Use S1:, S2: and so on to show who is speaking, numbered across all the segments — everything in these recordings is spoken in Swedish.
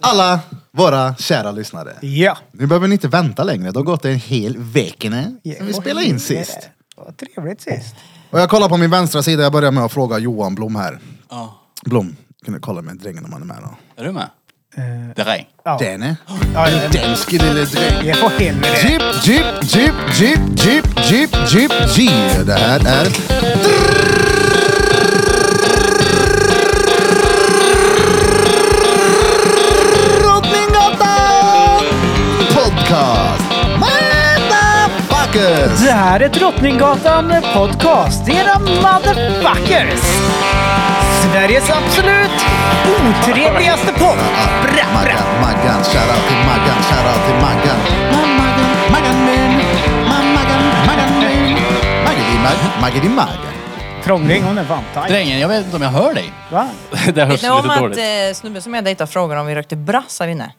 S1: alla våra kära lyssnare.
S2: Ja.
S1: Nu behöver ni inte vänta längre. Det har gått en hel vecka nu sen vi spelade in sist.
S2: Vad trevligt sist.
S1: Och jag kollar på min vänstra sida. Jag börjar med att fråga Johan Blom här.
S3: Ja.
S1: Blom, kan du kolla med drängen om han är med då?
S3: Är du med?
S2: Eh,
S3: Det regn.
S2: ja.
S1: Denne.
S2: Ja, ja.
S1: Danske lille dräng.
S2: Jag får helvete.
S1: Jeep, jeep, jeep, jeep, jeep, jeep, jeep, jeep. Det här är... Drottninggatan Podcast. Motherfuckers!
S2: Det här är Drottninggatan Podcast. Era motherfuckers! Sveriges absolut otrevligaste podd. Bra, bra.
S1: Maggan, Maggan, shoutout till Maggan, shoutout till Maggan. Ma- Maggan, Maggan min. Ma- Maggan, Maggan min. Maggedi Mag- Maggedi Maggan.
S2: Trångling, hon är fan tajt.
S3: Drängen, jag vet inte om jag hör dig.
S2: Va?
S3: Det hörs
S4: Vet ni om
S3: lite
S4: att
S3: dåligt.
S4: eh, snubben som jag dejtade frågade om vi rökte brass här inne?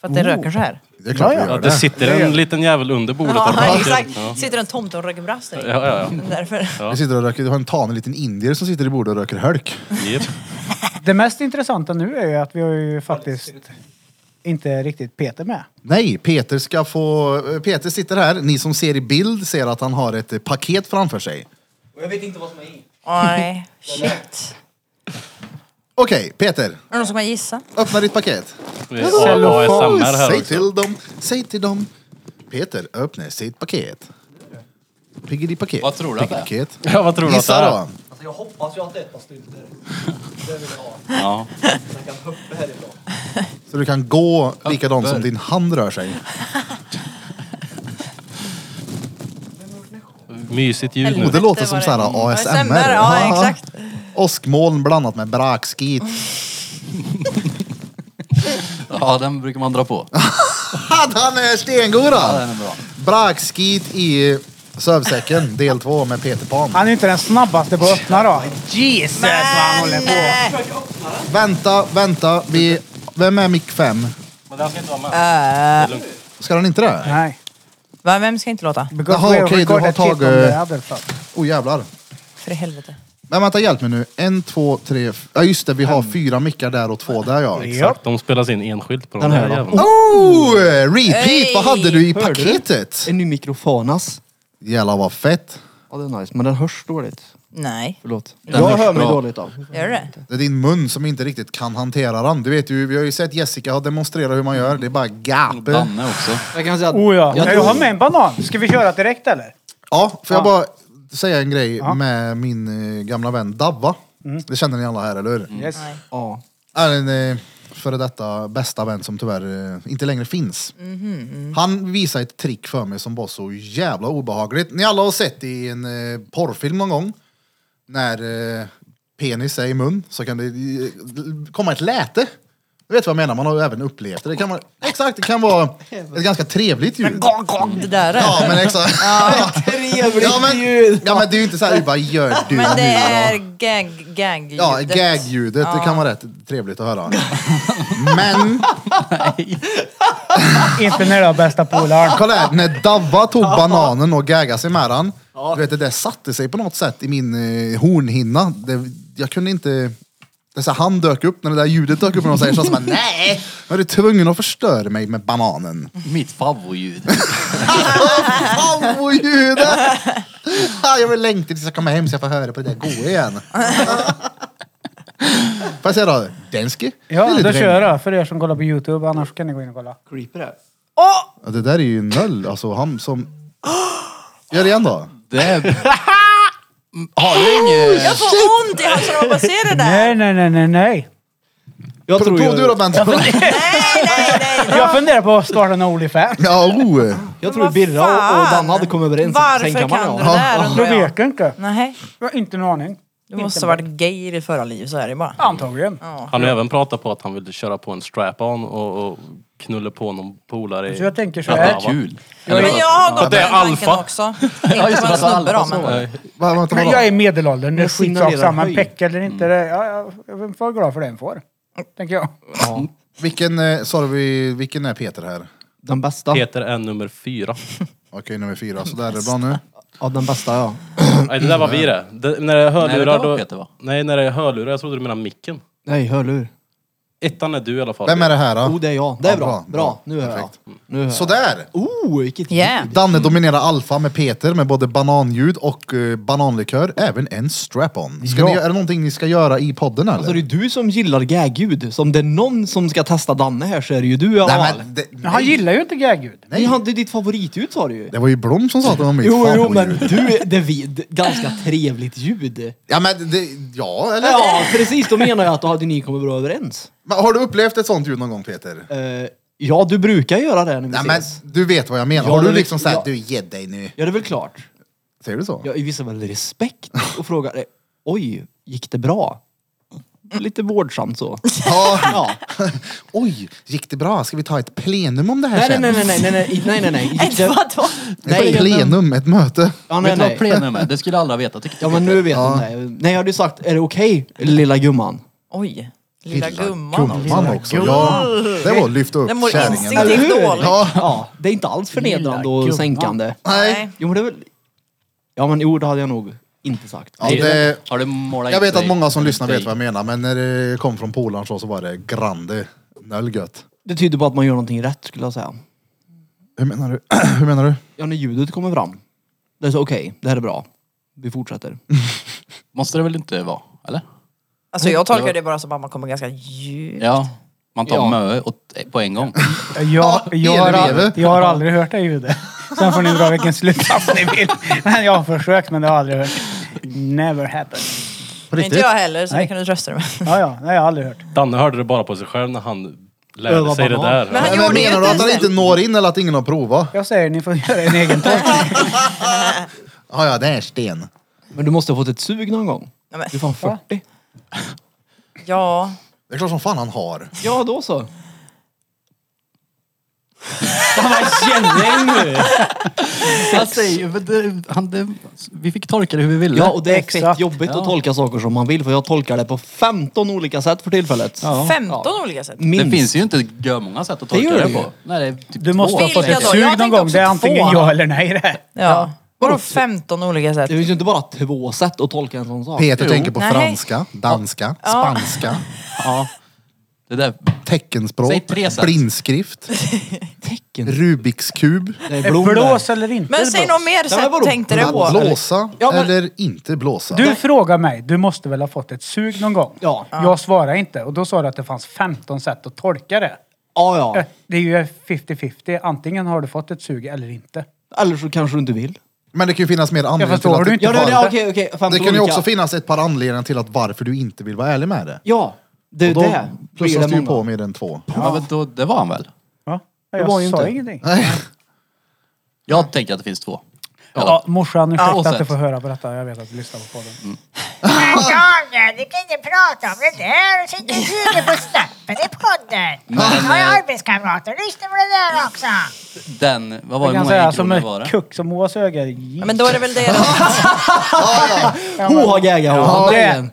S4: För att det röker så här.
S1: Det är klart
S2: Ja,
S1: vi
S2: ja.
S1: gör
S3: Att det sitter en liten jävel under bordet. och
S4: Ja,
S3: pratar.
S4: exakt.
S3: Ja.
S4: Sitter en tomte och röker brass där
S3: Ja, ja,
S4: inne. Därför.
S1: Vi sitter och röker, du har en tanig liten indier som sitter i bordet och röker hölk.
S3: ja. Japp.
S2: Det mest intressanta nu är ju att vi har ju faktiskt inte riktigt Peter med.
S1: Nej, Peter ska få... Peter sitter här. Ni som ser i bild ser att han har ett eh, paket framför sig.
S4: Oj, shit.
S1: Okej, Peter.
S4: Är det någon som kan gissa?
S1: Öppna ditt paket.
S3: Vi har ASMR här
S1: Säg
S3: också.
S1: till dem. Säg till dem. Peter, öppna sitt paket. Piggedy paket.
S3: Vad tror du att det är?
S1: Paket.
S3: Ja, vad tror du att det
S1: Gissa
S3: är?
S1: då.
S5: Alltså jag hoppas ju att det är ett par stylter. Det vill jag
S3: Ja.
S5: ha. Så jag kan hoppa härifrån.
S1: Så du kan gå likadant som din hand rör sig.
S3: Mysigt ljud nu.
S1: Oh, det låter som
S4: var
S1: så här
S4: det.
S1: ASMR.
S4: Ja,
S1: Ja.
S4: exakt.
S1: Åskmoln blandat med brakskit.
S3: Ja, den brukar man dra på.
S1: Att han är stengod
S3: Ja,
S1: då!
S3: den är bra.
S1: Brakskit i sövsäcken, del två med Peter Pan.
S2: Han är ju inte den snabbaste på att öppna då. Jesus vad han håller på.
S4: Nej.
S1: Vänta, vänta. Vi... Vem är mick 5?
S3: Men den ska inte vara med.
S4: Eh.
S1: Ska han inte det?
S2: Nej.
S4: Va, Vem ska inte låta?
S2: Because
S1: Jaha,
S2: we
S1: okej, du har
S2: recorded shit on
S1: tagit-
S2: the other stuff.
S1: Oh jävlar.
S4: För i helvete.
S1: Men vänta, hjälp mig nu. En, två, tre... f- Ja just det, vi
S3: Mm.
S1: har fyra mickar där och två där ja.
S2: Japp.
S3: Exakt, de spelas in enskilt på den,
S5: Den
S3: här
S5: här, va?
S3: jäveln.
S1: Oh! Repeat!
S4: Hey!
S1: Vad hade du i
S5: Hörde du?
S1: paketet?
S5: En ny mikrofonas.
S1: Jävlar vad fett.
S5: Ja det är nice, men den hörs dåligt.
S4: Nej.
S5: Förlåt.
S3: Den
S5: jag
S3: hörs
S5: hör mig
S3: bra.
S5: dåligt då.
S4: Gör du det?
S1: Det är din mun som inte riktigt kan hantera den. Du vet ju, vi har ju sett Jessica ha demonstrerat hur man gör. Det är bara gape.
S3: Danne också.
S5: Jag kan säga att...
S2: Oh ja.
S5: Jag
S2: Nej,
S5: tror-
S2: du har med en banan. Ska vi köra direkt eller?
S1: Ja, får jag
S2: Ja.
S1: bara säga en grej med min eh, gamla vän Davva. Det känner ni alla här, eller hur?
S2: Yes.
S4: Nej.
S5: Ja.
S1: är en eh, före detta bästa vän som tyvärr eh, inte längre finns. Han visade ett trick för mig som var så jävla obehagligt. Ni alla har sett i en eh, porrfilm någon gång när eh, penis är i mun så kan det eh, komma ett läte. Du vet vad jag menar, man har ju även upplevt det. det kan vara, exakt, det kan vara ett ganska trevligt ljud.
S4: Gong, gong, Det där.
S1: Ja men exakt.
S5: Trevligt
S1: Ja men,
S5: ljud!
S1: ja, men det är ju inte såhär, vad gör du nu
S4: Men det
S1: då?
S4: är gag, gag
S1: Ja, gag-ljudet. Det kan vara rätt trevligt att höra. Men,
S2: Inte när du har bästa polaren.
S1: kolla här. När Davva tog bananen och gaggade sig med den. Du vet, det där satte sig på något sätt i min eh, hornhinna. Det, jag kunde inte... Det är så här, han dök upp när det där ljudet dök upp och de säger så här, nej! Men du är tvungen att förstöra mig med bananen.
S3: Mitt favoritljud.
S1: Favoritdjuret! Ah, jag vill längta tills jag kommer hem så jag får höra på det där goa igen. Får jag säga då? Denske? Det är
S2: Ja,
S1: lite
S2: då
S1: regn.
S2: kör jag. För er som kollar på Youtube, annars kan ni gå in och kolla.
S5: Creeper är.
S1: Ja, det där är ju noll. Alltså han som... Gör det igen då.
S3: Det är...
S6: Mm,
S3: Har du inget...
S4: Jag får ont i halsen av att bara se det där.
S2: Nej, nej, nej, nej, nej.
S5: Jag
S1: Prov
S5: tror
S1: prov du då
S5: ju...
S1: Bente.
S4: Nej, nej, nej.
S2: Jag funderar på att starta en Onlyfans.
S1: Ja, oh.
S5: Jag
S4: Men
S5: tror
S4: vad
S5: Birra och, och
S4: fan?
S5: Danne hade kommit överens.
S4: Varför
S5: Sen kan
S4: kan du
S5: man ja.
S4: det där
S2: Jag
S4: undrar jag?
S2: vet inte.
S4: Nej,
S2: Jag har inte en aning.
S4: du måste ha varit gay i ditt förra liv, så är det bara.
S2: Antagligen.
S3: Han har även pratat på att han ville köra på en strap-on och, och knulla på någon polare. i-
S2: Så jag tänker så
S3: Ja,
S2: här.
S3: det är kul.
S4: Men jag har gått
S3: det är
S4: den tanken
S3: alfa.
S4: också. Inte bara snubbe då, men...
S3: Nej.
S1: Va, vänta,
S2: Men jag
S1: vadå?
S2: är medelåldern, det är
S5: Jag
S2: skitsak
S5: signalerar
S2: samma.
S5: höj.
S2: Peck eller inte. det- Ja, ja, jag får vara glad för det en får. Tänker jag.
S1: Vilken, eh, sa du, vi- vilken är Peter här?
S5: Den bästa.
S3: Peter är nummer fyra.
S1: Okej, nummer fyra. Så där är det bra nu.
S5: Ja den bästa ja.
S3: Nej, det där var vi det. det när det
S6: Nej,
S3: är
S6: det
S3: hörlurar
S6: där var
S3: då...
S6: Peter, va?
S3: Nej, när det är hörlurar. Jag trodde du menade micken.
S5: Nej hörlur.
S3: Ettan är du i alla fall.
S1: Vem är det här då?
S5: Oh, det är jag. Det är
S1: Ja,
S5: bra. Bra. Nu är jag.
S1: Perfekt.
S5: Nu är jag.
S1: Sådär!
S5: Oh, vilket
S4: Yeah.
S1: Danne dominerar alfa med Peter med både bananljud och eh, bananlikör, även en strap-on. Ska
S5: Ja.
S1: ni, är det någonting ni ska göra i podden eller?
S5: Alltså det är du som gillar gagljud. Så om det är någon som ska testa Danne här så är det ju du i alla
S1: nej,
S5: fall.
S1: men, det,
S2: Men han
S1: nej.
S2: gillar ju inte gagljud.
S5: Ni hade ditt favoritljud sa du ju.
S1: det var ju Blom som sa att det var mitt
S5: Jo, jo, men
S1: favoritljud.
S5: du, det är vi- det är ganska trevligt ljud.
S1: Ja, men det, ja, eller?
S5: Ja, precis. Då menar jag att då hade ni kommit bra överens.
S1: Men, har du upplevt ett sånt ljud någon gång Peter?
S5: Eh, ja, du brukar göra det när vi
S1: Nej, men,
S5: ses.
S1: du vet vad jag menar.
S5: Ja,
S1: har du
S5: men-
S1: liksom såhär,
S5: ja.
S1: du ge dig nu.
S5: Ja, det är väl klart.
S1: Säger du så?
S5: Jag visar väl respekt och frågar eh, oj, gick det bra? Lite vårdsamt så.
S1: Ja.
S5: Ja.
S1: Oj, gick det bra? Ska vi ta ett plenum om det här
S5: Nej, nej,
S1: sen?
S5: nej, nej, nej, nej, nej, nej, nej, nej. Gick
S4: Ett
S5: det-
S4: vadå?
S5: nej,
S1: Ett plenum, ett möte.
S5: Ja,
S6: Vet
S5: nej,
S6: du vad
S5: nej.
S6: plenum är? Det skulle alla veta. Tycker
S5: Ja, men nu vet hon det. Nej, jag hade ju sagt, är det okej, lilla gumman?
S4: Oj. Lilla gumman. också.
S1: Gumman också. Ja, det var lyft upp
S4: Den mår
S1: kärringen.
S5: Eller
S4: instinktivt
S5: hur?
S4: dåligt.
S1: Ja,
S5: Ja, det är inte alls
S6: Lilla
S5: förnedrande och
S6: gumman.
S5: sänkande.
S1: nej.
S5: Jo, men det är väl... Ja, men jo, det hade jag nog inte sagt.
S1: Ja,
S6: jag.
S1: det,
S6: Har du målat
S1: jag
S6: in
S1: vet att
S6: dig-
S1: många som lyssnar vet
S6: dig?
S1: vad jag menar, men när det kom från polaren så, så var det grande. Nöll gött.
S5: Det tyder på att man gör någonting rätt, skulle jag säga.
S1: Hur menar du? Hur menar du?
S5: Ja, när ljudet kommer fram. Det är så, okej, det här är bra. Vi fortsätter.
S6: Måste det väl inte vara? Eller?
S4: Alltså jag tolkar det bara som att man kommer ganska djupt.
S6: Ja. Man tar
S5: Ja.
S6: mö åt, på en gång.
S2: Jag, jag, har,
S1: elreve.
S2: al- jag har aldrig hört det ljudet. Sen får ni dra vilken slutsats ni vill. Men jag har försökt men det har jag aldrig hört. Never happened.
S1: På
S4: Men inte
S1: riktigt?
S4: jag heller, så det
S2: Nej.
S4: kan du trösta dig med.
S2: Ja, ja, nej, jag har aldrig hört.
S3: Danne hörde det bara på sig själv när han lärde
S5: Öva
S3: sig
S5: banan.
S3: det där.
S4: Men- Han
S1: Men
S4: gjorde ju
S1: menar du
S4: inte
S1: att han
S4: det.
S1: inte når in eller att ingen har provat?
S2: Jag säger ni får göra en egen tolkning.
S1: Ja, ja, det är sten.
S5: Men du måste ha fått ett sug någon gång.
S4: Ja, men,
S5: Du är fan 40.
S4: ja.
S1: Det är klart som fan han har.
S5: Ja, då så. Fan vad känning nu!
S6: Jag säger, men det, han, det, vi fick tolka det hur vi ville.
S5: Ja, och det är fett
S2: Exakt.
S5: jobbigt
S6: Ja.
S5: att tolka saker som man vill för jag tolkar det på 15 olika sätt för tillfället.
S6: Ja.
S4: 15 olika sätt.
S5: Minst.
S6: det finns ju inte görmånga sätt att
S5: Det
S6: tolka
S5: gör
S6: det,
S5: det ju.
S6: på. Nej, det är typ
S2: Du måste
S6: två.
S2: ha fått
S4: Vilka
S2: ett
S4: då? Jag
S2: sug någon
S4: tänkte
S2: gång. Det är
S4: också
S2: antingen
S4: två.
S2: ja eller nej det. här.
S4: Ja. Vadå 15 olika sätt?
S5: Det finns ju inte bara två sätt att tolka en sån sak.
S1: Peter tänker på
S4: Nej.
S1: franska, danska, spanska,
S6: Ja. Det där, Säg
S1: teckenspråk,
S6: tre sätt.
S1: blindskrift,
S5: Tecken.
S1: Rubiks kub,
S5: Det är blommor.
S2: Blås eller inte
S4: Men säg
S2: blås?
S4: något mer
S5: men
S4: sätt
S5: vadå?
S4: tänkte du
S1: att
S4: på.
S1: blåsa
S5: Ja, men-
S1: eller inte blåsa.
S2: Du frågar mig, du måste väl ha fått ett sug någon gång?
S5: Ja.
S2: Jag svarar inte och då sa du att det fanns 15 sätt att tolka det.
S5: Ja, ja.
S2: Det är ju 50-50. Antingen har du fått ett sug eller inte.
S5: Eller så kanske du inte vill.
S1: Men det kan ju finnas mer anledningar
S2: förstår
S1: till att
S2: du
S1: du
S2: inte
S1: inte
S5: Ja, det,
S1: har
S5: det,
S1: det.
S5: okej, okej. 15
S1: Det kan ju
S5: olika.
S1: också finnas ett par anledningar till att varför du inte vill vara ärlig med det.
S5: Ja, det är
S1: Och då
S5: det. Blir
S1: plussas
S5: det
S1: du ju
S5: många.
S1: på med en två.
S6: ja, men då, det var han väl?
S2: Ja.
S5: var
S2: Jag
S5: ju
S2: sa
S5: inte.
S2: ingenting.
S6: Jag tänker att det finns två.
S2: Ja. morsan, ursäkta
S6: Ja, och
S2: att du
S6: sätt.
S2: får höra på detta. Jag vet att du lyssnar på podden.
S7: Daniel, du kan inte prata om det där. Du sitter och suger på snoppen i podden.
S6: Men,
S7: Jag
S6: eh,
S7: har arbetskamrater. Lyssna på det där också.
S6: Den, vad var
S2: Jag
S6: det,
S2: kan
S6: hur många
S2: säga som
S6: kronor var
S2: en
S6: det?
S2: kuck som Moas öga.
S4: Ja, men då är det väl det då.
S5: Ho har gagga ho.
S2: Ja,
S5: Han
S2: det-
S5: är en.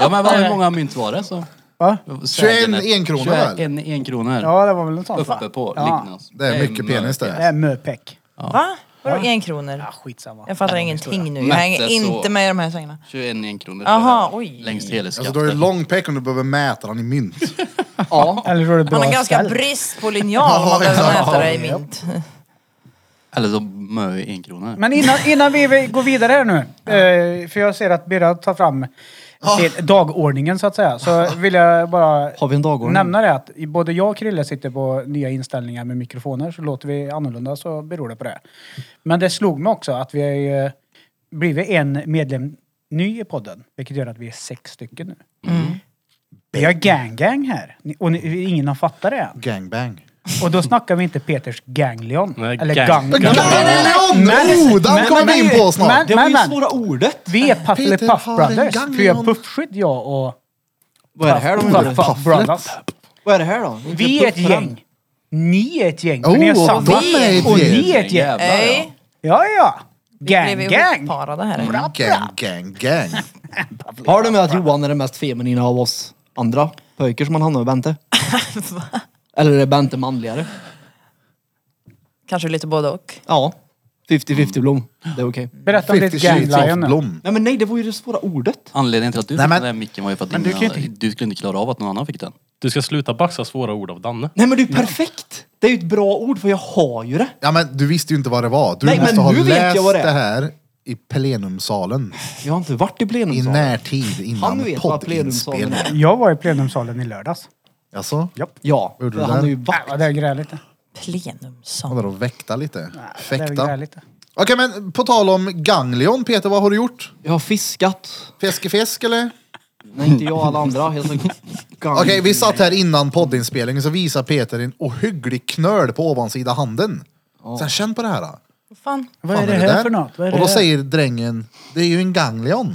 S6: Ja, men vad, hur många mynt var det? Så?
S2: Va?
S1: 21 enkronor väl?
S6: 21 enkronor.
S2: Ja, det var väl något sånt va?
S6: Uppe på, alltså.
S2: Ja.
S6: lignas.
S1: Det är mycket penis
S2: Det
S1: det.
S2: är möpeck.
S4: Va? Vadå en kronor?
S2: Ah, skitsamma.
S4: Jag fattar ingenting nu. Jag
S6: Mätte
S4: hänger
S6: så.
S4: inte med i de här svängarna.
S6: 21 enkronor.
S4: Jaha,
S6: så här,
S4: oj.
S6: Längs teleskatten.
S1: Alltså du har ju lång pek om du behöver mäta den i mynt.
S5: Ja.
S2: Eller så är det bra
S4: Han har ganska
S2: ställt.
S4: brist på linjal om man behöver mäta det i mint.
S6: Eller så mö i enkronor.
S2: Men innan, innan vi går vidare här nu, eh, för jag ser att Birra tar fram sin dagordningen så att säga, så vill jag bara
S5: Har vi en dagordning?
S2: nämna det att både jag och Krille sitter på nya inställningar med mikrofoner, så låter vi annorlunda så beror det på det. Men det slog mig också att vi har ju eh, blivit en medlem ny i podden, vilket gör att vi är sex stycken nu. Vi har gang-gang här, Ni- och ni, ingen har fattat det än.
S1: Gangbang.
S2: Och då snackar vi inte Peters ganglion,
S3: Nej,
S2: eller
S3: gang-
S2: gang...
S3: gang-
S1: Ganglion! Oh, den
S2: men-
S1: kommer
S2: men-
S1: vi in på
S2: men-
S1: snart.
S5: Det var ju
S2: men.
S5: svåra ordet.
S2: Vi är Puffle
S1: Peter
S2: Puff
S1: har en
S2: Brothers.
S1: ganglion.
S2: För jag är puffskydd jag och
S5: Vad är det här då? menar
S2: Puff
S5: du?
S2: Puff Brothers.
S5: Vad är det här då?
S2: Vi är ett gäng. Ni är ett gäng. för
S1: Oh,
S2: ni är
S1: och
S2: samma.
S1: de är ett
S2: Och
S1: gäng.
S2: ni är ett gäng.
S6: Jävlar, ja.
S4: Nej,
S2: Ja, ja.
S4: blev
S2: Gang,
S4: vi
S2: gang.
S4: ihopparade här.
S1: Gang, gang, gang.
S5: Har du med att Johan är den mest feminina av oss andra pojkar som han hamnar med Bente? Eller är Bente manligare?
S4: Kanske lite både och.
S5: Ja. 50-50 Blom. Det är okej.
S2: Berätta om
S1: 50
S2: ditt Gang
S1: shades
S2: Lion
S1: of
S2: nu.
S1: Blom.
S5: Nej men nej, det var ju det svåra ordet.
S8: Anledningen till att du
S1: Nej,
S8: fick
S1: men-
S8: den där micken var ju för att
S2: Men du
S8: du,
S2: kan ju inte-
S8: du skulle inte klara av att någon annan fick den.
S3: Du ska sluta baxa svåra ord av Danne.
S5: Nej men det är ju perfekt! Det är ju ett bra ord för jag har ju det.
S1: Ja, men du visste ju inte vad det var. Du
S5: Nej,
S1: måste
S5: men
S1: ha
S5: nu vet jag
S1: läst
S5: vad
S1: det,
S5: det är.
S1: här i plenumsalen
S5: Jag har inte varit i
S1: i
S5: plenumsalen.
S1: närtid
S5: Han
S1: innan
S5: vet vad plenumsalen
S1: poddinspelningen.
S5: är.
S2: Jag var i plenumsalen i lördags.
S1: Alltså,
S5: Ja,
S1: Gjorde du det?
S5: han är ju
S2: Ja,
S5: vakt.
S2: vad det är gräligt. det.
S4: Plenumsal.
S1: vadå väkta lite?
S2: Det är
S1: Fäkta?
S2: gräligt. det.
S1: Okej, men på tal om ganglion, Peter, vad har du gjort?
S5: Jag har fiskat.
S1: Fiskefisk eller?
S5: Nej, inte jag, alla andra. Jag sa- Gang.
S1: Okej, vi satt här innan poddinspelningen så visar Peter en ohygglig knöl på ovansida handen. Sen känn på det här. Då.
S4: Vad fan?
S2: Vad är
S1: Fan,
S2: det här för något? Vad är
S1: Och
S2: det
S1: då
S2: här?
S1: säger drängen, det är ju en ganglion.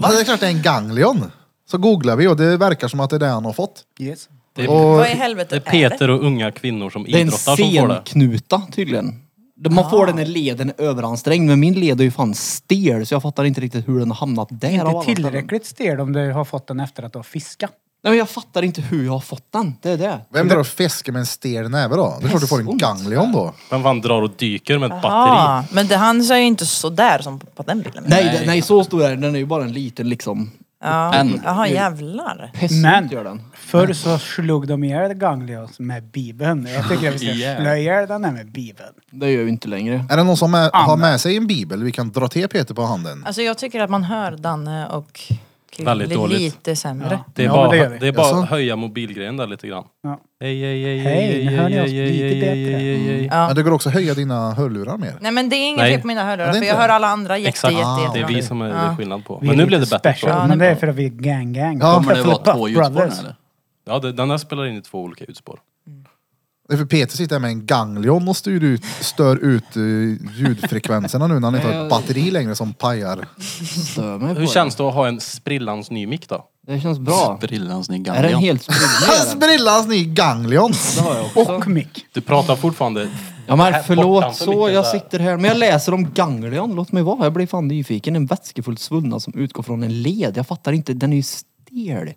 S1: ja, det är klart det är en ganglion. Så googlar vi och det verkar som att det är det han har fått.
S2: Yes.
S3: Det är,
S1: Och
S4: Vad i helvete
S3: det är
S4: är det?
S3: Peter och unga kvinnor som
S5: Det är en
S3: idrottar som får det.
S5: senknuta tydligen. Man får den när leden är överansträngd, men min led är ju fan stel så jag fattar inte riktigt hur den har hamnat där. av alla
S2: Inte
S5: ställen.
S2: tillräckligt stel om du har fått den efter att du har fiskat.
S5: Nej, men jag fattar inte hur jag har fått den. Det är det.
S1: vem drar och fiskar med en stel näve då? Det är klart du får en
S5: Pestont.
S1: ganglion då.
S3: Vem fan drar och dyker med ett batteri?
S4: Ja, men det, han ser ju inte sådär som på, på den bilden.
S5: Nej, nej. nej, så stor är den. Den är ju bara en liten liksom.
S4: Ja.
S8: En.
S4: Jaha, jävlar.
S5: Pest
S2: Men-
S5: gör den.
S2: Förr så slog de ihjäl ganglion med bibeln. Jag tycker att vi ska
S3: Ihjäl.
S2: slå ihjäl den här med bibeln.
S5: Det gör ju inte längre.
S1: Är det någon som är, har med sig en bibel vi kan dra till Peter på handen?
S4: Alltså jag tycker att man hör Danne och Krille
S3: Väldigt dåligt.
S4: lite sämre.
S3: Det är
S2: Ja,
S3: bara,
S2: men det gör vi.
S3: det är bara
S1: Jaså?
S3: att höja mobilgrejen där lite grann.
S2: Ja.
S3: Ej, ej, ej,
S2: Hej,
S3: ej,
S2: nu
S3: ej,
S2: hör ni
S3: ej,
S2: oss
S3: ej,
S2: lite
S3: ej,
S2: bättre.
S3: ej, ej, ej.
S4: Ja.
S1: Men det går också att höja dina hörlurar mer.
S4: Nej men det är inget
S3: Nej.
S4: fel på mina hörlurar
S1: Ja, det är
S4: för
S1: inte
S4: jag hör
S1: det.
S4: alla andra jätte,
S3: Exakt.
S4: jätte, jätte,
S3: Det är vi
S4: jätte.
S3: som är det är skillnad på.
S2: Vi
S3: Men
S2: är
S3: nu
S2: lite
S3: blev det bättre.
S2: special,
S3: tror jag.
S4: Ja,
S2: men
S4: det
S2: det
S4: är
S2: är
S4: bra.
S2: för att vi är gang gang.
S1: Ja.
S8: Kommer det vara
S2: Flippa
S8: två ljudspår den,
S2: Brothers.
S8: eller?
S3: Ja, det, den här spelar in i två olika ljudspår.
S1: Det är för Peter sitter här med en ganglion och styr ut, stör ut eh, ljudfrekvenserna nu när han inte har ett batteri längre som pajar.
S5: Stör mig på
S3: Hur känns det att ha en sprillans ny mick då?
S5: det? Det känns bra.
S8: Brillans ny
S5: Är den
S8: ganglion.
S5: helt
S1: Hans
S5: spridd?
S1: brillans ny ganglion!
S5: Det har jag också.
S2: Och mick.
S3: Du pratar fortfarande...
S5: Ja men
S3: bortanför
S5: förlåt så,
S3: micken
S5: jag
S3: så här.
S5: sitter här. Men jag läser om ganglion, låt mig vara. Jag blir fan nyfiken. En vätskefull svullnad som utgår från en led. Jag fattar inte, den är ju stel.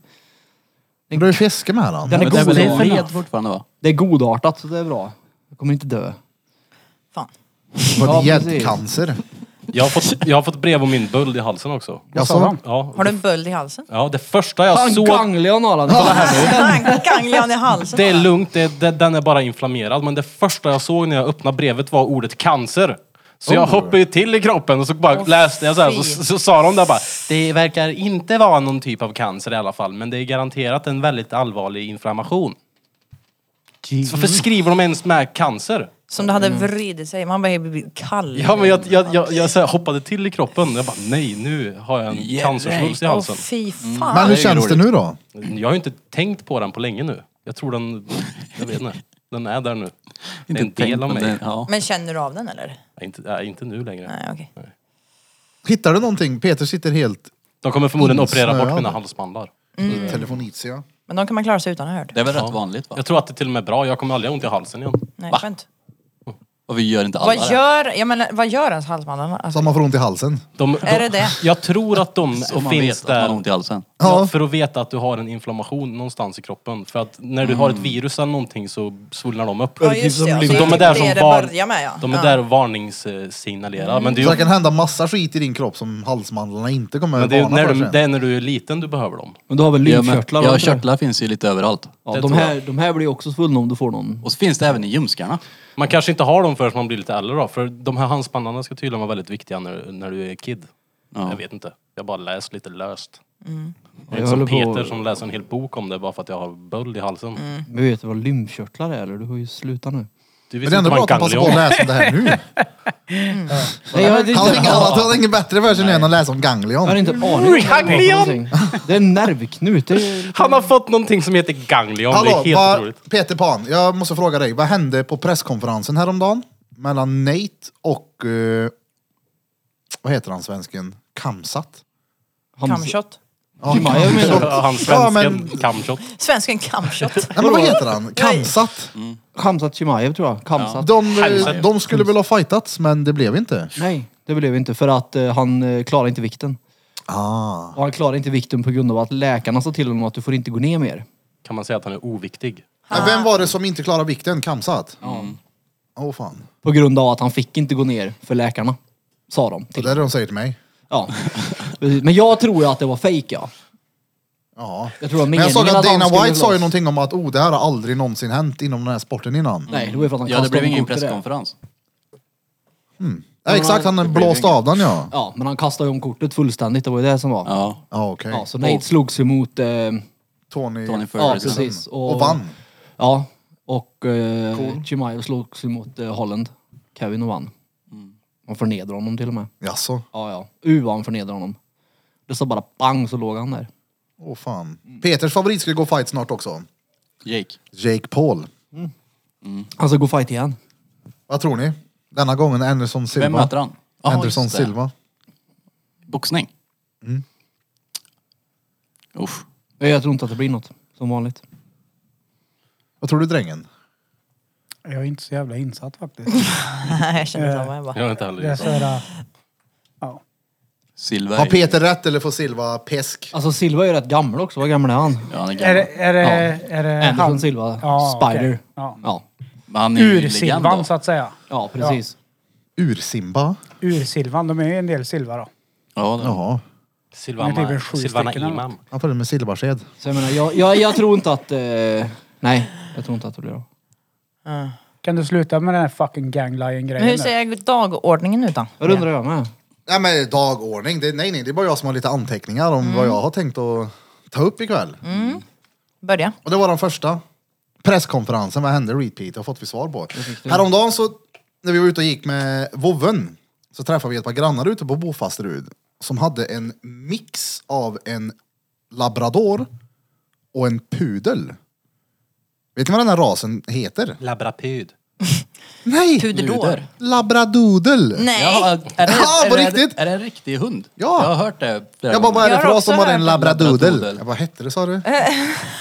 S1: Men Du har ju fiske med han.
S5: Den är
S8: Men det är väl
S5: godartad.
S8: en led fortfarande va?
S5: Det är godartat, så det är bra. Jag kommer inte dö.
S4: Fan.
S1: På
S5: Ja, precis.
S1: gäddcancer.
S3: Jag har, fått, jag har fått brev om min böld i halsen också.
S2: Vad
S1: Jaså?
S2: sa han?
S3: Ja,
S4: Har du en böld i halsen?
S3: ja det första jag
S5: Fan,
S3: såg...
S5: ganglion har han! Kolla här nu.
S4: Ganglion i halsen.
S3: Det är lugnt, det, det, den är bara inflammerad. Men det första jag såg när jag öppnade brevet var ordet cancer. Så
S8: Oh.
S3: jag hoppade ju till i kroppen och så bara läste jag så här. Så,
S4: fy.
S3: så, sa de där bara, det verkar inte vara någon typ av cancer i alla fall. Men det är garanterat en väldigt allvarlig inflammation. Så varför skriver de ens med cancer?
S4: Som det hade
S1: Mm.
S4: vridit sig. Man bara blir kall.
S3: Ja men jag, jag, jag, jag så här hoppade till i kroppen. Jag bara, nej nu har jag en cancersvulst i
S4: Åh
S3: halsen.
S4: fy
S1: Mm. Men
S4: fan.
S1: hur känns det nu då?
S3: Jag har ju inte tänkt på den på länge nu. Jag tror den, jag vet inte. Den är där nu. Det är en
S8: tänkt
S3: del av
S8: på
S3: mig.
S8: det, ja.
S4: Men känner du av den eller?
S3: Nej, inte, nej, inte nu längre.
S4: Nej okej.
S1: Hittar du någonting? Peter sitter helt
S3: De kommer
S4: Mm.
S3: förmodligen operera bort
S1: Insnöad.
S3: mina halsmandlar.
S1: mm. telefonitia.
S4: Men de kan man klara sig utan hörd.
S8: Det är väl rätt vanligt va?
S3: Jag tror att det till och med är bra. Jag kommer aldrig ha ont i halsen igen.
S4: Nej skönt.
S8: Och vi gör inte alla
S4: Vad
S8: det.
S4: gör, jag menar, vad gör ens halsmandlarna? Alltså,
S1: Så man får ont i halsen.
S3: De,
S4: Är det det?
S3: Jag tror att de
S8: Så man
S3: finns
S8: vet att man har
S3: där
S8: ont i halsen.
S1: Ja.
S3: ja. för att veta att du har en inflammation någonstans i kroppen. För att när du har
S8: Mm.
S3: ett virus eller någonting så svullnar de upp.
S4: ja just det. ja. Så
S3: De
S4: jag
S3: är
S4: tycker
S3: där
S4: det
S3: som
S4: det
S3: var-
S4: börjar med ja.
S3: De är
S4: ja.
S3: där och varningssignalerar. Men det
S1: Så det
S3: är ju,
S1: kan hända massa skit i din kropp som halsmandlarna inte kommer
S3: men
S1: att
S3: det är ju
S1: varna
S3: när,
S1: för
S3: du,
S1: sen.
S3: det är när du är liten du behöver dem.
S5: Men du har väl
S8: Ja, men,
S5: lymfkörtlar? har
S8: ja,
S5: du inte det?
S8: körtlar finns ju lite överallt.
S5: Ja,
S3: Det
S5: de,
S3: tror
S5: här, de här blir ju också svullna om du får någon.
S8: Och så finns det även i ljumskarna.
S3: Man kanske inte har dem förrän man blir lite äldre då. För de här halsmandlarna ska tydligen vara väldigt viktiga när, när du är kid.
S8: Ja.
S3: Jag vet inte. Jag bara läst lite löst. Jag är
S5: Jag
S3: inte som
S5: håller på-
S3: Peter som läser en hel bok om det bara för att jag har böld i halsen.
S5: Men vet du vad lymfkörtlar är eller? Du har ju slutat nu.
S3: Du
S1: Men det är
S3: visste
S1: ändå
S3: inte
S1: bra
S3: man
S1: att han
S3: kan
S1: passar på att läsa om det här nu.
S5: Nej,
S1: Han
S5: jag hade
S1: har
S5: inte,
S1: inget annat, han har inget bättre för sig nu än att läsa om ganglion.
S5: jag hade inte en aning. om vad det var för någonting. Det är en nervknut. Det är,
S3: Han har fått någonting som heter ganglion. det
S1: Hallå,
S3: är helt
S1: vad,
S3: otroligt.
S1: Peter Pan, jag måste fråga dig. Vad hände på presskonferensen häromdagen? Mellan Nate och... eh, vad heter han svensken? Kamsat?
S4: Kamshot.
S1: Ja,
S5: Kimaev menar du?
S3: Han
S1: Ja,
S3: svensken
S1: men-
S3: ja, kamshot.
S4: Svensken kamshot.
S1: Nej, men vad heter han? Kamsat?
S5: Khamzat Chimaev tror jag. Khamzat.
S1: De, eh, de skulle väl ha fightats men det blev inte.
S5: Nej, det blev inte för att eh, han eh, klarade inte vikten.
S1: Ah.
S5: Och han klarade inte vikten på grund av att läkarna sa till honom att du får inte gå ner mer.
S3: Kan man säga att han är oviktig?
S1: Men Vem var det som inte klarade vikten? Kamsat? Åh fan.
S5: På grund av att han fick inte gå ner för läkarna. Sa de.
S1: Det
S5: Till.
S1: där är det de säger till mig.
S5: Ja. Precis. Men jag tror ju att det var fejk ja.
S1: Ja.
S5: Jag tror att
S1: Men jag såg
S5: meningen
S1: att
S5: han
S1: Dana
S5: skulle
S1: White sa ju
S5: loss.
S1: någonting om att oh, det här har aldrig någonsin hänt inom den här sporten innan.
S5: Nej, det var ju för att han
S8: Ja, det
S5: kastade
S8: blev ingen
S5: om kortet där.
S8: presskonferens.
S1: Ja, exakt,
S8: Det
S1: han
S8: blir
S1: blåste
S8: inget.
S1: av den ja.
S5: Ja, men han kastade ju om kortet fullständigt. Det var ju det som var. Ja,
S8: Ja,
S1: Ja okej.
S5: så Nate slogs ju mot... Eh,
S1: Tony,
S8: Tony
S5: ja,
S8: Ferguson.
S5: precis. Och,
S1: och vann.
S5: Ja. Och eh, Chimaev slogs ju mot eh, Holland. Kevin och vann. Man förnedrade honom till och med.
S1: Jaså?
S5: Mm. Ja, ja. Uvan förnedrade honom. Det sa bara bang så låg han där.
S1: Åh fan. Peters favorit ska gå fight snart också.
S8: Jake.
S1: Jake Paul.
S5: Han ska gå fight igen.
S1: Vad tror ni? Denna gången Anderson Silva.
S8: Vem möter han? Ja,
S1: Anderson
S8: just det.
S1: Silva.
S8: Boxning. Usch.
S5: Men Jag tror inte att det blir något. Som vanligt.
S1: Vad tror du drängen?
S2: Jag är inte så jävla insatt faktiskt.
S4: jag känner samma. Jag bara,
S3: Jag har inte
S2: Det är
S3: heller
S2: så här, äh, ja.
S8: Silva
S1: Har
S8: är ju...
S1: Peter rätt eller får Silva pesk?
S5: Alltså Silva är ju rätt gammal också. Vad gammal är han?
S8: Ja, han är
S2: Är
S8: gammal.
S2: det, är det, är det
S5: Anderson
S2: han-
S5: Silva.
S2: Ja,
S5: Spider.
S2: okej. Ja.
S5: Ja.
S8: Men han är ju legend alltså.
S2: Ursilvan
S8: då.
S2: så att säga.
S5: ja, precis.
S1: Ur-Simba?
S2: Ursilvan, de är ju en del silva då.
S8: Ja, det-
S1: Jaha. typ
S2: Men det är väl
S3: Silvana,
S2: sju
S3: Silvana
S2: stycken eller
S3: Imam.
S1: Han följer med silversked.
S5: Så jag menar, jag, jag, jag tror inte att... Eh, nej, jag tror inte att det blir av.
S2: Kan du sluta med den här fucking
S4: Mm. Men hur
S2: ganglion-grejen?
S4: ser jag dagordningen ut då?
S5: Jag undrar jag med.
S1: Nej men dagordning, det, nej nej det är bara jag som har lite anteckningar om vad jag har tänkt att ta upp ikväll.
S4: Börja.
S1: Och det var den första presskonferensen, vad hände repeat? Det har fått vi svar på. Häromdagen så, när vi var ute och gick med vovven, så träffade vi ett par grannar ute på Bofasterud som hade en mix av en labrador och en pudel. Vet ni vad den här rasen heter?
S3: Labrapud.
S1: Nej!
S4: Puderdår.
S1: Labradodel!
S4: Nej!
S8: Ja, är det,
S1: Ja,
S8: är
S1: på
S8: det,
S1: riktigt?
S8: Är det en riktig hund?
S1: Ja.
S8: Jag har hört det flera
S1: Jag bara, vad är
S4: Jag
S1: det för
S4: har
S1: ras som
S4: också
S1: har en
S4: hört
S1: labradodel?
S8: Labradodel.
S1: Jag bara, hette det sa du?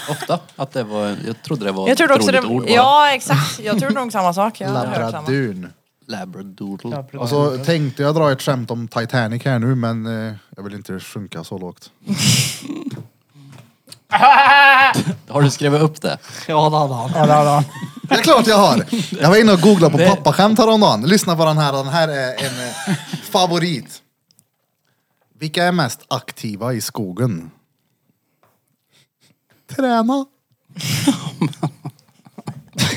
S8: Ofta. Att det var, jag trodde det var
S4: Jag trodde
S8: ett
S4: också det...
S8: roligt ord bara.
S4: Ja, exakt. Jag trodde nog samma sak. Jag hade hört samma.
S1: Labradun.
S8: Labradoodle.
S1: Och så Alltså, tänkte jag dra ett skämt om Titanic här nu, men eh, jag vill inte sjunka så lågt.
S8: Har du skrivit upp det?
S5: Ja, det hade han.
S2: Ja, där, där.
S1: Det är klart jag har! Jag var inne och googlade på pappaskämt häromdagen. Lyssna på den här, den här är en eh, favorit. Vilka är mest aktiva i skogen? Träna.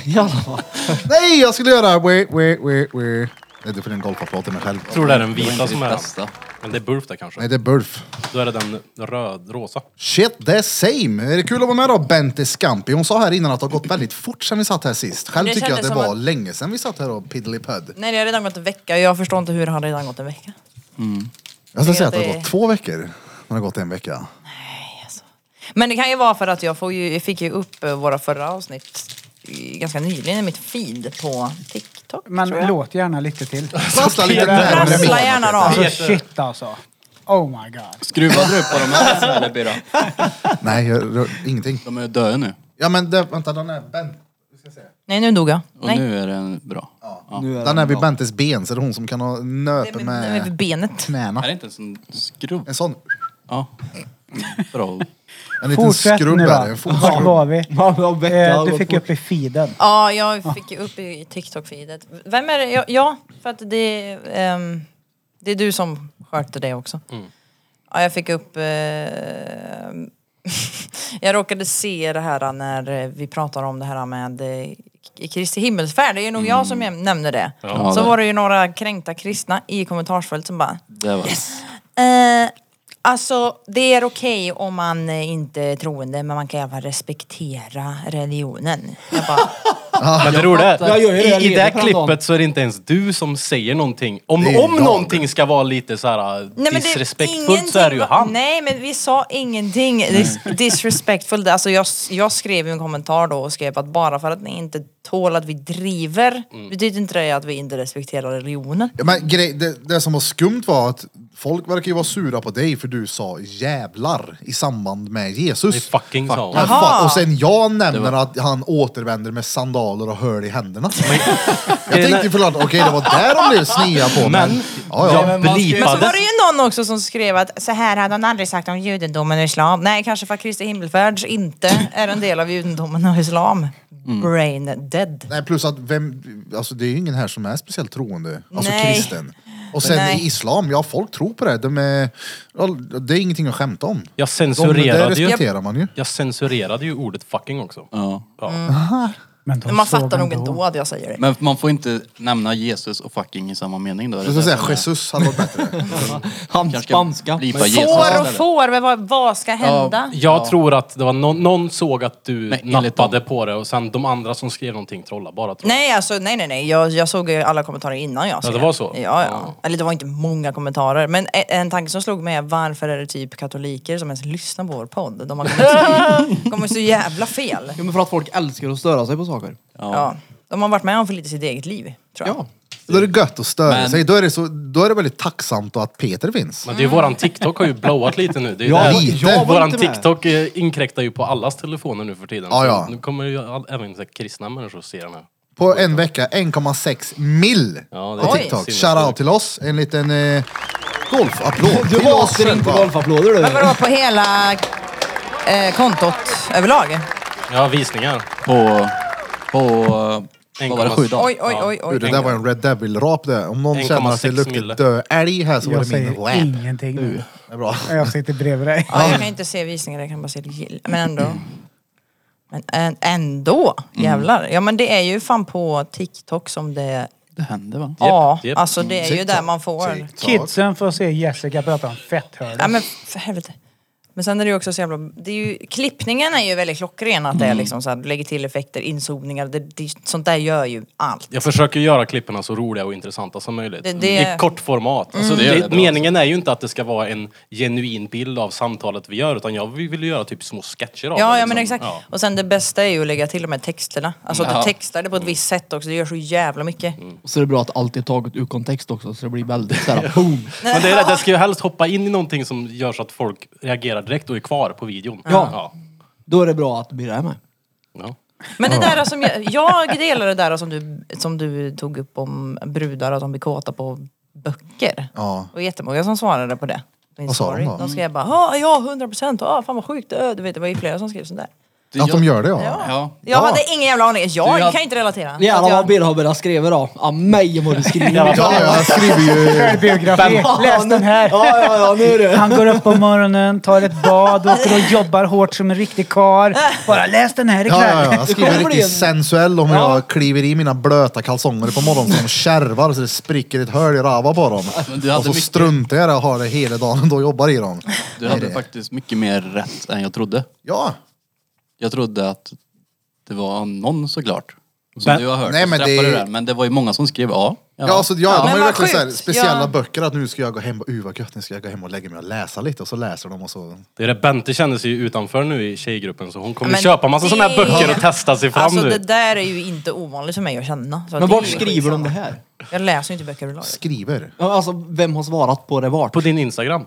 S5: Jävlar.
S1: Nej, jag skulle göra... Wait, wait, wait, wait. Nej, du får en golfapplåd till mig själv.
S3: Tror det är den vita
S8: inte
S3: som
S8: det
S3: är den.
S8: bästa.
S3: Men det är Burf där kanske.
S1: Nej, det är Burf.
S3: Då är det den röd, rosa.
S1: Shit, det är same. Är det kul att vara med då, Bente Scampi? Hon sa här innan att det har gått väldigt fort sedan vi satt här sist. Själv
S4: Det
S1: tycker jag att det
S4: kändes
S1: var
S4: som
S1: länge sedan vi satt här och piddelipudd.
S4: Nej, det har redan gått en vecka. Jag förstår inte hur det har redan gått en vecka.
S1: Jag skulle säga att
S4: Det-
S1: det har gått två veckor. Men det har gått en vecka.
S4: Men det kan ju vara för att jag, får ju, jag fick ju upp eh, våra förra avsnitt i- ganska nyligen i mitt feed på TikTok.
S2: Men
S4: tror jag.
S2: låt gärna lite till.
S1: Prassla lite närmare
S4: Rassla
S1: micken.
S4: gärna då.
S2: Alltså shit alltså. Oh my god.
S8: Skruvade du på de här eller Birra?
S1: Nej, jag rör ingenting.
S8: De är döda nu.
S1: Ja men det, vänta, den är Bent.
S4: Nej, nu dog jag.
S8: Och
S4: Nej,
S8: nu är den bra. Ja.
S5: Nu är
S1: Den
S5: det
S1: är vid Bentes ben, så det är hon som kan ha
S4: det är
S1: nöte
S4: med, med, med
S1: med
S4: benet.
S1: knäna.
S8: Är det inte en sån skruv?
S1: En sån.
S8: Ja. Bra.
S1: En liten
S2: Fortsätt
S1: skrubb
S2: nu
S1: är det. En
S2: då.
S1: fot-
S2: Vart var vi?
S5: Ja, men Bette, det
S2: Eh,
S5: har
S2: Du
S5: gått
S2: fick
S5: fort.
S2: upp i feeden.
S4: Ja, jag fick ju upp i TikTok-feedet. Vem är det? Ja, Ja, för att det, ehm, det är du som sköter det också. Ja, jag fick upp... ehm, jag råkade se det här när vi pratar om det här med eh, i Kristi himmelsfärd. Det är nog jag som nämner det.
S8: Ja,
S4: Så
S8: det-
S4: var det ju några kränkta kristna i kommentarsfältet som bara
S8: Det var
S4: Eh, alltså, det är okej om man eh, inte är troende, men man kan även respektera religionen. Jag bara,
S3: Men det roliga
S5: Jag gör ju det,
S3: är,
S5: jag
S3: i, i det här
S5: lever på den dagen.
S3: klippet så är det inte ens du som säger någonting. Om,
S1: Det är ju
S3: om
S1: jag.
S3: någonting ska vara lite så här äh,
S4: nej, men det är
S3: disrespektfullt
S4: ingenting-
S3: så är det ju han.
S4: Nej, men vi sa ingenting dis- disrespectful. Alltså, jag, jag skrev ju en kommentar då och skrev att bara för att ni inte tål att vi driver betyder inte det att vi inte respekterar religionen.
S1: Ja, men grej, det, det som var skumt var att Folk verkar ju vara sura på dig för du sa jävlar i samband med
S3: Det är
S1: Jesus.
S3: fucking sa
S1: Ja,
S3: hon.
S4: Jaha.
S1: fuck. Och sen jag nämner att han återvänder med sandaler och hörl i händerna. jag tänkte förlåt, okej det var där de blev snia på
S3: Men
S1: men... Ja, ja.
S3: jag
S8: man ska ju-
S4: Men så var
S3: blipade.
S4: det ju någon också som skrev att så här hade han aldrig sagt om judendomen och islam. Nej, kanske för att Kristi himmelfärd inte är en del av judendomen och islam. Brain dead.
S1: Nej, plus att vem, alltså det är ju ingen här som är speciellt troende, alltså
S4: Nej.
S1: kristen. Och sen
S4: Nej.
S1: i islam, ja folk tror på det. De är, det är ingenting att skämta om.
S3: Jag
S1: De, det
S3: censurerade ju.
S1: respekterar man ju.
S3: Jag censurerade ju ordet fucking också.
S8: Ja.
S3: Ja.
S2: Men de
S4: Men man
S2: såg
S4: fattar nog ändå att jag säger det.
S8: Men man får inte nämna Jesus och fucking i samma mening då?
S1: Jag ska säga Jesus hade varit bättre.
S5: Hans spanska.
S8: Blipa Jesus.
S4: Får och
S8: istället.
S4: får, men vad, vad ska hända?
S3: Jag tror att det var någon, någon såg att du
S8: Men enligt
S3: nappade på det och sen de andra som skrev någonting trollade bara. Tror jag.
S4: Nej, alltså, nej, nej, nej. Jag, jag såg ju alla kommentarer innan jag skrev.
S3: det var så?
S4: Ja, ja.
S3: Ja.
S4: Eller det var inte många kommentarer. Men en, en tanke som slog mig är varför är det typ katoliker som ens lyssnar på vår podd? De har kommit så, kommit så jävla fel.
S5: Jo men för att folk älskar att störa sig på saker.
S4: Ja. De har varit med om för lite sitt eget liv, tror jag.
S5: Ja.
S1: Då är det gött att störa
S8: Men-
S1: sig. Då är, det så, då är det väldigt tacksamt att Peter finns.
S3: Men det är ju våran TikTok har ju blowat lite nu. Det är ju
S5: Jag
S3: där-
S1: var- jag var inte
S3: våran
S5: med.
S3: TikTok eh, inkräktar ju på allas telefoner nu för tiden.
S1: Ja, ja.
S3: Så Nu kommer ju all, även så här kristna människor att se den här.
S1: På en vecka 1,6 mil
S3: Ja, det
S1: på
S4: är
S1: TikTok.
S3: sinnessjukt.
S1: Shoutout till oss. En liten eh, golfapplåd
S5: Du
S1: till oss
S5: hatar inte
S1: själva.
S5: golfapplåder du.
S4: Men vadå, på hela eh, kontot överlag?
S3: Ja, visningar.
S8: På... På... eh, Vad var det? Sju dagar?
S4: Oj, oj, oj.
S1: Du,
S4: oj.
S1: det där var en Red Devil-rap det. Om någon känner att det
S3: 1,6
S1: luktar
S3: mille.
S1: dö älg här så var
S2: Jag
S1: det min
S2: säger
S1: rap.
S2: ingenting nu.
S1: Det är bra.
S2: Jag sitter bredvid dig.
S4: Ja, jag kan inte se visningar, jag kan bara se gill. Men ändå. Men än- ändå,
S3: Mm.
S4: jävlar. Ja men det är ju fan på TikTok som det...
S8: Det hände va?
S4: Ja,
S3: japp.
S4: alltså det är ju
S1: TikTok,
S4: där man får.
S1: TikTok.
S2: Kidsen får se Jessica prata om
S4: Ja
S2: fetthörde.
S4: men för helvete. Men sen är det ju också så jävla... Det är ju, klippningen är ju väldigt klockren att det
S3: Mm.
S4: är liksom så här, lägger till effekter, inzoomningar. Det, det, sånt där gör ju allt.
S3: Jag försöker göra klipperna så roliga och intressanta som möjligt.
S4: Det- det- Mm.
S3: I kort format. Alltså,
S8: Det är
S3: det,
S8: det bra.
S3: meningen är ju inte att det ska vara en genuin bild av samtalet vi gör utan jag vill vill ju göra typ små sketcher av det.
S4: Ja, ja
S3: liksom.
S4: men exakt.
S3: Ja.
S4: Och sen det bästa är ju att lägga till de här texterna. Alltså att
S8: Ja.
S4: du textar det på ett visst sätt också, det gör så jävla
S3: Mm.
S4: mycket.
S5: Och så är det bra att allt är taget ur kontext också så det blir väldigt såhär boom.
S3: Men det, är, det, det ska ju helst hoppa in i någonting som gör så att folk reagerar direkt och är kvar på videon.
S5: Ja.
S3: ja.
S5: Då är det bra att bli där med.
S3: ja.
S4: Men det där som jag, jag delar det där som du, som du tog upp om brudar och att de blir kåta på böcker.
S1: Ja.
S4: Och jättemånga som svarade på det. Min
S1: Vad sa
S4: story.
S1: de då?
S4: De skrev bara "Ah, ja, 100 procent, ah, fan vad sjukt, ah, du vet det var ju flera som skrev sådär.
S1: Att de gör det ja.
S8: Ja.
S4: Jag hade ingen jävla aning, jag,
S8: Du, jag-
S4: kan inte relatera.
S5: Jävlar vad
S4: jag,
S5: Birre har börjat skriva då. Ja mig vad du skriver.
S1: Ja, jag skriver ju...
S2: Självbiografi. Läs den här.
S5: Ja ja ja nu är det.
S2: Han går upp på morgonen, tar ett bad, åker och jobbar hårt som en riktig karl. Bara läs den här
S1: Ja, ja,
S2: ikväll.
S1: ja. Jag skriver
S5: kommer bli
S1: riktigt
S5: en-
S1: sensuell om jag kliver i mina blöta kalsonger på morgonen så de kärvar så det spricker ett hål i rava på dem.
S8: Men du hade
S1: Och så
S8: mycket-
S1: struntar jag i det och har det hela dagen då och jobbar i dem.
S8: Du hade faktiskt mycket mer rätt än jag trodde.
S1: Ja.
S8: Jag trodde att det var någon såklart. Som
S3: Men-
S8: du har hört.
S1: Nej,
S8: som
S1: men
S8: träffade
S1: det-
S8: det där. men det var ju många som skrev ja.
S1: Ja, alltså, ja, de
S4: Men
S1: har ju
S4: vad
S1: verkligen så här
S4: sjukt.
S1: speciella
S4: Ja.
S1: böcker att nu ska jag gå hem och uh vad gött, nu ska jag gå hem och lägga mig och läsa lite och så läser de och så.
S3: Det är det, Bente känner sig ju utanför nu i tjejgruppen så hon kommer
S4: Men
S3: köpa massa
S4: det-
S3: såna här böcker och testa sig fram
S4: alltså
S3: nu.
S4: det där är ju inte ovanligt för mig att känna. Så
S5: Men
S4: det är
S5: vart
S4: ju
S5: skriver
S4: skitsamma.
S5: de det här?
S4: Jag läser ju inte böcker överlag.
S1: Skriver.
S5: Ja, Alltså vem har svarat på det vart?
S3: På din Instagram.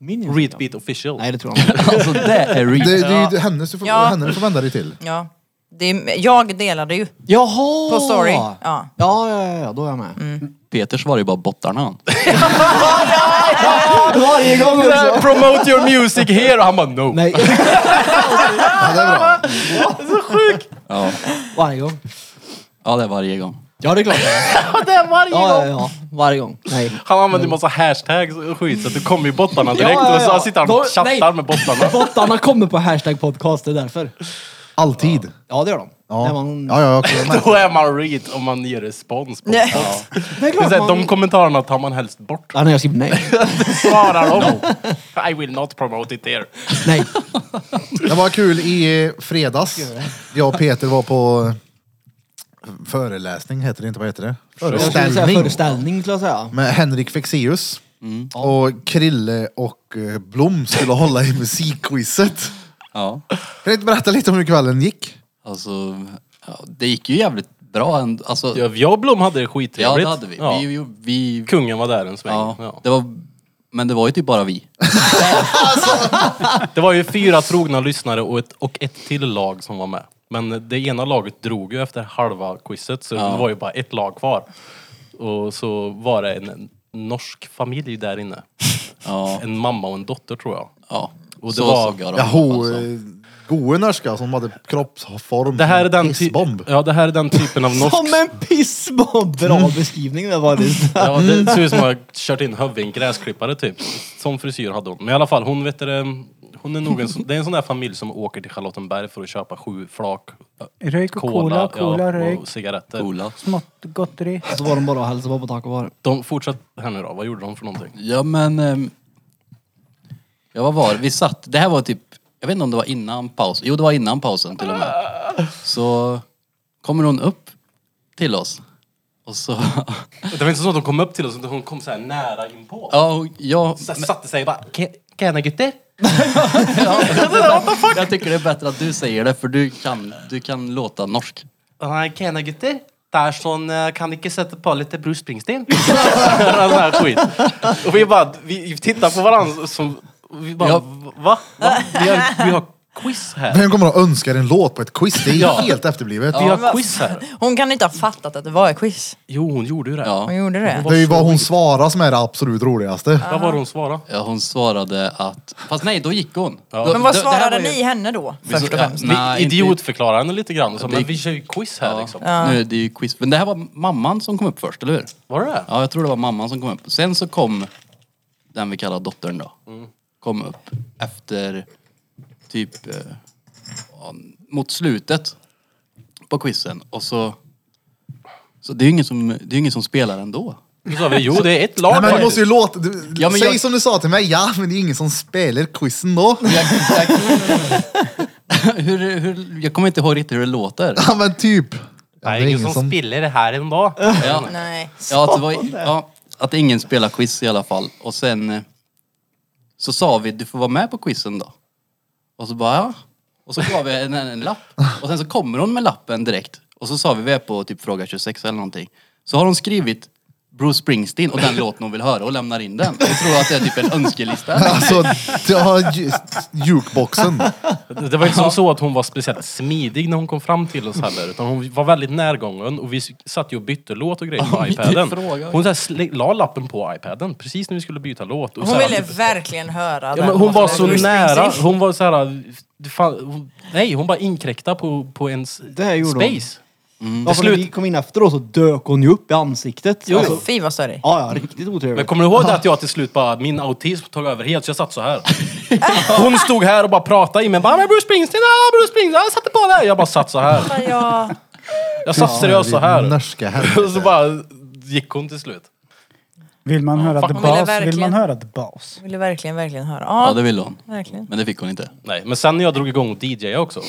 S5: min Instagram?
S3: Readbeat official.
S5: Nej det tror jag inte.
S8: Alltså det är
S1: Det,
S8: real.
S1: det är ju hennes du får,
S4: Ja.
S1: henne du får vända dig till.
S4: Ja. Det är, jag delade ju.
S5: Jaha!
S4: På story, ja.
S5: Ja ja ja, ja då är jag med.
S8: Peter svarar ju bara bottarna han.
S5: Varje gång också.
S3: Promote your music here! Och han bara no.
S5: Nej,
S1: Ja, det är bra.
S8: Ja.
S5: varje gång.
S8: ja, det är varje gång.
S5: Ja det är klart.
S3: Det är varje
S5: Ja ja ja, varje gång. Nej.
S3: Han använder ju massa hashtags och skit så att du kommer ju bottarna direkt
S5: Ja, ja,
S3: och så
S5: ja.
S3: sitter han
S5: Då-
S3: och chattar
S5: nej.
S3: med bottarna.
S5: Bottarna kommer på hashtag podcast, det är därför.
S1: Alltid.
S5: Ja det gör de.
S1: Ja,
S5: Det,
S1: ja,
S5: var en...
S1: ja, jag kollar med.
S3: Då är man read om man ger respons på
S4: Nej.
S3: ja.
S5: det är
S3: det. är
S5: klart
S3: så här,
S5: man...
S3: De kommentarerna tar man helst bort.
S5: Ja, nej jag skriver nej.
S3: Svarar de. I will not promote it there.
S5: nej.
S1: Det var kul i eh, fredags. Jag och Peter var på eh, föreläsning, heter det inte, vad heter det?
S5: Jag skulle säga
S1: Föreställning.
S5: föreställning Mm. skulle jag säga.
S1: Med Henrik Fexeus. Och Krille och eh, Blom skulle hålla i musikquizet.
S8: Ja.
S1: Kan du inte berätta lite om hur kvällen gick?
S8: Alltså, ja, det gick ju jävligt bra ändå. Alltså,
S3: Jag och Blom hade det
S8: ja,
S3: skittrevligt.
S8: det hade vi.
S3: Ja.
S8: vi, vi, vi
S3: Kungen var där en sväng.
S8: ja,
S3: Ja.
S8: Det var Men det var ju typ bara vi.
S3: Det var ju fyra trogna lyssnare och ett, och ett till lag som var med. Men det ena laget drog ju efter halva quizet så det var ju bara ett lag kvar. Och så var det en norsk familj där inne.
S8: Ja.
S3: En mamma och en dotter tror jag.
S8: ja.
S3: Och det
S8: så
S3: var-
S8: såg jag dem.
S1: Ja, ho,
S8: Alltså.
S1: eh, gode norska som hade kroppsform
S3: Det här är
S1: som en
S3: den, ty-
S1: pissbomb.
S3: ja, det här är den typen av norsk...
S5: Som en pissbomb! Bra beskrivning det var det.
S3: Ja, det ser ut som att jag har kört in huvudet i en gräsklippare typ. Som frisyr hade hon. Men i alla fall, hon vet du det, hon är nog en, sån- det är en sån där familj som åker till Charlottenberg för att köpa sju flak eh,
S2: Röjk och cola, cola, röjk.
S3: och cigaretter.
S8: Coola.
S2: Smått gotteri.
S5: Så var de bara och hälsade på på taco bar.
S3: De, fortsätt här nu då, vad gjorde de för någonting?
S8: Ja men... ehm, Ja vad var det? Vi satt, det här var typ, jag vet inte om det var innan pausen. Jo det var innan pausen till och med. Så kommer hon upp till oss. Och så...
S3: Det var inte så att de kom upp till oss, utan hon kom så här nära inpå.
S8: Ja, och jag,
S3: Så här satte sig och bara, "Ke- tjena gutter!
S8: jag tycker det är bättre att du säger det för du kan, du kan låta norsk.
S3: "Ja, Tjena gutter! Där sån, eh, kan ni inte sätta på lite Bruce Springsteen? Sån här skit. Och vi bara, vi tittar på varandra som, och vi bara,
S8: Ja.
S3: va? va? Vi, har, vi har quiz här.
S1: Vem kommer att önska en låt på ett quiz? Det är
S3: Ja.
S1: helt efterblivet.
S3: Vi har quiz här.
S4: Hon kan inte ha fattat att det var ett quiz.
S3: Jo, hon gjorde ju det.
S8: Ja.
S4: Hon gjorde det.
S1: Det är ju vad hon svarar som är det absolut roligaste.
S3: Vad var det hon svarade?
S8: Ja, hon svarade att... Fast nej, då gick hon.
S3: Ja.
S8: Då,
S4: Men vad
S8: då- det här
S4: svarade
S8: var ju-
S4: ni henne då?
S8: så-
S4: Först och
S8: ja,
S4: främst.
S8: nej,
S3: Vi
S8: inte-
S3: idiotförklarade henne lite grann och sa,
S8: Det-
S3: men vi kör ju quiz här
S8: Ja.
S3: liksom.
S8: Nu, det är ju quiz. Men det här var mamman som kom upp först, eller hur?
S3: Var det det?
S8: Ja, jag tror det var mamman som kom upp. Sen så kom den vi kallar dottern då. Kom upp efter typ eh, ja, mot slutet på quizen. Och så... Så det är ju ingen som, det är ju ingen som spelar ändå.
S3: Då sa vi, jo det är ett
S1: Nej,
S3: lag
S1: men du
S3: faktiskt."
S1: måste ju låta... Du,
S8: Ja, men
S1: säg
S8: jag-
S1: som du sa till mig, ja men det är ingen som spelar quizen då.
S8: hur, hur, jag kommer inte ihåg riktigt hur det låter.
S1: Ja men typ. Ja,
S3: Nej, det är ingen som spiller det här ändå.
S8: Ja.
S4: Nej.
S8: Ja, att det var, ja, att ingen spelar quiz i alla fall. Och sen eh, så sa vi, du får vara med på quizen då. Och så bara, ja. Och så gav vi henne en, en lapp. Och sen så kommer hon med lappen direkt. Och så sa vi, vi är på typ fråga 26 eller någonting. Så har hon skrivit Bruce Springsteen och den låten hon vill höra och lämnar in den. Jag tror att det är typ en önskelista.
S1: Alltså, ja, ju- jukeboxen.
S3: Det det var inte som så att hon var speciellt smidig när hon kom fram till oss heller. Utan hon var väldigt närgången och vi s- satt ju och bytte låt och grejer på
S8: vi
S3: iPaden.
S8: frågar.
S3: Hon så här sl- la lappen på iPaden precis när vi skulle byta låt. Och så
S4: Hon
S3: här, typ-
S4: ville verkligen höra
S3: ja,
S4: den
S3: men hon var
S4: låten.
S3: så
S4: Bruce
S3: nära.
S4: Springsteen.
S3: Hon var så här... det fan- hon, nej, hon bara inkräktade på, på ens
S5: Det gjorde hon.
S3: space.
S5: Ja, för när
S3: slut.
S5: vi kom in efteråt så dök hon ju upp i ansiktet. Jo. Alltså,
S4: Fy vad störig.
S5: ja, ja, riktigt
S3: Men
S5: otrevligt.
S3: kommer du ihåg det att jag till slut bara, min autism tog över helt så jag satt så här. Hon stod här och bara pratade i mig. Bara, "Men Bruce Springsteen, ah, Bruce Springsteen, han satte på det. här." Jag bara satt så här.
S4: Fan, jag-
S3: Jag satt seriöst så här.
S1: Norska
S3: Och så
S1: helvete.
S3: bara gick hon till slut.
S2: Vill man höra
S3: fuck.
S2: the
S3: Hon
S2: bas? Vill
S4: ville
S2: man
S4: verkligen-
S2: höra the bas?
S4: Jag ville verkligen, verkligen höra.
S8: Ja,
S4: Ja,
S8: det ville hon.
S4: verkligen.
S8: Men det fick hon inte.
S3: Nej, men sen när jag drog igång och DJade också.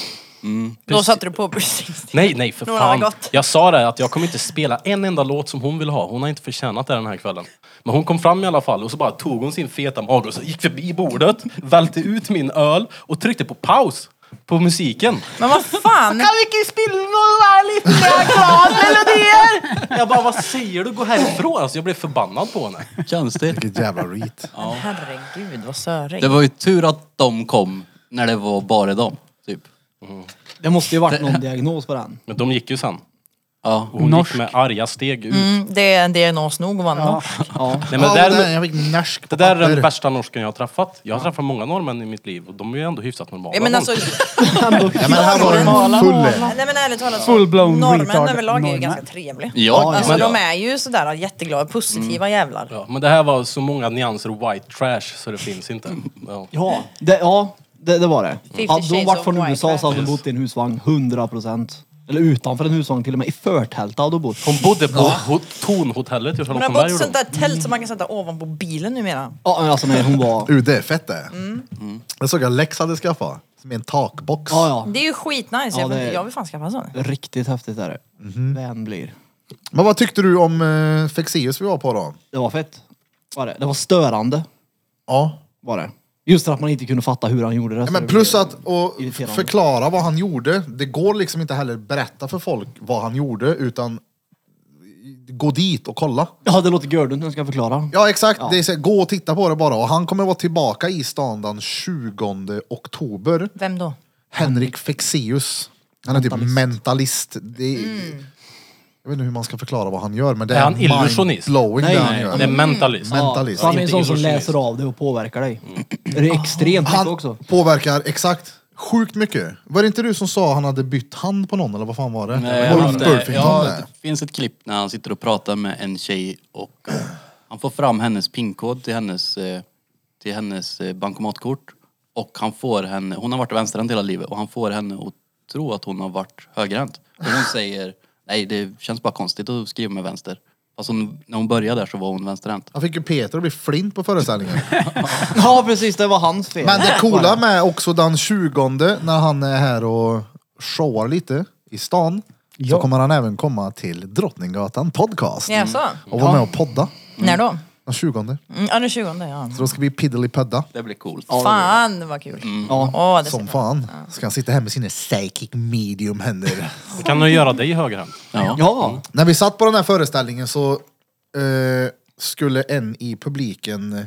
S4: Då satte du på Bruce Springsteen.
S3: Nej, nej för
S4: Några har
S3: fan.
S4: gått.
S3: Jag sa det att jag kommer inte spela en enda låt som hon vill ha. Hon har inte förtjänat det den här kvällen. Men hon kom fram i alla fall och så bara tog hon sin feta mage och så gick förbi bordet, välte ut min öl och tryckte på paus på musiken.
S4: Men vad fan!
S3: Kan vi inte spela några lite mer glada melodier? Jag bara, vad säger du? Gå härifrån! Alltså jag blev förbannad på henne.
S8: Konstigt.
S1: Vilket jävla reat.
S4: Herregud vad sörig.
S8: Det var ju tur att de kom när det var bara dem. Typ.
S5: Det måste ju varit någon diagnos på den.
S3: Men de gick ju sen.
S8: Ja.
S3: Och hon
S2: Norsk.
S3: gick med arga steg ut.
S4: Mm, det är en diagnos nog att vara norsk.
S5: Ja.
S3: Nej, men
S1: Ja,
S3: där,
S1: där, jag fick norsk
S3: Det
S1: på
S3: där är den
S1: papper.
S3: värsta norsken jag har träffat. Jag har träffat många norrmän i mitt liv och de är ju ändå hyfsat normala.
S4: Ja, men alltså,
S1: Ja, men här var en full...
S4: nej men ärligt talat, så,
S2: Full-blown
S4: norrmän
S2: retard.
S4: överlag är ju
S2: Norrmän.
S4: ganska trevliga.
S8: Ja,
S4: Alltså
S8: ja.
S4: de är ju sådär jätteglada, positiva jävlar.
S3: Mm. ja, men det här var så många nyanser och white trash så det finns inte. Ja.
S5: Ja, det, ja, det, det var det. Hade de
S4: Mm. Shades
S5: varit
S4: of
S5: från
S4: White,
S5: USA så hade de
S3: right?
S5: bott i en husvagn, 100 procent. Eller utanför en husvagn till och med. I förtält hade de bott.
S3: Hon bodde på ho- Tornhotellet i
S4: Hon har
S3: Charlottenberg.
S4: fått
S3: gjorde
S4: sånt
S3: hon.
S4: där tält som man kan sätta ovanpå bilen numera.
S5: Ja, men alltså nej, hon var...
S1: Uh, det är fett det.
S3: Mm.
S1: Jag såg att Lex hade skaffat. Som är en takbox.
S5: Ja, ja.
S4: Det är ju skitnice,
S5: Ja,
S4: jag,
S5: det
S4: vill,
S5: är-
S4: jag vill fan skaffa en sån.
S5: Riktigt häftigt är det.
S1: Mhm.
S5: Vän blir.
S1: Men vad tyckte du om uh, Fexeus vi var på då?
S5: Det var fett. Var det. det var störande.
S1: Ja.
S5: Var det. Just för att man inte kunde fatta hur han gjorde det.
S1: Ja,
S5: så
S1: men
S5: det
S1: plus
S5: blev-
S1: att och
S5: irriterande.
S1: förklara vad han gjorde. Det går liksom inte heller berätta för folk vad han gjorde utan gå dit och kolla.
S5: Ja, det låter gördumt när jag ska förklara.
S1: Ja exakt, Det är så, här, gå och titta på det bara. Och han kommer vara tillbaka i stan den 20 oktober.
S4: Vem då?
S1: Henrik Fexeus. Han är typ mentalist. Det är,
S5: Mm.
S1: Jag vet inte hur man ska förklara vad han gör men det
S3: Är
S1: är,
S3: han illusionist?
S1: blowing
S5: Nej,
S1: det han
S5: nej,
S1: gör.
S3: Det är mentalist.
S1: Mentalist.
S5: Så han är en
S3: Inte
S5: sån som
S3: illusionist.
S5: läser av dig och påverkar dig.
S4: Mm.
S5: Det är extremt mycket
S1: Han
S5: också.
S1: påverkar exakt sjukt mycket. Var det inte du som sa han hade bytt hand på någon eller vad fan var det?
S8: Nej,
S1: Var
S8: han-
S1: Ulf Burfington
S8: ja,
S1: det?
S8: det finns ett klipp när han sitter och pratar med en tjej och eh, han får fram hennes pinkod till hennes, eh, till hennes eh, bankomatkort. Och han får henne, hon har varit vänsterhänt hela livet och han får henne att tro att hon har varit högerhänt. Och hon säger, nej det känns bara konstigt att skriva med vänster. Fast hon, när hon började där så var hon vänsterhänt.
S1: Han fick ju Peter att bli flint på föreställningen.
S5: Ja, precis. Det var hans fel.
S1: Men det coola med också den 20 när han är här och showar lite i stan så
S2: Ja.
S1: kommer han även komma till Drottninggatan podcast Mm.
S4: Jaså?
S3: Mm.
S1: och vara med och podda
S4: När då?
S1: den 20. Så
S4: Mm, ja, den 20. Ja.
S1: då ska vi piddelipödda
S8: Det blir coolt.
S4: Fan vad kul.
S5: Ja.
S4: Åh, det ser
S1: som
S4: bra ut.
S1: fan. Ska han sitta här med sina psychic medium händer.
S3: Det kan nog göra dig högerhänt.
S8: Ja.
S5: Ja.
S1: När vi satt på den här föreställningen så eh, skulle en i publiken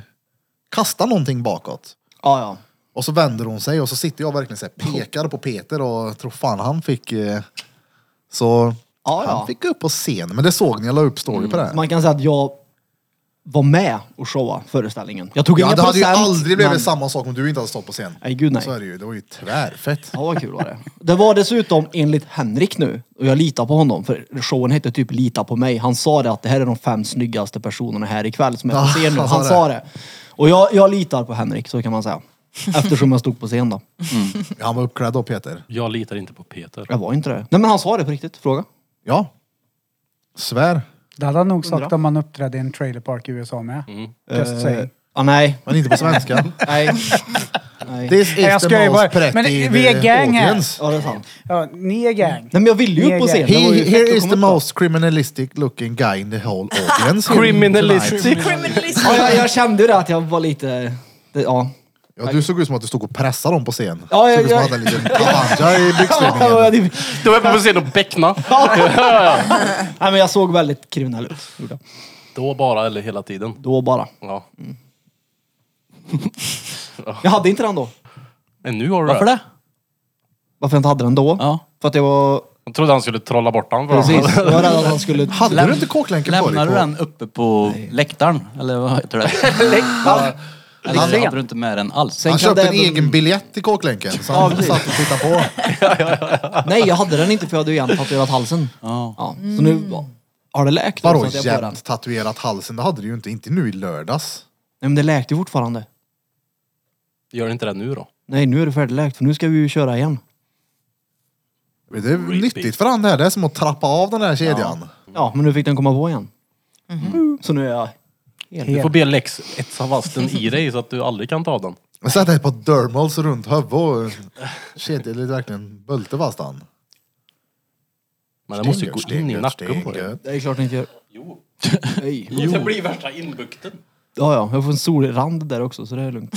S1: kasta någonting bakåt.
S5: Ja, ja.
S1: Och så vänder hon sig och så sitter jag verkligen så här, pekar på Peter och tror fan han fick... Eh, så
S5: Ja, ja.
S1: han fick gå upp på scen. Men det såg ni, jag la upp story på det.
S5: Så Man kan säga att jag var med och showa föreställningen. Jag tog
S1: ja,
S5: inga
S1: det hade ju
S5: procent,
S1: aldrig blivit
S5: men-
S1: samma sak om du inte hade stått på scen.
S5: Nej, gud nej.
S1: Så är det ju, det var ju tvärfett.
S5: Ja, vad kul var det. Det var dessutom enligt Henrik nu, och jag litar på honom, för showen hette typ Lita på mig. Han sa det att det här är de fem snyggaste personerna här ikväll som jag
S1: Ja,
S5: får se nu.
S1: han sa
S5: Han,
S1: det.
S5: sa det. Och jag, jag litar på Henrik, så kan man säga. Eftersom jag stod på scen då.
S1: Han var uppklädd då Peter.
S3: Jag litar inte på Peter.
S5: Jag var inte det. Nej men han sa det på riktigt, fråga.
S1: Ja. Svär.
S2: Det hade han nog sagt
S5: Undra.
S2: om han uppträdde i en trailer park i USA med. Just
S5: Eh,
S2: saying.
S5: ah, nej.
S1: Men inte på svenska.
S5: Nej. nej.
S1: This is
S2: Nej, jag
S1: the
S2: skojar
S1: most
S2: bara.
S1: pretty eh,
S2: Men vi är gang här.
S1: audience.
S5: Ja, det är sant.
S2: Ja, ni är gang.
S5: Nej men jag ville ju upp på
S2: Egen.
S5: scen. Det var ju
S1: He,
S5: fräckt
S1: here
S5: att
S1: is
S5: komma
S1: the
S5: upp då.
S1: most criminalistic looking guy in the whole audience. here tonight.
S3: Criminalistic.
S4: Criminalist.
S5: Ja, jag, jag kände ju det att jag var lite... Det, ja.
S1: Ja, du såg ut som att du stod och pressade dem på scen.
S5: Ja, ja,
S1: såg ut som
S5: ja.
S1: att du hade en liten tabanja i
S5: Ja,
S1: byxlinningen.
S5: det-
S3: Då är jag på scen och bäckna.
S5: Nej men jag såg väldigt kriminell ut. gjorde jag.
S3: Då bara eller hela tiden.
S5: Då bara.
S3: Ja.
S5: Jag hade inte den då.
S3: Men nu har du
S8: Varför det?
S5: Varför jag inte hade den då?
S8: Ja.
S5: För att jag var...
S3: Jag trodde han skulle trolla bort den.
S5: Precis. Jag var rädd att han skulle...
S1: Hade du inte kåklänken på
S8: Lämnar
S1: dig?
S8: du
S1: På?
S8: den uppe på läktaren? Eller vad heter det? Eller hade du inte med den alls?
S5: Den
S1: Han
S5: kan
S1: köpte en
S5: det även-
S1: egen biljett till kåklänken, så han
S5: precis.
S1: satt och tittade på.
S5: Nej, jag hade den inte för jag hade ju igen tatuerat halsen.
S8: Ja.
S5: Ja. Så nu har det läkt.
S1: Vadå
S5: så att jag får den.
S1: jämt tatuerat halsen? Det hade du ju inte. Inte nu i lördags.
S5: Nej men det läkte ju fortfarande.
S3: Gör inte det nu då.
S5: Nej, nu är det färdigläkt för nu ska vi ju köra igen.
S1: Det är nyttigt för han det här. Det är som att trappa av den här kedjan.
S5: Ja, men nu fick den komma på igen. Mm. Så nu är jag...
S3: Du får be Lex etsa fast den i dig så att du aldrig kan ta den.
S1: Men Sätt dig på dermals runt huvudet och kedjan är verkligen bölte fast han.
S3: Men den måste ju gå in i nacken på dig.
S1: dig.
S5: Det är klart den inte gör.
S3: Jo.
S5: Nej.
S3: Det blir värsta inbukten.
S5: Ja, ja. Jag får en solrand där också så det är lugnt.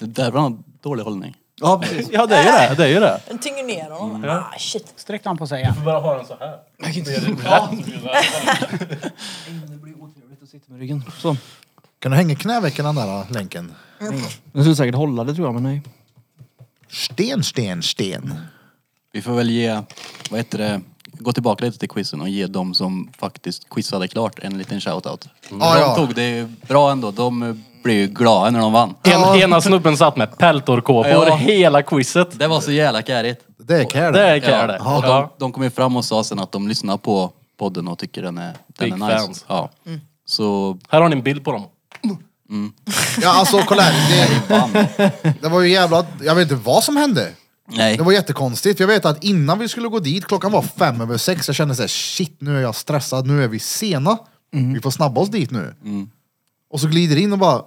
S8: Det där var en dålig hållning.
S5: Ja, precis.
S3: Ja det är ju det. Det är ju det.
S4: Den tynger ner honom. Ah, shit.
S2: Sträckte han på sig igen.
S3: Du bara har den så här.
S5: Jag kan inte... Det blir otrevligt att sitta med ryggen. Så.
S1: Kan du hänga knävecken den där länken?
S5: Den skulle säkert hålla det tror jag, men nej.
S1: Sten, sten, sten.
S8: Vi får väl ge, vad heter det, gå tillbaka lite till quizen och ge dem som faktiskt quizade klart en liten shoutout.
S1: Mm. Ja,
S8: de
S1: ja.
S8: tog det bra ändå, de eh, blev ju glada när de vann.
S3: En, ena snubben satt med peltorkåpor
S8: Ja.
S3: hela quizet.
S8: Det var så jävla kärigt.
S1: Det är kär
S3: Det är kär det.
S8: Och de,
S3: Ja.
S8: de kom ju fram och sa sen att de lyssnar på podden och tycker den är,
S3: Big
S8: den är nice.
S3: fans.
S8: Ja. Så,
S3: Här har ni en bild på dem.
S1: Ja alltså kolla här. Det,
S8: fan.
S1: det var ju jävla... Jag vet inte vad som hände.
S8: Nej.
S1: Det var jättekonstigt. Jag vet att innan vi skulle gå dit, klockan var fem över sex. Jag kände så här, shit nu är jag stressad, nu är vi sena. Vi får snabba oss dit nu. Och så glider in och bara,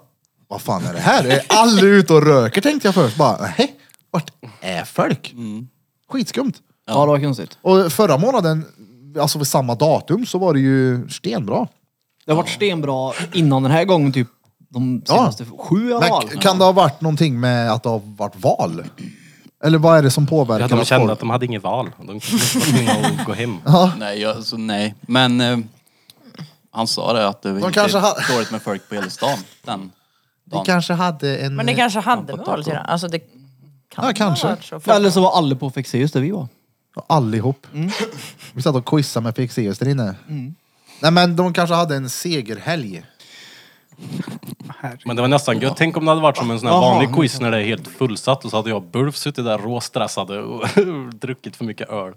S1: vad fan är det här? Är alla ute och röker tänkte jag först. Bara, nej, vart är folk? Skitskumt.
S5: Ja, det var konstigt.
S1: Och förra månaden, alltså vid samma datum, så var det ju stenbra.
S5: Det har varit stenbra innan den här gången, typ de senaste sju i alla fall.
S1: Men kan det ha varit någonting med att det har varit val? Eller vad är det som påverkar?
S3: Ja, de
S1: att
S3: kände
S1: folk-
S3: att de hade inget val. De var tvungna att gå hem.
S8: Nej, jag, så nej. Men eh, Han sa det att det var inte
S1: kanske ha-
S8: dåligt med folk på hela stan den
S1: Vi
S8: dagen.
S1: kanske hade en...
S4: Men det kanske hade med
S8: potatis.
S4: ålder Alltså det kan
S1: Ja, kanske.
S4: ha varit så.
S5: Eller så var alla på Fexeus där vi var.
S1: eh, Allihop. Vi satt och quizade med Fexeus där inne. Nej men de kanske hade en segerhelg.
S3: Men det var nästan gött. Tänk om det hade varit som en sån här vanlig quiz när det är helt fullsatt och så hade jag och Bulf suttit där råstressade och druckit för mycket öl.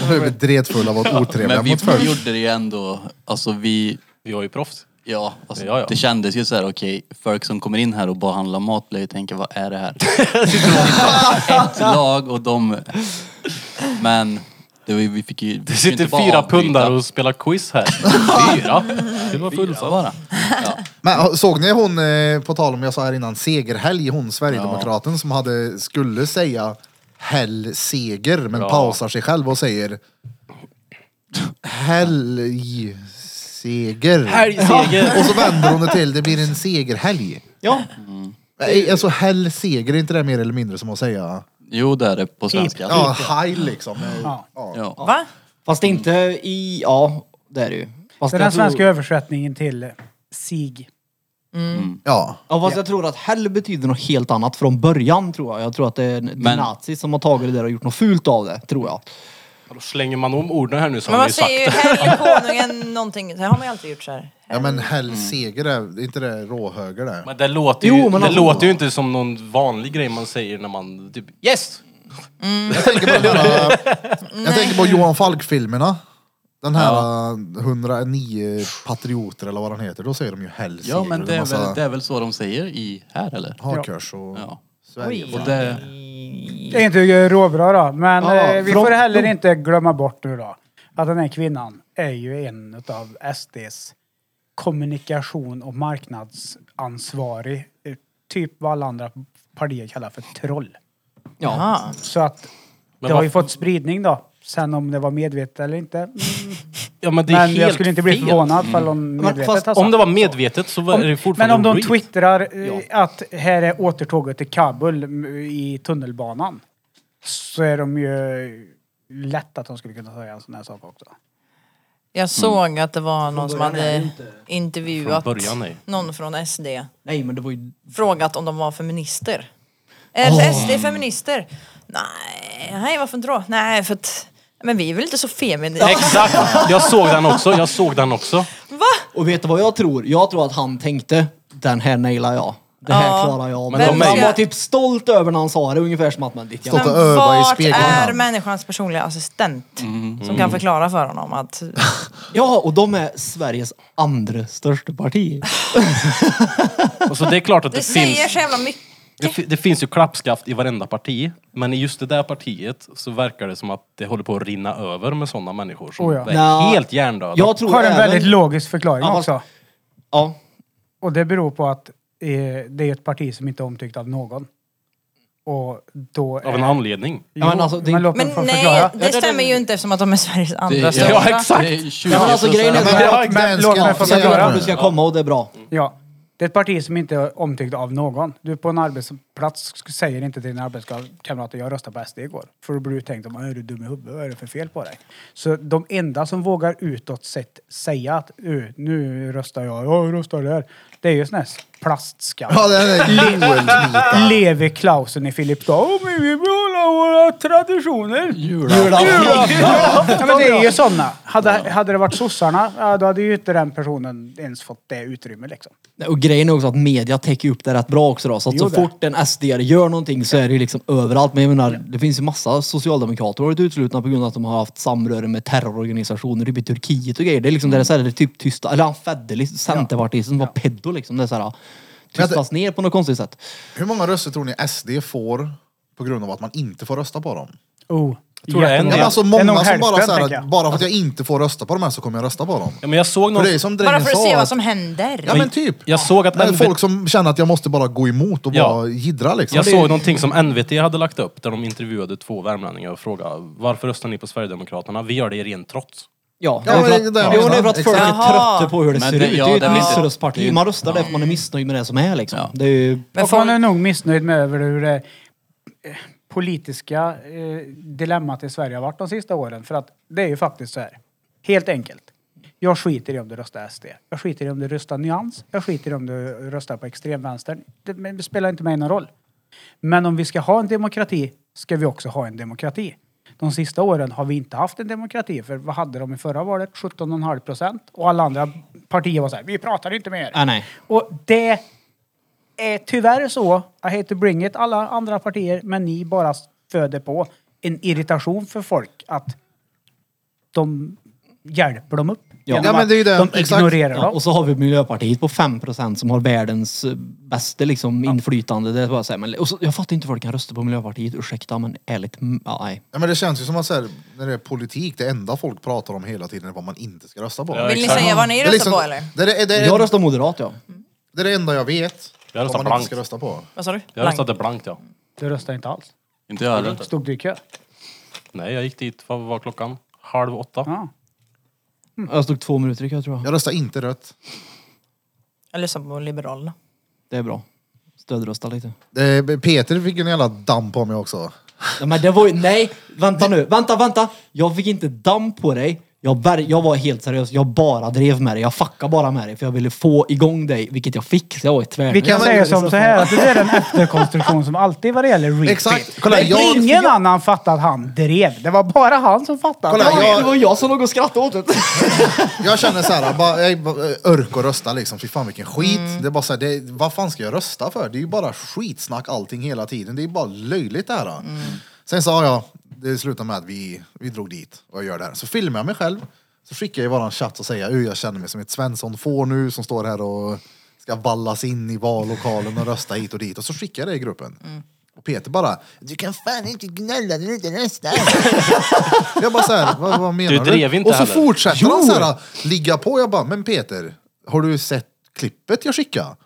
S1: Då blev vi dretfulla och var otrevliga
S8: Men vi
S1: mot folk.
S8: gjorde det ju ändå, alltså vi,
S3: Vi var ju proffs.
S8: ja, alltså,
S3: Ja, ja.
S8: det kändes ju så här: okej, folk som kommer in här och bara handlar mat blir ju tänka, vad är det här? Ett lag och de, men det var, ju- vi fick ju...
S3: Det sitter fyra pundar och spelar quiz här. Fyra? Det var
S8: fullsatt.
S3: fullsatt.
S8: bara. Ja.
S1: Men såg ni hon, eh, på tal om jag sa här innan, segerhelg, hon Sverigedemokraten som hade, skulle säga hell seger men
S3: Ja.
S1: pausar sig själv och säger helg seger.
S3: Helgseger!
S1: Och så vänder hon det till, det blir en segerhelg.
S5: Ja,
S1: Nej, Alltså hell seger, är inte det mer eller mindre som att säga
S8: Jo, det är det på svenska.
S1: ja, high liksom?
S2: Ja.
S8: Ja.
S4: Va?
S5: fast inte i... Ja, det är det ju. Fast
S2: Det är
S5: jag
S2: den
S5: tror-
S2: svenska översättningen till SIG.
S1: Ja.
S5: Ja, fast jag tror att hell betyder något helt annat från början tror jag. Jag tror att det är en
S8: Men-
S5: nazi som har tagit det där och gjort något fult av det, tror jag.
S3: Då slänger man om orden här nu som
S4: Men
S3: vi
S4: man säger
S3: sagt.
S4: ju helgen, konungen, någonting. Det har man ju alltid gjort så här.
S1: Ja men hell seger, är är inte det råhöger det?
S3: Men det låter, ju,
S5: Jo, men
S3: det
S5: alltså-
S3: låter ju inte som någon vanlig grej man säger när man typ Yes!
S1: Jag tänker på, den här, jag tänker på Johan Falk-filmerna. Den här 109 patrioter eller vad den heter, då säger de ju helg
S8: Ja,
S1: seger
S8: men
S1: och
S8: det är,
S1: massa
S8: väl, det är väl så de säger i här eller?
S1: Hakkors och
S8: Ja.
S1: Sverige.
S8: Och det,
S2: Det är inte råbra då, men
S5: Ja,
S2: eh, vi
S5: från-
S2: får heller inte glömma bort nu då att den här kvinnan är ju en av SDs kommunikation och marknadsansvarig. eh, Typ vad alla andra partier kallar för troll.
S5: Ja.
S4: Ja.
S2: Så att
S3: Men
S2: det har ju
S3: varför-
S2: fått spridning då. Sen om det var medvetet eller inte. mm,
S3: Ja, men det är
S2: Men
S3: helt
S2: jag skulle inte bli
S3: fel. Mm.
S2: förvånad ifall de medvetet alltså.
S5: fast
S2: har sagt
S3: Om det var
S2: så.
S3: medvetet så var
S2: Om-
S3: är det
S2: men
S3: fortfarande
S2: om de
S3: real.
S2: twittrar eh, att här är återtåget till Kabul mm, i tunnelbanan så är de ju lätt att de skulle kunna säga en sån här sak också.
S4: Jag såg att det var någon som
S5: början är det
S4: hade
S5: inte-
S4: intervjuat
S3: Från början, nej.
S4: någon från SD.
S5: Nej, men det var ju...
S4: Frågat om de var feminister. Eh, Är SD feminister? Nej, nej varför inte då? Nej, för att men vi är väl inte så feminina?
S3: Exakt! Jag såg den också, jag såg den också.
S4: Va?
S5: Och vet du vad jag tror? Jag tror att han tänkte, den här nailar jag. Det här
S4: Ja.
S5: klarar jag.
S4: Men
S5: Men
S4: de
S5: han
S4: är-
S5: var typ stolt över när han sa det, ungefär som att man ditt jävla...
S1: Stolt.
S4: Men
S1: Att öva i
S4: vart
S1: spegeln.
S4: är människans personliga assistent?
S3: Mm,
S4: Som kan förklara för honom att...
S5: Ja, och de är Sveriges andra största parti.
S3: Alltså, det är klart att det,
S4: Det
S3: finns...
S4: säger så jävla mycket.
S3: Det, fi- det finns ju klappskaft i varenda parti, men i just det där partiet så verkar det som att det håller på att rinna över med sådana människor som
S2: Oh ja.
S3: är
S5: Nja.
S3: helt hjärndöda.
S5: Jag tror
S2: Har en
S5: även...
S2: väldigt logisk förklaring
S5: Ja, fast-
S2: också.
S5: Ja.
S2: Och det beror på att eh, det är ett parti som inte är omtyckt av någon. Och då... Är,
S3: Av en anledning.
S2: Jo,
S5: Ja, men alltså, det-
S2: men låt mig
S4: Men
S2: få
S4: nej,
S2: förklara.
S4: det stämmer ju inte eftersom att de är Sveriges andra
S3: ja,
S4: största.
S3: exakt.
S8: Det är 20
S5: Ja, men alltså, grejen är-
S1: Men
S2: Ja,
S1: låt
S2: men
S1: den
S2: låt mig
S1: ska-
S2: få förklara.
S5: Du ska komma och det är bra.
S2: Ja. Det är ett parti som inte är omtyckt av någon. Du på en arbetsplats sk- säger inte till dina arbetskamrater jag röstade på SD igår. För då blir du tänkt om "Äh, är du dum i huvudet, vad är det för fel på dig? Så de enda som vågar utåt sett säga att "Uh, nu röstar jag, jag röstar där. Det är ju sån här plastskatt.
S1: Ja, det är det. Joel-bitar.
S2: Lever Klausen i Filipstad. Åh, men vi behåller våra traditioner.
S5: Julafton.
S2: Ja, men det är ju sådana. Hade, hade det varit sossarna, ja, då hade ju inte den personen ens fått det utrymme liksom.
S5: Nej, Och grejen är också att media täcker upp det rätt bra också då. Så att
S2: Jo,
S5: så
S2: det.
S5: fort en sd gör någonting så är det ju liksom överallt. Men jag menar, det finns ju massa socialdemokrater som har varit uteslutna på grund av att de har haft samröre med terrororganisationer typ i Turkiet och grejer. Det är liksom det är så här, det är typ tysta, eller han Federley, centerpartisten, som var pedo liksom. Det är så här, tystas ner på något konstigt sätt.
S1: Hur många röster tror ni SD får på grund av att man inte får rösta på dem?
S2: Oh,
S1: Ja,
S3: tror det är en
S1: men
S2: jättemånga.
S3: del.
S1: alltså
S2: Det är nog
S1: många som bara
S2: hälften,
S1: säger
S2: tänker
S1: att
S2: jag.
S1: bara för att jag inte får rösta på de här så kommer jag rösta på dem.
S3: Ja, men jag såg
S1: För
S3: någon...
S1: det är som
S4: Bara
S1: drängen
S4: för att se
S1: sa.
S4: vad
S1: att-
S4: som händer.
S1: Ja men typ.
S3: Jag såg att
S1: Men
S3: NVT
S1: folk som känner att jag måste bara gå emot och
S3: Ja.
S1: bara jiddra liksom.
S3: Jag
S1: Det-
S3: såg någonting som NVT hade lagt upp där de intervjuade två värmlänningar och frågade varför röstar ni på Sverigedemokraterna? Vi gör det i ren trots.
S5: Ja,
S1: Ja,
S5: det är för
S1: men
S5: att,
S1: det är det jag
S5: jo,
S1: menar.
S5: det är för att folk
S4: Exakt.
S5: är trötta på hur det
S8: Men
S5: ser
S8: det-
S5: ut.
S8: ja,
S5: det är ju
S8: det är
S5: ett
S8: väl- det är
S5: missröstparti.
S8: ju-
S5: Man röstar där för man är missnöjd med det som är liksom.
S8: Ja.
S5: Det är ju...
S4: Men
S2: Och man
S4: folk,
S2: är nog missnöjd med över hur det eh, politiska eh, dilemmat i Sverige har varit de sista åren. För att det är ju faktiskt så här, helt enkelt. Jag skiter i om du röstar SD. Jag skiter i om du röstar Nyans. Jag skiter i om du röstar på extremvänstern. Det, men det spelar inte mig någon roll. Men om vi ska ha en demokrati ska vi också ha en demokrati. De sista åren har vi inte haft en demokrati. För vad hade de i förra valet? 17,5 procent. Och alla andra partier var så här, vi pratar inte med er.
S5: Ah, nej.
S2: Och det är Eh, tyvärr så, I hate to bring it, alla andra partier, men ni bara föder på en irritation för folk att de hjälper dem upp. Genom
S1: Ja, men
S2: att
S1: det är ju det,
S2: De
S1: exakt.
S2: ignorerar
S5: Ja,
S2: dem.
S5: och så har vi Miljöpartiet på 5% som har världens eh, bästa liksom, inflytande. Det är bara så här, men, och så, jag fattar inte hur folk kan rösta på Miljöpartiet, ursäkta men ärligt, mm, ja, nej.
S1: Ja, men det känns ju som att så här, när det är politik, det enda folk pratar om hela tiden är vad man inte ska rösta på.
S3: Ja,
S4: Vill ni
S3: exakt.
S4: säga vad ni
S1: Det är
S4: röstar
S1: liksom-
S4: på eller?
S1: Det är det,
S2: Mm.
S1: det, är,
S5: Jag röstar moderat ja.
S1: det är det enda jag vet.
S3: Jag röstar
S1: vad man
S3: blankt.
S1: inte ska rösta på.
S4: Vad sa du?
S3: Jag
S4: Blank.
S3: röstade blankt ja.
S2: Du röstar inte alls.
S8: Inte jag heller.
S2: Stod du i kö?
S3: Nej, jag gick dit, vad var klockan? Halv åtta.
S2: Ja.
S5: Jag stod två minuter i kö tror jag.
S1: Jag röstar inte rött.
S4: Jag röstar på Liberalerna.
S5: Det är bra. Stödrösta lite.
S1: Eh, Peter fick ju en jävla damm på mig också.
S5: Ja, men det var ju, nej, vänta nu, vänta, vänta. Jag fick inte damm på dig. Jag, bär, jag var helt seriös, jag bara drev med dig. Jag fuckade bara med dig för jag ville få igång dig, vilket jag fick. Så jag var tvärnöjd.
S2: Vi kan
S1: men-
S2: säga som så här att det är en efterkonstruktion som alltid vad det gäller repeat.
S1: Exakt. Kolla,
S2: Men
S1: jag-
S2: Ingen annan fattade att han drev. Det var bara han som fattade.
S1: Kolla,
S5: Ja,
S1: jag-
S5: Det var jag som låg och skrattade åt det.
S1: Jag känner så här, bara, jag bara, eh, örk och rösta liksom. Fy fan vilken skit. Det är bara så här, det, vad fan ska jag rösta för? Det är ju bara skitsnack allting hela tiden. Det är bara löjligt det här. Sen sa jag, det slutade med att vi, vi drog dit och jag gör det här. Så filmar jag mig själv. Så skickar jag i våran chatt och säger, "Uh, jag känner mig som ett Svensson får nu som står här och ska vallas in i vallokalen och rösta hit och dit. Och så skickar jag det i gruppen. Och Peter bara, du kan fan inte gnälla när du inte röstar. Jag bara såhär, vad, vad menar du?
S3: Du drev inte
S1: och så
S3: heller.
S1: fortsätter han såhär, ligga på. Jag bara, men Peter, har du sett klippet jag skickade?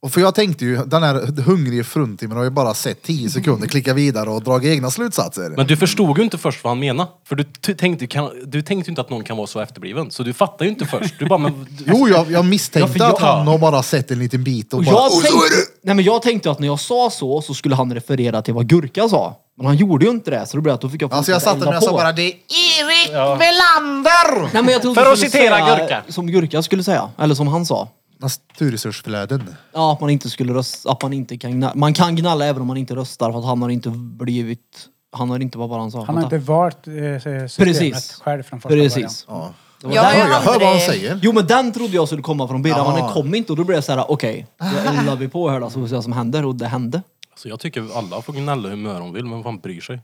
S1: Och för jag tänkte ju, den här hungrige fruntimmen har ju bara sett 10 sekunder, klicka vidare och dragit egna slutsatser.
S3: Men du förstod ju inte först vad han menade. För du t- tänkte, kan, du tänkte ju inte att någon kan vara så efterbliven. Så du fattar ju inte först. Du bara, men... Du,
S1: jo, jag, jag misstänkte
S5: Ja, för jag-
S1: att han har bara sett en liten bit och
S5: Och
S1: bara,
S5: jag,
S1: "Oj, så är
S5: tänkte,
S1: det."
S5: nej, men jag tänkte att när jag sa så, så skulle han referera till vad Gurka sa. Men han gjorde ju inte det, så då blev det att då fick jag
S1: Alltså jag
S5: fortsätta
S1: satt där och jag
S5: elda
S1: sa
S5: på.
S1: bara, det är Erik Melander!
S5: Nej, men jag trodde
S3: För
S5: du
S3: att
S5: skulle
S3: citera
S5: säga,
S3: Gurka.
S5: Som Gurka skulle säga, eller som han sa.
S1: Naturresursflöden.
S5: Ja, att man inte skulle rösta, att man inte kan gnälla. Man kan gnälla även om man inte röstar för att han har inte blivit, han har inte, vad var han sa?
S2: Han har
S5: Vänta.
S2: inte valt eh, systemet
S5: Precis.
S2: själv från första början.
S5: Precis.
S1: Ja.
S5: Det var
S4: Ja,
S5: där-
S1: Jag
S4: jag
S1: hör vad han
S4: aldrig-
S1: säger.
S5: Jo men den trodde jag skulle komma från början, men
S1: Ja.
S5: den kom inte och då blev jag såhär, okej, då eldar vi på här då så får vi se vad som händer och det hände.
S3: så Alltså, jag tycker alla får gnälla hur mycket de vill, men fan bryr sig?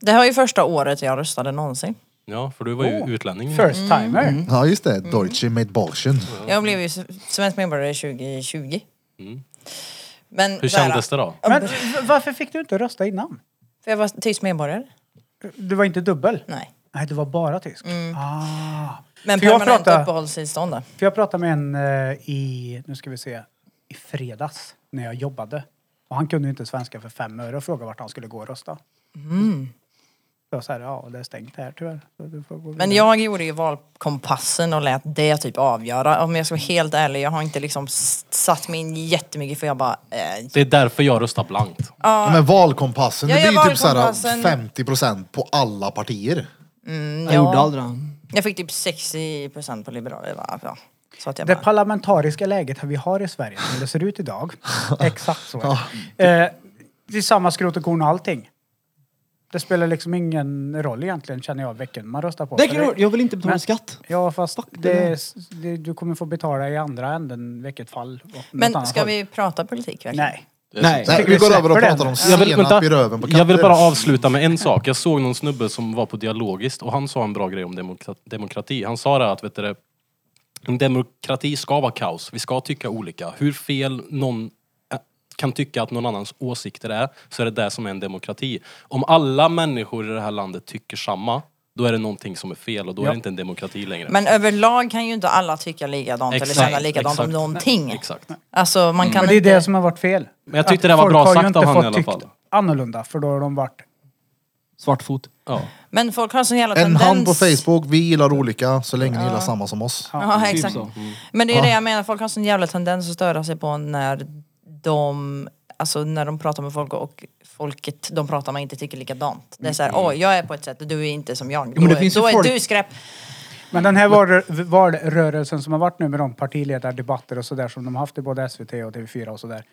S4: Det här var ju första året jag röstade någonsin.
S3: Ja, Oh, för du var ju utlänning.
S2: First timer.
S1: Ja just det, Deutsche med Borschen.
S4: Jag blev ju s- svensk medborgare 2020. Men
S3: Mm. Hur
S4: så här,
S3: kändes det då?
S2: Men v- varför fick du inte rösta innan?
S4: För jag var tysk medborgare.
S2: Du var inte dubbel?
S4: Nej.
S2: Nej, du var bara tysk. Ah.
S4: Men
S2: För jag
S4: permanent
S2: pratar-
S4: uppehållstillstånd då.
S2: För jag pratade med en eh, i, nu ska vi se, i fredags när jag jobbade. Och han kunde ju inte svenska för fem öre och frågade vart han skulle gå och rösta. Mm. Jag sa ja det är stängt här tyvärr. Så du får gå
S4: Men
S2: vidare."
S4: jag gjorde ju valkompassen och lät det typ avgöra. Om jag ska vara helt ärlig, jag har inte liksom s- satt mig in jättemycket för jag bara... Eh,
S3: Det är därför jag röstar blankt.
S1: Ja, men valkompassen, det
S4: Ja,
S1: blir
S4: ja,
S1: ju typ såhär
S4: valkompassen.
S1: 50% på alla partier.
S5: Jag gjorde aldrig det.
S4: mm, Jag fick typ 60% på Liberalerna. va? Ja. Så att jag
S2: Det
S4: bara,
S2: parlamentariska läget vi har i Sverige, som det ser ut idag, exakt så är det. Eh, det är samma skrot och korn och allting. Det spelar liksom ingen roll egentligen känner jag vilken man röstar på.
S5: Det är
S2: För
S5: klart, jag vill inte betala
S2: Men-
S5: skatt.
S2: Ja fast det,
S5: det-
S2: är s- det, du kommer få betala i andra änden vilket fall. och något
S4: men
S2: annat
S4: ska
S2: håll.
S4: vi prata politik verkligen?
S2: Nej.
S5: Nej.
S1: Nej,
S2: Tycker
S1: vi
S2: vi
S1: går över och
S2: släpper
S1: pratar
S2: den.
S1: om
S3: Jag vill,
S1: senap i röven på katter.
S3: jag vill bara avsluta med en sak. Jag såg någon snubbe som var på Dialogiskt och han sa en bra grej om demokra- demokrati. Han sa det att vet du, det, en demokrati ska vara kaos. Vi ska tycka olika. Hur fel någon eh, kan tycka att någon annans åsikter är, så är det det som är en demokrati. Om alla människor i det här landet tycker samma, då är det någonting som är fel och då är det inte en demokrati längre.
S4: Men överlag kan ju inte alla tycka likadant eller känna likadant
S3: exakt.
S4: om någonting.
S3: Exakt.
S4: Alltså man kan
S2: Men det är
S4: inte...
S2: det som har varit fel.
S3: Men jag tyckte
S2: Att
S3: det var
S2: folk
S3: bra
S2: har ju
S3: sagt
S2: inte
S3: av han i
S2: fått
S3: alla
S2: tyckt
S3: fall.
S2: annorlunda för då har de varit...
S5: Svartfot.
S3: Ja.
S4: Men folk har en sån jävla
S1: En
S4: tendens...
S1: hand på Facebook, vi gillar olika så länge ni gillar samma som oss.
S4: Ja,
S5: Typ
S4: exakt.
S5: så.
S4: Men det är det jag menar, folk har en sån jävla tendens att störa sig på när de, alltså när de pratar med folk och folket de pratar med inte tycker likadant. Det är såhär, åh jag är på ett sätt och du är inte som jag. Då,
S5: men det
S4: är-
S5: finns ju
S4: då är
S5: folk-
S4: du skräp.
S2: Men den här valrö- valrörelsen som har varit nu med de partiledardebatter och sådär som de har haft i både SVT och TV4 och sådär.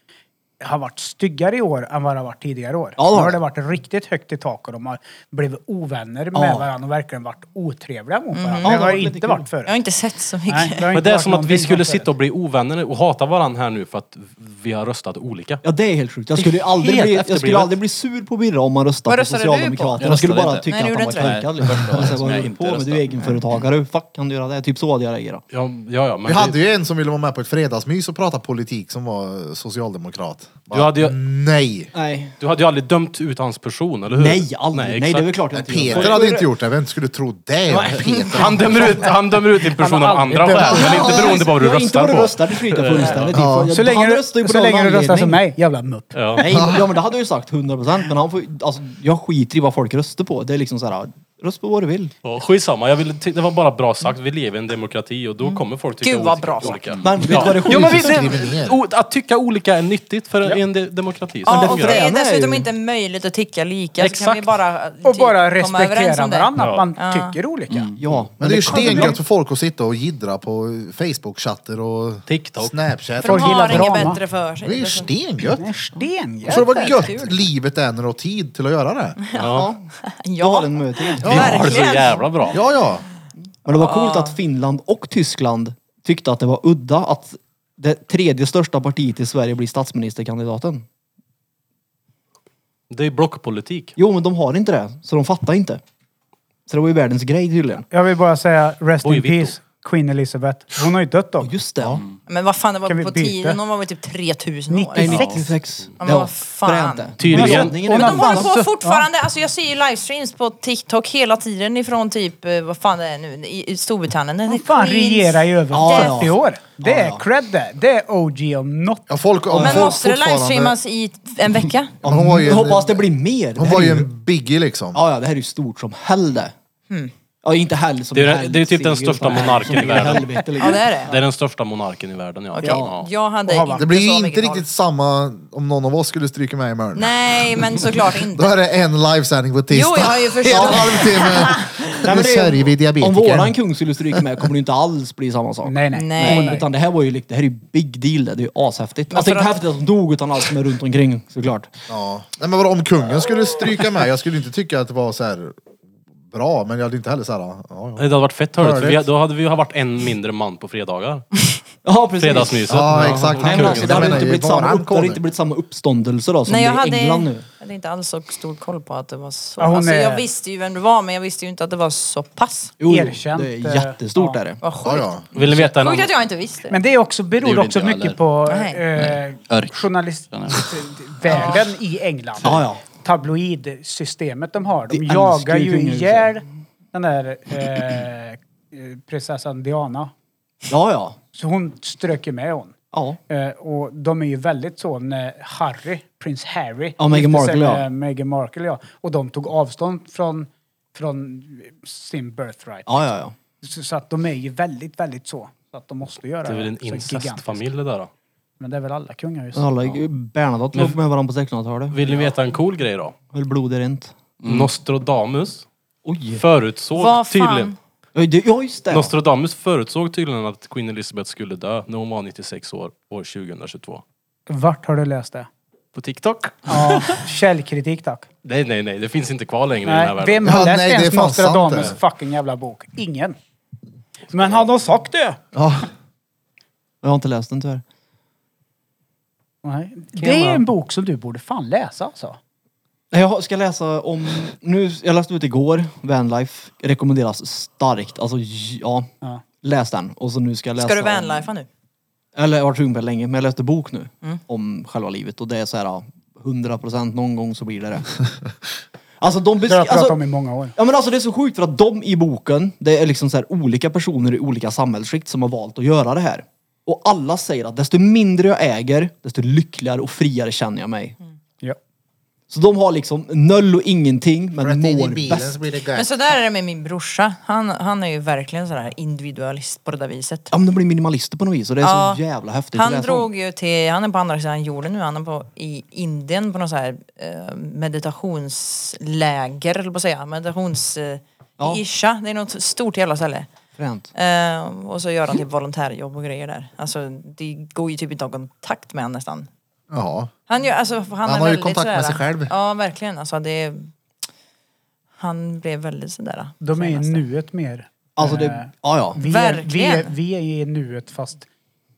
S2: Har varit styggare i år än vad det har varit tidigare år.
S5: Ja, det har
S2: nu har
S5: det.
S2: det varit riktigt högt i tak och de har blivit ovänner med
S5: Ja.
S2: varandra och verkligen varit otrevliga mot varandra.
S5: Ja,
S2: Det har
S5: det var lite
S2: inte
S5: kul.
S2: varit förut.
S4: Jag har inte sett så mycket.
S2: Nej, har
S3: Men
S2: inte
S3: det är
S2: varit
S3: som att
S2: någonting
S3: vi skulle
S2: förut.
S3: sitta och bli ovänner och hata varandra här nu för att vi har röstat olika.
S5: Ja, det är helt sjukt. Jag skulle, ju aldrig
S3: helt
S5: bli, jag skulle
S3: efterblivet.
S5: aldrig bli sur på Birra om man
S4: Vad
S5: röstar på
S4: röstade du på?
S5: Socialdemokraterna.
S8: Jag
S5: Jag skulle bara
S8: röstade
S5: tycka
S4: inte.
S5: att han
S4: Nej,
S5: var
S4: det gjorde
S5: korkad.
S8: inte jag.
S5: Liksom.
S8: Nej, det var det
S5: Jag säger,
S8: som jag
S5: Vad håller du
S8: inte
S5: på med? Du är
S8: röstade.
S5: egenföretagare. Hur fuck kan du göra det? Typ så hade jag reagerat.
S3: Ja, ja, ja, men
S1: Vi
S3: det-
S1: hade ju en som ville vara med på ett fredagsmys och prata politik som var socialdemokrat. Bara,
S3: Du hade ju-
S1: Nej!
S5: Nej.
S3: Du hade ju aldrig dömt ut hans person, eller hur?
S5: Nej, aldrig. Nej, det är väl klart jag inte gör.
S1: Peter hade inte gjort det, vem skulle tro det? om Peter.
S3: Han dömer ut, han dömer ut din
S2: Han
S3: person
S2: har
S3: av
S2: aldrig
S3: andra
S2: dömt
S3: skäl, men inte beroende på vad du
S5: Ja, Inte
S3: röstar
S5: vad du
S3: på.
S5: röstar, det skryter jag fullständigt
S1: Ja.
S5: i. Typ,
S2: Så
S5: Han
S2: länge,
S5: röstar ju på
S2: så
S5: någon
S2: länge du röstar
S5: anledning.
S2: som mig, jävla mupp.
S3: Ja.
S5: Nej, ja, men det hade jag ju sagt 100% men han får, ju- alltså, jag skiter i vad folk röstar på. Det är liksom så här, rösta på vad du vill.
S3: Ja, Skitsamma, jag ville ty- det var bara bra sagt. Vi lever i en demokrati och då kommer folk tycka
S4: Gud, vad
S3: olika-
S4: bra sagt.
S3: olika.
S5: Men vet du vad det
S3: Jo, men vi,
S5: sjukaste
S3: det, o, att tycka olika är nyttigt för en de- demokrati. Så
S4: Ja,
S5: det
S4: och det är
S5: fräna är
S4: dessutom
S5: ju-
S4: inte möjligt att tycka lika. Så kan
S3: Exakt.
S4: vi bara, eh, typ,
S2: Och bara
S4: komma överens
S2: respektera
S4: om det.
S2: varandra, att man
S4: Ja. Mm.
S2: tycker olika.
S5: Ja,
S1: Men det är ju
S5: kommer-
S1: stengött för folk att sitta och jiddra på Facebook-chatter och
S3: TikTok.
S1: Snapchat.
S4: För de
S2: Folk gillar
S4: har inget
S2: drama.
S4: bättre för sig.
S1: Det är ju
S4: liksom.
S1: stengött.
S2: En sten,
S1: Så det var
S4: Jävligt
S1: gött
S4: kul.
S1: livet är när du har tid till att göra det.
S3: Ja.
S5: Jag har
S4: Ja,
S5: en mötid.
S3: Vi har det så
S4: verkligen.
S3: jävla bra.
S1: Ja, ja.
S5: Men det var
S4: Ah.
S5: coolt att Finland och Tyskland tyckte att det var udda att det tredje största partiet i Sverige blir statsministerkandidaten.
S3: Det är blockpolitik.
S5: Jo, men de har inte det, så de fattar inte. Så det var ju världens grej tydligen.
S2: Jag vill bara säga rest
S3: Oj,
S2: in
S3: Victor.
S2: peace, Queen Elizabeth. Hon har ju dött då.
S5: Ja, just det.
S4: Men vad fan, det var
S2: Kan vi
S4: på
S2: byta?
S4: tiden. De var väl typ 3000 år.
S5: Nej,
S2: Ja.
S5: 96.
S4: Ja, men
S5: Det var
S4: vad fan.
S5: fränt.
S3: Tydligen.
S4: Men de
S2: Hon har
S4: håller
S2: fan
S4: på
S2: suttit-
S4: fortfarande. Alltså jag ser ju livestreams på TikTok hela tiden ifrån typ, eh, vad fan det är nu, i i Storbritannien.
S2: Hon fan regerar i över
S5: Ja,
S2: 30
S5: ja.
S2: år. Det
S5: Ja,
S2: är
S5: ja.
S2: cred det. Det är OG om något.
S1: ja folk, om
S4: Men
S1: folk
S4: måste det
S1: fortfarande-
S4: livestreamas i en vecka?
S1: Ja, men Hon var ju
S5: Jag hoppas det
S1: en,
S5: blir mer. Det
S1: hon
S5: här
S1: var
S5: är
S1: ju en biggie liksom.
S5: Ja, ja, det här är ju stort som helvete.
S4: Hmm.
S5: Ja, inte hell som
S3: Det är-
S5: hell,
S3: det är typ den
S5: Sigurd,
S3: största
S5: utan hell
S3: monarken i
S5: som
S3: världen.
S5: helvete, liksom.
S4: Ja det är det.
S3: Det är den största monarken i världen, ja.
S4: Okej,
S3: ja.
S4: jag hade
S2: Och har varit.
S1: Det blir ju
S4: så
S1: inte
S4: mycket koll.
S1: riktigt samma om någon av oss skulle stryka med i Mörn.
S4: Nej, men såklart
S1: Då
S4: inte.
S1: är det en livesändning på tisdag.
S4: Jo, jag har ju förstått.
S1: En halvtimme.
S5: Nej,
S1: Nu
S5: men det är-
S1: sörjer vi
S5: Om
S1: diabetiker.
S5: våran kung skulle stryka med kommer det inte alls bli samma sak.
S2: Nej, nej.
S4: Nej.
S2: Åh, nej.
S5: Utan det här var ju lik- det här är ju big deal det, det är ju ashäftigt. Alltså
S4: för
S5: inte
S4: att-
S5: häftigt att de dog utan allt som är runt omkring såklart.
S1: Ja. Nej, men vadå, om kungen skulle stryka med, jag skulle inte tycka att det var så här bra, men jag hade inte heller så här... Ja, ja.
S3: Det hade varit fett hörligt, för vi,
S1: Hörligt.
S3: då hade vi ju varit en mindre man på fredagar.
S5: Ja precis.
S3: Fredagsmyset.
S1: ja exakt.
S5: Nej, men alltså, det,
S1: Jag
S5: hade
S1: menar,
S5: inte blivit
S1: varan
S5: samma, upp, det hade
S1: kommer.
S5: inte blivit samma uppståndelse då som
S4: Nej, jag
S5: det är i
S4: hade,
S5: England nu.
S4: hade inte alls så stor koll på att det var så.
S2: Ja, hon
S4: alltså,
S2: är-
S4: Jag visste ju vem det var, men jag visste ju inte att det var så pass.
S5: Jo, jo,
S2: Erkänt,
S5: det
S2: eh,
S5: är jättestort
S2: ja.
S5: är det.
S4: Vad
S1: Ja,
S4: sjukt.
S1: ja.
S3: Vill ni veta en
S4: Sjukt
S3: annan?
S4: att jag inte visste.
S2: Men det är också,
S8: Det
S2: beror
S8: gjorde
S2: också
S8: inte jag
S2: mycket
S8: heller.
S2: på
S4: Nej.
S2: eh,
S8: Örk.
S2: journalistvärlden i England.
S5: Ja, ja.
S2: Tabloidsystemet de har. De
S5: Det
S2: jagar
S5: älskar ju
S2: ju
S5: kungahuset.
S2: ihjäl den där eh, eh, prinsessan Diana.
S5: Ja, ja.
S2: Så hon strök ju med hon.
S5: Ja.
S2: Eh, och de är ju väldigt så när Harry, prins Harry,
S5: Ja, Meghan
S2: gifte sig
S5: Markle,
S2: med
S5: ja.
S2: Meghan Markle, ja. Och de tog avstånd från, från sin birthright.
S5: Ja, ja, ja.
S2: Så, så att de är ju väldigt, väldigt så. Så att de måste göra
S3: Det är väl en
S2: så gigantiskt.
S3: incestfamilj det där då.
S2: Men det är väl alla kungahus?
S5: Men Alla, Bernadotte låg med varandra på 1600-talet.
S3: Vill ni veta en cool grej då?
S5: Höll blodet rent.
S3: Nostradamus
S5: Oj!
S3: förutsåg
S4: Vad fan?
S3: tydligen...
S5: Ja, det- Ja, just det.
S3: Nostradamus förutsåg tydligen att Queen Elizabeth skulle dö när hon var 96 år år 2022.
S2: Vart har du läst det?
S3: På TikTok?
S2: Ja, källkritik tack.
S3: Nej, nej, nej. Det finns inte kvar längre i den här
S2: Nej,
S3: världen.
S2: vem har
S1: Ja,
S2: läst
S1: nej, det är
S2: ens
S1: fan
S2: Nostradamus
S1: sant
S2: fucking jävla bok? Ingen. Men hade de sagt det?
S1: Ja.
S5: Jag har inte läst den tyvärr.
S2: Nej. Det är en bok som du borde fan läsa alltså.
S5: Nej, Jag ska läsa om... Nu, jag läste ut igår, Vanlife. Rekommenderas starkt. Alltså, j- ja.
S2: Ja.
S5: Läs den. Och så nu ska jag läsa...
S4: Ska du
S5: om-
S4: vanlifea nu?
S5: Eller jag har varit sugen på det länge, men jag läste bok nu.
S4: Mm.
S5: Om själva livet. Och det är så här, ja, 100% någon gång så blir det det. alltså de
S2: Det har jag
S5: beskriver...
S2: pratat
S5: Alltså,
S2: om i många år.
S5: Ja men alltså det är så sjukt för att de i boken, det är liksom så här olika personer i olika samhällsskikt som har valt att göra det här. Och alla säger att desto mindre jag äger, desto lyckligare och friare känner jag mig.
S4: Mm.
S2: Ja.
S5: Så de har liksom noll och ingenting men
S1: Rätt in i
S5: mår
S1: bilen
S5: bäst.
S1: så blir det
S4: Men
S1: gött.
S4: så där är det med min brorsa. Han, han är ju verkligen sådär individualist på det där viset.
S5: Ja men de blir minimalister på något vis och det är
S4: Ja.
S5: så jävla häftigt att
S4: Han
S5: läsa om.
S4: drog ju till, han är på andra sidan jorden nu, han är på, i Indien på något så här eh, meditationsläger, eller på att säga, meditations... Eh,
S5: Ja.
S4: i Isha, det är något stort jävla ställe.
S5: Fränt.
S4: Ehm, och så gör han typ volontärjobb och grejer där. Alltså det går ju typ inte att ha kontakt med honom nästan.
S1: Ja.
S4: Han, gör, alltså,
S1: har
S4: han, är
S1: ju
S4: väldigt
S1: kontakt med
S4: sådär-
S1: sig själv.
S4: Ja, verkligen. Alltså, det, han blev väldigt sådär.
S2: De är i
S4: senaste.
S2: nuet mer.
S5: Alltså
S2: Eh,
S5: det, ja ja.
S2: vi, är, vi, är,
S4: Verkligen.
S2: vi är i nuet fast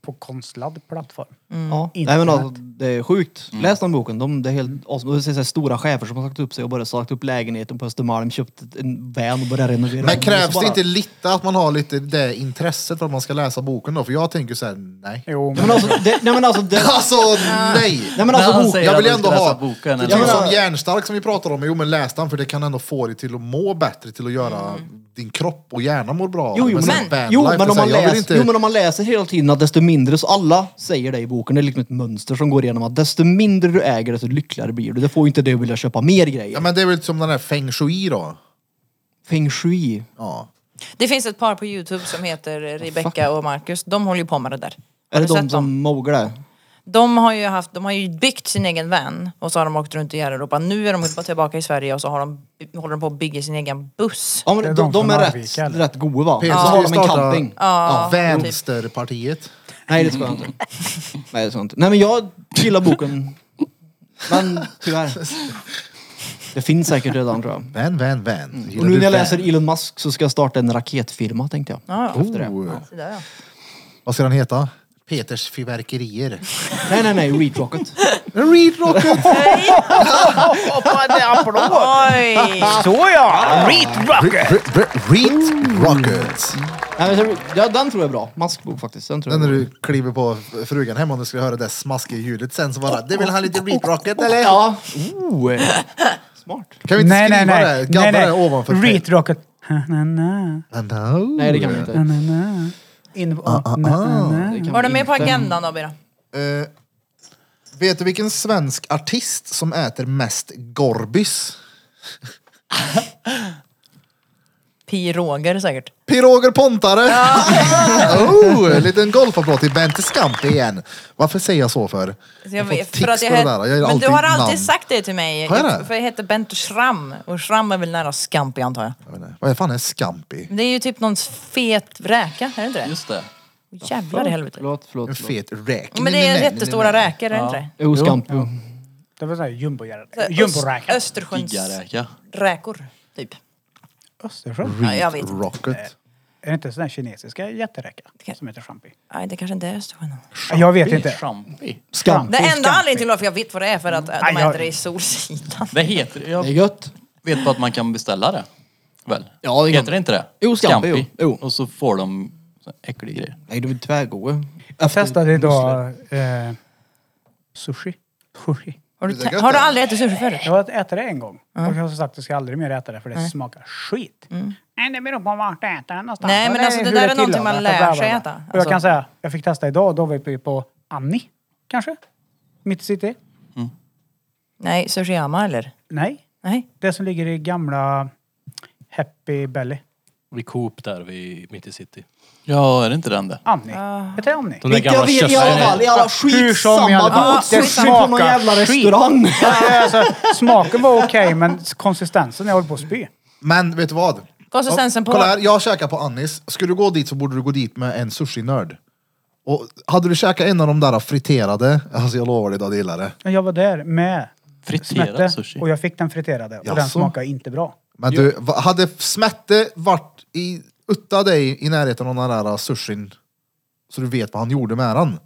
S2: på konstlad plattform.
S5: ja. Nej, men alltså, det är sjukt.
S1: Mm.
S5: Läs den boken. De, det är helt awesome. Och Det är så här stora chefer som har sagt upp sig och bara sagt upp lägenheten på Östermalm, köpt ett- en van och börjat renovera.
S1: Men
S5: den.
S1: krävs
S5: Och så
S1: det
S5: bara-
S1: inte lite att man har lite det intresset för att man ska läsa boken då? För jag tänker så här, nej.
S2: Jo,
S5: Nej, men alltså, det, nej men alltså, det,
S1: Alltså nej!
S5: nej, men alltså
S8: han
S5: bok,
S8: säger
S1: jag
S8: att
S1: vill
S8: man
S1: ändå
S8: ska läsa
S1: ha...
S8: boken,
S1: det är
S8: eller?
S1: typ
S5: Jag menar-
S1: som hjärnstark som vi pratar om, jo men läs den för det kan ändå få dig till att må bättre, till att göra din kropp och hjärna mår bra.
S5: Mm. Jo, jo,
S1: Men sen
S5: men,
S1: bad
S5: jo,
S1: life, det
S5: men
S1: är
S5: om
S1: så här,
S5: man
S1: jag vill
S5: läser,
S1: inte-
S5: jo men om man läser hela tiden att desto mindre, så alla säger det i boken, det är liksom ett mönster som går igenom att desto mindre du äger desto lyckligare blir du. Det får ju inte dig att vilja köpa mer grejer.
S1: Ja men det är väl som den här feng shui då.
S5: Feng shui.
S1: Ja.
S4: Det finns ett par på Youtube som heter Rebecca och Marcus. De håller ju på med det där. Har
S5: Är det
S4: du
S5: de
S4: sett dem?
S5: som moglar?
S4: De har, ju haft, de har ju byggt sin egen van och så har de åkt runt i hela Europa. Nu är de bara tillbaka i Sverige och så har de, håller de på att bygga sin egen buss.
S5: Ja,
S2: Det
S5: men
S2: är
S5: de,
S2: de
S5: de
S2: från
S5: är
S2: Arvika,
S5: rätt,
S2: eller?
S5: rätt goa va?
S1: PSU
S5: Så har de en
S1: startar-
S5: camping.
S1: Ja,
S5: typ.
S1: Vänsterpartiet.
S5: Nej det tror jag inte. Nej det tror jag inte. Nej men jag gillar boken. Men tyvärr. Det finns säkert redan tror jag.
S1: Vän, vän, vän. Gillar
S5: Och nu
S1: du
S5: när
S1: vän?
S5: jag läser Elon Musk så ska jag starta en raketfirma tänkte jag.
S4: Ja, ja.
S5: efter det.
S1: Oh.
S4: Så där, ja.
S1: Vad ska den heta? Peters fyrverkerier.
S5: Nej nej nej, Retrocket.
S1: Read Rocket!
S4: Oj!
S2: Såja! Reet rock!
S1: Read Rocket!
S5: Nej, men, så- ja, den tror jag är bra. Maskbok faktiskt. Den tror
S1: Sen
S5: jag
S1: när
S5: är bra.
S1: du kliver på frugan hemma och du ska höra det smaskiga ljudet sen så bara, det vill ha lite Read Rocket eller?
S5: Ja. Oh. eh, Smart.
S1: Kan vi inte
S2: Nej, nej,
S1: skriva
S2: nej.
S1: det?
S2: nej,
S1: Gabba
S2: nej.
S1: det ovanför?
S2: Reet rocket. Na, na, na,
S1: No.
S5: Nej det kan vi inte.
S2: na, na.
S1: Ah,
S2: In, na, na, na.
S5: Det kan
S4: Var
S5: vi
S4: det med på
S5: inte.
S4: agendan då, Bira?
S1: Eh, vet du vilken svensk artist som äter mest Gorbys?
S4: Pi Roger säkert.
S1: Piroger Pontare! oh, en liten golfapplåd till Bente Skampe igen. Varför säger jag så för?
S4: Så
S1: Alltså, Jag får
S4: Alltså, vet-
S1: tics på det där. Jag gör
S4: men du
S1: alltid
S4: har alltid
S1: namn.
S4: sagt det till mig.
S1: Har jag det?
S4: För jag heter Bent Schramm och Schramm är väl nära Scampi antar jag.
S1: Jag vet inte. Vad fan är Skampi?
S4: Men Det är ju typ någon fet räka, är det inte det?
S8: Just det.
S4: Jävlar i helvete.
S5: Förlåt, förlåt.
S1: En
S5: förlåt.
S1: fet räk.
S4: Men det är jättestora räkor, är det inte det?
S5: Jo, Scampi.
S2: Det var såhär jumbo-räka.
S4: Så här Öst-
S2: Jumbo-räka.
S4: Östersjöns
S8: Piggaräka.
S4: räkor, typ.
S2: Östersjön?
S4: Ja, jag vet inte.
S1: Rocket.
S2: Är det inte sån här kinesiska jätteräka som heter champi?
S4: Nej, det kanske inte är Östersjön.
S2: Jag vet inte.
S8: Schampi.
S5: Scampi.
S4: Det enda anledningen till varför jag vet vad det är för att äh,
S2: Nej,
S4: de
S2: jag-
S4: äter det i Solsidan.
S8: Det heter
S5: Det är
S8: Jag
S5: gött.
S8: vet bara att man kan beställa det. Väl?
S5: Ja, det kan-
S8: Heter det inte det?
S5: Jo, Scampi, jo. Jo.
S8: Och så får de så här äcklig grej.
S5: Nej, de är tvärgoda.
S2: Jag testade idag eh, sushi. Sushi.
S4: Har du,
S1: Det är gött
S4: har du
S1: det.
S4: aldrig ätit sushi förut?
S2: Jag har ätit det en gång. Och jag har sagt att jag ska aldrig mer äta det för det smakar skit. Nej, det beror på vart du äter den någonstans.
S4: Mm. Nej,
S2: Och
S4: men alltså, det
S2: hur
S4: där är någonting
S2: tillagat,
S4: man
S2: bla, bla,
S4: lär sig
S2: bla.
S4: äta.
S2: Och jag
S4: Alltså-
S2: kan säga, jag fick testa idag, då var vi på Annie, kanske? Mitt i city?
S4: Nej, Sushiyama eller?
S2: Nej,
S4: Nej.
S2: det som ligger i gamla Happy Belly.
S3: Vid Coop där vid, mitt i city.
S8: Ja, är det inte den det?
S2: Annie. Heter det Annie?
S3: De där
S5: Vilka
S3: gamla
S5: vet i alla fall, i
S3: köttfärgerna.
S5: alla
S2: Hur som i
S5: skitsamma
S2: alla fall.
S5: båt.
S2: Det
S5: Sitter på någon
S2: smakar
S5: jävla
S2: skit.
S5: restaurang.
S2: Nej, alltså, smaken var okej, men konsistensen, jag håller på att spy.
S1: Men vet du vad?
S4: Konsistensen på...
S1: Kolla här, jag käkar på Annis. Skulle du gå dit så borde du gå dit med en sushi-nörd. Och hade du käkat en av de där friterade, alltså jag lovar dig, du hade gillat det.
S2: Men Jag var där med
S8: Friterad
S2: smärta,
S8: sushi.
S2: och jag fick den friterade och den
S1: Jaså?
S2: smakade inte bra.
S1: Men du, va- hade Smette varit i, utta dig i närheten av den där äh, sushin så du vet vad han gjorde med den?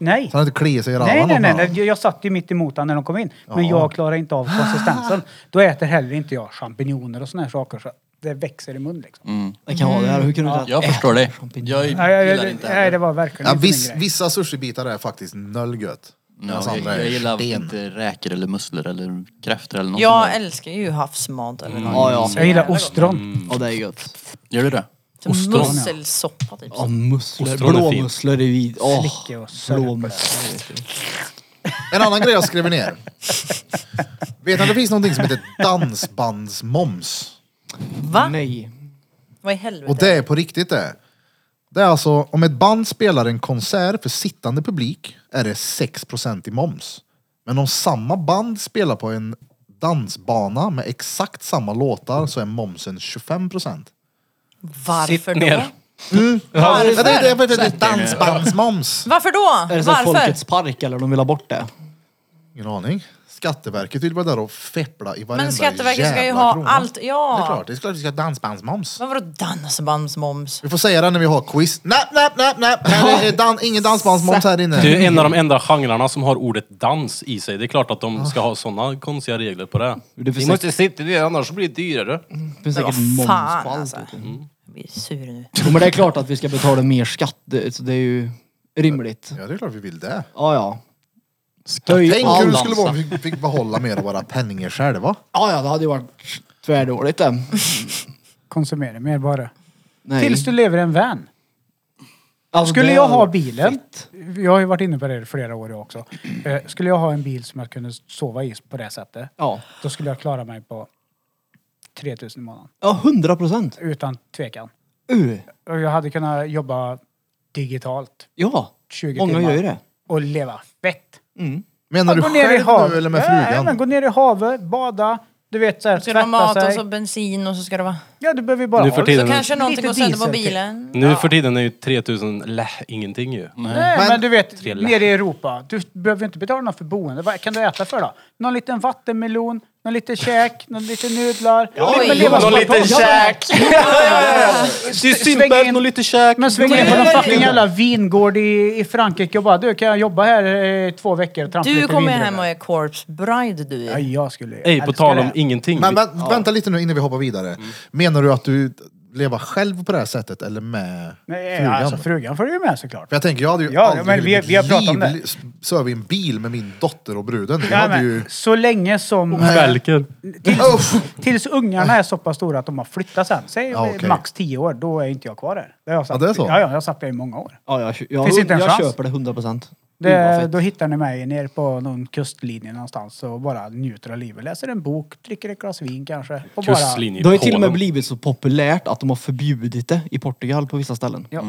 S2: Nej.
S1: Så han inte kliar sig i
S2: Nej,
S1: rallan
S2: nej,
S1: om
S2: nej,
S1: den.
S2: nej. Jag- Jag satt ju mitt emot honom när de kom in. Men jag klarar inte av konsistensen. Då äter heller inte jag champinjoner och såna här saker. Så det växer i mun liksom.
S8: Mm.
S5: Det kan vara det här. Hur kunde du
S8: Jag förstår dig. Jag
S2: Nej, jag,
S8: gillar
S2: jag,
S8: inte
S2: nej, det
S8: heller.
S2: var verkligen
S1: Ja,
S2: inte
S1: viss,
S2: min grej.
S1: vissa sushibitar är faktiskt nöllgött.
S8: Ja,
S1: Medan
S8: jag,
S1: andra är
S8: jag gillar
S1: sten.
S8: inte räkor eller musslor eller kräftor eller något sånt
S4: Jag
S8: där.
S4: älskar ju havsmat. Eller något.
S5: Ja, ja.
S2: Jag gillar ostron.
S5: Ja, det är gött.
S8: Gör du det?
S4: Som Musselsoppa typ.
S5: Ja, musslor.
S3: Ostron är fint.
S5: Blåmusslor är vid. Åh,
S2: Slicka och sörpla.
S5: blåmusslor.
S1: En annan grej jag skrev ner. Vet ni att det finns någonting som heter dansbandsmoms?
S4: Va?
S5: Nej.
S4: Vad i helvete?
S1: Och det är på riktigt det. Det är alltså, om ett band spelar en konsert för sittande publik är det 6% i moms. Men om samma band spelar på en dansbana med exakt samma låtar så är momsen 25%.
S4: Varför
S3: Sitt
S4: då?
S3: ner.
S1: Ja, det,
S4: Varför?
S1: det, det, det, det, dansbandsmoms.
S4: Varför då?
S5: Är det så här
S4: Varför?
S5: Folkets park eller de vill ha bort det?
S1: Ingen aning. Skatteverket vill vara där och feppla i varenda
S4: Men Skatteverket ska ju
S1: jävla
S4: ha
S1: krona.
S4: allt, ja.
S1: Det är klart, det är klart vi ska ha dansbandsmoms.
S4: Men vadå dansbandsmoms?
S1: Vi får säga det när vi har quiz. Nej, nej, nej, nej. Här är- är dan- ingen dansbandsmoms här inne.
S3: Det är en av de enda genrerna som har ordet dans i sig. Det är klart att de ska ha såna konstiga regler på det.
S5: Det är för
S3: Ni måste sitta ner annars blir det dyrare.
S5: Det finns säkert
S4: vad
S5: moms på
S4: fan,
S5: allt.
S4: alltså.
S5: vet du.
S4: Jag blir sur nu.
S5: Jo, men det är klart att vi ska betala mer skatt. Det, så det är ju rimligt.
S1: Ja, det är klart vi vill det.
S5: Ja, ja.
S1: Tänk hur det
S5: Allan,
S4: alltså.
S1: skulle vara om vi fick behålla mer av våra penningar själva.
S5: Ja, ja, det hade ju varit tvärdåligt det.
S2: Konsumera mer bara.
S5: Nej.
S2: Tills du lever i en van.
S5: Alltså,
S2: Skulle
S5: det
S2: jag ha
S5: hade-
S2: bilen, jag har ju varit inne på det i flera år jag också. Eh, Skulle jag ha en bil som jag kunde sova i på det sättet,
S5: Ja.
S2: då skulle jag klara mig på 3000 i månaden.
S5: Ja, hundra procent.
S2: Utan tvekan.
S5: Uh,
S2: Och jag hade kunnat jobba digitalt
S5: ja.
S2: 20
S5: Många
S2: timmar
S5: gör ju det.
S2: och leva fett.
S1: Menar du
S2: gå ner i
S1: själv nu
S2: havet.
S1: eller med
S2: Ja, men gå
S1: frugan?
S2: ner i havet, bada, du vet såhär,
S4: Ska du ha mat
S2: tvätta
S4: och
S2: sig.
S4: så bensin och så ska det vara...
S2: Ja, du behöver ju bara
S3: Nu
S2: ha
S3: för tiden-
S4: Så kanske
S2: lite
S4: någonting går sönder på
S2: diesel till.
S4: bilen.
S3: Nu för tiden är ju 3000 läh, ingenting ju.
S2: Nej, men,
S1: Men-
S2: du vet,
S3: Trilla.
S2: nere i Europa, du behöver inte betala något för boende. Vad kan du äta för då? Någon liten vattenmelon, någon liten käk, någon liten nudlar.
S4: Oj.
S2: men leva
S4: Någon
S2: som man pratar.
S3: Det är
S2: Sväng in-
S3: simpelt och lite käk.
S2: Men sväng in på någon fucking jävla vingård i, i Frankrike och bara du, kan jag jobba här i två veckor och trampa
S4: Du
S2: lite
S4: kommer ju
S2: vindruvor?
S4: hem och är corpse bride du.
S2: Ja,
S4: är.
S2: jag skulle
S3: Ej, på
S2: älska
S3: tal om
S2: det.
S3: ingenting.
S1: Men vä- vänta lite nu innan vi hoppar vidare. Menar du att du lever själv på det här sättet eller med
S2: Nej,
S1: frugan?
S2: Alltså, frugan får ju med såklart.
S1: För jag tänker, jag hade ju
S2: Ja,
S1: aldrig
S2: men
S1: i
S2: vi-
S1: mitt
S2: vi har pratat om
S1: liv sövit i en bil med min dotter och bruden. Jag
S2: Nej,
S1: hade
S2: men,
S1: ju...
S2: Så länge som...
S3: Välker.
S1: Uff!
S2: Tills ungarna är så pass stora att de har flyttat sen. Säg
S1: Ja, okej.
S2: max 10 år, då är inte jag kvar här. Det har jag sagt.
S1: Ja, det är så.
S2: Ja, ja, jag har sagt det i många år.
S5: Ja, jag, kö- jag,
S2: Finns inte en
S5: jag,
S2: chans.
S5: köper det hundra procent.
S2: Det, då hittar ni mig nere på någon kustlinje någonstans och bara njuter av livet. Läser en bok, dricker ett glas vin kanske. Och bara,
S3: Kustlinje
S5: Det har ju till och med
S3: Polen.
S5: blivit så populärt att de har förbjudit det i Portugal på vissa ställen.
S2: Ja.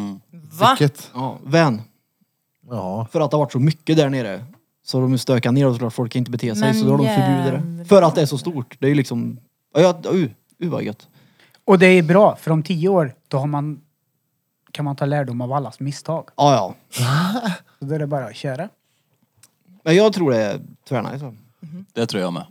S4: Va?
S1: Vilket...
S5: Ja, vän.
S1: Ja.
S5: För att det har varit så mycket där nere. Så de stökar ner och såklart folk kan inte bete sig.
S4: Men
S5: så då har de förbjudit det. För att det är så stort. Det är ju liksom... Ja, ja, uh, uh, vad gött.
S2: Och det är bra, för om 10 år då har man, kan man ta lärdom av allas misstag.
S5: Ja, ja.
S2: Så då är det bara att köra.
S5: Men jag tror det är tvärnice.
S8: Det tror jag med.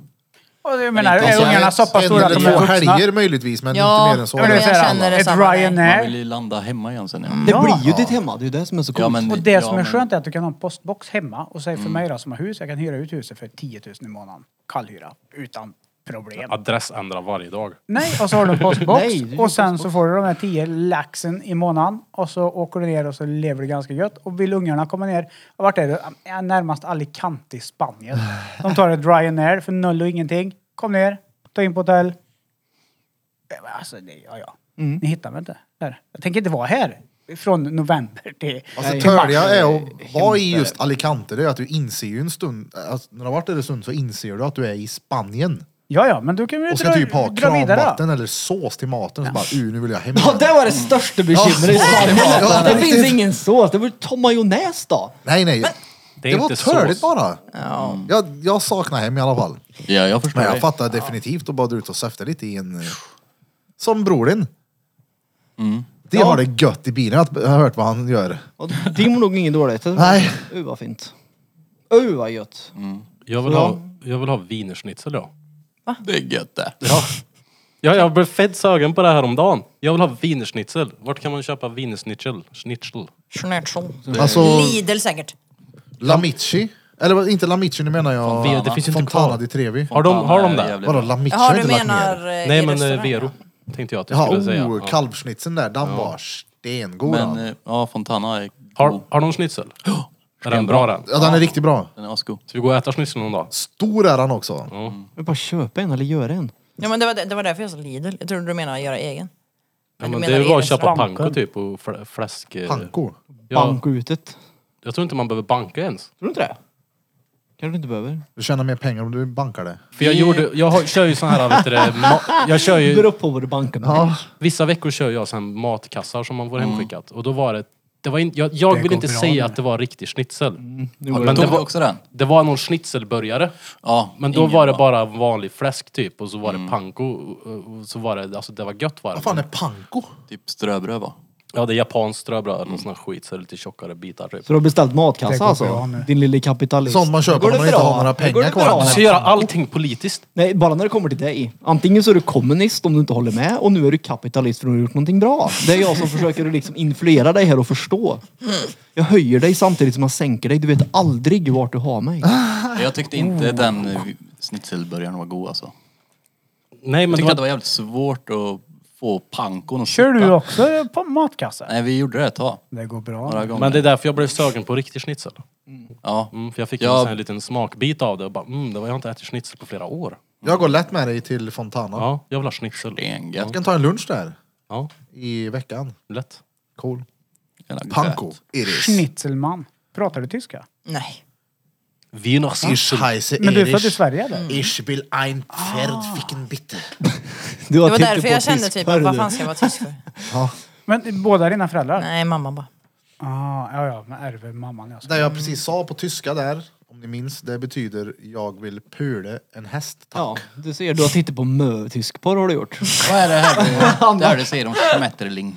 S2: Och jag menar,
S8: inte
S2: är
S8: så
S2: ungarna
S1: Ett-
S2: så pass
S1: en
S2: stora att
S1: eller
S2: de
S1: två
S2: är vuxna?
S1: helger möjligtvis, men
S4: Ja,
S1: inte mer än så.
S4: ja, men
S2: det är
S4: Jag
S2: så här,
S4: känner det
S2: ett
S4: samma
S8: Man
S4: väg.
S2: Ryanair.
S8: vill ju landa hemma igen sen. Ja.
S5: Det
S2: Ja.
S5: blir ju ditt hemma. Det är ju det som är så coolt.
S8: Ja, men-
S2: Och det som är
S8: men-
S2: skönt är att du kan ha en postbox hemma och säg för mig då som har hus, jag kan hyra ut huset för 10 000 i månaden. Kallhyra. Utan problem.
S3: Adressändra varje dag.
S2: Nej, och så har du en postbox.
S5: Nej, det är ju
S2: och sen så får du de här 10 laxen i månaden. Och så åker du ner och så lever du ganska gött. Och vill ungarna komma ner, och vart är du? Ja, Närmast Alicante i Spanien. De tar ett Ryanair för noll och ingenting. Kom ner, ta in på hotell. Ja, men Alltså, det, ja, ja. Ni hittar mig inte här. Jag tänker inte vara här. Från november till...
S1: Alltså
S5: Nej.
S1: törliga är att vara i just Alicante, det är att du inser ju en stund, alltså, när du har varit där en stund så inser du att du är i Spanien.
S2: Ja, ja, men du kan ju
S1: Och ska typ ha
S2: då.
S1: kranvatten eller sås till maten och så bara, uh, nu vill jag hem
S5: Ja,
S1: igen.
S5: det var det största bekymret.
S1: Ja,
S5: det
S1: riktigt.
S5: finns ingen sås. Det var ju majonnäs då.
S1: Nej, nej.
S3: Det
S1: Det,
S3: är
S1: var
S3: inte sås.
S1: törligt bara. Jag, jag saknar hem i alla fall.
S8: Ja, jag förstår
S1: Men jag
S8: dig.
S1: fattar definitivt att bara dra ut och söfta lite i en... eh, Som bror din.
S3: Mm.
S1: Det har det gött i bilen, att- jag har hört vad han gör.
S5: Ja, Det mår nog inget dåligt.
S1: Nej.
S5: Uh, vad fint. Uh, vad gött.
S3: Jag vill, ha, jag vill ha wienerschnitzel då.
S8: Det är gött det.
S3: Ja, jag blev fett sögen på det här om dagen. Jag vill ha wienerschnitzel. Vart kan man köpa wienerschnitzel? Schnitzel.
S4: Schnitzel.
S1: Alltså,
S4: Lidl säkert.
S1: Lamici. Eller vad- inte Lamici, nu menar jag
S3: Ve- det finns ju inte
S1: Fontana
S3: kvar.
S1: di Trevi.
S3: Har de, har de
S8: Ja,
S3: det?
S8: jävligt
S1: Vadå,
S8: bra.
S1: Lamici
S4: Jaha,
S1: har
S4: du
S1: inte lagt ner.
S4: menar eh, i
S3: Nej men eh,
S4: restaurangen?
S3: Vero. Tänkte jag att jag
S1: Jaha,
S3: skulle säga.
S1: oh,
S3: Ja.
S1: kalvschnitzeln där, den var stengod.
S8: Men
S1: den.
S8: eh, ja, Fontana är
S3: Har, har de schnitzel? Är den bra den?
S1: Ja, den är riktigt bra.
S8: Den är asgod.
S3: Ska vi gå och äta schnitzel någon dag?
S1: Stor är han också.
S5: Jag bara köpa en eller göra en.
S4: Ja, men det, var, det det var därför jag sa Lidl. Jag trodde du menade att göra egen.
S3: Ja,
S4: du
S3: men det
S4: menar
S3: är bara att
S4: egen
S3: köpa
S2: spanko.
S3: panko typ och fl- fläsk... eh,
S1: Panko.
S3: Ja,
S5: Banka ut det. Tror
S3: jag tror inte man behöver banka ens.
S5: du inte det? Kanske du inte behöver.
S1: Du tjänar mer pengar om du bankar det.
S3: För jag, gjorde, jag har, kör ju sån här, vet du det, ma- jag kör
S5: Det
S3: ju
S5: beror på vad du bankar med. Ja.
S3: Vissa veckor kör jag sen matkassar som man får hemskickat. Och då var det... det var in, jag jag
S2: Det
S3: vill
S2: går
S3: inte
S2: bra
S3: säga
S2: nu.
S3: att det var riktig schnitzel.
S8: Har
S3: Men
S8: du
S3: det
S8: tog du
S3: var,
S8: också den?
S3: det var någon schnitzelburgare.
S8: Ja.
S3: Men då
S8: ingen
S3: var det
S8: bra.
S3: bara vanlig fläsk typ och så var det panko. Och, och så var det, alltså det var gött var det.
S1: Vad fan är panko?
S8: Typ ströbröd va?
S3: Ja, det är japanskt ströbröd eller sån här skit så det är lite tjockare bitar typ.
S5: Så du har beställt matkassa
S2: går bra
S5: alltså?
S2: nu.
S5: Din lille kapitalist.
S1: Sånt man köper
S5: Går
S1: när
S5: det
S1: man inte
S5: bra?
S1: har några
S5: Går
S1: pengar
S5: det
S1: kvar.
S5: bra?
S3: Du ska göra allting politiskt.
S5: Nej, bara när det kommer till dig. Antingen så är du kommunist om du inte håller med och nu är du kapitalist för att du har gjort någonting bra. Det är jag som försöker att liksom influera dig här och förstå. Jag höjer dig samtidigt som jag sänker dig. Du vet aldrig vart du har
S1: Ah.
S5: mig.
S8: Jag tyckte inte
S3: Oh.
S8: den eh, snitselburgaren var god alltså.
S3: Nej,
S8: Jag
S3: men det
S8: tyckte att det
S3: var...
S8: var jävligt svårt att få pankon att
S2: Kör du
S8: sitta.
S2: också på matkassen?
S8: Nej, vi gjorde det ett tag.
S2: Det går bra.
S8: Några gånger.
S3: Men det är därför jag blev sugen på riktig schnitzel.
S8: Ja.
S3: Mm, för jag fick
S8: Ja.
S3: en sån här liten smakbit av det och bara mm, det var jag har inte ätit schnitzel på flera år.
S1: Jag går lätt med dig till Fontana.
S3: Ja, jag vill ha schnitzel.
S8: Det är en gött.
S1: Jag kan ta en lunch där
S3: Ja,
S1: i veckan.
S3: lätt.
S1: Cool.
S8: jävla gött.
S1: Panko. Iris.
S2: Schnitzelman. Pratar du tyska?
S4: Nej.
S3: Wiener
S1: Ich
S3: Schnitzel.
S1: heiße
S2: Men du är född i
S1: Iris.
S2: Sverige
S3: Mm.
S2: eller?
S1: Ich will ein Pferd ficken bitte.
S5: Du har
S4: Det var
S5: tittat
S4: därför
S5: på
S4: jag kände
S5: tysk
S4: typ,
S5: porr,
S4: vad
S5: du.
S4: fan ska jag vara tysk för?
S2: Men båda dina föräldrar?
S4: Nej, mamma bara.
S2: Ah, ja, ja, men ärver mamman. Alltså.
S1: Det jag precis sa på tyska där, om ni minns, det betyder jag vill pula en häst. Tack.
S5: Ja, du ser. Du har tittat på mö-tysk porr har du gjort.
S8: Vad är det här? Det här det säger om Schmetterling.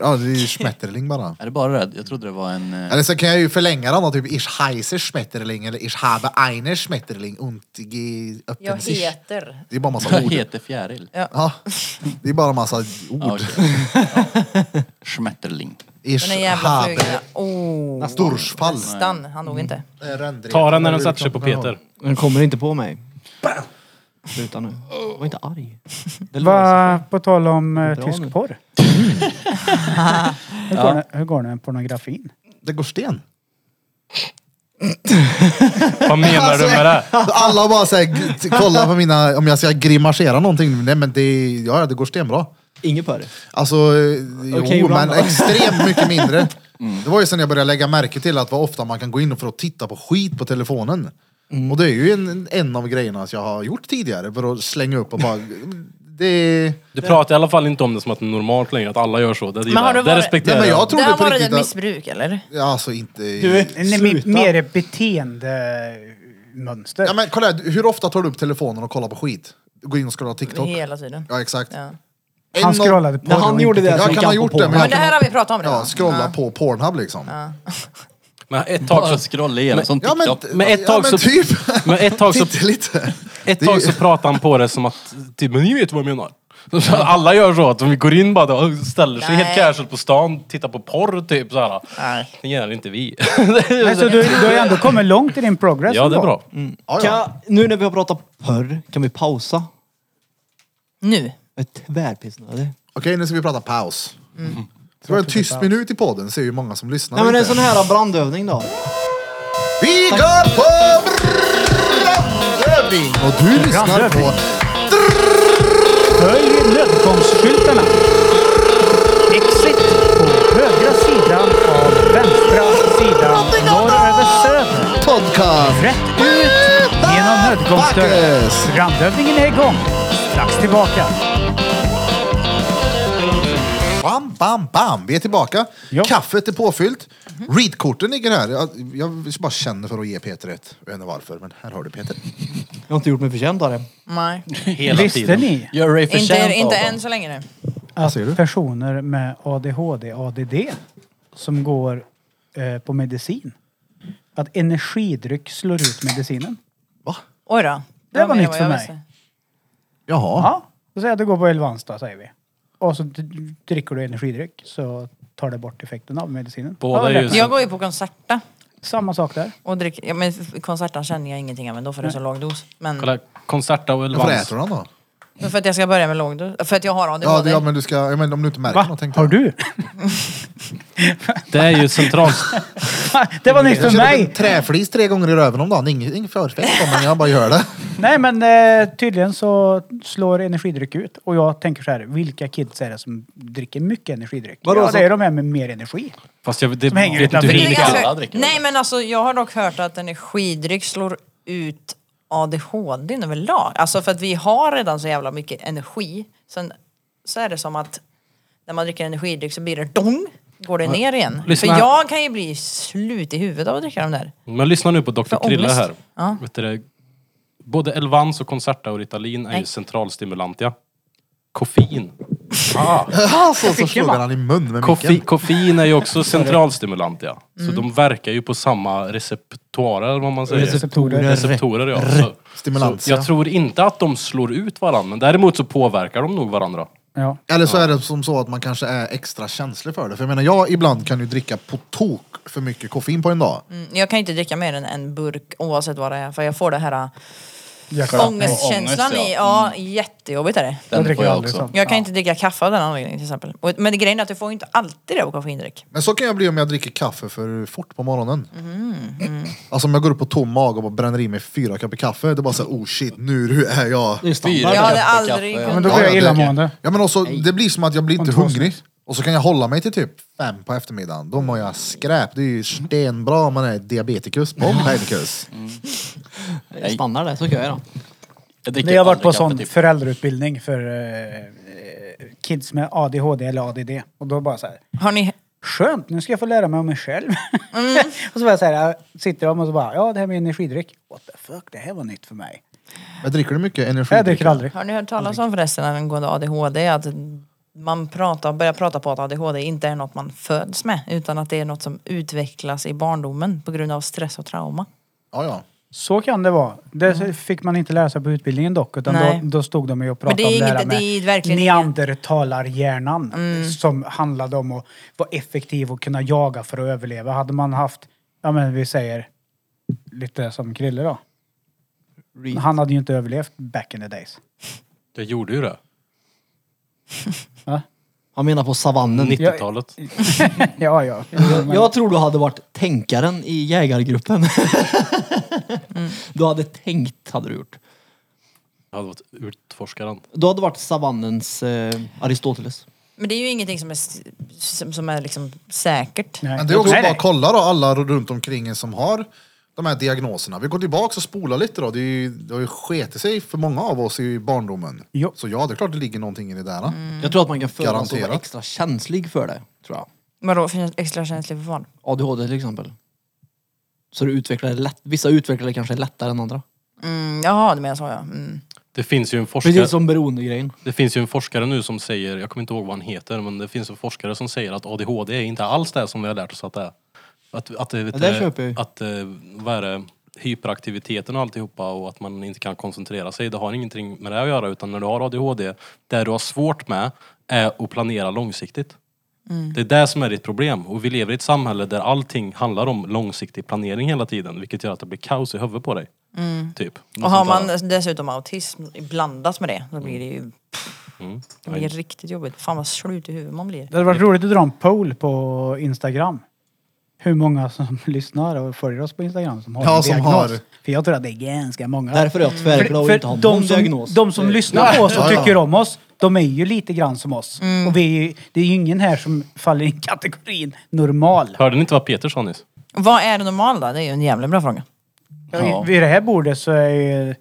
S1: Ja, det är ju Schmetterling bara.
S8: Är det bara det? Jag trodde det var en... eh,
S1: Eller så kan jag ju förlänga den då, typ Ich heiße Schmetterling eller Ich habe eine Schmetterling und ge öppen
S4: Jag
S1: sich.
S4: heter.
S1: Det är bara massa
S8: Vad
S1: ord.
S8: heter fjäril?
S1: Ja, det är bara massa
S8: Ja,
S1: ord.
S8: okej. Ja. Schmetterling.
S1: Ich
S4: Den är jävla
S1: habe
S4: flugan. Oh.
S1: Durchfall.
S4: Stan, han dog inte.
S3: Ta den när den sätter sig på Peter.
S5: Den kommer inte på mig. Sluta nu. Var inte arg. Det löser
S2: Va, på tal om eh,
S5: Bra nu.
S2: tysk porr. hur, går det, hur går det med pornografin?
S1: Det går sten.
S3: Vad menar du med det?
S1: Alltså, Alla bara så här, g- kollar på mina, om jag ska grimasera någonting. Nej men det, ja, det går stenbra.
S5: sig. Inget porr.
S1: Alltså, eh,
S5: Okej,
S1: jo,
S5: ibland
S1: men
S5: då.
S1: extremt mycket mindre.
S8: Mm.
S1: Det var ju sen jag började lägga märke till att vad ofta man kan gå in för att titta på skit på telefonen. Och det är ju en, en av grejerna som jag har gjort tidigare för att slänga upp och bara... Det,
S3: Du pratar i alla fall inte om det som att det är normalt längre, att alla gör så. Det,
S4: Men har
S3: gillar
S4: du
S1: nej,
S3: jag. det
S4: varit-
S3: respekterar
S1: men
S3: jag.
S1: jag
S4: Det
S1: trodde
S4: här
S1: på
S4: var
S1: riktigt
S4: ett
S1: att...
S4: missbruk eller?
S1: Ja, Alltså inte...
S2: Nej, mi- mer beteendemönster.
S1: Ja, men kolla här, hur ofta tar du upp telefonen och kollar på skit? Gå in och scrollar TikTok?
S4: Hela tiden.
S1: Ja, exakt.
S4: Ja.
S1: En
S2: han
S1: och-
S2: scrollade porr
S5: När han
S2: och inte
S5: gjorde det alltså.
S1: Jag
S2: tittade.
S5: så
S1: kan
S5: gick
S1: ha gjort
S5: han på
S1: det, men
S5: porr.
S4: Men det här har vi pratat om
S1: Ja,
S4: redan.
S1: scrolla på Pornhub liksom. Ja,
S3: Men ett tag
S8: Bara
S3: så,
S8: scrolla igenom som
S1: men,
S8: TikTok.
S3: Men ett
S1: ja,
S3: tag
S1: men
S3: så-
S1: typ.
S3: men ett tag så,
S1: Titta lite.
S3: ett
S1: Det-
S3: tag så pratar han på det som att, typ, men ni vet vad jag menar. Så Alla gör så, att de går in bara och ställer sig
S4: Nej.
S3: helt casual på stan, tittar på porr typ såhär.
S4: Nej.
S3: Det gör inte vi.
S2: Nej, så du, du har ju ändå kommit långt i din progress.
S3: ja, det är
S2: ändå.
S3: bra.
S1: Ja, ja.
S5: Kan, nu när vi har pratat porr, kan vi pausa?
S4: Nu.
S5: Jag är tvärpissnödig.
S1: Okej, nu ska vi prata paus. Det var en tyst minut i podden, ser ju många som lyssnar.
S5: Nej men en
S1: inte.
S3: alltså-
S5: sån här brandövning då.
S1: Vi går på brandövning! Och du lyssnar på...
S2: Följ nödutgångsskyltarna. Exit på högra sidan av vänstra sidan norr över söder.
S1: Podcast!
S2: Rätt ut genom nödutgångsdörren.
S1: Backes.
S2: Brandövningen är igång. Strax tillbaka.
S1: Bam, bam, bam! Vi är tillbaka.
S2: Ja.
S1: Kaffet är påfyllt. Readkorten ligger här. Jag, jag bara känner för att ge Peter ett. Jag vet inte varför, men här har du Peter.
S5: Jag har inte gjort mig förtjänt av det.
S4: Nej.
S3: Hela
S2: Visste
S3: tiden.
S2: ni
S8: Gör dig
S4: Inte,
S8: förtjänt av
S4: inte
S8: dem.
S4: än så länge nu.
S2: att
S1: säger du?
S2: personer med ADHD, ADD som går eh, på medicin, att energidryck slår ut medicinen?
S1: Va?
S4: Oj då.
S2: Det var
S4: mer
S2: nytt
S4: vad
S2: för
S4: jag
S2: mig.
S4: visste.
S1: Jaha.
S2: Ja, då säger jag att du går på Elvans då, säger vi. Och så d- dricker du energidryck så tar det bort effekten av medicinen.
S3: Båda
S2: Ja,
S3: är
S2: det-
S3: ju-
S4: Jag går ju på Concerta
S2: Samma sak där.
S4: och dricker. Ja, men Concertan känner jag ingenting av ändå för det är så låg dos. Men
S3: Kolla, Concerta och
S1: Varför
S3: Elvans.
S1: äter du den då?
S4: men för att jag ska börja med låg dos. För att jag har
S1: Ja,
S4: ADHD.
S1: det, ja, men du ska... Jag menar, om du inte märker
S2: Va?
S1: något tänkte
S2: Har
S1: jag.
S2: du?
S3: Det är ju centralt.
S2: det var nytt
S1: Jag
S2: för
S1: känner
S2: mig!
S1: en träflis tre gånger i röven om dagen. Ingen, ingen förfest om, men jag bara gör det.
S2: Nej men eh, tydligen så slår energidryck ut. Och jag tänker så här, vilka kids är det som dricker mycket energidryck?
S5: Vadå,
S2: ja,
S5: så-
S2: det är de här med mer energi.
S3: Fast jag det,
S2: Som hänger
S3: vet inte
S2: utanför
S3: hur
S4: Det är
S3: det
S8: Alla
S4: ganska-
S8: dricker väl
S4: Nej men alltså jag har dock hört att energidryck slår ut ADHD överlag. Alltså för att vi har redan så jävla mycket energi. Sen så är det som att när man dricker energidryck så blir det dong, går det ner igen.
S3: Lyssna
S4: För
S3: här.
S4: jag kan ju bli slut i huvudet av att dricka de där.
S3: Men lyssna nu på Dr.
S4: För
S3: Krille
S4: ångest.
S3: här.
S4: Ja.
S3: Vet du, det, både Elvans och Concerta och Ritalin är ju
S4: Nej.
S3: centralstimulantia. Koffein
S1: Alltså, så
S2: fick
S1: slog
S2: jag
S1: han i mun med
S3: Koffe,
S1: micken.
S3: koffein är ju också centralstimulant ja. Så
S4: Mm.
S3: de verkar ju på samma receptorer eller vad man säger.
S2: Receptorer.
S3: Receptorer ja. Så,
S1: Stimulans,
S3: så jag
S1: ja.
S3: tror inte att de slår ut varandra men däremot så påverkar de nog varandra.
S2: Ja.
S1: Eller så är det som så att man kanske är extra känslig för det. För jag menar, jag ibland kan ju dricka på tok för mycket koffein på en dag.
S4: Mm, Jag kan inte dricka mer än en burk oavsett vad det är för jag får det här äh,
S2: Jäklar.
S4: ångestkänslan
S8: ångest, ja.
S4: i, ja jättejobbigt är det.
S2: Jag
S8: Den
S2: dricker
S8: får jag
S2: aldrig
S8: också.
S2: sånt.
S4: Jag kan
S2: Ja.
S4: inte dricka kaffe av den anledningen till exempel. Och- Men grejen är att du får ju inte alltid det på koffeindryck.
S1: Men så kan jag bli om jag dricker kaffe för fort på morgonen. Alltså om jag går upp på tom mag och bara bränner i mig fyra koppar kaffe. Det är bara såhär, oh shit, nu hur är jag?
S5: Det är standard.
S4: Jag
S8: Ja.
S5: Ja.
S4: hade
S8: kaffe,
S4: aldrig
S8: kaffe, ja.
S2: Men
S4: kunnat...
S2: då blir jag
S1: det-
S2: illamående.
S1: Ja men också, det blir som att jag blir inte
S2: Om två
S1: hungrig. Och så kan jag hålla mig till typ fem på eftermiddagen. Då mår jag skräp. Det är ju stenbra om man är diabetikus, bombhärdkus.
S5: Jag stannar där, så kan jag göra.
S8: Jag
S2: När jag varit på sån
S8: Typ-
S2: föräldrautbildning för eh, kids med ADHD eller ADD. Och då bara så här,
S4: Har ni...
S2: skönt, nu ska jag få lära mig om mig själv.
S4: Mm.
S2: och så bara så här, jag sitter de och så bara, ja det här med energidryck. What the fuck, det här var nytt för mig.
S1: Men dricker du mycket energi?
S2: Jag dricker aldrig.
S4: Har ni hört talas om förresten angående ADHD att man pratar, börjar prata på att ADHD inte är något man föds med utan att det är något som utvecklas i barndomen på grund av stress och trauma.
S1: Ja, ja.
S2: Så kan det vara. Det fick man inte lära sig på utbildningen dock. Utan
S4: Nej.
S2: då, då stod de ju och
S4: Men det
S2: pratade
S4: är
S2: om det
S4: inget- Mm.
S2: här med
S4: det är verkligen inget-
S2: neandertalarhjärnan. Som handlade om att vara effektiv och kunna jaga för att överleva. Hade man haft, ja men vi säger lite som Krille då.
S5: Reed.
S2: Han hade ju inte överlevt back in the days.
S3: Jag gjorde ju det.
S2: Va?
S5: Han menar på savannen.
S3: 90-talet.
S2: Ja, ja.
S5: Jag, jag tror du hade varit tänkaren i jägargruppen. Du hade tänkt, hade du gjort.
S3: Jag hade varit utforskaren.
S5: Du hade varit savannens eh, Aristoteles.
S4: Men det är ju ingenting som är, s- som, som är liksom säkert.
S1: Men det är också
S2: Nej,
S1: bara
S2: nej.
S1: att kolla då alla runt omkring en som har de här diagnoserna. Vi går tillbaka och spolar lite då. Det, är ju, det har ju sketit sig för många av oss i barndomen.
S2: Jo.
S1: Så ja, det är klart det ligger någonting i det där.
S5: Jag tror att man kan födas och vara
S1: Garanterat.
S5: extra känslig för det. Tror jag.
S4: Vadå, finns det extra känslig för vad?
S5: ADHD till exempel. Så du utvecklar det lätt. Vissa utvecklar det kanske lättare än andra.
S4: Mm, jaha, du menar så ja. Mm.
S3: Det finns ju en forskare.
S5: Precis som beroendegrejen.
S3: Det finns ju en forskare nu som säger, jag kommer inte ihåg vad han heter, men det finns en forskare som säger att ADHD är inte alls det som vi har lärt oss att det är. Att, att, vet
S5: Ja, det
S3: du,
S5: köper jag ju.
S3: att eh, vad är det, hyperaktiviteten och alltihopa och att man inte kan koncentrera sig, det har ingenting med det att göra utan när du har ADHD, det du har svårt med är att planera långsiktigt.
S5: Mm.
S3: Det är det som är ditt problem och vi lever i ett samhälle där allting handlar om långsiktig planering hela tiden vilket gör att det blir kaos i huvudet på dig.
S5: Mm.
S3: Typ.
S4: Och har
S3: Något sånt
S4: man
S3: där.
S4: dessutom autism blandat med det, då blir det
S5: Mm.
S4: ju Mm. det blir riktigt jobbigt. Fan vad slut i huvudet man blir.
S2: Det hade varit roligt att dra en poll på Instagram. Hur många som lyssnar och följer oss på Instagram som har
S1: Ja,
S2: en
S1: som
S2: diagnos.
S1: har.
S2: För jag tror att det är ganska många.
S5: Därför är jag tvärglad och inte har någon
S2: de som,
S5: diagnos.
S2: De som lyssnar på oss och
S1: Ja, ja.
S2: tycker om oss, de är ju lite grann som oss. Och vi är ju, det är ju ingen här som faller i kategorin normal.
S3: Hörde ni inte vad Peter sa nyss?
S4: Vad är det normala då? Det är ju en jävla bra fråga.
S2: Ja. Vid det här bordet så är ju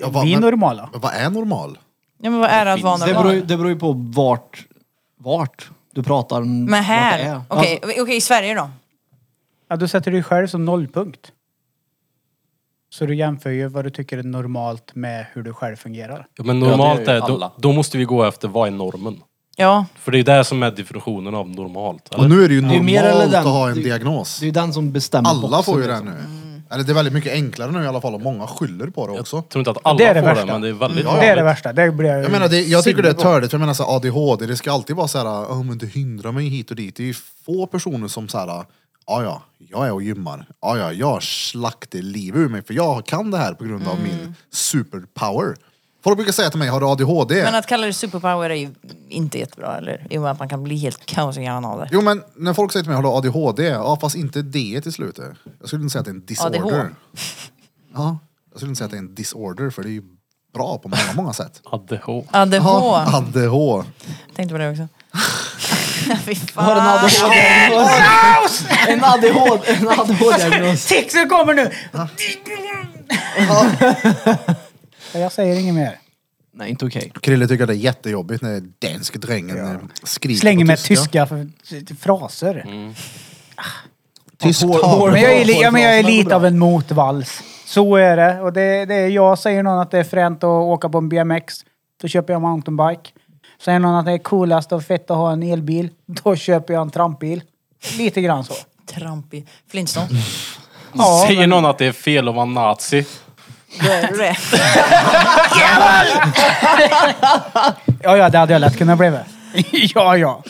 S1: Ja, va-
S2: vi
S1: men-
S2: normala.
S1: Men vad är normal?
S4: Ja, men vad är det att vara
S5: Det beror, ju-
S4: normal?
S5: det beror ju på vart, vart du pratar om
S4: Men
S5: vart det är.
S4: här, okej
S5: Alltså,
S4: okej, i Sverige då?
S2: Ja, du sätter dig själv som nollpunkt. Så du jämför ju vad du tycker är normalt med hur du själv fungerar.
S3: Ja, men
S8: det
S3: normalt
S8: gör ju
S3: är, då,
S8: alla.
S3: då måste vi gå efter vad är normen?
S4: Ja,
S3: För det är ju det som är definitionen av normalt. Eller?
S1: Och nu är det ju
S5: Det är
S1: normalt
S5: mer eller den-
S1: att ha en
S5: det-
S1: diagnos.
S5: det är ju den som bestämmer.
S1: Alla
S5: boxen,
S1: får ju det
S5: liksom.
S1: nu.
S4: Mm.
S1: Eller det är väldigt mycket enklare nu i alla fall och många skyller på det också.
S3: Jag tror inte att alla
S2: Det är det
S3: får
S2: värsta.
S3: det, men det är väldigt
S2: Det är det
S3: vanligt.
S2: värsta. Det blir
S1: Jag menar, det, jag tycker det är törligt, för jag menar så här, ADHD, det ska alltid vara så här, "Åh, men det hindrar mig hit och dit. Det är ju få personer som så här, ja ja, jag är och gymmar, ja ja, jag slaktar livet ur mig för jag kan det här på grund av
S4: Mm.
S1: min superpower. Folk brukar säga till mig, har du ADHD?
S4: men att kalla det superpower är ju inte jättebra eller? I och med att man kan bli helt kaos i hjärnan av det.
S1: Jo men när folk säger till mig, har du ADHD? Ja fast inte det till slutet. Jag skulle inte säga att det är en disorder.
S4: ADH.
S1: Ja, jag skulle inte säga att det är en disorder för det är ju bra på många, många sätt.
S3: ADH.
S1: Ja,
S4: ADH,
S1: ADH.
S4: tänkte på det också. Fy fan.
S5: Har en ADHD-diagnos. En ADHD-diagnos. En ADHD-diagnos.
S2: Tixen kommer nu! Jag säger inget mer.
S5: Nej, inte okej.
S1: Krille tycker det är jättejobbigt när danske drängen eh, skriker
S2: Slänger
S1: på Mm.
S2: med tyska för- fraser.
S1: Tysk
S5: Hår-
S1: tal.
S5: hår-
S2: Men jag är, li- ja, men jag är
S5: Hårfraserna går
S2: lite
S5: bra.
S2: av en motvalls. Så är det. Och det, det är jag säger någon att det är fränt att åka på en BMX, då köper jag mountainbike. Säger någon att det är coolast och fett att ha en elbil, då köper jag en trampbil. Lite grann så.
S4: Trampig. Flintstone.
S5: Mm.
S2: Ja,
S3: Säger någon att det är fel att vara nazi?
S4: Då är du det.
S2: Ja, ja, det hade jag lätt kunnat bli. ja, ja.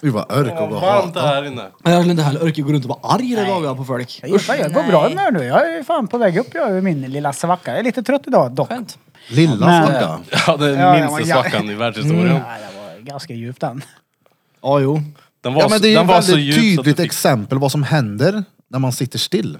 S1: Gud vad örk och vad
S3: Varmt
S1: hat.
S3: här inne.
S5: Men jag skulle inte heller orka gå runt och vara arg hela dagarna på folk.
S2: Jag, gissar, jag går
S4: Nej.
S2: bra med nu. Jag är fan på väg upp jag ur min lilla svacka. Jag är lite trött idag dock.
S4: Skönt.
S1: Lilla
S2: Men-
S1: flagga.
S3: Ja, den
S2: Ja,
S3: minsta
S2: ja, ja.
S3: svackan i världshistorien.
S2: Nej, det var ganska djupt den.
S5: Ja, jo.
S3: Den var,
S1: Ja, men det är ju
S3: den
S1: ett
S3: var så
S1: väldigt
S3: djup så att det
S1: tydligt
S3: fick
S1: exempel vad som händer när man sitter still.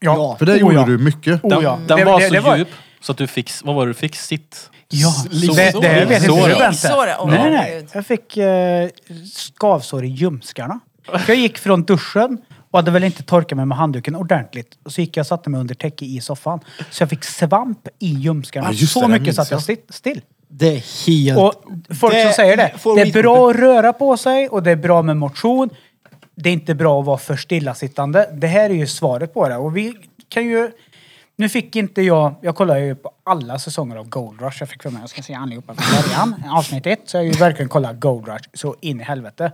S2: Ja.
S1: För det
S2: Oh,
S1: gjorde
S2: ja.
S1: du mycket.
S2: Oh, ja.
S3: Den
S2: Det-
S3: var
S2: det-
S3: så
S2: det
S3: djup så att du fick, vad var det du fick? Sitt?
S2: Ja,
S3: Så-
S2: det,
S3: så-
S2: det jag vet
S3: så-
S2: inte hur
S3: så-
S2: jag inte.
S4: så- så-
S2: Nej,
S4: åh,
S2: nej.
S4: herregud.
S2: Jag fick eh, skavsår i ljumskarna. För Jag gick från duschen och hade väl inte torkat mig med handduken ordentligt. Och så gick jag och satte mig under täcke i soffan. Så jag fick svamp i ljumskarna.
S1: Ja, just
S2: så
S1: det, det
S2: mycket
S1: minns
S2: så att jag
S1: jag.
S2: sitt still.
S5: Det är helt...
S2: Och folk som säger det.
S5: får
S2: Det
S5: vi-
S2: är bra att röra på sig och det är bra med motion. Det är inte bra att vara för stillasittande. Det här är ju svaret på det. Och vi kan ju... Nu fick inte jag... Jag kollar ju på alla säsonger av Gold Rush. Jag fick för mig jag ska se allihopa från början. Avsnitt ett. Så jag har ju verkligen kollat Gold Rush så in i helvete.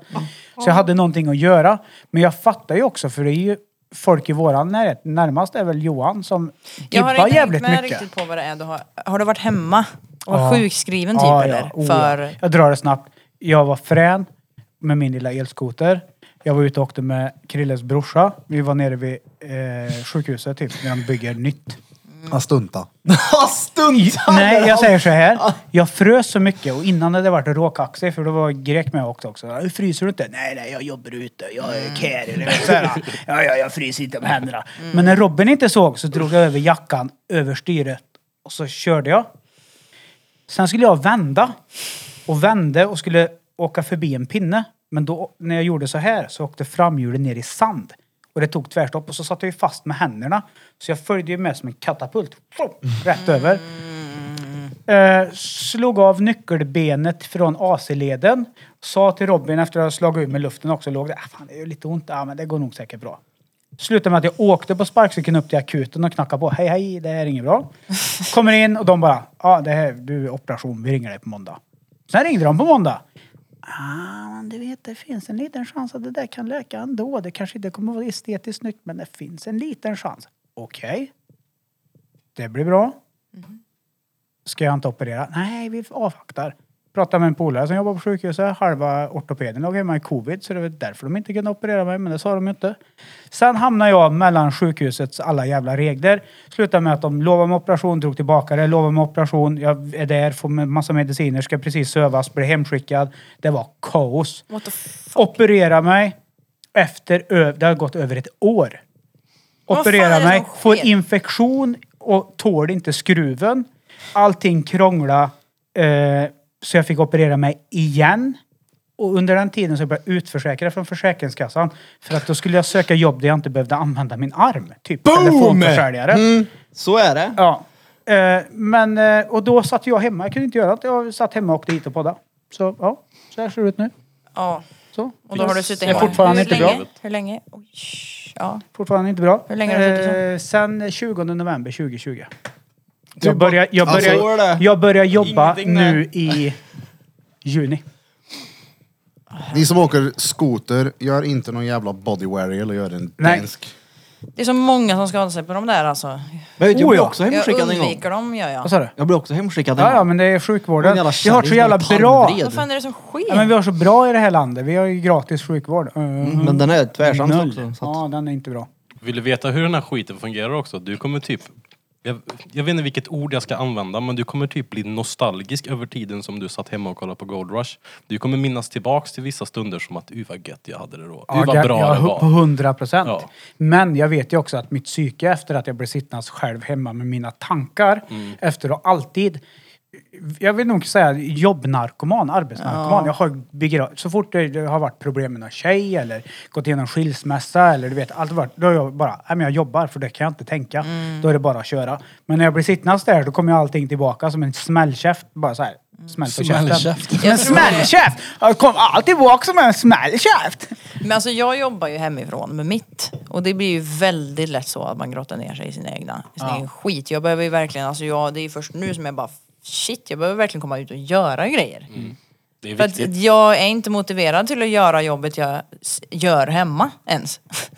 S2: Så jag hade någonting att göra. Men jag fattar ju också för det är ju folk i våran närhet. Närmast är väl Johan som
S4: Jag
S2: gibbar
S4: har inte hängt
S2: jävligt
S4: med
S2: mycket.
S4: riktigt på vad det är du har. Har du varit hemma och varit
S2: Ja.
S4: sjukskriven typ
S2: Ja, ja.
S4: eller?
S2: Oh, ja.
S4: För...
S2: Jag drar det snabbt. Jag var frän med min lilla elskoter. Jag var ute och åkte med Krilles brorsa. Vi var nere vid eh, sjukhuset typ, när de bygger nytt.
S1: Han stunta.
S5: Ha, Stunt!
S2: Nej, jag säger så här. Jag frös så mycket och innan hade det varit råkaxig för då var grek med också. också. "Ja, Fryser du inte? Nej, nej, jag jobbar ute. Jag är carry. du vet, så här. Ja, ja, jag fryser inte med händerna. Men när Robin inte såg så drog jag över jackan över styret och så körde jag. Sen skulle jag vända och vände och skulle åka förbi en pinne. Men då när jag gjorde så här så åkte framhjulet ner i sand. Och det tog tvärstopp och så satt jag ju fast med händerna. Så jag följde ju med som en katapult. Rätt över. Eh, slog av nyckelbenet från AC-leden. Sa till Robin efter att jag slagit ur med luften också, låg där. Ah, fan, det gör lite ont. Ah, men det går nog säkert bra. Slutade med att jag åkte på sparkcykeln upp till akuten och knackade på. Hej, hej, det här är inget bra. Kommer in och de bara, ja, ah, det här, du är operation, vi ringer dig på måndag. Sen ringde de på måndag. Ah, men du vet, det finns en liten chans att det där kan läka ändå. Det kanske inte kommer vara estetiskt snyggt, men det finns en liten chans. Okej. Det blir bra. Ska jag inte operera? Nej, vi avvaktar. Pratade med en polare som jobbar på sjukhuset. Halva ortopeden låg hemma i covid, så det var därför de inte kunde operera mig, men det sa de ju inte. Sen hamnade jag mellan sjukhusets alla jävla regler. Slutade med att de lovade mig operation, drog tillbaka det, lovade mig operation. Jag är där, får med massa mediciner, ska precis sövas, blir hemskickad. Det var kaos.
S4: What the fuck?
S2: Operera mig. Efter, ö- det har gått över ett år.
S4: Vad fan är
S2: Operera
S4: det
S2: mig,
S4: som sker?
S2: får infektion och tål inte skruven. Allting krångla. Eh, så jag fick operera mig igen. Och under den tiden så blev jag utförsäkrad från Försäkringskassan. För att då skulle jag söka jobb där jag inte behövde använda min arm. Typ
S5: Boom!
S2: telefonförsäljare.
S5: Mm. Så är det.
S2: Ja. Eh, men, eh, och då satt jag hemma. Jag kunde inte göra något. Jag satt hemma och åkte hit och poddade. Så ja, så här ser det ut nu.
S4: Ja.
S2: Så.
S4: Och då har du suttit
S2: är
S4: hemma.
S2: fortfarande
S4: Hur
S2: inte
S4: länge?
S2: bra.
S4: Hur länge? Oj, sh- ja.
S2: Fortfarande inte bra.
S4: Hur länge har du suttit så?
S2: eh, Sen 20 november 2020. Jag börjar, jag
S5: Alltså,
S2: börjar,
S5: var det?
S2: jag börjar jobba
S5: Ingenting med.
S2: nu i juni.
S1: Ni som åker skoter, gör inte någon jävla bodywear eller gör en
S2: Nej.
S1: dansk.
S4: Det är så många som skadar sig på de där alltså.
S5: Men jag, vet, jag
S2: Oh,
S5: blev
S2: ja.
S5: också
S4: Jag
S5: hemskickad en gång.
S4: undviker dem gör jag.
S2: Vad sa du?
S5: Jag blev också hemskickad en
S2: Ja, ja,
S5: gång.
S2: men det är sjukvården.
S5: En jävla
S2: Vi har så
S5: kärring
S2: jävla
S5: med
S2: bra...
S5: tarmvred.
S4: Vad fan är det som sker?
S2: Ja, men vi har så bra i det här landet. Vi har ju gratis sjukvård. Mm,
S5: Men den är tvärsams
S2: Noll.
S5: också. Så att,
S2: Ja, den är inte bra.
S3: Vill du veta hur den här skiten fungerar också? Du kommer typ... Jag, jag vet inte vilket ord jag ska använda, men du kommer typ bli nostalgisk över tiden som du satt hemma och kollade på Gold Rush. Du kommer minnas tillbaks till vissa stunder som att uy vad gött jag hade det då. Uy vad
S2: jag-
S3: bra
S2: jag,
S3: det
S2: På
S3: var.
S2: hundra procent.
S3: Ja.
S2: Men jag vet ju också att mitt psyke efter att jag blev sittandes själv hemma med mina tankar,
S3: Mm.
S2: efter att alltid jag vill nog säga jobbnarkoman, arbetsnarkoman. Jag har begra- så fort det det har varit problem med någon tjej eller gått igenom skilsmässa eller du vet, allt har varit, då har jag bara, nej men jag jobbar för det kan jag inte tänka. Då är det bara att köra. Men när jag blir sittandes där då kommer ju allting tillbaka som en smällkäft. Bara så här, smäll på käften.
S6: Smällkäft.
S2: Som en smällkäft! Jag kom alltid bak som en smällkäft!
S4: Men alltså jag jobbar ju hemifrån med mitt. Och det blir ju väldigt lätt så att man grottar ner sig i sin egna i sin egen skit. Jag behöver ju verkligen, alltså jag, det är ju först nu som jag bara shit, jag behöver verkligen komma ut och göra grejer.
S3: Det är
S4: För att
S3: viktigt.
S4: jag är inte motiverad till att göra jobbet jag s- gör hemma ens. För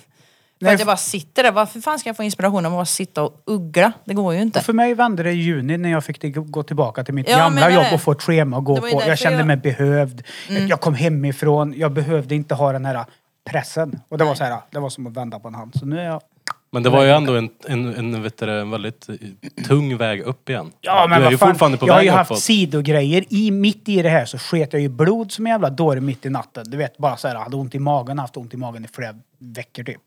S2: Nej,
S4: att jag bara sitter där. Varför fan ska jag få inspiration om att bara sitta och uggla? Det går ju inte.
S2: För mig vände det i juni när jag fick det- gå tillbaka till mitt
S4: Ja,
S2: gamla
S4: men det-
S2: jobb och få ett schema att gå
S4: det var ju
S2: på. Jag
S4: därför
S2: kände
S4: jag- Mm.
S2: mig behövd. Jag kom hemifrån. Jag behövde inte ha den här pressen. Och det var så här, det var som att vända på en hand. Så nu är jag...
S3: Men det var ju ändå en, en, en, vet du, det, en väldigt eh, tung väg upp igen.
S2: Ja, men
S3: du är
S2: vad
S3: ju
S2: fan.
S3: fortfarande på
S2: jag har
S3: väg
S2: ju
S3: uppåt.
S2: haft sidogrejer. I, mitt i det här så sket jag ju blod som en jävla dåre mitt i natten. Du vet, bara så här, hade ont i magen, haft ont i magen i flera veckor typ.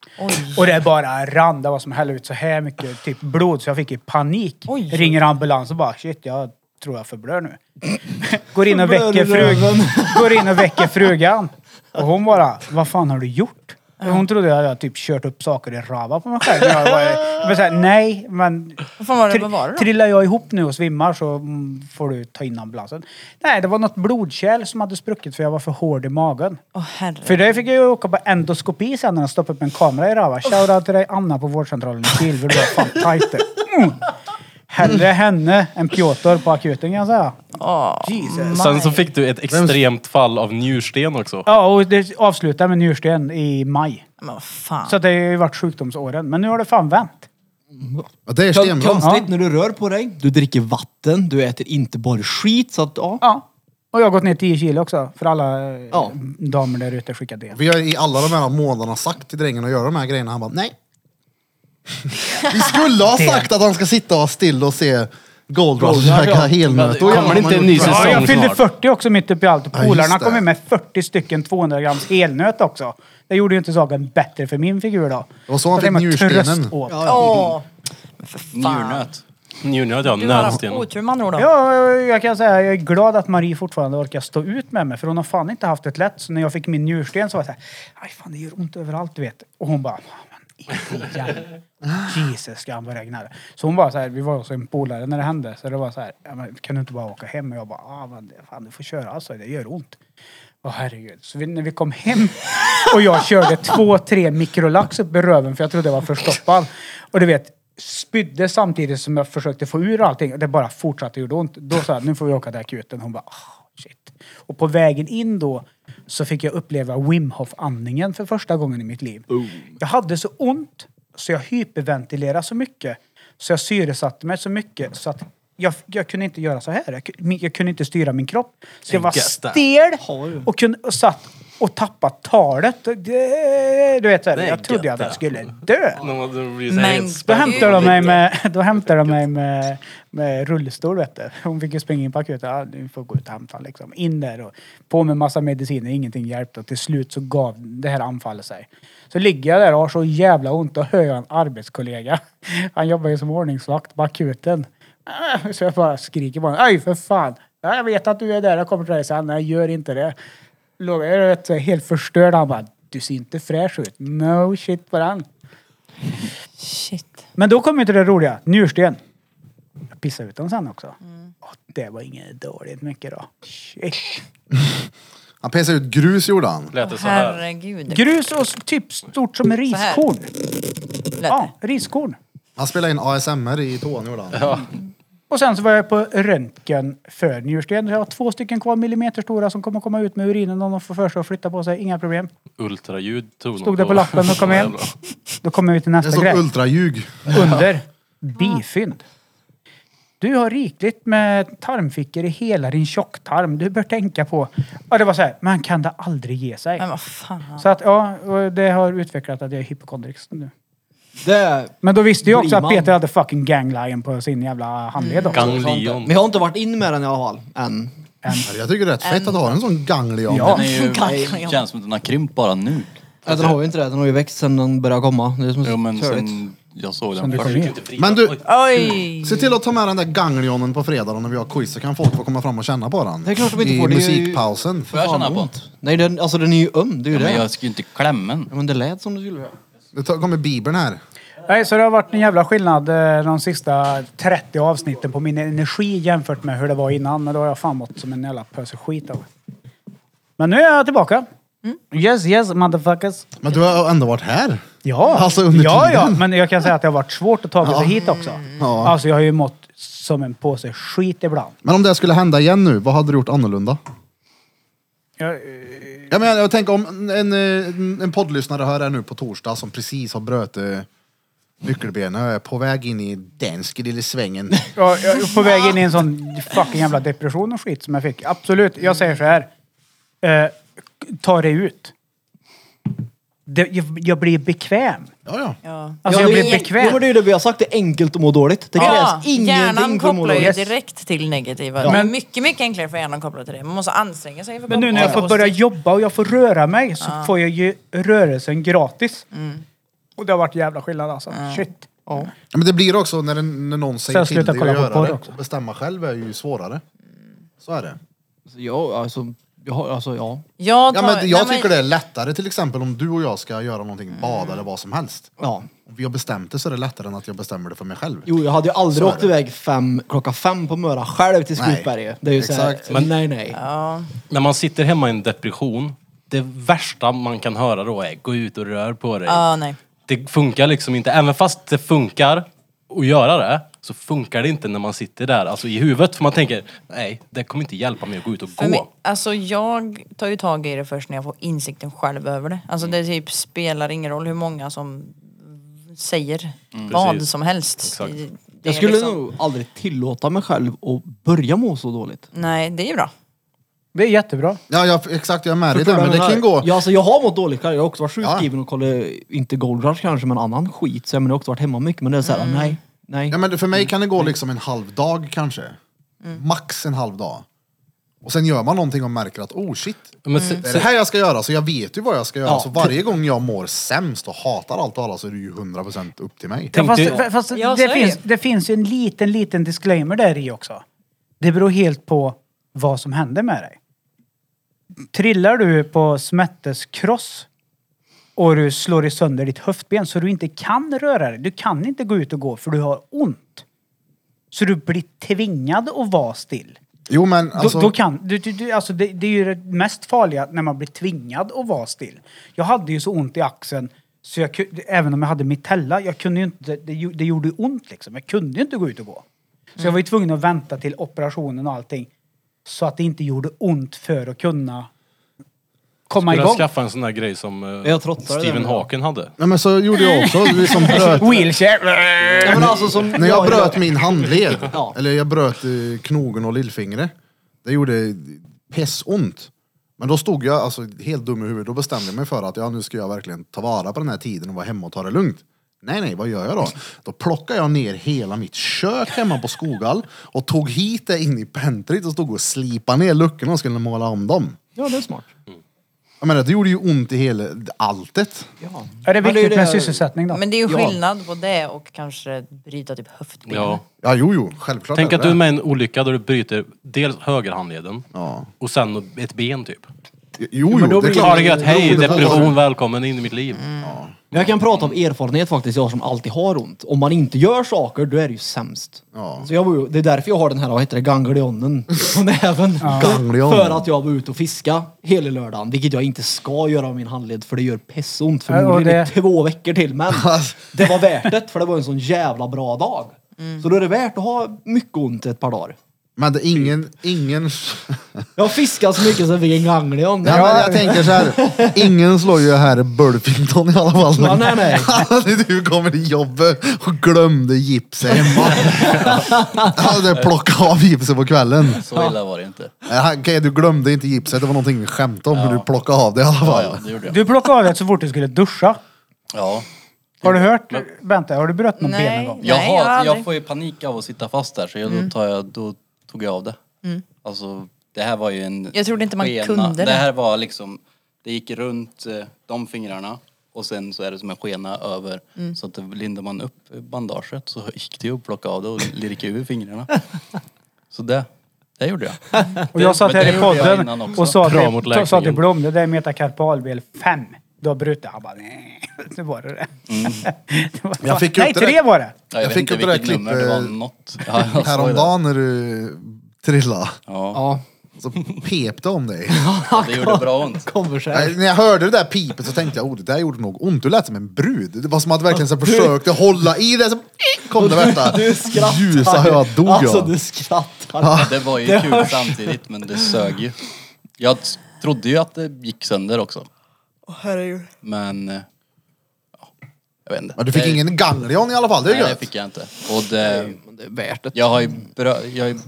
S2: Och det bara rann. Det var som att hälla ut så här mycket typ blod så jag fick ju panik.
S4: Oj.
S2: Ringer ambulans och bara shit, jag tror jag förblör nu. Går in och
S5: Förblör
S2: väcker
S5: i röven.
S2: frugan. Går in och väcker frugan. Och hon bara, vad fan har du gjort? Hon trodde jag hade typ kört upp saker i rava på mig själv. Men Jag bara, men så här, nej, men
S4: Vad fan var det?
S2: Tri-
S4: Vad var det då?
S2: Trillar jag ihop nu och svimmar så mm, får du ta in ambulansen. Nej, det var något blodkärl som hade spruckit för jag var för hård i magen.
S4: Åh herre.
S2: För det fick jag ju åka på endoskopi sen när de stoppade upp en kamera i röva. Shoutout till dig Anna på vårdcentralen i Kil, för du var fan tajt där. mm. Hellre henne än Piotr på akuten kan jag säga.
S4: Åh,
S2: Jesus.
S3: Sen så fick du ett extremt fall av njursten också.
S2: Ja, och det avslutade med njursten i maj.
S4: Men vad fan.
S2: Så det har ju varit sjukdomsåren. Men nu har det fan vänt.
S1: Ja, det är
S5: Kon-
S1: stenbra.
S5: Konstigt när du rör på dig. Du dricker vatten, du äter inte bara skit. Så att, ja.
S2: Ja. Och jag har gått ner 10 kilo också. För alla eh,
S5: Ja.
S2: damer där ute skickar det.
S1: Vi har i alla de här månaderna sagt till drängen att göra de här grejerna. Han bara, nej. Vi skulle ha sagt att han ska sitta och still och se Gold Rush
S5: Gold Rush,
S1: käka
S5: ja.
S1: helnöt.
S8: Kommer det inte en ny
S1: Ja,
S2: Ja, jag
S8: säsong
S2: fyllde
S8: snart.
S2: 40 också mitt uppe i allt.
S1: just
S2: Polarna
S1: det.
S2: kom ju med 40 stycken 200 grams helnöt också. Det gjorde ju inte saken bättre för min figur då.
S1: Det var så han
S2: det
S1: fick
S2: man
S1: njurstenen.
S2: tröståt. Ja, Mm.
S4: Åh. Men för fan.
S8: Njurnöt.
S3: Njurnöd ja,
S4: Du har haft
S3: nödsten.
S4: otur med andra ord då.
S2: jag kan säga jag är glad att Marie fortfarande orkar stå ut med mig för hon har fan inte haft det lätt. Så när jag fick min njursten så var jag såhär, aj fan det gör ont överallt du vet. Och hon bara, "Fan, men igen." Jesus ska han börja gnälla. Så hon bara så här, vi var hos en polare när det hände. Så det var så här, "Ja, men kan du inte bara åka hem? Och jag bara, ah, men det- fan du får köra alltså, det gör ont. Åh herregud. Så vi, när vi kom hem och jag körde två, tre mikrolax upp i röven för jag trodde jag var förstoppad. Och du vet, spydde samtidigt som jag försökte få ur allting. Och det bara fortsatte gjorde ont. Då sa jag, nu får vi åka till akuten. Hon bara, ah, shit. Och på vägen in då så fick jag uppleva Wim Hof-andningen för första gången i mitt liv. Jag hade så ont så jag hyperventilerade så mycket. Så jag syresatte mig så mycket så att jag, jag kunde inte göra så här. Jag, ku- min- jag kunde inte styra min kropp. Så jag var
S3: guess that.
S2: stel och, kunde, och satt och tappade talet. Det- Du vet, så här,
S3: Nej,
S2: jag trodde
S3: gött
S2: att jag
S3: det.
S2: skulle dö.
S4: Men-
S2: Då
S4: Gud.
S2: hämtade de mig med, då hämtade de mig med, med rullstol vet du. Hon fick ju springa in på akuten. Ja, du får gå ut och hämta honom, liksom. In där och på med massa mediciner. Ingenting hjälpte och till slut så gav det här anfallet sig. Så ligger jag där och har så jävla ont och hör jag en arbetskollega. Han jobbar ju som ordningsvakt på akuten. Ah, Så jag bara skriker på honom. Aj för fan! Ja, Jag vet att du är där, jag kommer till dig sen. Nej, gör inte det. Låg jag vet, så här helt förstörd. Han bara, du ser inte fräsch ut. No shit på den.
S4: Shit.
S2: Men då kommer ju inte det roliga. Njursten. Jag pissade ut den sen också. Åh, det var inget dåligt mycket då. Shit.
S1: Han pissade ut grus gjorde han.
S3: Lät det
S4: Åh,
S3: så här.
S4: Herregud.
S2: Grus och s- typ stort som riskorn.
S4: Lät det.
S2: Ja, riskorn.
S1: Han spelade in ASMR i tån gjorde han.
S2: Och sen så var jag på röntgen för njursten. Jag har två stycken kvar millimeter stora som kommer komma ut med urinen om de får för sig att flytta på sig. Inga problem.
S3: Ultraljud tog
S2: Stod det på lappen och kom hem. Då kommer vi till
S1: Det
S2: nästa
S1: stod
S2: grej.
S1: ultraljug.
S2: Under. Bifynd. Du har rikligt med tarmfickor i hela din tjocktarm. Du bör tänka på... Ja, det var så här. Man kan det aldrig ge sig.
S4: Men vad fan.
S2: Så att ja, och det har utvecklat att jag är hypokondrisk nu.
S5: Det,
S2: Men då visste jag också att
S5: Blir man. Mm.
S2: Peter hade fucking ganglion på sin jävla handled också.
S5: men
S3: Ganglion.
S5: jag har inte varit in med den i alla fall än.
S1: Jag tycker det är rätt fett att ha en sån ganglion.
S2: Ja.
S8: Den är ju,
S4: Ganglion.
S8: det känns som att den har krympt bara nu.
S5: Ja, den har ju inte det. Den har ju växt sedan den började komma. Det är som
S8: Jo men
S5: törligt.
S8: sen jag såg
S2: Som
S8: den
S2: du kom
S8: först.
S2: in.
S1: Men du,
S4: Oj!
S1: se till att ta med den där ganglionen på fredag när vi har quiz så kan folk få komma fram och känna på den.
S5: Det är klart de inte
S1: I
S5: får, det är ju-
S1: musikpausen.
S8: Får jag
S5: Fan,
S8: känna
S5: vad
S8: på?
S5: ont. Nej, den, alltså den är ju öm. Det är ju det.
S8: Men jag ska ju inte klämma den.
S5: Ja, men det lät som det skulle göra.
S1: Det tar- kommer Bibeln här.
S2: Nej, så det har varit en jävla skillnad eh, de sista 30 avsnitten på min energi jämfört med hur det var innan. Men då har jag fan mått som en jävla pöse skit av. Men nu är jag tillbaka.
S5: Mm.
S2: Yes, yes, motherfuckers.
S1: Men du har ändå varit här.
S2: Ja.
S1: Alltså, under
S2: ja, ja,
S1: tiden.
S2: men jag kan säga att det har varit svårt att ta sig hit också.
S1: Ja.
S2: Alltså jag har ju mått som en påse skit ibland.
S1: Men om det skulle hända igen nu, vad hade du gjort annorlunda?
S2: Jag, eh,
S1: Jag, menar, jag tänker om en, eh, en poddlyssnare hör här nu på torsdag som precis har bröt eh, nyckelbenet och är på väg in i dansk lille svängen.
S2: jag, jag är på väg in i en sån fucking jävla depression och skit som jag fick. Absolut, jag säger så här. Eh, ta det ut. Det, jag, jag blir bekväm.
S1: Ja, ja.
S4: Ja.
S2: Alltså
S5: Ja,
S2: jag
S5: det-
S2: blir bekväm.
S5: Ja, men det är ju det vi har sagt, det är enkelt att må dåligt. Det krävs
S4: Ja,
S5: ingenting
S4: hjärnan
S5: för att må
S4: kopplar ju
S5: dåligt.
S4: direkt till negativa. Det är
S2: Men-
S4: mycket, mycket enklare för hjärnan att koppla till det. Man måste anstränga sig för att
S2: Men
S4: komma
S2: nu när jag
S4: på
S2: får
S4: det.
S2: börja jobba och jag får röra mig så får jag ju rörelsen gratis.
S5: Mm.
S2: Och det har varit jävla skillnad alltså. Shit.
S1: Ja, Men det blir också när, en- när någon säger
S2: jag
S1: till
S2: slutar
S1: dig
S2: kolla
S1: att
S2: på
S1: göra
S2: porr
S1: det.
S2: också.
S1: Och bestämma själv är ju svårare. Så är det.
S5: Ja, alltså, ja, alltså ja.
S4: Jag,
S1: Ja,
S4: tar,
S1: men jag
S4: nej,
S1: tycker det är lättare till exempel om du och jag ska göra någonting, bada eller vad som helst.
S5: ja.
S1: Om vi har bestämt det så är det lättare än att jag bestämmer det för mig själv.
S5: Jo, jag hade ju aldrig
S1: Så är
S5: åkt
S1: det.
S5: iväg fem, klockan fem på Möra själv till
S1: Nej.
S5: Skutberget. Det är ju såhär,
S1: Exakt.
S5: men nej nej.
S3: När man sitter hemma i en depression, det värsta man kan höra då är gå ut och rör på dig.
S4: Ja, nej.
S3: Det funkar liksom inte. Även fast det funkar att göra det, så funkar det inte när man sitter där, alltså i huvudet. För man tänker, nej, det kommer inte hjälpa mig att gå ut och
S4: För
S3: gå.
S4: mig, alltså jag tar ju tag i det först när jag får insikten själv över det. Alltså det typ spelar ingen roll hur många som säger vad
S3: Precis.
S4: som helst.
S3: Exakt.
S4: Det- det är
S5: Jag skulle
S4: liksom-
S5: nog aldrig tillåta mig själv att börja må så dåligt.
S4: Nej, det är ju bra.
S2: Det är jättebra.
S1: Ja, jag, exakt, jag är med dig
S5: Förstår
S1: där.
S5: du
S1: Men
S5: vad
S1: det
S5: jag
S1: kan ju
S5: menar?
S1: gå...
S5: Ja, alltså, jag har mått dåligt själv. Jag har också varit
S1: Ja.
S5: sjukskriven och kollat, inte Gold Rush kanske, men annan skit. Så jag, menar, jag har också varit hemma mycket, men det är såhär, nej, nej.
S1: Mm. Ja, men för
S2: Mm.
S1: mig kan det gå liksom en halv dag kanske. Max en halv dag. Och sen gör man någonting och märker att oh shit,
S3: Men se-
S1: det är
S3: se-
S1: det här jag ska göra. Så jag vet ju vad jag ska göra.
S5: Ja.
S1: Så varje gång jag mår sämst och hatar allt och alla så är det ju 100% upp till mig.
S3: Tänk
S2: Fast,
S3: dig-
S2: fa- fast
S4: Ja, så
S2: det,
S4: är det ju.
S2: finns, det finns ju en liten, liten disclaimer där i också. Det beror helt på vad som händer med dig. Trillar du på smätteskross och du slår i sönder ditt höftben så du inte kan röra dig. Du kan inte gå ut och gå för du har ont. Så du blir tvingad att vara still.
S1: Jo men alltså,
S2: då, då kan, du, du, du, alltså det, det är ju det mest farliga när man blir tvingad att vara still. Jag hade ju så ont i axeln, så jag, ku- även om jag hade mitella, jag kunde ju inte, det, gjo- det gjorde ju ont liksom. Jag kunde ju inte gå ut och gå. Så jag var ju tvungen att vänta till operationen och allting. Så att det inte gjorde ont för att kunna komma
S3: Skulle jag
S2: igång.
S3: skaffa en sån där grej som eh,
S5: Jag trottar det
S3: Stephen
S5: där.
S3: Hawking hade.
S1: ja, men så gjorde jag också. Det är som bröt,
S2: Wheelchair!
S5: Ja, men alltså, som
S1: när jag bröt min handled,
S5: Ja.
S1: eller jag bröt eh, knogen och lillfingret. Det gjorde pissont. Men då stod jag alltså, helt dum i huvudet. Då bestämde jag mig för att ja, nu ska jag verkligen ta vara på den här tiden och vara hemma och ta det lugnt. Nej, nej, vad gör jag då? Då plockade jag ner hela mitt kök hemma på Skogal och tog hit det in i pentryt och stod och slipade ner luckorna och skulle måla om dem.
S5: Ja, det är smart.
S1: Jag menar, det gjorde ju ont i hela alltet.
S5: Ja.
S2: Är det
S5: Men
S2: viktigt
S5: ju
S2: med sysselsättning då?
S4: Men det är ju
S5: Ja.
S4: skillnad på det och kanske bryta typ höftbenet.
S3: Ja.
S1: Ja, jo, jo, självklart.
S3: Tänk
S1: är
S3: att
S1: det
S3: du är
S1: det.
S3: med i en olycka där du bryter dels högerhandleden
S1: Ja.
S3: och sen ett ben typ.
S1: Jo,
S2: Men då
S1: jo, det är
S2: blir
S1: klart.
S3: Har det gött, hej
S1: Jo, det-
S3: depression, välkommen in i mitt liv.
S5: Men jag kan prata av erfarenhet faktiskt, jag som alltid har ont. Om man inte gör saker, då är det ju sämst.
S1: Ja.
S5: Så jag var ju, det är därför jag har den här, vad heter det, ganglionen på näven.
S1: Ganglionen.
S5: För att jag var ute och fiska hela lördagen, vilket jag inte ska göra av min handled för det gör pissont förmodligen
S2: Ja, och
S5: i två veckor till. Men
S1: Alltså.
S5: det var värt det, för det var en sån jävla bra dag. Så då är det värt att ha mycket ont ett par dagar.
S1: Men det är ingen, ingen
S5: Jag fiskade så mycket så jag fick en ganglion.
S1: Ja, men jag tänker så här. Ingen slår ju här Burfington i alla fall.
S5: Ja, nej, nej.
S1: Alltså, du kommer till jobbet och glömde gipset hemma. Alltså, plocka av gipset på kvällen.
S8: Så illa var det inte.
S1: Eh, Okej, du glömde inte gipset. Det var någonting vi skämtade om, men du plockade av det i alla
S8: Ja,
S1: fall.
S8: ja, det gjorde jag.
S2: Du plockade av det så fort du skulle duscha.
S8: Ja.
S2: Har du hört, Bente? Har du bröt något ben någon
S4: Nej,
S2: gång?
S8: Jag,
S4: nej,
S8: har, jag,
S4: aldrig. Mm.
S8: får ju panik av att sitta fast där så jag, då, tar jag, då tog jag av det. Alltså det här var ju en
S4: Jag trodde inte man
S8: skena.
S4: kunde
S8: det.
S4: det.
S8: här var liksom, det gick runt eh, de fingrarna och sen så är det som en skena över.
S4: Mm.
S8: Så att då lindar man upp bandaget så gick det ju att plocka av det och lirka ur fingrarna. Så det, det gjorde jag.
S2: Och jag satt
S8: Men
S2: här
S8: det
S2: i
S8: gjorde jag
S2: podden
S8: innan också.
S2: och sa
S3: Bra mot
S2: till, sa till
S3: läkningen.
S2: Blom, det där är metakarpalbel 5. Du har brutit. Han bara, nej. Det var det det.
S8: Mm.
S2: det. var-
S1: Jag fick ju
S2: nej,
S1: inte
S2: tre
S1: det.
S2: var det.
S8: Ja, jag,
S1: Jag
S8: vet
S1: fick
S8: inte
S1: upp det där
S8: vilket nummer, det var
S1: klippet,
S8: något. Ja, jag såg det.
S1: Häromdagen när du trillade
S8: Ja,
S5: Ja,
S1: så pep det om dig.
S8: det gjorde bra ont.
S5: kommer så här.
S1: Nej, När jag hörde det där pipet så tänkte jag, oh det där gjorde nog ont. Du lät som en brud. Det var som att verkligen så här försökte hålla i det. Så kom det värsta
S5: Du skrattar.
S1: ljusa jag dog
S5: Alltså
S1: av.
S5: du skrattar.
S8: Det var ju kul samtidigt men det sög ju. Jag t- Trodde ju att det gick sönder också.
S4: Åh herregud.
S8: Men... eh, ja, Jag vet inte.
S1: Men du fick
S8: Det-
S1: ingen ganglion i alla fall, det är
S8: Nej, det
S1: gött.
S8: fick jag inte. Och det,
S5: Men det är värt det.
S8: jag har ju brö- jag har ju,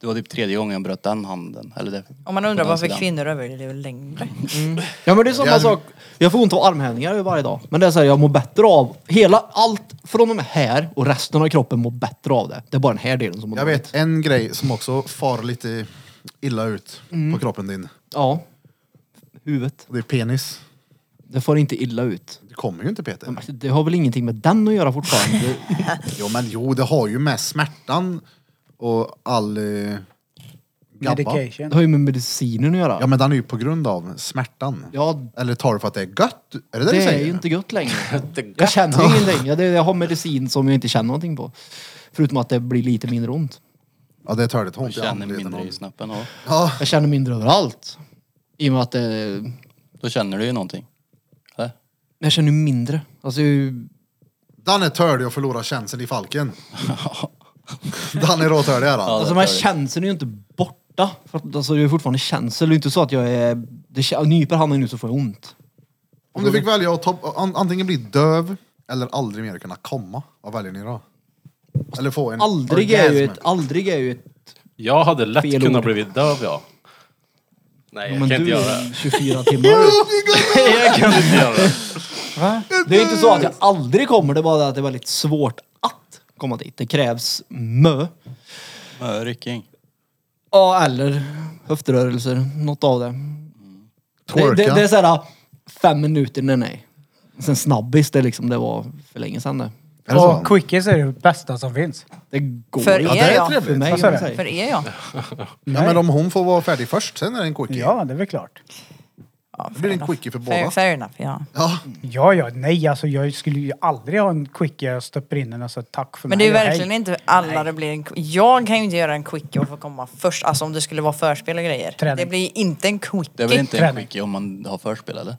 S8: Det var typ tredje gången jag bröt den handen. Eller det,
S4: Om man undrar
S8: på den
S4: varför
S8: sidan.
S4: kvinnor överlever längre.
S5: Ja men det är samma
S1: Jag-
S5: sak. Jag får ont av armhävningar varje dag. Men det är så här, jag mår bättre av hela, allt från och med här och resten av kroppen mår bättre av det. Det är bara den här delen som mår
S1: Jag
S5: dåligt.
S1: vet en grej som också far lite illa ut på kroppen din.
S5: Ja. Huvudet.
S1: Det är penis.
S5: Det får inte illa ut.
S1: Det kommer ju inte Peter.
S5: Alltså, Det har väl ingenting med den att göra fortfarande? Det-
S1: Jo men jo, det har ju med smärtan och all eh, gabba.
S5: Det
S2: Medication.
S5: har ju med medicinen att göra.
S1: Ja men den är ju på grund av smärtan.
S5: Ja,
S1: Eller tar du för att det är gött? Är det det,
S5: det
S1: du säger?
S5: är ju inte gött längre. Jag känner ju ingenting. Jag, det- jag har medicin som jag inte känner någonting på. Förutom att det blir lite mindre ont.
S1: Ja det är törligt. Ont i
S8: känner
S1: andleden.
S8: mindre i
S1: och-
S8: snoppen. Och
S1: Ja,
S5: Jag känner mindre överallt. I och med att det,
S8: då känner du ju någonting. Eller?
S5: jag känner mindre. Alltså, jag-
S1: den är törlig att förlora känseln i falken. den är råtörlig är
S8: Ja,
S1: den.
S8: det
S5: alltså den här
S8: tar vi.
S5: känseln är ju inte borta. För att, alltså, det är fortfarande känsel. Det är inte så att jag är... Det, kä- nyper handen nu så får jag ont.
S1: Om du fick välja att ta, an, antingen bli döv eller aldrig mer kunna komma. Vad väljer ni då? Eller få en
S5: Aldrig är ju
S1: orgasm.
S5: ett... Aldrig är ju ett
S3: Jag hade lätt
S5: Fel
S3: kunnat
S5: ord.
S3: blivit döv, ja. Nej, jag kan
S5: men
S3: inte
S5: du
S3: göra det.
S5: är 24 timmar.
S3: Jag kan inte göra det.
S2: Va?
S5: Det är inte så att jag aldrig kommer, det är bara att det är väldigt svårt att komma dit. Det krävs mö.
S8: Mö, rycking.
S5: Ja, eller höftrörelser. Något av det. Det,
S1: Twerka.
S5: det, det är såhär, fem minuter, nej nej. Sen snabbis, det, är liksom, det var för länge sedan det.
S1: Är det så?
S2: Och quickies är det bästa som finns.
S5: Det går
S4: För
S5: inte.
S1: Ja, det är
S4: er ja.
S1: trevligt.
S5: För mig,
S2: Vad sa
S5: om jag
S2: du?
S5: säger.
S4: För er ja.
S1: Ja, men om hon får vara färdig först, sen är det en quickie.
S2: Ja, det är väl klart.
S4: ja
S1: Det blir
S4: fair
S1: en
S4: enough.
S1: quickie för
S4: Fair,
S1: båda.
S4: fair enough, ja.
S1: Ja,
S2: Ja, ja, nej alltså jag skulle ju aldrig ha en quickie jag stoppar in den. Alltså tack för
S4: Men
S2: mig.
S4: det är ju
S2: och hej.
S4: verkligen inte alla det blir en... Jag kan ju inte göra en quickie och få komma först. Alltså om det skulle vara förspel och grejer.
S2: Träning.
S4: Det blir inte en
S8: Det är
S4: quickie.
S8: väl inte en
S2: Träning.
S8: quickie om man har förspel eller?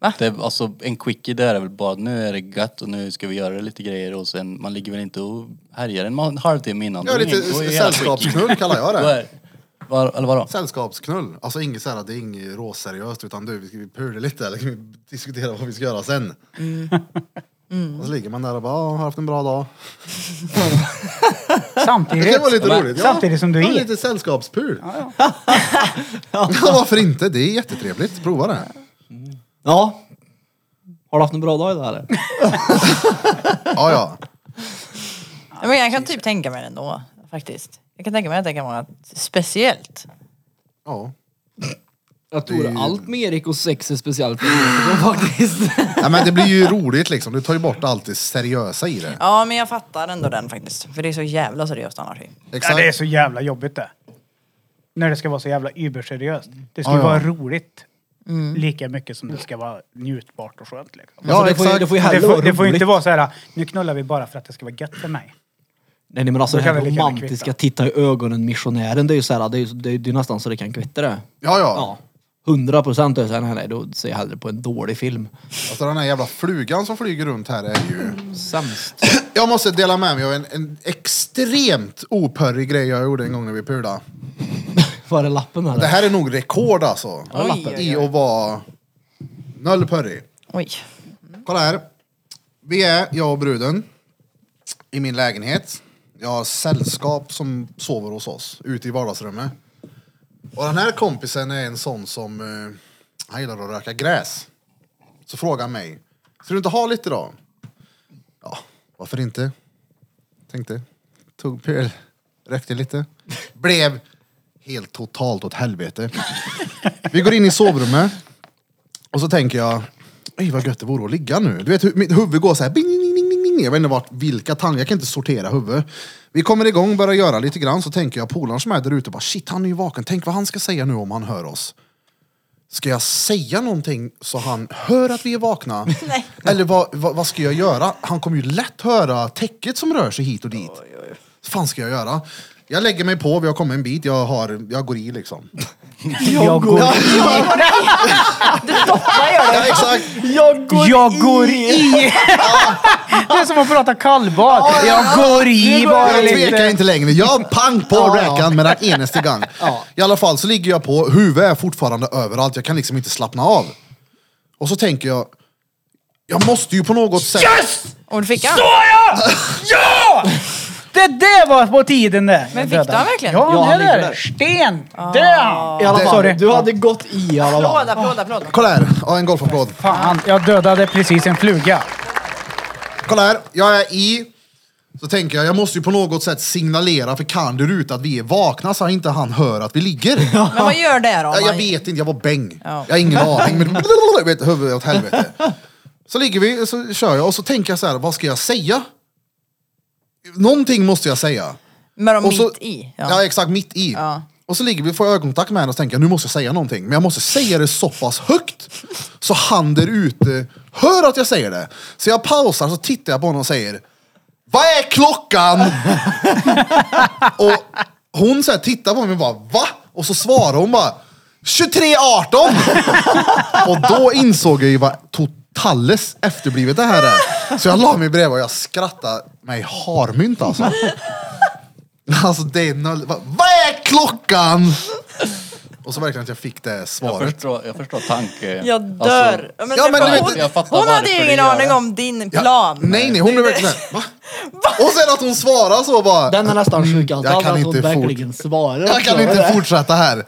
S4: Va?
S8: Det är, alltså en quickie där är väl bara nu är det gött och nu ska vi göra lite grejer och sen man ligger väl inte och härjar en, ma- en halvtimme innan.
S1: jag är
S8: Då
S1: lite
S5: Mm.
S8: ingen- då är jag quickie.
S1: sällskapsknull kallar jag
S8: Då
S1: det.
S8: är- Var, eller vadå?
S1: Sällskapsknull. Alltså inget så här, det är inget råseriöst utan du, vi ska vi pula lite eller kan vi diskutera vad vi ska göra sen?
S5: Mm.
S1: Och så ligger man där och bara, "Ja, har haft en bra dag. Det
S2: Samtidigt.
S1: kan vara lite
S8: Men-
S1: roligt.
S2: samtidigt som du
S1: Ja,
S2: är-
S1: Lite sällskapspul. Ja, varför inte? Det är jättetrevligt. Prova det.
S5: Ja. Har du haft en bra dag idag eller?
S1: Ja, ja.
S4: Ja, Men jag kan typ tänka mig det ändå faktiskt. Jag kan tänka mig att det kan vara speciellt.
S1: ja.
S5: Jag tror allt med Erik och sex är speciellt för mig, faktiskt.
S1: ja men det blir ju roligt liksom. Du tar ju bort allt det seriösa i det.
S4: Ja men jag fattar ändå den faktiskt. För det är så jävla seriöst annars ju.
S2: Ja, det är
S1: Exakt.
S2: så jävla jobbigt det. När det ska vara så jävla überseriöst. Det ska
S1: Ja,
S2: ju
S1: ja.
S2: vara roligt. Lika mycket som det ska vara njutbart och skönt. Liksom.
S1: Ja,
S5: Alltså, det, får, ju-
S1: exakt.
S5: det får ju
S2: Det
S5: hellre
S2: får, det får ju
S5: roligt.
S2: inte vara så här, nu knullar vi bara för att det ska vara gött för mig.
S5: Nej, nej men alltså
S2: Då
S5: det
S2: kan
S5: här
S2: vi lika gärna
S5: romantiska,
S2: kvitta.
S5: titta i ögonen missionären, det är ju såhär, det är ju det är, det är nästan så det kan kvitta det.
S1: Ja, ja.
S5: Ja. 100 procent är det såhär, nej nej, då ser jag hellre på en dålig film.
S1: Alltså den här jävla flugan som flyger runt här är ju...
S5: Sämst.
S1: Jag måste dela med mig av en, en extremt opörrig grej jag gjorde en gång när vi pulade.
S5: Var det lappen eller?
S1: Det här är nog rekord alltså. I att vara noll pörrig.
S4: Oj.
S1: Kolla här. Vi är, jag och bruden, i min lägenhet. Jag har sällskap som sover hos oss, ute i vardagsrummet. Och den här kompisen är en sån som, eh, han gillar att röka gräs. Så frågar han mig, ska du inte ha lite då? Ja, varför inte? Tänkte, tog pil, rökte lite. Blev helt totalt åt helvete. Vi går in i sovrummet. Och så tänker jag, oj vad gött det vore att ligga nu. Du vet, hu- mitt huvud går så här, bing, bing, bing, bing, bing. Jag vet inte vart, vilka tankar, jag kan inte sortera huvudet. Vi kommer igång, börjar göra lite grann, så tänker jag polaren som är där ute, bara, shit han är ju vaken, tänk vad han ska säga nu om han hör oss. Ska jag säga någonting så han hör att vi är vakna? Eller vad, vad, vad ska jag göra? Han kommer ju lätt höra täcket som rör sig hit och dit. Vad fan ska jag göra? Jag lägger mig på, vi har kommit en bit, jag, har, jag går i liksom.
S2: Jag går,
S4: Du doppar ju
S1: Ja, exakt.
S5: Jag går
S2: jag går i! Det är som att prata kallbad. Jag går i bara
S1: Jag tvekar
S2: lite.
S1: inte längre. Jag pang på
S2: Ja, ja.
S1: räkan med den enaste gång. I alla fall så ligger jag på, huvudet är fortfarande överallt. Jag kan liksom inte slappna av. Och så tänker jag, jag måste ju på något sätt...
S4: Ordfickan.
S2: Det där var på tiden det.
S4: Men fick du han verkligen? Ah.
S5: Ja,
S2: Ja, det
S5: han ligger
S2: där.
S5: där.
S2: Sten! Död!
S5: I alla
S1: Det-
S5: fall,
S2: Sorry.
S5: du hade gått i i alla fall.
S4: Applåd, applåd, applåd.
S1: Kolla här, ja, en golfapplåd.
S2: Fan, jag dödade precis en fluga.
S1: Kolla här, jag är i. Så tänker jag, jag måste ju på något sätt signalera för kan du ut att vi är vakna så att inte han hör att vi ligger.
S4: Men vad gör det då? om
S1: Ja, jag
S4: man-
S1: vet inte, jag var bäng.
S4: Ja.
S1: Jag har ingen aning. Men vet, huvudet åt helvete. Så ligger vi, så kör jag och så tänker jag så här, vad ska jag säga? Någonting måste jag säga.
S4: Med dem
S1: Och så,
S4: mitt i?
S1: Ja.
S4: Ja.
S1: exakt, mitt i.
S4: Ja.
S1: Och så ligger vi, får jag ögonkontakt med henne och så tänker jag, nu måste jag säga någonting. Men jag måste säga det så pass högt så han där ute hör att jag säger det. Så jag pausar så tittar jag på honom och säger, vad är klockan? och hon så här tittar på mig och bara, va? Och så svarar hon bara, 23.18! och då insåg jag ju vad totales efterblivet det här är. Så jag la mig bredvid och jag skrattade mig harmynt alltså. Alltså det är noll... Va, vad är klockan? Och så verkligen att jag fick det
S8: Jag
S1: svaret.
S8: förstår, jag förstår tanke...
S4: Jag dör.
S8: Alltså,
S4: men
S1: Ja,
S4: det-
S1: men du vet-
S4: hon
S8: Jag fattar
S4: hon hade
S8: varför
S4: ju
S8: du
S4: ingen
S8: gör
S4: aning
S8: det.
S4: om din plan.
S1: nej, nej, hon blev verkligen såhär, va? Och sen att hon svarar så bara.
S5: Den är nästan sjukast
S1: jag
S5: av
S1: kan
S5: att hon
S1: inte fort-
S5: verkligen svarar.
S1: Jag kan
S5: också.
S1: inte fortsätta här.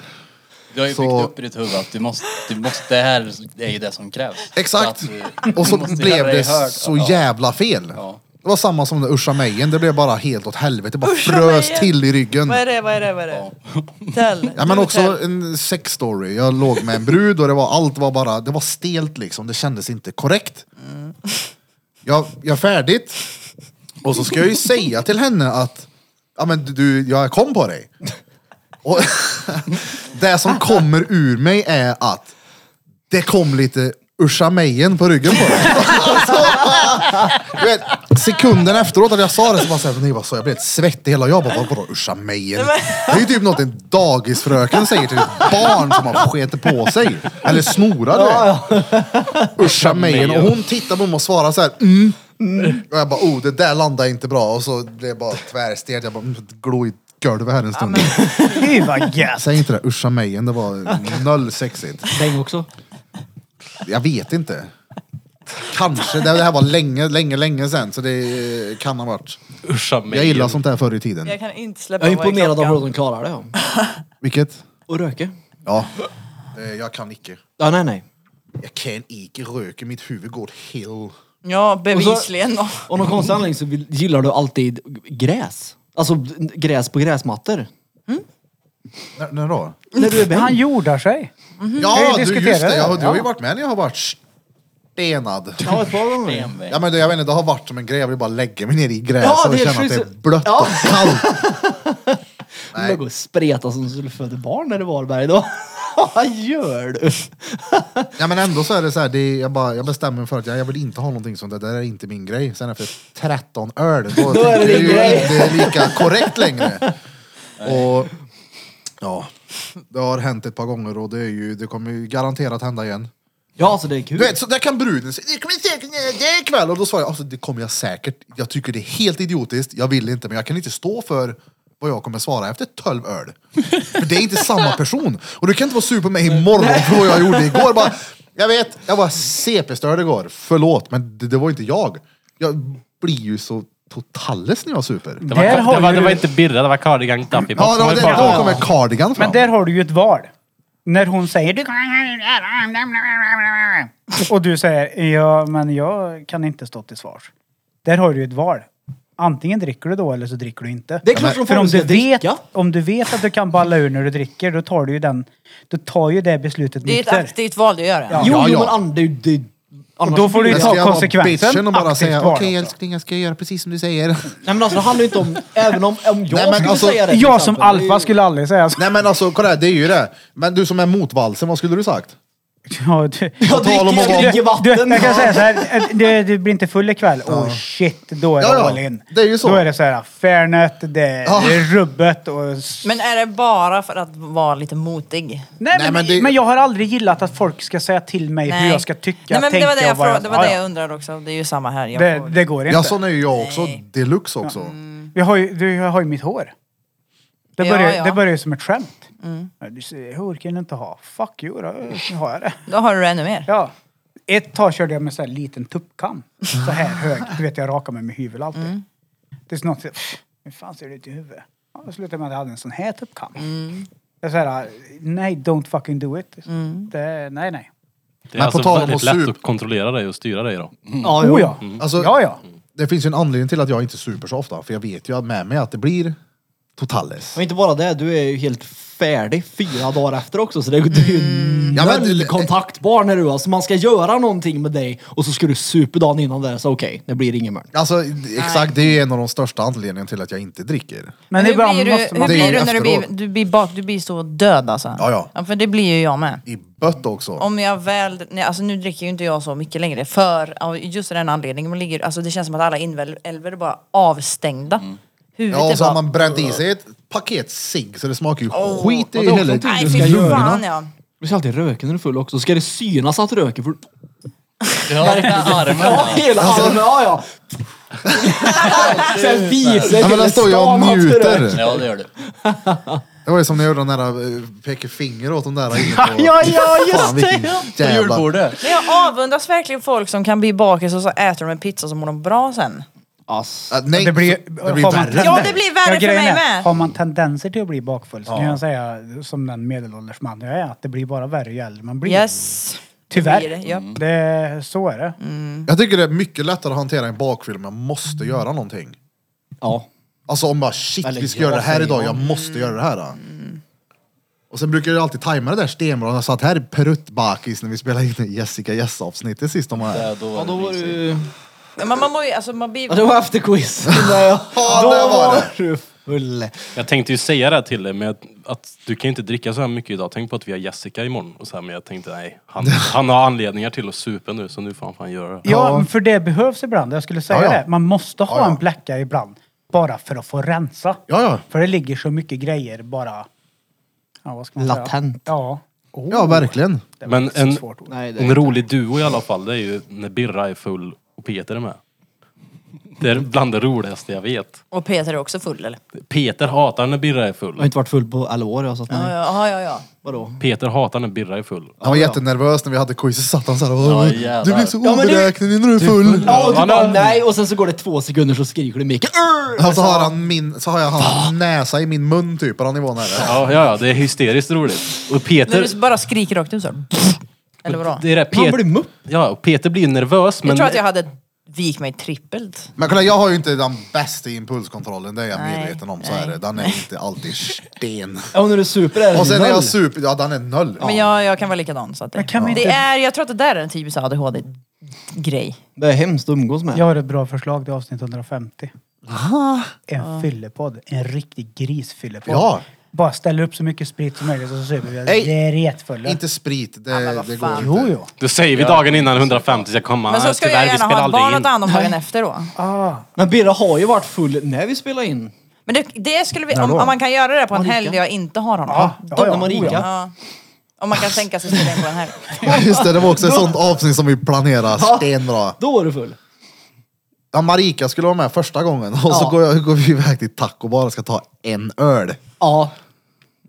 S8: Du har ju
S1: Så-
S8: byggt upp i ditt huvud att du måste, du måste, det här är ju det som krävs.
S1: Exakt.
S8: Så att du-
S1: Och så
S8: du måste
S1: blev
S8: göra dig
S1: det
S8: hörd.
S1: så
S8: Ja.
S1: jävla fel.
S8: Ja.
S1: Det var samma som den där Usha Mejen, det blev bara helt åt helvete. Bara
S4: Usha
S1: frös
S4: Mejen.
S1: till i ryggen.
S4: Vad är det, vad är det, vad är det? Tell.
S1: Ja, men
S4: Du
S1: också
S4: tell.
S1: en sex story. Jag låg med en brud och det var, allt var bara, det var stelt liksom. Det kändes inte korrekt.
S4: Mm.
S1: Jag, jag är färdigt. Och så ska jag ju säga till henne att, ja men du, jag kom på dig. Och det som kommer ur mig är att det kom lite Usha Mejen på ryggen på dig. Alltså, du vet, sekunden efteråt att jag sa det så bara såhär, nej vad sa jag? Jag blev helt svettig hela jag bara, vadå Usha Mejen? Det är ju typ något en dagisfröken säger till ett barn som har sketit på sig. Eller snorar du vet. Usha Mejen. Och hon tittar på mig och svarar såhär, mm. Och jag bara, oh det där landar inte bra. Och så blev jag bara tvärstelt. Jag bara, mm, glo i golvet här en stund.
S2: Fy vad gött!
S1: Säg inte det, Usha Mejen. Det var noll sexigt.
S5: Säng också.
S1: Jag vet inte. Kanske. Det det här var länge, länge, länge sedan. Så det eh, kan ha varit.
S3: Uscha mig.
S1: Jag gillar sånt här förr i tiden.
S4: Jag kan inte släppa
S5: Jag är
S4: vad
S5: imponerad av
S4: klockan.
S5: hur de klarar det. ja.
S1: Vilket?
S5: Och röker.
S1: Ja. Eh, Jag kan icke.
S5: Ja, nej, nej.
S1: Jag kan icke röka. Mitt huvud går hill.
S4: Ja, bevisligen. då.
S5: Av någon konstig anledning så vill- gillar du alltid gräs. Alltså gräs på gräsmattor.
S1: När, när då?
S5: När du är bäng.
S2: Han jordar sig. Kan
S1: Ja,
S2: vi
S1: du, just
S2: diskutera
S1: det.
S2: det?
S1: Jag, du har ju
S2: Ja.
S1: varit med när jag har varit stenad.
S5: Ja, ett par gånger.
S8: Benväg.
S1: Ja, men det, jag vet inte, det har varit som en grej. Jag vill bara lägga mig ner i gräset
S5: Ja, det
S1: och
S5: är
S1: känna
S5: helt
S1: att det är
S5: sjukt.
S1: blött
S5: Ja.
S1: och kallt.
S5: Du låg och spreta som skulle föda barn när du var där idag. Vad gör du?
S1: Ja, men ändå så är det så här, det är, jag, bara, jag bestämmer mig för att jag, jag vill inte ha någonting sånt, där. det där är inte min grej. Sen efter 13 öl, då, då
S5: är det
S1: är det
S5: din
S1: ju
S5: grej.
S1: inte lika korrekt längre. Och ja, det har hänt ett par gånger och det, är ju, det kommer ju garanterat hända igen.
S5: Ja, alltså det är kul.
S1: Du vet, så där kan bruden säga, det kommer säkert hända det ikväll. Och då svarar jag, alltså, det kommer jag säkert. Jag tycker det är helt idiotiskt, jag vill inte, men jag kan inte stå för vad jag kommer svara efter 12 öl. För det är inte samma person. Och du kan inte vara sur på mig imorgon för vad jag gjorde igår. Bara, jag vet, jag var CP-störd igår. Förlåt, men det, det var inte jag. Jag blir ju så totales när jag super.
S3: Det var,
S2: Där har
S3: det, var,
S2: ju
S3: det var
S2: du-
S3: inte Birra, det var Cardigan Duffy
S1: Ja, då, det, då kommer cardigan fram.
S2: Men där har du ju ett val. När hon säger du och du säger ja men jag kan inte stå till svars. Där har du ju ett val. Antingen dricker du då eller så dricker du inte.
S5: Det är klart som
S2: För
S5: fan
S2: om
S5: du
S2: du,
S5: ska
S2: vet,
S5: dricka.
S2: om du vet att du kan balla ur när du dricker då tar du ju den, då tar ju det beslutet
S4: Det är ett
S2: nykter.
S4: aktivt val du gör. Ja.
S5: Jo,
S1: Ja,
S5: jo,
S1: ja.
S5: men an- det, det, annars
S2: då får du ju
S1: Men
S2: ta-
S5: blir det-
S1: ska jag vara
S2: konsekvensen,
S1: bitchen och bara
S2: aktivt
S1: säga
S2: vara
S1: okej
S2: också.
S1: älskling, jag ska göra precis som du säger.
S5: Nej men alltså det handlar ju inte om, även om, om jag
S1: men
S5: skulle
S1: alltså,
S5: säga det. till
S2: Jag som
S5: exempel, det är ju-
S2: alfa skulle aldrig säga så.
S1: Nej men alltså kolla här, det är ju det. Men du som är mot valsen, vad skulle du sagt?
S2: Ja, du,
S5: Jag
S1: tal om att vara-
S5: dricker, jag dricker
S2: du,
S5: vatten.
S2: jag kan säga så här, eh, du, du blir inte full ikväll. Åh oh shit, då är
S1: Ja,
S2: det
S1: ja.
S2: all in.
S1: Det är ju så.
S2: Då är det så här, Fairnet, det är
S1: Ah.
S2: rubbet och... s-
S4: Men är det bara för att vara lite motig?
S2: Nej, men,
S1: men
S2: men,
S1: det-
S2: jag har aldrig gillat att folk ska säga till mig hur jag ska tycka,
S4: Nej, men det
S2: tänka
S4: var det jag,
S2: och bara-
S4: frågade, det, var
S2: Ja,
S4: det
S2: ja.
S4: jag undrade också. Det är ju samma här. Jag
S2: det,
S4: får-
S2: det går inte.
S1: Ja, sån är ju jag också. Deluxe också.
S2: Vi har ju, du, jag har ju mitt hår. Det
S4: Ja,
S2: börjar,
S4: ja. Mm.
S2: Det börjar ju som ett skämt. Ja, Du säger, hår kan du inte ha. Fuck you, då. nu har jag det.
S4: Då har du det ännu mer.
S2: Ja. Ett tag körde jag med så här liten tuppkam. Så här hög. Du vet, jag rakar mig med hyvel alltid.
S4: Mm.
S2: Tills någon säger, hur fan ser det ut i huvudet? Ja, då slutade med att jag hade en sån här tuppkam.
S4: Mm.
S2: Jag säger, "Ah, nej, don't fucking do it.
S4: Mm.
S2: Det, nej, nej.
S3: Det är
S1: Men på
S3: alltså
S1: tal om
S3: väldigt
S1: att
S3: lätt
S1: sup-
S3: att kontrollera dig och styra dig då.
S5: Ja,
S2: Oh
S5: jo.
S2: ja.
S1: Alltså,
S2: Ja, ja.
S1: Det finns ju en anledning till att jag inte super så ofta, för jag vet ju att med mig att det blir totales.
S5: Men inte bara det, du är ju helt färdig fyra dagar efter också. Så det du är ju
S1: Mm. Ja, men-
S5: noll kontaktbar när du alltså, man ska göra någonting med dig och så ska du supa dagen innan det. Så okej, det blir ingen mörn.
S1: Alltså exakt, det är en av de största anledningarna till att jag inte dricker.
S2: Men
S4: hur
S2: ibland
S4: blir du,
S2: måste
S4: hur
S2: man...
S1: Det är
S4: blir
S1: ju
S4: du när du blir,
S1: efteråt.
S4: du blir bak? Du blir så död alltså.
S1: Ja, ja.
S4: ja för det blir ju jag med.
S1: I bött också.
S4: Om jag väl, nej, alltså nu dricker ju inte jag så mycket längre för av just den anledningen. Man ligger, alltså det känns som att alla inälvor är bara avstängda. Huvudet
S1: Ja, och
S4: är
S1: så
S4: bara...
S1: har man bränt i sig ett paket cigg så det smakar ju
S4: Åh,
S1: skit i
S5: vadå för
S1: hela...
S5: någonting?
S4: Nej
S5: du
S4: fy
S5: ska göra
S4: fan
S5: något.
S4: ja.
S5: Du ska alltid röka när du är full också. Ska det synas att du röker? För...
S8: Verkligen
S5: Ja,
S8: armen.
S5: hela
S1: Alltså-
S5: armen. Ja, ja. Sen visar
S1: Ja, men den står ju och njuter.
S8: Ja, det gör du.
S1: Det var ju som när jag gjorde den där, eh, pekade finger åt de där inne på...
S5: Ja, ja,
S1: Fan,
S5: just
S1: vilken
S5: det.
S8: På
S1: jävla...
S8: julbordet.
S4: Men jag avundas verkligen folk som kan bli bakis och så äter de en pizza så mår de bra sen.
S5: Ass.
S1: Ja, nej,
S2: Det blir,
S1: det blir
S2: har man
S1: värre.
S4: Ja, det blir värre för
S2: grejen
S4: mig
S2: är,
S4: med.
S2: Har man tendenser till att bli bakfull så kan jag säga, som den medelålders man jag är, att det blir bara värre ju äldre man blir.
S4: Yes.
S2: Tyvärr.
S4: Det blir det, ja.
S2: Det, så är det.
S1: Jag tycker det är mycket lättare att hantera en bakfilm, jag måste göra någonting.
S5: Ja.
S1: Alltså om bara shit,
S5: Eller
S1: vi ska
S5: jag
S1: göra det här
S5: säger
S1: idag, jag
S5: jag.
S1: måste göra det här. då. Och sen brukar jag alltid tajma det där stenbra. Jag satt här i pruttbakis när vi spelade in Jessica Jess-avsnittet sist de var här.
S8: Ja, då
S5: Ja,
S8: var
S5: då var
S8: det risigt.
S5: du...
S4: Men man mår ju, alltså man blir...
S5: Ja, det var efter quiz. Ja,
S1: Ja, där var det.
S5: du full.
S3: Jag tänkte ju säga det här till dig, men att, att du kan ju inte dricka så här mycket idag. Tänk på att vi har Jessica imorgon. Och så här, men jag tänkte nej, han, han har anledningar till att supa nu så nu får han fan göra det.
S2: Ja, men för det behövs ibland. Jag skulle säga
S1: Ja, ja.
S2: det. Man måste ha
S1: Ja, ja.
S2: en bläcka ibland. Bara för att få rensa.
S1: Ja, ja.
S2: För det ligger så mycket grejer bara... Ja, vad ska man
S5: Latent.
S2: Säga? Ja. Oh,
S1: Ja, verkligen.
S2: det var
S3: Men
S2: inte så
S3: en,
S2: svårt ord.
S5: Nej, det
S3: en rolig duo i alla fall, det är ju när Birra är full och Peter är med. Det är bland det roligaste jag vet.
S4: Och Peter är också full eller?
S3: Peter hatar när Birra är
S5: Jag har
S3: full.
S5: inte varit full på alla år. Jag sa
S4: Ja,
S5: nej.
S4: ja, ja. ja.
S5: Vadå?
S3: Peter hatar när Birra är full.
S1: Han var jättenervös när vi hade quiz, så satt han såhär
S8: Ja,
S1: Du
S8: jävlar.
S1: blir så
S5: Ja, men du-
S1: oberäknelig när du är full.
S5: Ja, typ och
S3: Ja,
S5: du bara
S3: men-
S5: nej och sen så går det två sekunder så skriker du Micke. "Urr!"
S1: Och så har, han min, så har jag hans näsa i min mun typ, på den nivån är det.
S3: Ja, ja, ja, det är hysteriskt roligt. Och
S4: När
S3: Peter...
S4: du bara skriker rakt ut så. här. Eller vadå?
S3: Det är det,
S5: Han
S3: Peter,
S5: blir mupp.
S3: ja, och Peter blir nervös men...
S4: Jag tror att jag hade vik mig trippelt.
S1: Men kolla, jag har ju inte den bästa impulskontrollen, det är jag
S4: Nej,
S1: medveten om. Så är det. Den är inte alltid sten.
S5: Ja, och när du super är det
S1: Och sen är
S5: noll.
S1: jag super, ja den är noll.
S4: Men jag, jag kan vara likadan. Så att det,
S2: Men kan vi
S4: det
S2: inte-
S4: är, jag tror att det där är en typisk ADHD-grej.
S5: Det är hemskt att umgås med.
S2: Jag har ett bra förslag till avsnitt 150. En fyllepodd. En riktig grisfyllepodd.
S1: Ja.
S2: Bara ställer upp så mycket sprit som möjligt och så super vi.
S1: Nej.
S2: Det är retfulla.
S1: Inte sprit, det,
S4: men vad
S1: det går
S4: fan.
S1: inte.
S2: Jo, jo.
S3: Då säger vi dagen innan 150 ska komma.
S4: Men så ska jag
S3: vi
S4: gärna
S3: spelar
S4: ha ett
S3: aldrig
S4: barn
S3: in.
S4: att ta hand om dagen efter då.
S5: Men Birra har ju varit full när vi spelade in.
S4: Men det, det skulle vi, om, om man kan göra det på en
S5: Marika.
S4: helg där jag inte har honom.
S2: Ja, ja,
S5: Då
S2: ja.
S5: när man
S2: Oh, ja.
S5: rika.
S4: Ja. Om man kan tänka sig att spela in på en helg.
S1: Ja, Just det, det var också ett sånt avsnitt som vi planerade stenbra.
S5: Då var du full.
S1: Ja, Marika skulle vara med första gången och så
S5: Ja.
S1: går, jag, går vi iväg till taco bara ska ta en öl.
S5: Ja.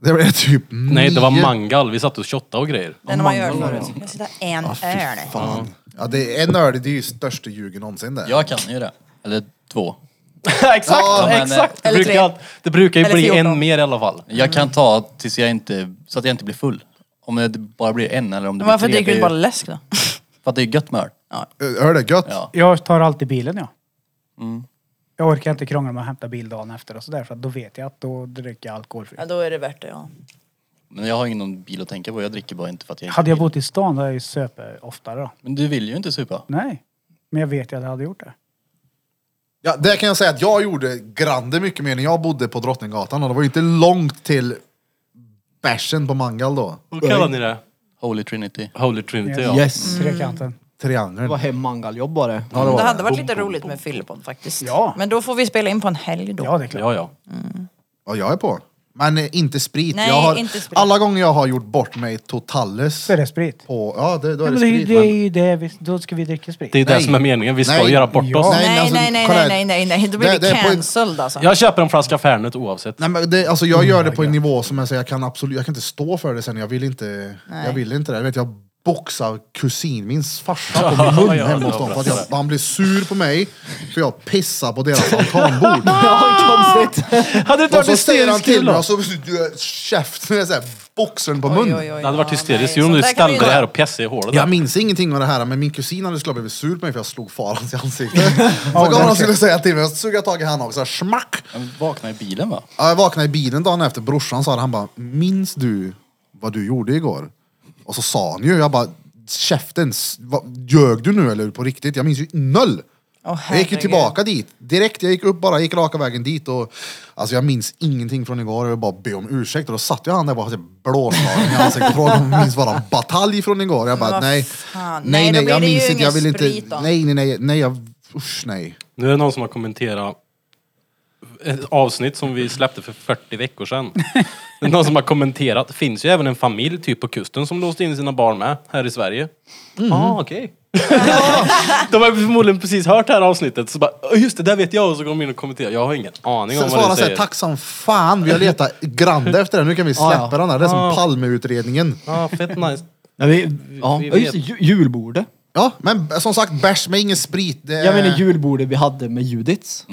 S1: Det blev typ
S3: Nej, det var
S4: Mm.
S1: nio.
S3: mangal. Vi satt och shottade och grejer.
S4: Den har man gör förut. Jag ska ta en öl.
S1: Fan. Ja, det, en öl det är ju största ljugen någonsin det.
S8: Jag kan ju det. Eller två.
S3: exakt!
S1: Ja,
S8: men,
S3: exakt. Det
S4: eller tre.
S3: brukar, allt- det brukar ju
S4: Eller
S3: bli
S4: 14.
S3: en mer i alla fall.
S4: Mm.
S8: Jag kan ta tills jag inte, så att jag inte blir full. Om det bara blir en eller om det
S4: Men varför
S8: blir
S4: dricker
S8: tre.
S4: du
S8: det
S4: inte
S8: är
S4: bara
S8: ju-
S4: läsk då?
S8: För att det är gött med öl.
S1: Öl är gött.
S8: Ja.
S2: Jag tar alltid bilen, ja.
S1: Mm.
S2: Jag orkar inte krångla med att hämta bil dagen efter och sådär, för att då vet jag att då dricker jag alkoholfritt.
S4: Ja, då är det värt det ja.
S8: Men jag har ingen någon bil att tänka på. Jag dricker bara inte för att jag inte
S2: Hade jag
S8: vill.
S2: bott i stan hade jag ju söpe oftare då.
S8: Men du vill ju inte supa.
S2: Nej. Men jag vet ju att jag hade gjort det.
S1: Ja, det kan jag säga att jag gjorde grande mycket mer när jag bodde på Drottninggatan och det var ju inte långt till bärsen på mangal då.
S3: Vad kallar ni det?
S8: Holy Trinity.
S3: Holy Trinity ja.
S4: Mm.
S5: Yes.
S2: Trekanten.
S5: Det
S1: Triangeln.
S5: var hem mangaljjobb var det.
S1: Ja, det
S4: Det
S1: var
S4: hade
S1: det.
S4: varit lite roligt med fyllepodd faktiskt.
S2: Ja.
S4: Men då får vi spela in på en helg då.
S2: Ja, det är klart.
S3: Ja, ja.
S1: Ja, jag är på. Men eh, inte sprit.
S4: Nej,
S1: jag har,
S4: inte sprit.
S1: Alla gånger jag har gjort bort mig totales
S2: Så är det sprit.
S1: på... Ja, det, då är
S2: Ja,
S1: det
S2: men det, är ju-
S1: sprit.
S2: det är
S1: Men,
S2: ju det vi, då ska vi dricka sprit.
S3: Det är det
S1: Nej.
S3: som är meningen. Vi ska
S1: Nej.
S3: göra bort
S2: Ja.
S3: oss.
S1: Nej,
S4: Nej,
S1: alltså,
S4: nej, nej,
S1: kolla här.
S4: nej, nej, nej, nej, då blir
S1: Det- det
S4: vi
S1: är på-
S4: cancelled alltså.
S3: Jag köper en flaska Fernet oavsett.
S1: nej, men det, alltså, jag gör
S3: Mm.
S1: det på en nivå som jag, säger, jag kan absolut... Jag kan inte stå för det sen. Jag vill inte, jag vill inte det. Jag, vet, jag boxar kusin, min farsa, på min mun
S3: ja,
S1: hemma
S3: det
S1: hos
S3: var
S1: dem. För att
S3: bra.
S1: jag, han blir sur på mig för jag pissar på deras altanbord.
S3: Hade det inte
S1: Och
S3: varit
S1: så säger han
S3: hysteriskt
S1: till
S3: kul
S1: mig
S3: då?
S1: och så käften, så här, boxen på munnen.
S3: Det hade varit hysteriskt ju om du ställde dig här och pessade i hålet.
S1: Jag minns ingenting av det här, men min kusin hade skulle ha blivit sur på mig för jag slog far hans i ansiktet. så kom han och skulle säga till mig, så tog jag tag i han också, så här, smack!
S8: Han vaknade i bilen va?
S1: Ja, Jag vaknade i bilen dagen efter, brorsan sa det, han bara, minns du vad du gjorde igår? Och så sa han ju, jag bara, käften, s- vad, ljög du nu eller på riktigt? Jag minns ju noll!
S4: Åh,
S1: jag gick ju
S4: herregud.
S1: tillbaka dit, direkt, jag gick upp bara, gick raka vägen dit och alltså jag minns ingenting från igår, jag vill bara be om ursäkt och då satt jag han där och bara hade blåslagen i ansiktet och frågade om jag minns varann batalj från igår. Jag bara,
S4: Vad
S1: nej,
S4: fan.
S1: nej,
S4: Nej, då
S1: nej,
S4: blir
S1: jag
S4: det ju
S1: minns inte,
S4: ingen
S1: jag vill inte,
S4: sprit då.
S1: nej, nej, nej, nej, jag, usch nej.
S3: Nu är det någon som har kommenterat ett avsnitt som vi släppte för 40 veckor sedan. Det är någon som har kommenterat, det finns ju även en familj typ på kusten som låste in sina barn med här i Sverige.
S1: Mm.
S3: Ah, okej. de har ju förmodligen precis hört det här avsnittet så bara, "Åh, just det, där vet jag och så går de in och kommenterar. Jag har ingen aning om
S1: Sen
S3: vad
S1: svarar
S3: det
S1: såhär,
S3: säger.
S1: tack som fan, vi har letat grande efter den, nu kan vi släppa
S5: Ja, ja.
S1: den här. Det är
S3: Ja.
S1: som Palmeutredningen.
S3: ah, fett nice.
S5: Ja, vi, ja.
S3: Vi
S5: ja just det,
S3: vet.
S5: ju- julbordet.
S1: Ja, men som sagt, bärs med ingen sprit. Det är...
S5: Jag menar julbordet vi hade med Judits.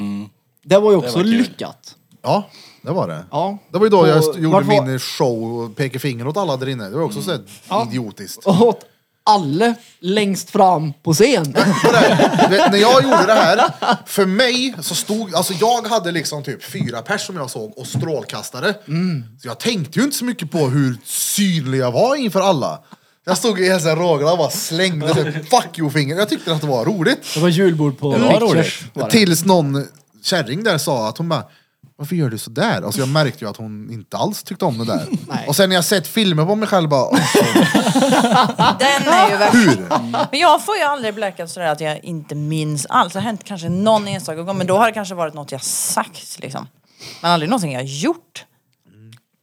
S5: Det var ju också
S3: var kul.
S5: lyckat.
S1: Ja, det var det.
S5: Ja.
S1: Det var ju då
S5: Och
S1: jag st- gjorde
S5: varför-
S1: min show och pekade finger åt alla där inne. Det var också
S5: Mm.
S1: så här idiotiskt.
S5: Och åt alla längst fram på scen.
S1: Du vet, när jag gjorde det här, för mig så stod, alltså jag hade liksom typ fyra pers som jag såg och strålkastare.
S5: Mm.
S1: Så jag tänkte ju inte så mycket på hur synlig jag var inför alla. Jag stod i en sån här rågla och bara slängde typ fuck you-finger. Jag tyckte att det var roligt.
S5: Det var julbord på
S8: var
S5: Pictures. var det.
S1: Tills någon kärring där sa att hon bara varför gör du sådär? Alltså jag märkte ju att hon inte alls tyckte om det där.
S5: Nej.
S1: Och sen när jag sett filmer på mig själv bara, "Åh,
S4: Den är ju värst.
S1: hur?
S4: Men jag får ju aldrig blackout sådär att jag inte minns alls. Det har hänt kanske någon enstaka gång men då har det kanske varit något jag sagt liksom. Men aldrig någonting jag gjort.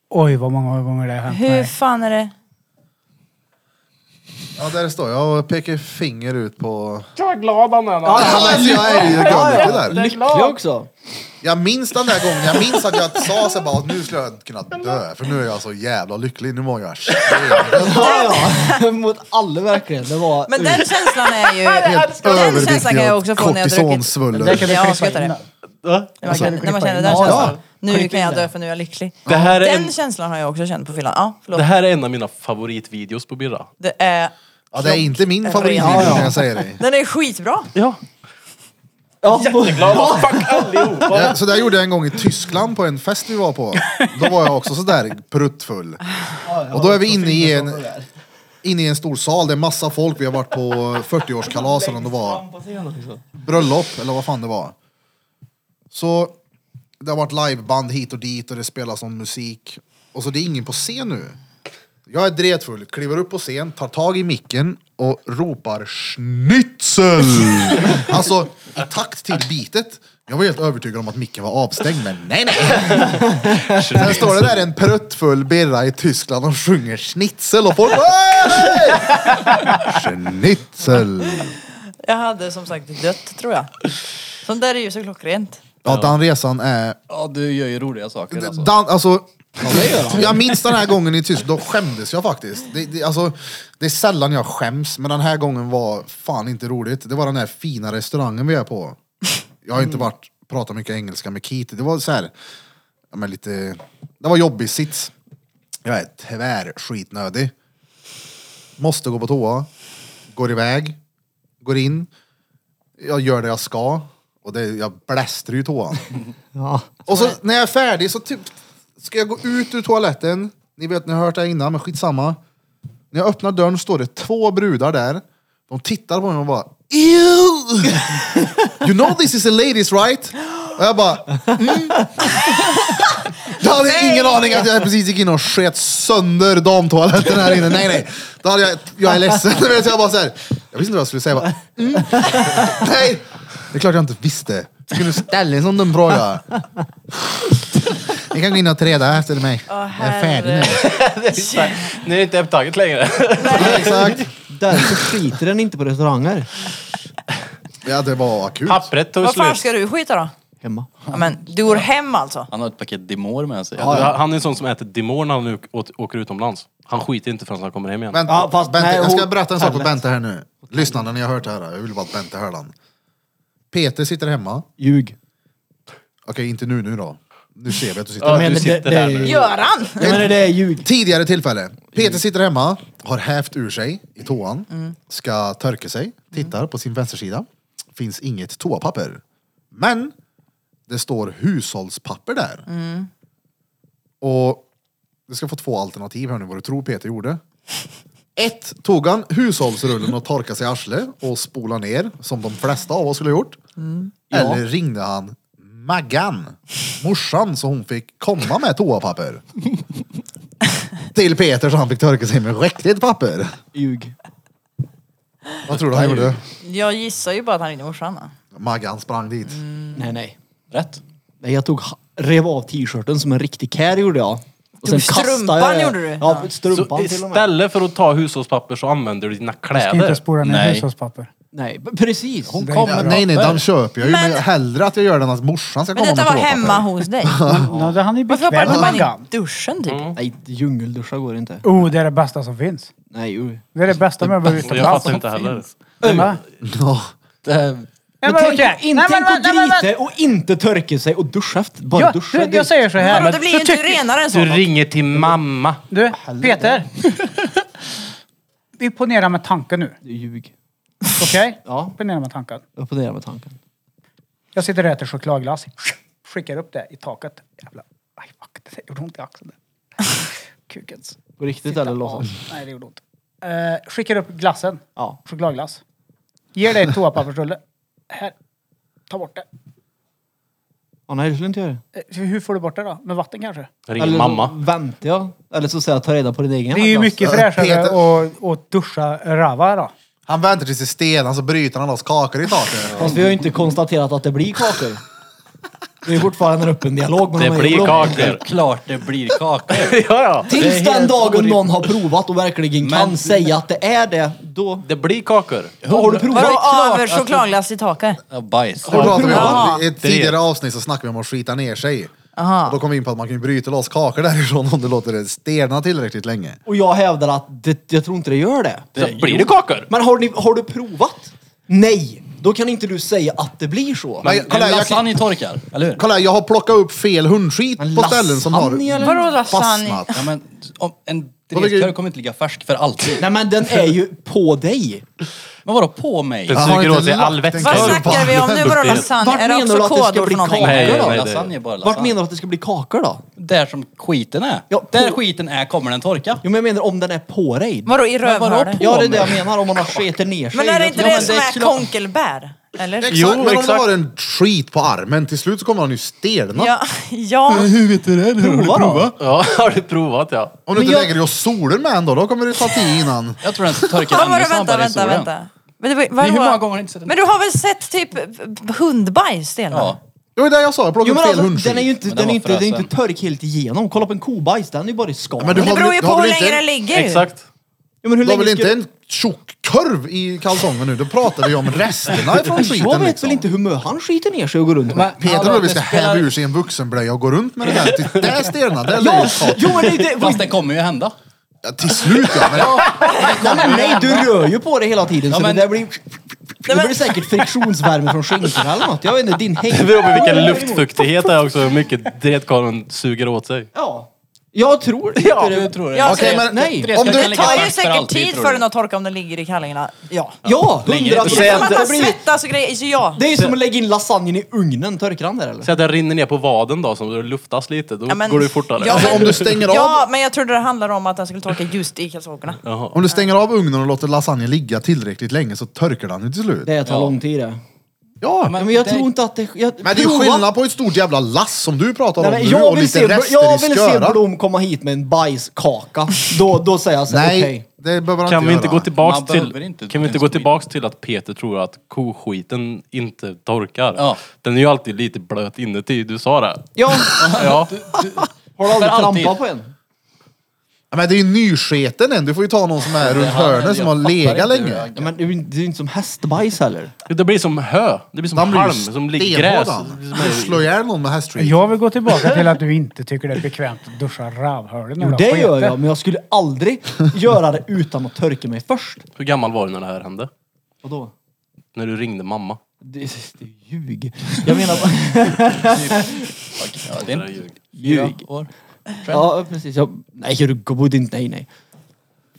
S2: Oj, vad många gånger det har hänt
S4: Hur
S2: mig.
S4: fan är det?
S1: Ja där står jag och pekar finger ut på...
S3: Jag är glad han är.
S1: Ja, alltså, jag är ju gammal där.
S5: Lycklig också.
S1: Jag minns den där gången, jag minns att jag sa så här bara att nu skulle jag kunna dö för nu är jag så jävla lycklig, nu mår jag shit.
S5: Ja, ja. Mot alla verkligen. Det var...
S4: Men den känslan är ju...
S1: Helt
S4: Den känslan kan jag också få när jag har druckit.
S2: Det
S1: kortisonsvuller.
S2: kan vi
S4: Ja,
S2: klippa in
S4: skrattar
S2: där.
S4: det. När
S3: Alltså,
S4: man känner, när man känner den
S5: Ja,
S4: känslan.
S5: ja.
S4: Nu kan jag dö för nu är jag lycklig.
S3: Det här är en-
S4: Den känslan har jag också känt på fyllan. Ja, förlåt.
S3: Det här är en av mina favoritvideos på Birra.
S4: Det är...
S1: Ja, det är inte min favoritvideo kan jag säga dig.
S4: Den är skitbra.
S3: Ja.
S5: ja,
S3: Glad fuck allihopa.
S1: Ja, Så där gjorde jag en gång i Tyskland på en fest vi var på. Då var jag också sådär pruttfull. Och då är vi inne i en, inne i en stor sal, det är massa folk. Vi har varit på 40-årskalas eller om det var bröllop eller vad fan det var. Så det har varit liveband hit och dit och det spelas om musik. Och så det är ingen på scen nu. Jag är dretfull, kliver upp på scen, tar tag i micken och ropar schnitzel! alltså i takt till bitet. Jag var helt övertygad om att micken var avstängd, men nej nej. Sen står det där en pruttfull birra i Tyskland och sjunger schnitzel och folk "Ey!" Schnitzel!
S4: Jag hade som sagt dött tror jag. Sånt där är ju så klockrent.
S1: Ja, den resan är
S8: Ja, du gör ju roliga saker alltså.
S1: Dan, alltså, jag minns den här gången i Tyskland, då skämdes jag faktiskt. Det, det, alltså, det är sällan jag skäms, men den här gången var fan inte roligt. Det var den här fina restaurangen vi är på. Jag har inte
S8: Mm.
S1: varit, pratat mycket engelska med Keith. Det var så här, ja, men lite, det var jobbig sits. Jag är tyvärr skitnödig. Måste gå på toa. Går iväg. Går in. Jag gör det jag ska. Och det, jag blästrar ju toan.
S5: Ja.
S1: Och så när jag är färdig så typ ska jag gå ut ur toaletten. Ni vet, ni har hört det här innan, men skitsamma. När jag öppnar dörren står det två brudar där. De tittar på mig och bara Ew! You know this is a ladies right? Och jag bara mm. hade jag ingen aning att jag precis gick in och sket sönder damtoaletten här inne. Nej, nej. Då hade jag, jag är ledsen. Du vet, jag bara så här, jag visste inte vad jag skulle säga. Jag Bara, mm. Nej, det är klart jag inte visste. Skulle du ställa en sån dum fråga? Ni kan gå in och träda efter mig.
S4: Åh,
S1: jag är färdig nu.
S3: Nu är det inte upptaget längre.
S1: Exakt.
S5: Därför skiter den inte på restauranger.
S1: Ja, det var akut.
S3: Pappret tog
S4: Vad fan
S3: slut.
S4: ska du skita då?
S5: Hemma.
S4: Ja, men du går hem alltså?
S8: Han har ett paket Dimor med sig.
S3: Han är en sån som äter Dimor när han nu åt- åker utomlands. Han skiter inte förrän han kommer hem igen.
S1: Vänta,
S5: Ja, fast-
S1: Bente,
S5: nej,
S1: jag ska
S5: hon-
S1: berätta en sak för
S5: Pelle.
S1: Bente här nu. Lyssna när ni har hört det här. Jag vill bara att Bente hör den. Peter sitter hemma.
S5: Ljug.
S1: Okej, inte nu nu då. Nu ser vi att du sitter
S3: Ja,
S1: hemma.
S3: du
S5: det-
S3: sitter
S5: det-
S3: där nu.
S4: Göran!
S5: Jag menar det är ljug.
S1: Tidigare tillfälle. Peter sitter hemma, har hävt ur sig i toan, ska törka sig, tittar på sin vänstersida. Finns inget toapapper. Men det står hushållspapper där. Och du ska få två alternativ här nu vad du tror Peter gjorde. Ett, tog han hushållsrullen och torkade sig i arslet och spola ner som de flesta av oss skulle ha gjort. Eller ringde han Maggan, morsan, så hon fick komma med toapapper till Peter så han fick torka sig med riktigt papper.
S5: Ljug.
S1: Vad tror du han gjorde?
S4: Jag gissar ju bara att han ringde morsan. då.
S1: Maggan sprang dit.
S5: Nej, nej.
S8: Rätt.
S5: Nej, jag tog, rev av t-shirten som en riktig kär gjorde jag. Och
S4: Tog
S5: kastade
S4: strumpan
S5: jag-
S4: gjorde du?
S5: Ja,
S3: Så
S5: strumpan till och med.
S3: istället för att ta hushållspapper så använder du dina
S2: Ska inte
S3: kläder.
S2: spola ner
S8: Nej.
S2: hushållspapper.
S5: Nej, precis.
S2: Hon
S1: Ja, nej, nej, den köper jag ju. Men
S4: Men-
S1: hellre att jag gör den att morsan ska
S4: Men
S1: komma
S4: detta
S1: med
S4: var
S1: toapapper.
S4: hemma hos dig.
S2: Ja, han är
S4: Varför
S2: bekväm
S4: hoppar
S2: med
S4: man
S2: mangan.
S4: i duschen typ?
S5: Nej, djungelduscha går inte.
S2: Oh, det är det bästa som finns.
S5: Nej, oj.
S2: Det är det bästa med att vara
S3: Och jag fattar
S2: utomlands.
S3: inte heller.
S2: Va?
S1: Ja.
S8: Det,
S2: Nej,
S5: Eh, Men
S2: men
S5: tänk
S2: okej.
S5: att inte
S2: Nej, men
S5: tänk att
S2: vänta, nej, men
S5: drita och inte törka sig och duscha efter. Bara
S2: Ja,
S5: duscha.
S2: du, jag säger så här.
S4: Vadå, det blir ju
S2: så
S4: inte
S2: tycker-
S4: renare än så.
S3: Du
S4: då.
S3: ringer till mamma.
S2: Du, Peter. Vi ponerar med tanken nu.
S5: Det är ljug.
S2: Okej?
S5: Ja.
S2: Ponera med tanken.
S5: Upp och ner med tanken.
S2: Jag sitter och äter chokladglass. Skickar upp det i taket. Jävlar. Aj, fuck. Det gjorde ont i axeln. Kukens.
S5: På riktigt eller låtsas?
S2: Nej, det gjorde ont. Eh, skickar upp glassen.
S5: Ja.
S2: Chokladglass. Ger dig toapappersrulle. Här. Ta bort det.
S5: Åh nej, det skulle jag inte göra.
S2: Eh, Hur får du bort det då? Med vatten kanske?
S3: Jag ringer
S5: eller
S3: mamma.
S5: så väntar jag. Eller så säger jag ta reda på din egen
S2: Det är ju
S5: glass.
S2: mycket
S1: Ja,
S2: fräschare
S1: Peter.
S2: att- att duscha rava då.
S1: Han väntar tills det stenar så bryter han loss kakor i taket.
S5: Fast vi har ju inte konstaterat att det blir kakor. Det är ju fortfarande en öppen dialog med
S3: Det
S5: de här
S3: blir
S5: jävla-
S3: kakor.
S8: klart det blir kakor.
S3: Ja, ja.
S5: Tills
S8: Det är
S5: den
S8: helt
S5: dagen
S8: orimligt.
S5: någon har provat och verkligen kan
S8: Men-
S5: säga att det är det, då...
S3: Det blir kakor.
S5: Då har du provat.
S4: Vadå
S5: klart
S4: över
S5: att du-
S4: chokladglass i taket?
S8: Ja, bajs.
S1: Det pratade vi
S4: Jaha.
S1: om. I ett tidigare avsnitt så snackade vi om att skita ner sig. Och då kom vi in på att man kan ju bryta loss kakor därifrån om du låter det stelna tillräckligt länge.
S5: Och jag hävdar att det, jag tror inte det gör det.
S3: Så blir det kakor?
S5: Men har, ni, har du provat? Nej! Då kan inte du säga att det blir så.
S1: Men,
S8: Kolla,
S1: kolla,
S8: en
S1: här, jag,
S8: lasagne torkar, eller hur?
S1: kolla, här, jag har plockat upp fel hundskit
S5: Men
S1: på ställen som
S5: lasagne,
S1: har
S5: eller?
S4: Vadå lasagne?
S1: fastnat.
S8: Ja, men, om, en
S1: Vad tycker du?
S8: drevkör kommer inte ligga färsk för alltid.
S5: Nej men den är ju på dig.
S8: Men vadå på mig?
S3: Det
S1: har
S3: suger
S1: inte
S3: åt sig
S1: lagt
S3: all
S1: en
S3: vätska.
S4: Vad
S1: kakor.
S4: snackar vi om nu? Vadå lasagne?
S5: Vart
S4: Är det
S5: menar du
S4: också
S5: att det ska
S4: kodord
S5: bli
S4: för någonting?
S5: kakor?
S3: Nej,
S8: Nej,
S3: nej,
S8: då,
S3: nej,
S8: lasagne är bara
S5: Vart
S8: lasagne.
S5: menar du att det ska bli kakor då?
S8: Där som skiten är.
S5: Ja,
S8: Där
S5: på-
S8: skiten är kommer den torka.
S5: Jo men jag menar om den är på dig.
S4: Vadå i
S8: Men vadå
S4: rövhålet?
S8: på-
S5: Ja det är det jag menar, om man har sketit ner sig.
S4: Men är det inte
S5: Ja,
S4: det
S5: men
S4: som
S5: är
S4: är
S5: klart-
S4: konkelbär? Eller?
S1: Exakt,
S3: Jo,
S1: men om det
S3: exakt.
S1: var en skit på armen, till slut så kommer han ju stelna.
S4: Ja, ja.
S5: Prova då!
S3: Ja, har du provat ja.
S1: Om du inte
S5: jag-
S1: lägger dig och solen med ändå, då kommer det ta tid innan.
S8: Jag tror den torkar
S4: Vad var
S8: ännu
S4: det? Vänta,
S8: snabbare i
S4: vänta,
S8: solen.
S4: vänta. Men, det var,
S8: Men
S4: vadå?
S8: hur många gånger har du inte sett en-
S4: Men du har väl sett typ hundbajs Stellan?
S8: Ja.
S1: Det var det jag sa, jag
S5: Jo
S1: plockade upp fel
S5: men alltså, den är ju
S1: hundskit.
S5: inte,
S8: Men den
S5: den är
S8: var
S5: inte, den är
S8: fräsen.
S5: inte törk helt igenom. Kolla på en kobajs, den är ju bara i skal.
S1: Men du
S4: Det
S1: har
S4: beror
S1: väl,
S4: ju
S1: du
S4: på
S1: har
S4: hur
S1: väl
S4: länge den
S1: inte,
S4: ligger ju.
S3: Exakt.
S5: Ja, men hur
S1: du har väl
S5: länge ska-
S1: inte en tjock korv i kalsongen nu? Då pratar vi om resterna från skiten
S5: Jag vet
S1: liksom.
S5: väl inte hur mycket han skiter ner sig och går runt med.
S1: Peter tror
S8: Hallå,
S1: vi ska
S8: det spelar-
S1: häva ur sig en vuxenblöja och gå runt med det där. Till- Det är stelna, det är
S5: Ja,
S1: löjligt.
S5: jo men det, det,
S8: Fast det kommer ju hända.
S1: Ja, Till slut ja, men
S5: nej, men nej, du rör ju på det hela tiden så
S8: Ja, men-
S5: det där blir... Det blir säkert friktionsvärme från skinkorna eller något. Jag vet inte, din häng...
S3: Det beror på vilken luftfuktighet det är också, hur mycket dretkarlen suger åt sig.
S5: Ja. Jag tror inte
S3: Ja,
S5: det.
S8: Du tror
S4: Ja.
S8: det. Alltså,
S1: Okej, men
S5: Nej.
S1: om
S4: Det
S1: du...
S8: ligga
S4: tar ju
S8: fast för
S4: säkert
S8: alltid,
S4: tid
S8: tror
S4: för
S8: du.
S4: den att torka om den ligger i kallingarna. Ja.
S5: Ja,
S8: Länge.
S5: hundra
S4: Det är som
S5: procent.
S4: att
S5: Det
S4: han
S5: blir-
S4: svettas och grejer. Så alltså, ja.
S5: Det är som att lägga in lasagnen i ugnen. Torkar han där eller?
S3: Säg att den rinner ner på vaden då, som luftas lite. Då
S4: Ja, men-
S3: går det ju fortare.
S4: Ja,
S1: Alltså,
S4: men-
S1: om du stänger av
S4: Ja, men jag trodde det handlade om att den skulle torka just i kalsongerna.
S3: Jaha.
S1: Om du stänger av ugnen och låter lasagne ligga tillräckligt länge så törkar den ju till slut.
S5: Det tar lång tid det.
S1: Ja,
S5: Men jag
S6: det-
S5: tror inte att det... Jag,
S1: men det är ju
S5: prova.
S1: skillnad på ett stort jävla lass som du pratar
S5: Nej,
S1: om
S5: men
S1: nu
S5: jag
S1: och
S5: vill,
S1: lite
S5: se,
S1: rester
S5: jag
S1: i
S5: vill se
S1: sköra.
S5: Blom komma hit med en bajskaka. Då, då säger jag så här, okej.
S1: Nej, det behöver han
S3: Kan vi
S1: göra.
S3: inte gå tillbaks
S8: Man
S3: till,
S8: behöver inte
S3: kan vi inte
S8: ens
S3: gå
S8: skit.
S3: tillbaks till att Peter tror att koskiten inte torkar?
S8: Ja.
S3: Den är ju alltid lite blöt inuti, du sa det.
S5: Ja,
S3: Ja.
S5: har du aldrig
S8: För alltid.
S5: trampat på en?
S1: Ja, Men det är ju nysketen än, du får ju ta någon som är runt hörnet som har legat länge.
S5: Ja, men det är ju inte- det är ju inte som hästbajs heller.
S3: Det blir som hö, det blir som
S1: Den blir ju
S3: halm, som ligger
S1: stenhård,
S3: gräs.
S1: han.
S3: Det är som
S1: Du
S3: är-
S1: slår ihjäl någon med hästskit.
S2: Jag vill gå tillbaka till att du inte tycker det är bekvämt att duscha rövhålen.
S5: Jo, det gör jag, men jag skulle aldrig göra det utan att torka mig först.
S3: Hur gammal var du när det här hände?
S5: Vadå?
S3: När du ringde mamma?
S5: Det, det är ljug. Jag menar...
S8: Ja, det är inte
S5: ljug.
S8: fyra år.
S5: Ja, precis. Jag, nej, du bodde inte... Nej, nej.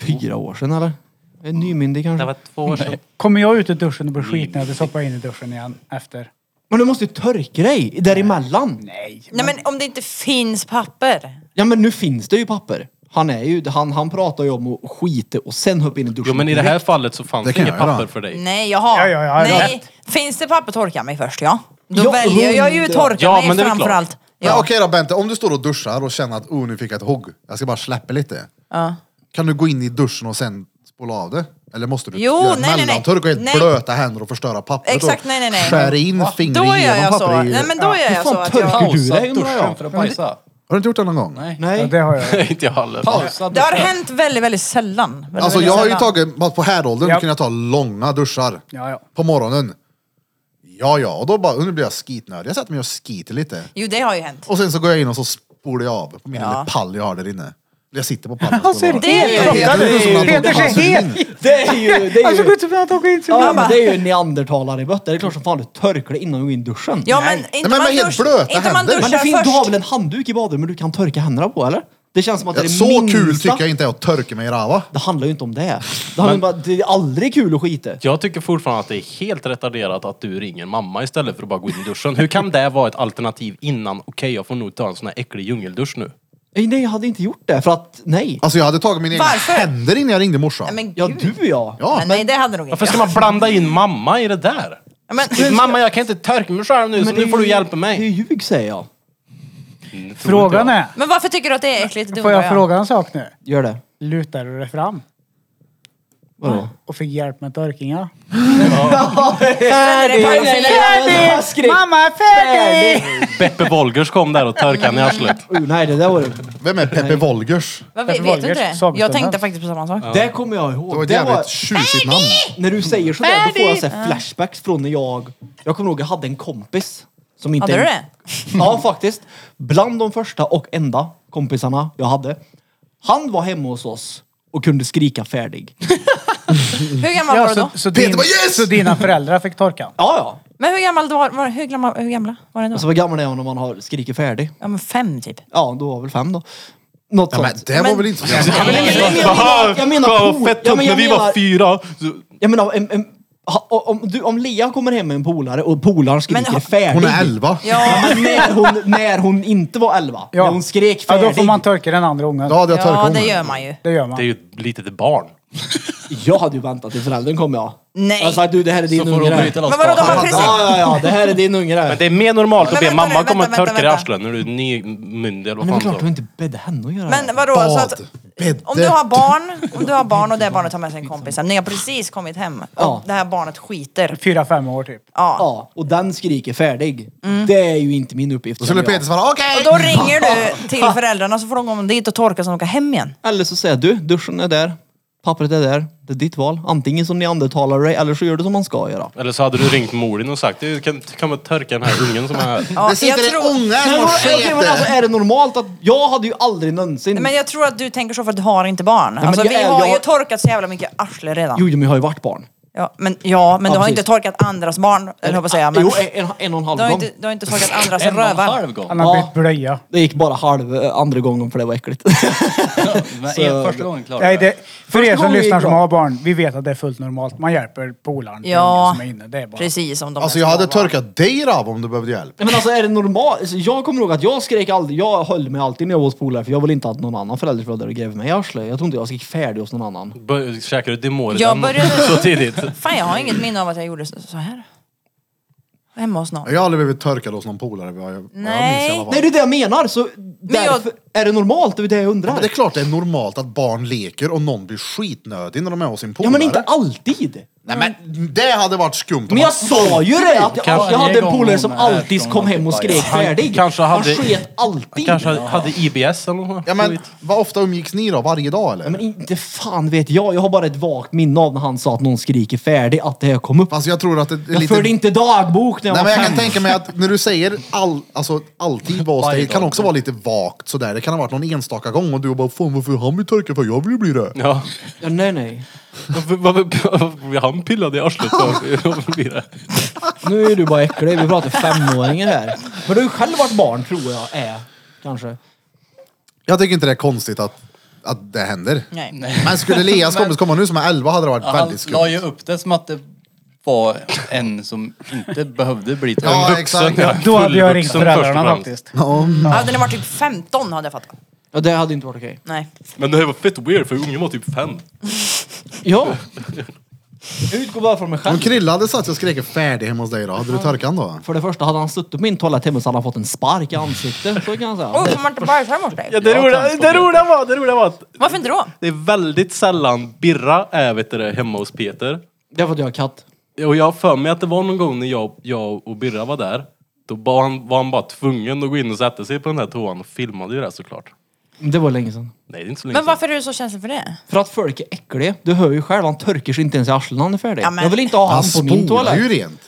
S5: Fyra år sedan, eller? Jag är nymyndig kanske.
S3: två år sedan.
S2: Kommer jag ut ur duschen och blir skitnödig så hoppar jag in i duschen igen efter.
S5: Men du måste ju torka dig däremellan.
S2: Nej.
S4: Nej men om det inte finns papper.
S5: Ja, men nu finns det ju papper. Han, är ju, han, han pratar ju om att skita och sen hoppa in i duschen.
S3: Jo men i det här fallet så fanns
S1: Det
S3: det,
S1: kan
S3: inget
S1: jag göra.
S3: papper för dig.
S4: Nej,
S2: Ja,
S4: jaha.
S2: ja, ja,
S4: Nej. Finns det papper torka mig först, ja. Då
S5: Ja,
S4: väljer jag ju
S5: hundra.
S4: torka
S3: Ja,
S4: mig
S3: men det är väl klart.
S4: framförallt.
S1: Men
S4: Ja.
S1: okej då Bente, om du står och duschar och känner att oh, nu fick jag ett hugg, jag ska bara släppa lite.
S4: Ja.
S1: Kan du gå in i duschen och sen spola av det? Eller måste du
S4: Jo,
S1: göra
S4: nej, nej, nej.
S1: mellantork och helt
S4: Nej.
S1: blöta händer och förstöra pappret?
S4: Exakt,
S1: och
S4: nej, nej, nej.
S1: Skär in fingret
S4: Då gör jag
S1: genom
S4: så.
S1: pappret. i-
S4: Nej men då gör jag så
S5: fan
S4: att
S5: torkar
S4: jag...
S5: du dig,
S8: Pausa
S5: undrar jag?
S8: duschen för att bajsa.
S1: Har du inte gjort det någon gång?
S2: Ja,
S5: Nej.
S2: det har jag.
S3: inte jag heller.
S8: Pausa
S4: Det har
S8: duschen.
S4: hänt väldigt, väldigt sällan. Väldigt,
S1: Alltså
S4: väldigt
S1: jag har ju
S4: sällan.
S1: tagit, bara på häråldern
S2: Ja.
S1: kunde jag ta långa duschar.
S2: Ja, ja.
S1: På morgonen. Ja, ja, och då bara, nu blir jag skitnödig. Jag sätter mig och skiter lite.
S4: Jo, det har ju hänt.
S1: Och sen så går jag in och så spolar jag av på min
S4: Ja.
S1: lilla pall jag har där inne. Jag sitter på pallen och
S2: Han ser
S1: spolar av. Peter
S2: helt
S4: helt
S2: chockad
S1: ser ut som
S2: ut.
S1: att Alltså, han
S2: Peter
S1: har tagit
S2: ser helt...
S1: insulin.
S5: Det är ju... Det är
S2: Han
S5: ju,
S2: såg ut som att han tog insulin.
S5: ja, men det är ju en neandertalare i bötter. Det är klart som fan du torkar dig innan du går in i duschen.
S4: Ja, men inte
S1: men
S4: om man,
S1: med helt
S4: dusch,
S1: blöta
S4: inte om man
S1: händer.
S4: duschar
S5: men det finns,
S4: först.
S5: du har väl en handduk i badrummet du kan torka händerna på, eller? Det känns som att det är
S1: Ja,
S5: det
S1: så
S5: minsta.
S1: kul tycker jag inte är att törka mig i rava.
S5: Det handlar ju inte om det. Det, handlar ju bara, det är aldrig kul att skita.
S3: Jag tycker fortfarande att det är helt retarderat att du ringer mamma istället för att bara gå in i duschen. Hur kan det vara ett alternativ innan, okej jag får nog ta en sån här äcklig djungeldusch nu.
S5: Nej, nej, jag hade inte gjort det för att, nej.
S1: Alltså jag hade tagit mina egna
S4: Varför?
S1: händer innan jag ringde morsan.
S4: Nej, men
S5: Ja,
S4: gud.
S5: du ja.
S1: Ja,
S4: Men Nej, det hade nog inte
S3: Varför ska
S4: jag.
S3: man blanda in mamma i det där?
S4: Ja, Men,
S3: Mamma jag kan inte törka mig själv nu så
S5: det är
S3: nu får du
S5: ju-
S3: hjälpa
S5: Det är
S3: mig.
S5: ljug säger jag.
S2: Frågan är,
S4: men varför tycker du att det är äckligt? Det
S2: får jag
S4: undrar
S2: fråga en sak nu?
S5: Gör det.
S2: Lutar du dig fram?
S5: Vadå?
S2: Och fick hjälp med torkningar?
S4: Färdig!
S5: Jag skrek.
S2: Mamma är färdig!
S3: Beppe Wolgers kom där och törkade henne i arslet.
S5: Oh, nej, det där var det.
S1: Vem är Peppe Wolgers?
S4: Vad vet, vet
S2: Wolgers,
S4: du inte det? Jag
S2: sagostunden.
S4: tänkte faktiskt på samma sak.
S5: Det kommer jag ihåg.
S1: Det var ett jävligt tjusigt namn.
S5: när du säger sådär, då får jag såhär flashbacks från när jag... Jag kommer ihåg jag hade en kompis. Som inte
S4: Hade du det?
S5: Ja, faktiskt. Bland de första och enda kompisarna jag hade. Han var hemma hos oss och kunde skrika färdig.
S4: Hur gammal
S2: Ja,
S4: var du då?
S2: så, så,
S1: Peter
S2: din,
S1: bara, "Yes!"
S2: så dina föräldrar fick torkan?
S5: Ja, ja.
S4: Men hur gammal var, var, hur gamla, hur gamla var den
S5: Alltså
S4: då?
S5: vad gammal är man om man har skrikit färdig?
S4: Ja, men fem typ.
S5: Ja, då var jag väl fem då. Något
S1: Ja, men
S5: sånt.
S1: det var
S4: Men-
S1: väl inte så
S5: Jag menar- jag menar pol- ja, men jag menar-
S3: fyra.
S5: Jag menar, en, en, ha- om, du, om Lea kommer hem med en polare och polaren skriker
S4: Men ha-
S5: färdig.
S1: Hon är elva.
S4: Ja,
S5: Men när, hon, när hon inte var elva.
S2: Ja.
S5: När hon skrek
S2: Ja,
S5: färdig.
S2: då får man torka den andra ungen.
S1: Då hade jag
S4: ja
S1: törkat
S4: det
S1: honom.
S4: gör man ju.
S2: Det gör
S3: Det är
S2: man.
S3: ju ett litet barn.
S5: Jag hade ju väntat till föräldern kom jag.
S4: Nej.
S5: Jag hade sagt du det här är din
S8: Så får
S5: unge.
S8: hon
S5: det här.
S8: bryta loss
S4: Men vadå, de har
S8: kakan.
S4: precis...
S5: Ja, ja, ja, det här är din unge det här.
S3: Men det är mer normalt att
S4: Men
S3: be
S4: vänta nu,
S3: mamma komma och
S4: vänta, vänta,
S3: törka dig i
S4: vänta.
S3: arslet när du är nymyndig eller
S5: Men det är
S3: vad
S5: klart du
S3: fan
S5: inte bedde henne att göra det.
S4: Men vadå, så att,
S1: Bad. Bädde.
S4: om du har barn, om du har barn och det barnet tar med sig en kompis, ni har precis kommit hem och
S5: Ja.
S4: det här barnet skiter.
S2: Fyra, fem år typ.
S4: Ja.
S5: Ja, och den skriker färdig.
S4: Mm.
S5: Det är ju inte min uppgift.
S1: Då skulle
S5: känner jag.
S1: Peter svara okej!
S4: Och då ringer du till föräldrarna så får de komma dit och torka så de åker hem igen.
S5: Eller så säger jag, du, duschen är där. Pappret är där. Det är ditt val. Antingen som neandertalare dig, eller så gör du som man ska göra.
S3: Eller så hade du ringt mor din och sagt du kan du komma och törka den här ungen som är här.
S4: Ja,
S1: det sitter en unge som
S5: Men,
S1: har
S5: vadå, okej, men alltså,
S1: sketer.
S5: är det normalt att... Jag hade ju aldrig någonsin...
S4: Men jag tror att du tänker så för att du har inte barn.
S5: men
S4: alltså,
S5: jag
S4: vi
S5: är-
S4: har
S5: jag-
S4: ju torkat så jävla mycket arsle redan.
S5: Jo, men jag har ju varit barn.
S4: Ja, men, ja, men
S5: Ja,
S4: du har
S5: precis.
S4: inte torkat andras barn, eller höll jag på att säga. Men
S5: Jo, en, en och en halv
S4: du, har
S5: gång.
S4: inte, du har inte torkat andras
S8: En och en
S4: rövar.
S8: halv gång.
S2: Han har
S5: Ja.
S2: bytt blöja.
S5: Det gick bara halv eh, andra gången för det var äckligt.
S8: Men
S5: Så-
S8: en första gången klarar
S2: Nej,
S8: jag det.
S2: det, för er som
S5: gången
S2: lyssnar som
S5: gick bra.
S2: har barn, vi vet att det är fullt normalt. Man hjälper polaren till ungen
S4: Ja,
S2: som är inne. Det är bara...
S4: precis som de
S1: Alltså jag hade törkat dig Rav om du behövde hjälp.
S5: Nej, Men alltså är det normalt? Alltså, Jag kommer ihåg att jag skrek aldrig, jag höll mig alltid när jag var hos polare för jag ville inte att någon annan förälder var där och grävde mig i arslet. Jag tror inte jag skrek färdig hos någon annan.
S3: Bör- Käkar du Demore
S4: Jag började-
S3: så tidigt?
S4: Fan, jag har inget minne av att jag gjorde så så här. hemma hos någon.
S1: Jag har aldrig blivit törkad hos någon polare. vad Jag, vad Jag minns
S4: Nej.
S1: i alla fall.
S5: Nej det är det jag menar, så därför, är det normalt? Det är det jag undrar.
S1: Men det är klart det är normalt att barn leker och någon blir skitnödig när de är hos sin
S5: ja
S1: polare.
S5: men inte alltid!
S1: Nej, men det hade varit skumt. om
S5: Men
S1: man-
S5: jag sa ju det! Att jag,
S3: Kanske
S5: jag hade en
S3: gång
S5: polare som
S3: hon är
S5: alltid
S3: från
S5: kom hem och skrek
S3: Han
S5: färdig.
S3: kanske hade-
S5: Han sket alltid.
S3: Kanske hade IBS eller något.
S1: Ja, men, vad ofta umgicks ni då? Varje dag eller?
S5: Ja, men inte fan vet jag. Jag har bara ett vagt minne av när han sa att någon skriker färdig, att det här kom upp.
S1: Fast jag tror att det är
S5: Jag
S1: lite...
S5: förde inte dagbok när jag
S1: Nej, men
S5: var
S1: jag
S5: fem.
S1: kan tänka mig att när du säger all, alltså, alltid var hos dig, det kan också vara lite vagt sådär. Det kan ha varit någon enstaka gång och du bara fan varför han blir torkad för jag vill ju bli det.
S3: Ja.
S5: Ja, nej, nej.
S3: Varför- varför- varför blir han pillad i arslet? Varför blir det?
S5: Nu är du bara äcklig. Vi pratar femåringar här. Men du har ju själv varit barn tror jag är. Kanske.
S1: Jag tycker inte det är konstigt att, att det händer.
S4: Nej.
S1: Men skulle Leas kompis komma nu som är 11 hade det varit
S8: Han
S1: väldigt
S8: la
S1: skumt.
S8: ju upp det som att det var en som inte behövde bli tönt.
S1: Ja, exakt.
S3: ja.
S2: Då hade jag ringt
S3: Fullvuxen först och
S2: föräldrarna
S3: främst.
S2: faktiskt.
S4: Hade den varit typ 15 hade jag fattat.
S5: Ja, det hade inte varit okej.
S4: Nej.
S3: Men det här var fett weird för ungen var typ fem.
S5: Ja. Jag utgår bara från mig själv.
S1: Om Krilla hade satt sig och skrek färdig hemma hos dig då, hade du torkat han då?
S5: För det första, hade han suttit på min toalett hemma så hade han fått en spark i ansiktet. Så kan jag säga.
S4: Oh, får man inte bajsa hemma hos dig?
S3: Ja, det, roliga, det, roliga var, det roliga var att
S4: Varför inte då?
S3: det är väldigt sällan Birra är vet du, det, hemma hos Peter.
S5: Det är för att jag har katt.
S3: Och jag har för mig att det var någon gång när jag, jag och Birra var där. Då var han, var han bara tvungen att gå in och sätta sig på den där toan och filmade ju det såklart.
S5: Det var länge sedan.
S3: Nej, det är inte så länge
S4: Men
S3: sedan.
S4: varför är du så känslig för det?
S5: För att folk är äckliga. Du hör ju själv, han törker sig inte ens i arslet när han är färdig.
S4: Ja, men-
S5: Jag vill inte ha han
S1: Han
S5: på min
S1: spolar
S5: toalett.
S1: ju rent.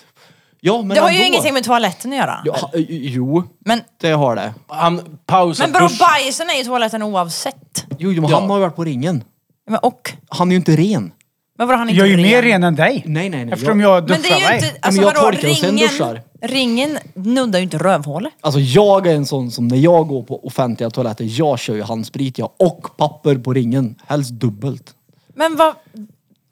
S5: Ja, men
S4: Det har ju
S5: ändå.
S4: ingenting med toaletten att göra.
S5: Ja, jo,
S4: Men,
S5: det har det.
S3: Han pausade
S4: men bro,
S3: dusch-
S4: bajsen är i toaletten oavsett.
S5: Jo, men
S3: Ja.
S5: han har ju varit på ringen.
S4: Men, och?
S5: Han är ju inte ren.
S4: Men vadå han är inte
S2: Jag är ju mer ren än dig.
S5: Nej, nej, nej.
S2: Eftersom
S5: jag-
S2: jag duschar
S4: Men det är ju inte...
S2: mig.
S4: Alltså
S5: Men jag
S4: vadå,
S5: torkar och sen
S4: ringen,
S5: duschar.
S4: ringen nuddar ju inte rövhålet.
S5: Alltså jag är en sån som när jag går på offentliga toaletter, jag kör ju handsprit jag och papper på ringen. Helst dubbelt.
S4: Men vad...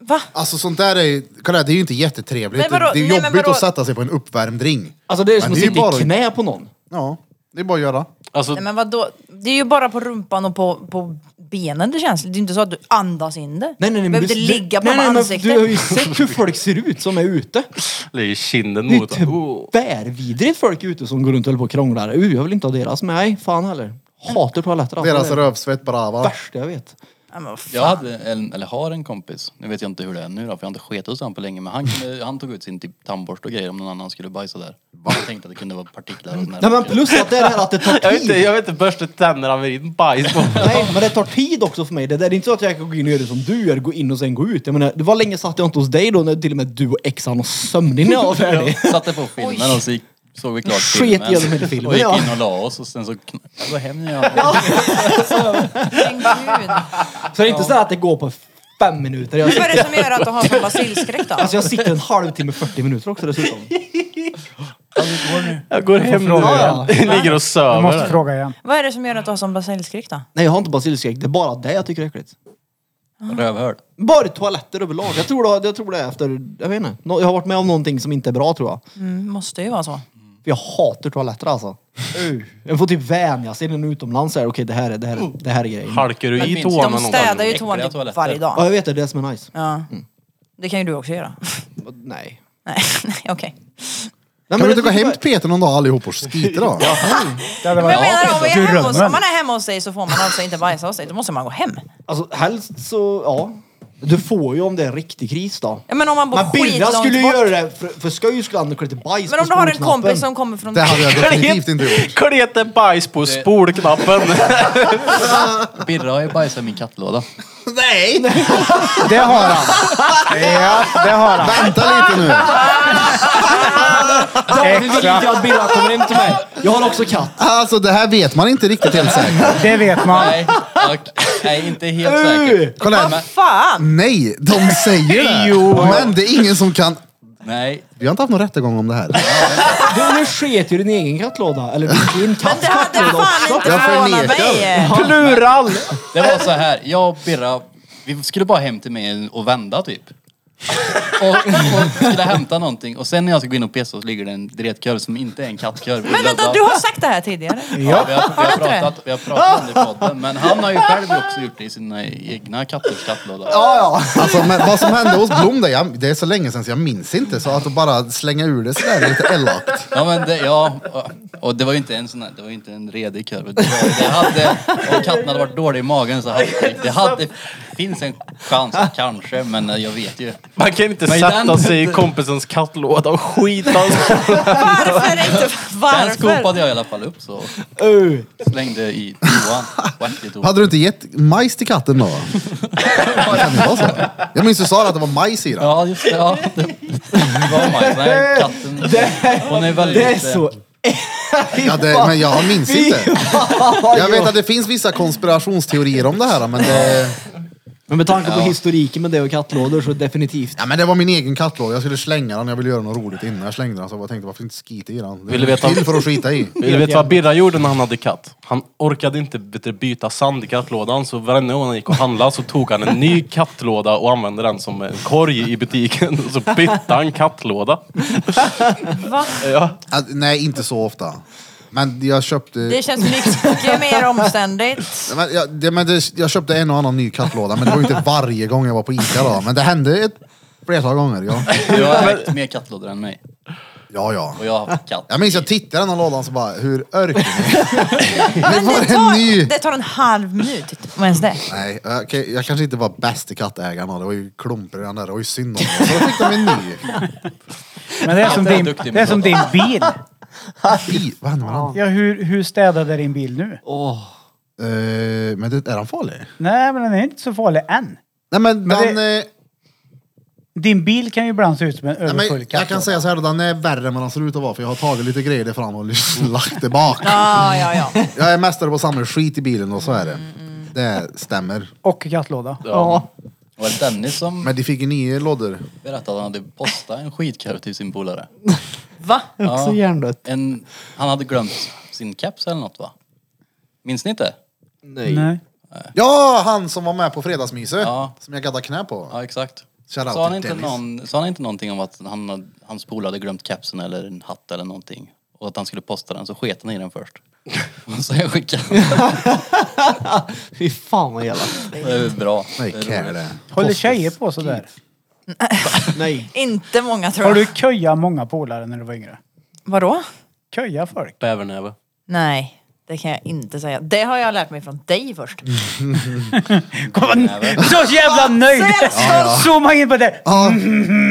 S4: Va?
S1: Alltså sånt där är ju, kolla, det är ju inte jättetrevligt.
S4: Men vadå?
S1: Det är
S4: Nej,
S1: jobbigt
S4: men vadå?
S1: att sätta sig på en uppvärmd ring.
S5: Alltså det är som
S1: Men
S5: att
S1: det är ju
S5: sitta i
S1: bara-
S5: knä på någon.
S1: Ja, det är bara att göra.
S3: Alltså,
S4: Nej men vadå? Det är ju bara på rumpan och på, på benen det känns. Det är ju inte så att du andas in det.
S5: Nej, nej, nej. men
S4: du behöver
S5: du-
S4: inte ligga på
S5: nej,
S4: med
S5: nej, men
S4: ansiktet.
S5: Du har ju sett hur folk ser ut som är ute.
S3: det är ju kinden
S5: Det är typ ju
S3: mot Oh.
S5: tvärvidrigt folk ute som går runt och håller på och krånglar. Uh, jag vill inte ha deras. Nej, fan heller. Hatar toaletter. alltså.
S1: Deras
S5: Det är
S1: rövsvett bara
S5: det
S1: va?
S5: värsta jag vet.
S4: Ja, men vad fan.
S8: Jag hade, en, eller har en kompis, nu vet jag inte hur det är nu då, för jag har inte sketat hos honom på länge, men han, kunde- han tog ut sin typ tandborste och grejer om någon annan skulle bajsa där. Jag tänkte att det kunde vara partiklar och sådär.
S5: Nej men plus att det är det här att det tar tid.
S3: Jag vet inte, jag vet inte borsta tänderna med din bajs på.
S5: Nej, men det tar tid också för mig. Det där är inte så att jag kan gå in och göra det som du gör, gå in och sen gå ut. Jag menar, det var länge satt jag inte hos dig då när till och med du och exan och sömnig när jag var färdig.
S8: Satte på filmen och så gick, såg vi klart
S5: Sket
S8: filmen.
S5: igenom hela filmen,
S8: och gick
S5: ja.
S8: in och la oss och sen så kn- jag går hem jag.
S4: Men gud.
S5: Så det är inte så att det går på fem minuter. Jag,
S4: Vad är det som gör att du har sån basilskräck då?
S5: alltså jag sitter en halvtimme, 40 minuter också dessutom.
S3: Jag går hem nu.
S5: Ja,
S3: Ligger och
S2: Jag
S3: söver.
S2: måste
S3: där.
S2: fråga igen.
S4: Vad är det som gör att du har sån basilskräck då?
S5: Nej, jag har inte basilskräck. Det är bara det jag tycker är äckligt.
S8: Rövhörd.
S5: Bara toaletter överlag. Jag tror, det, jag tror det är efter, jag vet inte. Nå- Jag har varit med om någonting som inte är bra tror jag.
S4: Mm, måste ju vara så.
S5: För jag hatar toaletter alltså. Uh. Jag får typ vänja sig när jag är utomlands. så här, Okej, det här är, det här, är- det här är grejen.
S3: Halkar du
S8: Men
S3: i
S8: finns- de
S3: toan
S4: De
S3: någon
S4: städar ju
S3: gång?
S4: toan
S8: Äckliga
S4: typ
S8: toaletter.
S4: varje
S5: Ja,
S4: dag.
S5: jag vet det. Det är det som är nice.
S4: Ja. Det kan ju du också göra.
S5: Nej.
S4: Nej, nej, okej.
S5: Nej,
S1: Kan vi
S5: det
S1: inte gå
S5: tycker
S1: hem
S5: jag-
S1: till Peter någon dag allihop och skita då?
S2: Det hade
S4: Men
S2: varit...
S4: jag menar om, vi är
S2: Du
S4: hemma hos,
S2: drömmer.
S4: om man är hemma hos dig så får man alltså inte bajsa hos dig. Då måste man gå hem.
S5: Alltså helst så, ja. Du får ju om det är en riktig kris då.
S4: Ja, men om man bor
S5: Men Birra
S4: skitlångt
S5: skulle ju
S4: bort.
S5: göra det för, för skojs skull. Han lite bajs
S4: Men
S5: på
S4: om du har en
S5: skolknappen.
S4: kompis som kommer från...
S1: Det hade jag definitivt inte gjort.
S3: Klete bajs på spolknappen.
S8: Birra har ju bajsat i min kattlåda.
S1: Nej!
S2: Det har han. Ja, det har han.
S1: Vänta lite nu.
S5: Ja, nu vill inte jag att Birra kommer hem till mig. Jag har också katt.
S1: Alltså det här vet man inte riktigt helt säkert.
S2: Det vet man.
S8: Nej, och, nej inte helt säkert.
S1: Kolla här.
S4: Vad fan!
S1: Nej, de säger det. Men det är ingen som kan...
S8: Nej,
S1: Vi har inte haft någon rättegång om det här.
S5: Du, nu sket ju din egen kattlåda. Eller din katts
S4: Det hade
S5: kattlåda
S4: fan
S5: också.
S4: inte
S1: Jag
S4: förvånat
S1: förnekar.
S4: mig.
S3: Plural!
S8: det var så här. Jag och Birra, vi skulle bara hem till mig och vända typ. Och, och skulle hämta någonting och sen när jag ska gå in och pissa så ligger det en dretkörv som inte är en kattkorv.
S4: Men vänta, du har sagt det här tidigare.
S8: Ja, vi har, vi har,
S4: Har du inte
S8: pratat, vi har pratat om det i podden, men han har ju själv också gjort det i sina egna katters kattlåda.
S1: Ja, ja. Alltså, men vad som hände hos Blom, det, jag, det är så länge sedan så jag minns inte. Så att bara slänga ur det sådär är lite elakt.
S8: Ja men det, ja, och- och det var ju inte en sån här, det var ju inte en redig korv. Det, var- det hade, om katten hade varit dålig i magen så hade det, det hade, finns en chans kanske, men jag vet ju.
S3: Man kan inte
S8: Men
S3: sätta
S8: den-
S3: sig i kompisens kattlåda och skita. alltså.
S4: Varför inte?
S8: Den
S4: Varför?
S8: skopade jag i alla fall upp så slängde i toan. På äckligt.
S1: Hade du inte gett majs till katten då? Det kan inte vara så. Jag minns du sa att det var majs i den.
S8: Ja just det, ja. Det, det var majs. Nej, katten. Hon är väldigt...
S5: Det är så...
S1: Ja, det, men jag minns inte. Jag vet att det finns vissa konspirationsteorier om det här, men det,
S5: Men med tanke på historiken med det och kattlådor så definitivt.
S1: ja, men det var min egen kattlåda. Jag skulle slänga den, jag ville göra något roligt innan jag slängde den. Så jag bara tänkte, varför inte skita i den? Det
S3: Vill du veta-
S1: till för att skita i.
S3: Vill du veta vad Birra gjorde när han hade katt? Han orkade inte vet du, byta sand i kattlådan så varenda gång han gick och handlade så tog han en ny kattlåda och använde den som en korg i butiken. Och så bytte han kattlåda.
S4: Va?
S1: Ja, nej, inte så ofta. Men jag köpte...
S4: Det känns mycket mer omständigt.
S1: Men jag, det, men det, jag köpte en och annan ny kattlåda, men det var ju inte varje gång jag var på Ica då. Men det hände ett flertal gånger, ja.
S8: Du har ägt mer kattlådor än mig.
S1: Ja, ja.
S8: Och jag har haft katt.
S1: Jag minns jag tittade i den här lådan så bara, hur örken Det
S4: Men
S1: var
S4: det
S1: en ny!
S4: tar, det tar en halv minut, om ens det.
S1: Nej, jag, okej, jag kanske inte var bäst i kattägarna. Det var ju klumpor i den där. Det var ju synd om dem. Så då fick de en ny.
S2: Men det är som
S8: Jag är
S2: din,
S8: duktig med
S2: det är som din bil.
S1: I, vad hände med den?
S2: Ja, hur, hur städad är din bil nu?
S1: Eh, men det, är den farlig?
S2: Nej, men den är inte så farlig än.
S1: Nej men,
S2: Men
S1: den... eh,
S2: Din bil kan ju ibland se ut som en
S1: nej,
S2: överfull
S1: men jag kan
S2: kattlåda.
S1: säga så här, den är värre än vad den ser ut att vara. För jag har tagit lite grejer där fram och lagt det bak.
S4: Ja, ja, ja.
S1: Jag är mästare på att samla skit i bilen och så är det. Det stämmer.
S2: Och kattlåda.
S5: Ja.
S8: Det var Dennis som
S1: Men de fick ju nya lådor.
S8: berättade att han hade postat en skitkorv till sin polare.
S4: Va?
S5: Också hjärndött.
S8: En, han hade glömt sin keps eller något va? Minns ni inte?
S5: Nej.
S2: Nej.
S1: Ja, han som var med på fredagsmyset.
S8: Ja.
S1: Som jag gaddade knä på.
S8: Ja exakt.
S1: Shout out
S8: Sa han,
S1: till
S8: inte
S1: Dennis.
S8: någon, sa han inte någonting om att han, hade- hans polare hade glömt kepsen eller en hatt eller någonting? Och att han skulle posta den så sket han i den först. Och så jag skickade den.
S5: Fy fan vad elakt.
S8: Det är bra.
S1: Nej,
S8: Det är
S1: care
S8: roligt.
S1: det.
S2: Håller tjejer på sådär?
S5: Nej.
S4: Inte många tror
S2: Har
S4: jag.
S2: du köjat många polare när du var yngre?
S4: Vadå?
S2: Köja folk?
S3: Bävernäve.
S4: Nej, det kan jag inte säga. Det har jag lärt mig från dig först.
S1: Mm.
S2: Kom, så jävla nöjd! Zooma in på det!
S1: Ja,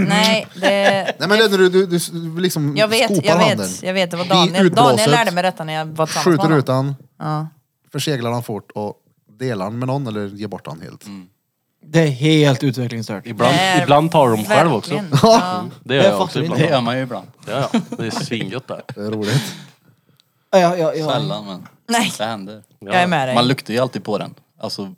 S4: Nej, det...
S1: nej men det är när du, du, du liksom
S4: Jag vet,
S1: skopar
S4: jag
S1: handen.
S4: vet, jag vet. Det var
S1: I
S4: Daniel. Daniel
S1: utblåset,
S4: lärde mig detta när jag var tillsammans med
S1: Skjuter
S4: honom.
S1: ut den,
S4: Ja.
S1: förseglar den fort och delar den med någon eller ger bort den helt.
S3: Mm.
S5: Det är helt utvecklingsstört.
S3: Ibland,
S4: Nej,
S3: ibland tar de själv också.
S4: Verkligen. Ja.
S3: Det gör jag
S5: fattar
S3: också
S5: vi
S8: Det
S3: ibland.
S8: gör man ju ibland.
S3: Ja, ja. Det är svingött det.
S1: Det är roligt.
S5: Ja, ja, ja.
S8: Sällan men
S4: Nej,
S8: det händer.
S4: jag är med dig.
S8: Man luktar ju alltid på den. Alltså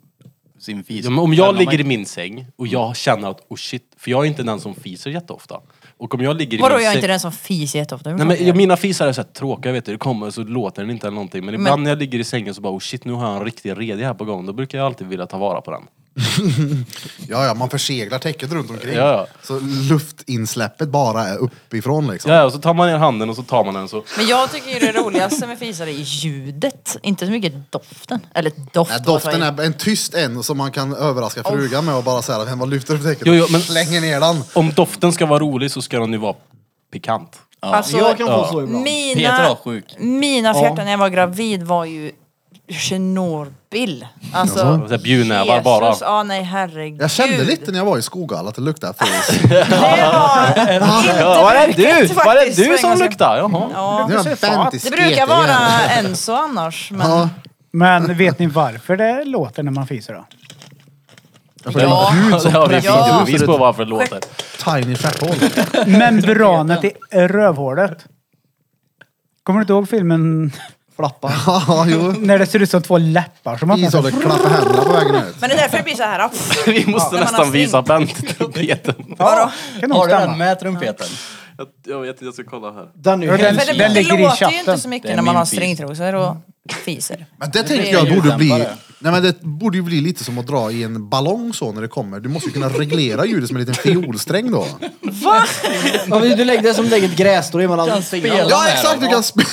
S8: sin fis.
S3: Ja, men om jag
S8: Även
S3: ligger i
S8: man-
S3: min säng och jag känner att oh shit, för jag är inte den som fiser jätteofta. Och om jag ligger i
S4: Vadå,
S3: min
S4: jag är
S3: säng...
S4: inte den som fiser jätteofta.
S3: Nej, men, ja, mina fisar är så här tråkiga, vet du. det kommer så låter den inte eller någonting. Men ibland när jag ligger i sängen så bara oh shit, nu har jag en riktig redig här på gång. Då brukar jag alltid vilja ta vara på den.
S1: Ja, ja, man förseglar täcket runt omkring.
S3: Ja, ja.
S1: Så luftinsläppet bara är uppifrån liksom.
S3: Ja, och så tar man ner handen och så tar man den så...
S4: Men jag tycker ju det roligaste med fisar är ljudet, inte så mycket doften. Eller doft.
S1: Nej,
S4: vad sa
S1: Äh, doften
S4: jag?
S1: är en tyst en som man kan överraska frugan med och bara säga att man lyfter upp täcket
S3: Jo, jo,
S1: och
S3: men-
S1: slänger ner den.
S3: Om doften ska vara rolig så ska den ju vara pikant.
S4: Alltså,
S5: Jag kan få så ibland.
S8: Peter var
S4: mina,
S8: sjuk.
S4: mina fjärtar när jag var gravid var ju Tjernobyl. Alltså,
S3: Så här Bjudnävar bara.
S4: Ja, nej herregud.
S1: Jag kände lite när jag var i Skoghall att det luktade fis.
S4: Det var inte
S3: Var det
S4: brukligt
S3: du? Var det
S4: faktiskt, för
S3: du
S4: en
S3: som
S4: gångs skull.
S3: luktade? Jaha.
S4: Ja.
S1: Det var en
S2: fat.
S1: fentis
S4: Det brukar
S1: skete
S4: vara
S1: igen.
S4: Enso annars, men
S1: Ja,
S2: Men vet ni varför det låter när man fiser då?
S1: jag får ja. ljud som
S3: det har vi
S4: Ja.
S3: bevis på varför det låter.
S1: tiny stjärthål.
S2: Membranet i rövhålet. Kommer du inte ihåg filmen
S5: Flappa.
S1: Ja, jo.
S2: när det ser ut som två läppar som
S1: Ni
S2: öppnar
S1: sa
S2: sig?
S1: det klappade händerna på vägen ut.
S4: Men det är därför det blir så här.
S3: Vi måste
S4: Ja. alltså
S3: nästan visa Bent trumpeten.
S2: Ja, kan nog
S8: Har du den
S2: stämma.
S8: med trumpeten?
S3: Jag, jag vet inte, jag ska kolla här.
S5: Den är ju
S2: Ja, den-
S5: hemsk.
S4: För det,
S2: ligger i
S4: det låter ju
S2: chatten.
S4: inte så
S8: Det
S4: mycket
S8: är
S4: när man
S8: min
S4: har
S8: fis.
S4: stringtrosor och fiser.
S1: Men det tänkte jag borde bli
S8: ljuddämpare.
S1: Nej men det borde ju bli lite som att dra i en ballong så när det kommer. Du måste ju kunna reglera ljudet som en liten fiolsträng då.
S5: Ja, men du lägger det som lägger ett grässtrå emellan fingrarna.
S1: Ja exakt, du kan spela...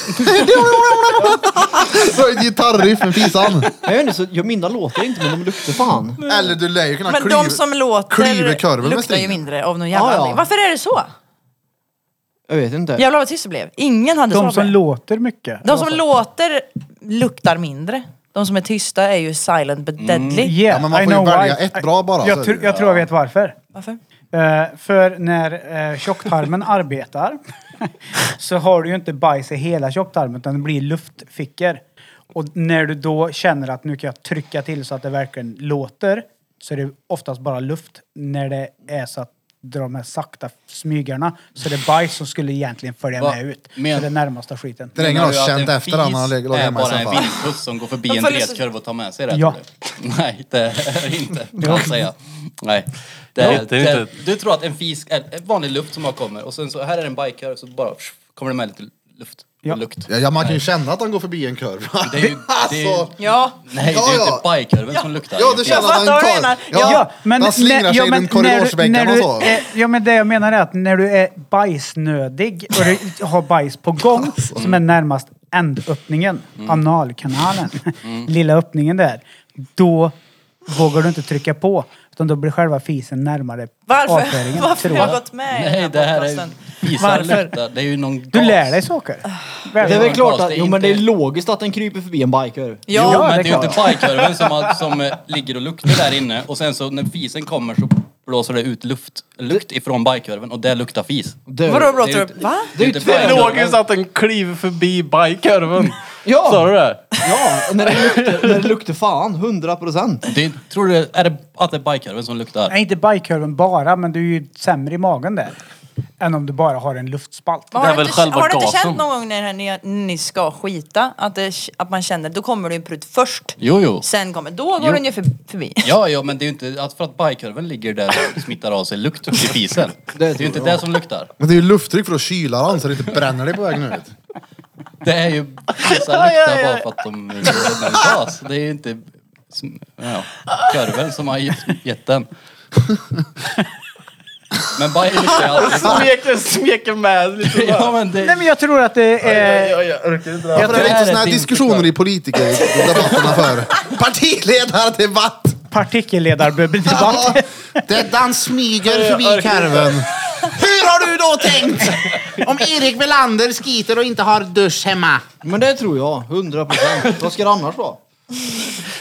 S1: ett gitarriff med pisan.
S5: Jag vet inte, så, jag, mina låter inte men de luktar fan.
S1: Eller du lär ju kunna
S4: Men
S1: klyva-
S4: de som
S1: klyver
S4: låter
S1: korven med
S4: luktar ju
S1: strängen.
S4: mindre av någon jävla
S5: Ja, ja.
S4: anledning. Varför är det så?
S5: Jag vet inte.
S4: Jävlar vad tyst det blev. Ingen hade
S2: De
S4: svar på
S2: som
S4: det.
S2: låter mycket.
S4: De som låter luktar mindre. De som är tysta är ju silent
S1: Mm.
S4: but deadly.
S2: Yeah,
S1: Ja, men man
S2: I
S1: får ju
S2: know
S1: välja
S2: why.
S1: ett bra bara, så
S2: Jag,
S1: är
S2: tr-
S1: det ju.
S2: jag tror jag vet varför.
S4: Varför?
S2: Eh, för när uh, tjocktarmen arbetar så har du ju inte bajs i hela tjocktarmen utan det blir luftfickor. Och när du då känner att nu kan jag trycka till så att det verkligen låter så är det oftast bara luft när det är så att dra de här sakta smygarna så det är bajs som skulle egentligen följa
S8: Va?
S2: med ut.
S8: Men-
S2: Så det är närmasta skiten.
S1: Drängen
S8: Menar
S1: har
S8: du att
S1: känt
S8: en
S1: efter den när han
S8: fis
S1: låg hemma i
S8: är bara en
S1: soffan.
S8: vindpuss som går förbi en
S4: Varför är det så-
S8: bredkurv och tar med sig det?
S2: Ja.
S8: tror du? Nej, det är det inte. Kan jag säga. Nej. Det, är-
S3: Nej, det är
S8: det är-
S3: inte-
S8: Du tror att en fis är en vanlig luft som bara kommer och sen så här är en bajkurv så bara psh, kommer det med lite luft.
S2: Ja.
S8: Och lukt.
S1: Ja, ja, man kan ju känna att han går förbi en kurv.
S8: Det är ju- det är ju-
S1: alltså,
S4: Ja.
S8: Nej,
S1: Ja,
S8: det är ju
S1: ja.
S8: inte bajkurven som luktar.
S1: ja, du
S8: Det är-
S1: känner att han
S4: fattar vad du
S1: tar...
S4: menar.
S1: Ja, han slingrar sig
S2: men
S1: runt
S2: när du-
S1: korridorsväggarna
S2: när
S1: och
S2: du
S1: så.
S2: är- Ja, men det jag menar är att när du är bajsnödig och du har bajs på gång
S1: Mm.
S2: som är närmast ändöppningen, analkanalen,
S1: Mm.
S2: lilla öppningen där, då vågar du inte trycka på. Utan då blir själva fisen närmare
S4: Varför?
S2: avföringen,
S4: Varför
S2: tror
S4: har jag
S2: jag.
S4: gått med i
S8: Nej,
S4: den
S8: det
S4: här
S8: här är
S4: podcasten?
S8: fisar
S2: Varför?
S8: luktar. Det är ju någon gas.
S2: Du lär dig saker.
S5: Det är väl
S8: Ja,
S5: klart
S8: fast
S5: att,
S8: det är
S5: jo men det är
S8: inte-
S5: logiskt att den kryper förbi en biker.
S8: Jo,
S2: Ja,
S4: Ja.
S8: men
S2: det
S8: det
S2: är
S8: är ju inte
S2: klart.
S8: bajkurven som, har- som eh, ligger och luktar där inne och sen så när fisen kommer så blåser det ut luft, lukt ifrån bajkurven och det luktar fis.
S5: Dör.
S4: Vadå
S8: Det är
S4: blåter
S8: ju
S4: upp?
S8: inte-
S4: Va?
S8: Det är ju
S5: Det är
S8: bajkurven.
S3: Logiskt att den kliver förbi bajkurven.
S5: Ja.
S3: Sa du det?
S5: Ja, när det luktar, när det luktar fan, 100 procent.
S8: Det, tror du är det, att det är bajkorven som luktar?
S2: Nej, inte bajkurven bara, men du är ju sämre i magen där. Än om du bara har en luftspalt.
S4: Men Har
S3: Det
S4: du
S3: är väl
S4: inte,
S3: själva
S4: har du inte
S3: gasen.
S4: känt någon gång när det här nya- ni ska skita att, det, att man känner då kommer det en prutt först,
S8: Jo, jo.
S4: sen kommer då går
S8: Jo.
S4: den ju för- förbi.
S8: Ja, ja, men det är ju inte att för att bajkorven ligger där och smittar av sig lukt i fisen. Det är ju inte det som luktar.
S1: Men det är ju lufttryck för att kyla han så det inte bränner dig på vägen ut.
S8: Det är ju fisar luktar bara för att de är gas. Det är ju inte sm- ja, korven som har gett- gett den. Men baj luktar ju alltid.
S3: Smeker, smeker med lite
S8: Ja, men
S2: Nej,
S8: det,
S2: men jag tror att det är...
S1: Ja, för det är
S8: det
S1: lite
S8: är
S1: sådana här
S8: ett
S1: diskussioner i politikerdebatterna för. Partiledardebatt!
S2: partikelledarbubbeldebatt.
S1: Ja, den smyger förbi karven. Hur har du då tänkt? Om Erik Velander skiter och inte har dusch hemma.
S5: Men det tror jag, 100 procent. Vad ska det annars vara?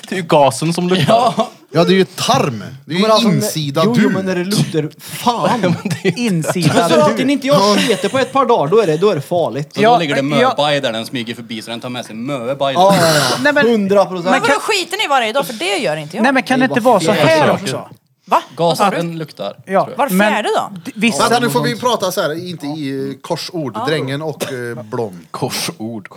S3: Det är ju gasen som luktar.
S1: Ja, det är ju tarm. Det är ju
S5: Men alltså,
S1: insida
S5: jo, jo, men
S1: du.
S5: när det luktar fan.
S2: Insidan.
S5: Men så alltid inte jag sketer på ett par dagar, då är det, då är det farligt.
S8: så
S2: Ja,
S8: då ligger det
S2: ja.
S8: möbaj där den smyger förbi så den tar med sig möbaj.
S5: Ja, ja,
S2: Nej,
S5: ja.
S2: men-
S5: 100
S4: Men
S5: procent.
S4: vadå skiter ni varje dag? För det gör inte jag.
S2: Nej men kan det inte vara så här också?
S4: Va? Vad sa du?
S8: Gasen luktar.
S2: Ja,
S8: tror jag.
S4: Varför
S2: men-
S4: är det då?
S2: D- Visst,
S1: Vänta, alltså, nu får vi prata så här, inte i eh, korsord. Drängen och eh, Blom.
S3: Korsord.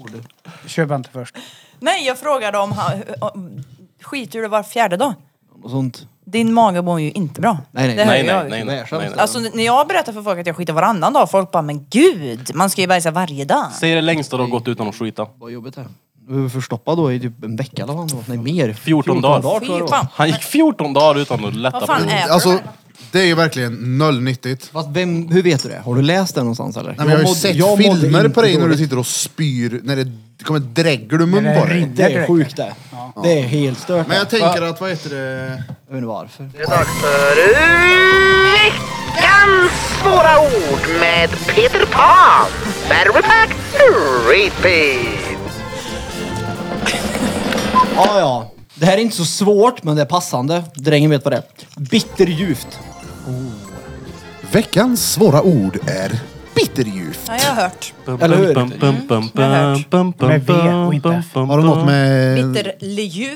S2: kör Bente först.
S4: Nej, jag frågade om, han- om skiter du var fjärde dag?
S5: Och sånt.
S4: Din mage mår ju inte bra.
S5: Nej, nej,
S4: Det hör
S3: Nej,
S4: jag
S3: nej,
S4: ju.
S3: nej. nej, nej, nej.
S4: Alltså när jag berättar för folk att jag skiter varannan dag, folk bara men gud, man ska ju bajsa varje dag.
S3: Säg det längsta du har gått utan att skita.
S5: Vad jobbigt det är. Du var förstoppad då i typ en vecka eller vad det var. Nej mer.
S3: 14 dagar.
S5: tror jag det
S4: Fy
S5: var.
S4: fan.
S3: Han gick 14 dagar utan att lätta
S4: Vad
S3: på
S4: fan
S3: det.
S4: äter
S1: Alltså,
S4: du?
S1: det är ju verkligen nollnyttigt.
S5: Fast vem, hur vet du det? Har du läst det någonstans eller?
S1: Nej, men jag har ju
S5: mådde-
S1: sett
S5: jag mådde
S1: filmer
S5: inte
S1: på dig när du
S5: dåligt.
S1: sitter och spyr, när det kommer drägel ur mun
S2: När det
S1: på dig.
S2: rinner.
S5: Det är sjukt det. Det är helt stört.
S1: Men jag
S5: det.
S1: tänker att, vad heter det?
S5: Jag vet inte varför.
S9: Det är dags för veckans svåra ord med Peter Pan. Battery pack, repeat.
S5: Ja, ja. Det här är inte så svårt, men det är passande. Drängen vet vad det är. Bitterljuvt.
S1: Veckans svåra ord är bitterljuvt.
S4: Ja, jag har hört.
S5: Eller hur?
S4: Mm.
S2: Med V och inte F.
S1: Har du något med,
S4: Bitterljuv,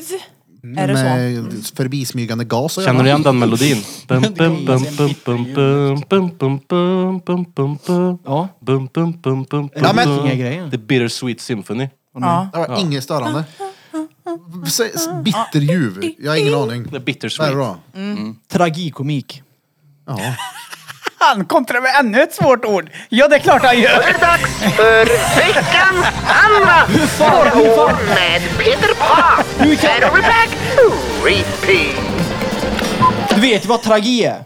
S4: är det så?
S1: med förbismygande gas att
S3: Känner du
S1: göra?
S3: igen den melodin? Bum, bum, bum, bum, bum, bum, bum, bum, bum, bum, bum, bum.
S5: Ja.
S3: Bum, bum, bum, bum,
S1: Ja, men-
S3: bum.
S5: Inga grejer.
S3: The Bittersweet Symphony.
S4: Ja.
S1: Det var inget störande. Sä- s- Bitterljuv. Jag har ingen aning.
S3: The
S1: Vad är det
S3: Bittersweet.
S1: då?
S5: Tragikomik.
S1: Ja.
S2: Han kontrar med ännu ett svårt ord. Ja, det är klart han gör.
S9: Nu är det dags för veckans andra svårord med Peter Pan. Battery pack repeat.
S5: Du vet ju vad tragedi är.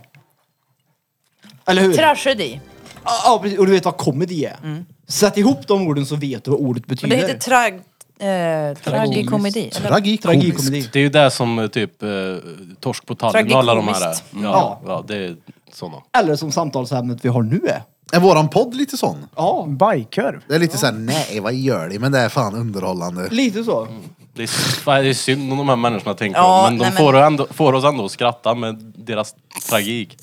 S5: Eller hur?
S4: Tragedi.
S5: Ja, ja, precis. och du vet vad komedi är. Sätt ihop de orden så vet du vad ordet
S4: Men det
S5: betyder.
S4: heter trag... Eh, tragikomedi. eller?
S1: Tragikomiskt.
S5: Tragikomedi.
S3: Det är ju det som eh, typ eh, Torsk på tallen och alla de här är.
S4: Tragikomiskt.
S3: Ja, ja, det är sådana.
S5: Eller som samtalsämnet vi har nu är.
S1: Är våran podd lite sån?
S5: Ja,
S2: Bajkorv.
S1: Det är lite såhär, nej vad gör ni? Men det är fan underhållande.
S5: lite så.
S3: Det är, s- det är synd om de här människorna tänker
S4: Ja,
S3: jag, men de
S4: nej, men-
S3: Får, ändå, får oss ändå att skratta med deras tragik.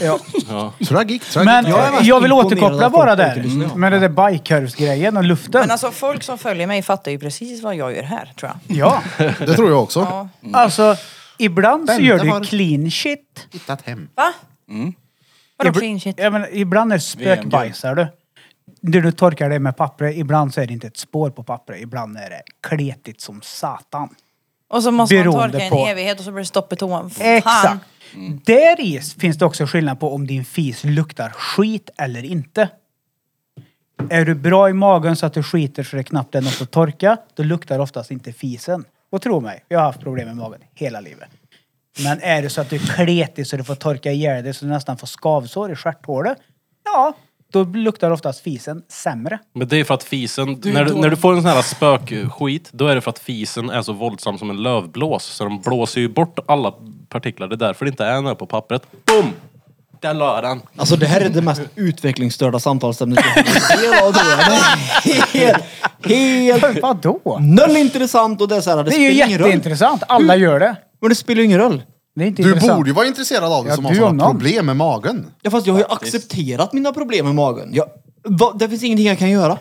S2: Ja.
S3: Ja.
S1: Tragik, tragik.
S2: Men
S5: Jag är
S2: jag,
S5: mest
S2: vill
S5: imponerad av
S2: återkoppla
S5: att
S2: bara
S5: folk
S2: där.
S5: inte lyssnar.
S2: Med det där bajkorvsgrejen och luften.
S4: Men alltså folk som följer mig fattar ju precis vad jag gör här, tror jag.
S2: Ja.
S5: Mm.
S1: Det tror jag också.
S4: Ja.
S2: Alltså, ibland så
S1: Vänta
S2: gör du
S1: bara.
S2: ju clean shit.
S1: Hittat hem.
S4: Va?
S3: Mm.
S4: Vadå
S2: Ibl-
S4: clean shit?
S2: Ja, men ibland är det spökbajsar du. När du torkar det med papper, ibland så är det inte ett spår på pappret. Ibland är det kletigt som satan.
S4: Och så måste man
S2: Beroende
S4: torka en
S2: på-
S4: evighet och så blir det stopp i toan. Fan.
S2: Exakt. Mm. Där i finns det också skillnad på om din fis luktar skit eller inte. Är du bra i magen så att du skiter så det knappt är något att torka, då luktar oftast inte fisen. Och tro mig, jag har haft problem med magen hela livet. Men är det så att du är kletig så du får torka ihjäl dig så du nästan får skavsår i stjärthålet, ja, då luktar oftast fisen sämre.
S3: Men det är för att fisen, när, du, när du får en sån här spökskit, då är det för att fisen är så våldsam som en lövblås. Så de blåser ju bort alla partiklar. Det är därför det inte är några på pappret. Boom! Där la den.
S5: Alltså det här är det mest utvecklingsstörda samtalsämnet jag har del av. Helt, helt...
S2: Vadå?
S5: Noll intressant och det är så här, det,
S2: Det är ju
S5: spelar ingen roll.
S2: jätteintressant. Alla gör det.
S5: Men det spelar ingen roll.
S2: Det är inte
S1: Du
S2: intressant.
S1: borde ju vara intresserad av det
S2: Ja,
S1: som har
S2: du om
S1: sådana
S2: någon.
S1: problem med magen.
S5: Ja, fast jag har ju accepterat mina problem med magen. Jag, va, det finns ingenting jag kan göra.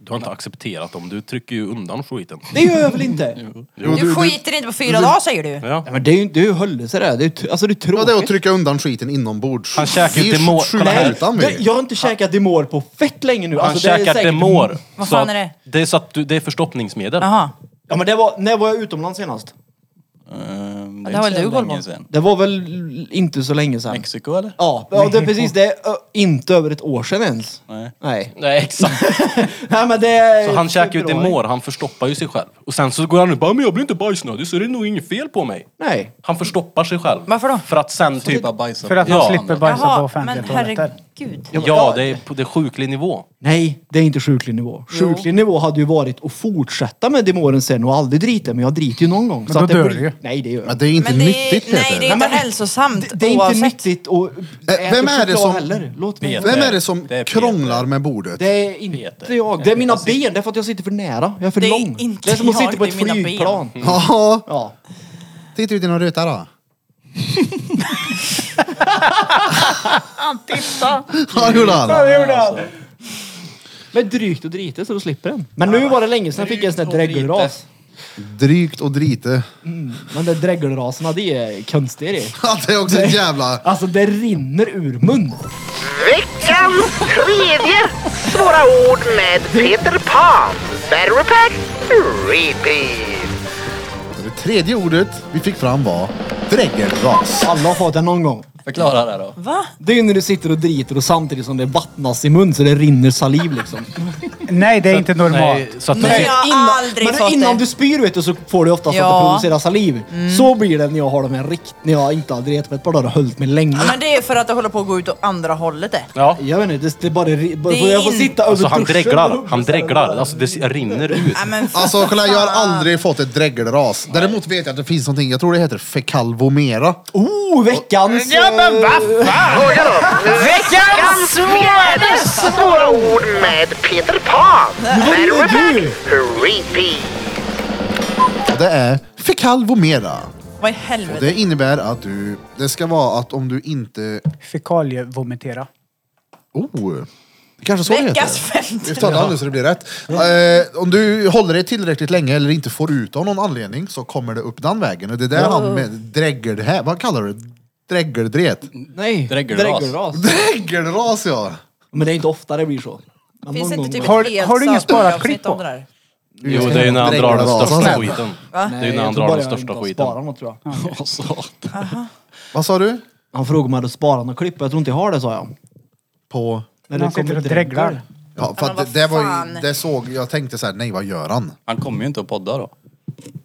S3: Du har inte accepterat dem, du trycker ju undan skiten.
S5: Det gör jag väl inte?
S4: Du, skiter inte på fyra dagar säger du ju.
S3: Ja.
S5: Ja, men det är ju det är ju höllelse det. är. Det är, tr- alltså, det
S1: Ja,
S5: är
S1: det är att
S5: tråkigt.
S1: trycka undan skiten inombords.
S3: Han käkar ju
S1: Vi
S3: demor-
S1: skjuter
S3: kolla här.
S1: utan
S5: Jag,
S1: mig.
S5: jag har inte käkat Demor på fett länge nu.
S3: Han
S5: Alltså, det är
S3: käkar
S5: säkert-
S3: Demor.
S4: Vad
S3: Så
S4: fan
S3: att-
S4: är det?
S3: Det är, så att du, det är förstoppningsmedel.
S4: Jaha.
S5: Ja, men det var, när var jag utomlands senast?
S8: Ehm,
S4: Det har väl
S8: inte så
S4: du koll på?
S8: länge sedan.
S5: Det var väl inte så länge sedan.
S8: Mexiko eller?
S5: Ja, ja det är precis. Det är ö, inte över ett år sedan ens.
S8: Nej.
S5: Nej.
S3: Nej, exakt.
S5: Nej men det är...
S3: Så han käkar ju
S5: superbra.
S3: Demor, han förstoppar ju sig själv. Och sen så går han ut bara, men jag blir inte bajsnödig så det är nog inget fel på mig.
S5: Nej.
S3: Han förstoppar sig själv.
S4: Varför då?
S3: För att sen typ...
S8: Bara bajsa
S2: För att
S8: på
S2: han
S3: Ja.
S2: slipper bajsa på
S4: Jaha, men
S2: offentliga toaletter.
S4: herregud.
S3: Ja, det är på det är sjuklig nivå.
S5: Nej, det är inte sjuklig nivå. Sjuklig nivå hade ju varit att fortsätta med Demoren sen och aldrig drita. Men jag driter ju någon gång.
S2: då
S5: att det
S2: dör
S5: blir-
S2: du ju.
S5: Nej, det gör jag
S1: Men
S5: inte.
S1: det är inte
S4: Men det är,
S1: nyttigt Peter.
S4: nej, det är inte hälsosamt
S5: Det, det är inte
S4: oavsett.
S5: nyttigt att äta
S1: vem är det
S5: choklad
S1: som-
S5: heller. Låt mig.
S1: Vem är det som
S8: Det är Peter.
S1: krånglar med bordet?
S5: Det är inte jag. Det är mina ben. Det är för att jag sitter för nära. Jag är för
S4: Det är
S5: lång.
S4: inte
S5: det är som att
S4: jag,
S5: sitta på
S4: det
S5: ett
S4: är mina ben.
S5: flygplan.
S1: Ja,
S5: Ja.
S1: titta ut genom rutan då. Han tittade! Ja, det gjorde han.
S5: Men drygt och drite så då slipper den. Men nu var det länge sedan jag fick en sån där
S8: Drygt och drite.
S5: dregelras.
S1: Drygt och drite.
S5: Men de där dregelraserna, det är konstiga det.
S1: Ja, det är också ett jävla...
S5: Alltså det rinner ur mun.
S9: Veckans tredje svåra ord med Peter Pan. Battery pack repeat.
S1: Det tredje ordet vi fick fram var dregelras.
S5: Alla har fått det någon gång.
S8: Förklara det då.
S4: Va?
S5: Det är ju när du sitter och driter och samtidigt som det vattnas i mun så det rinner saliv liksom.
S2: Nej, det är inte normalt.
S3: så att
S4: Nej, jag har aldrig
S5: men
S4: fått
S5: innan
S4: det.
S5: du spyr vet du så får du oftast att
S4: Ja. Mm.
S5: det producerar saliv. Så blir det när jag har dem i en rikt, när jag inte har dretat på ett par dagar och höljt mig länge.
S4: Ja, men det är för att det håller på att gå ut åt andra hållet det.
S3: Ja.
S5: Jag vet inte, det, det är bara... ri- bara
S4: Det är
S5: jag får
S4: in-
S5: sitta över
S3: Alltså han
S5: duschen
S3: dreglar,
S5: och-
S3: han dreglar. Alltså det rinner ut.
S4: Nej, men för
S1: Alltså kolla, jag har
S4: fan.
S1: aldrig fått ett dregelras. Däremot vet jag att det finns någonting, jag tror det heter fekalvomera.
S5: Oh, veckans... eh,
S2: Ja, men vad fan!
S9: Veckans fjärde svåra ord med Peter Pan. Battery pack repeat.
S1: Och Det är fekalvomera.
S4: Vad i
S1: Och
S4: helvete?
S1: det innebär att du... Det ska vara att om du inte...
S2: Fekalievomitera.
S1: Oh! Det kanske så det
S4: Veckans
S1: heter. Vi
S4: femte.
S1: tar det nu så det blir rätt. Eh, om du håller dig tillräckligt länge eller inte får ut av någon anledning så kommer det upp den vägen. Och det är där han med dräggel... här- Vad kallar du det? Dräggeldret?
S5: Nej,
S8: Dregelras.
S5: dregelras.
S1: Dräggelras ja!
S5: Men det är inte ofta det blir så. Men
S4: Finns det
S5: någon
S4: inte typ
S5: gång.
S2: Har-
S4: ett helt
S2: har du ingen sparat
S4: sakavsnitt
S2: klipp på?
S4: om det där?
S3: Jo, det är ju när han drar den
S1: Dräggelras.
S3: största skiten. Det är ju
S5: Nej,
S3: när
S5: jag
S3: han
S5: tror
S3: drar
S5: bara
S3: den
S5: jag
S3: största
S5: inte har
S3: skiten.
S5: sparat Något, tror jag.
S8: Åh, satan.
S1: Vad sa du?
S5: Han frågade om jag hade sparat något klipp och jag tror inte jag har det sa jag.
S1: På...
S5: När
S2: han sitter och dreglar.
S1: Ja, för
S4: men
S1: att
S4: vad
S1: det, det var
S4: fan.
S1: ju, det såg, jag tänkte så här, nej vad gör han?
S8: Han kommer ju inte att podda då.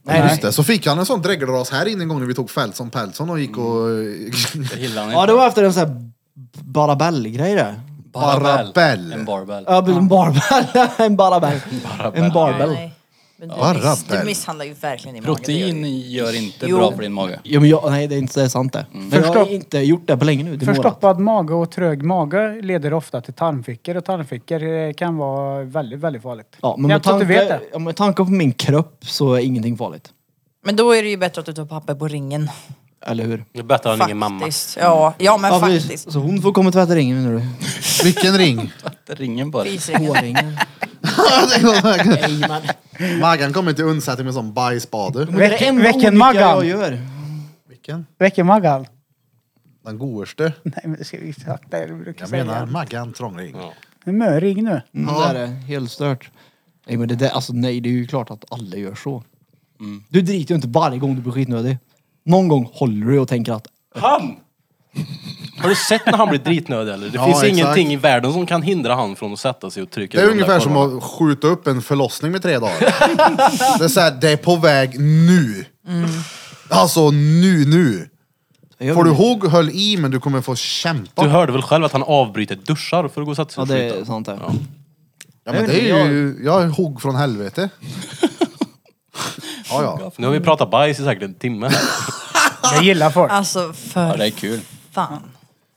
S1: Nej. Just det. Så fick han en sån dregelras här inne en gång när vi tog Feltson Peltson och gick och...
S4: Mm.
S8: Det gillar han
S5: Ja
S8: inte.
S5: det var efter en sån här barabell-grej det.
S8: Barbell.
S1: Barbell.
S8: En barbell.
S5: Ja, en barbell. en barabell. En barbell.
S4: Nej. Men du,
S1: Vad
S4: miss,
S1: rabbel.
S4: du misshandlar ju verkligen i magen. det gör du.
S8: Protein gör inte
S4: Jo.
S8: bra för din mage.
S5: Ja, men jag, nej det är inte det är sant det.
S3: Mm.
S5: För jag har
S2: Förstopp-
S5: inte gjort det på länge nu. Det är målat.
S2: Förstoppad mage och trög mage leder ofta till tarmfickor och tarmfickor eh, kan vara väldigt, väldigt farligt.
S5: Ja, men
S2: jag
S5: med
S2: tror att du vet det.
S5: tanke, ja, med tanke på min kropp så är ingenting farligt.
S4: Men då är det ju bättre att du tar papper på ringen.
S5: Eller hur?
S3: Det är bättre än ingen mamma.
S4: Faktiskt. Ja, ja men
S5: Ja, precis.
S4: faktiskt.
S5: Så hon får komma och tvätta ringen nu.
S1: Vilken ring?
S8: Det ringer bara.
S4: Fisringen.
S5: Hårringen. Nej, men.
S1: Maggan kommer till undsättning med en sån bajsspade.
S5: Det är det
S2: Väck-
S5: enda
S2: väck en
S5: olyckan
S2: Maggan.
S5: jag gör. Mm,
S1: Vilken?
S2: Väcker magan?
S1: Den godaste.
S2: Nej men det ska vi sakta jag brukar
S1: Jag
S2: säga.
S1: menar Maggan Trångring.
S2: En möring nu.
S5: Mm, Det där är helt stört. Nej men det där, alltså nej det är ju klart att alla gör så.
S1: Mm.
S5: Du driter ju inte varje gång du blir skitnödig. Någon gång håller du och tänker att
S3: Han! Har du sett när han blir dritnödig eller? Det
S1: Ja,
S3: finns
S1: exakt.
S3: ingenting i världen som kan hindra han från att sätta sig och trycka
S1: Det är
S3: i den där
S1: ungefär som
S3: korven.
S1: att skjuta upp en förlossning med tre dagar. Det är såhär, det är på väg nu.
S3: Mm.
S1: Alltså nu, nu.
S5: Jag
S1: Får du
S5: vet-
S1: ihåg höll i men du kommer få kämpa.
S3: Du hörde väl själv att han avbryter duschar för att gå och sätta sig
S5: Ja
S3: och
S5: det är
S3: skjuta?
S5: sant det.
S1: Ja men det är ju, jag är hugg från helvete. Ja ja.
S3: Nu har vi pratat bajs i säkert en timme.
S2: Jag gillar folk.
S4: Alltså
S8: Ja,
S4: för
S8: det är kul.
S4: fan.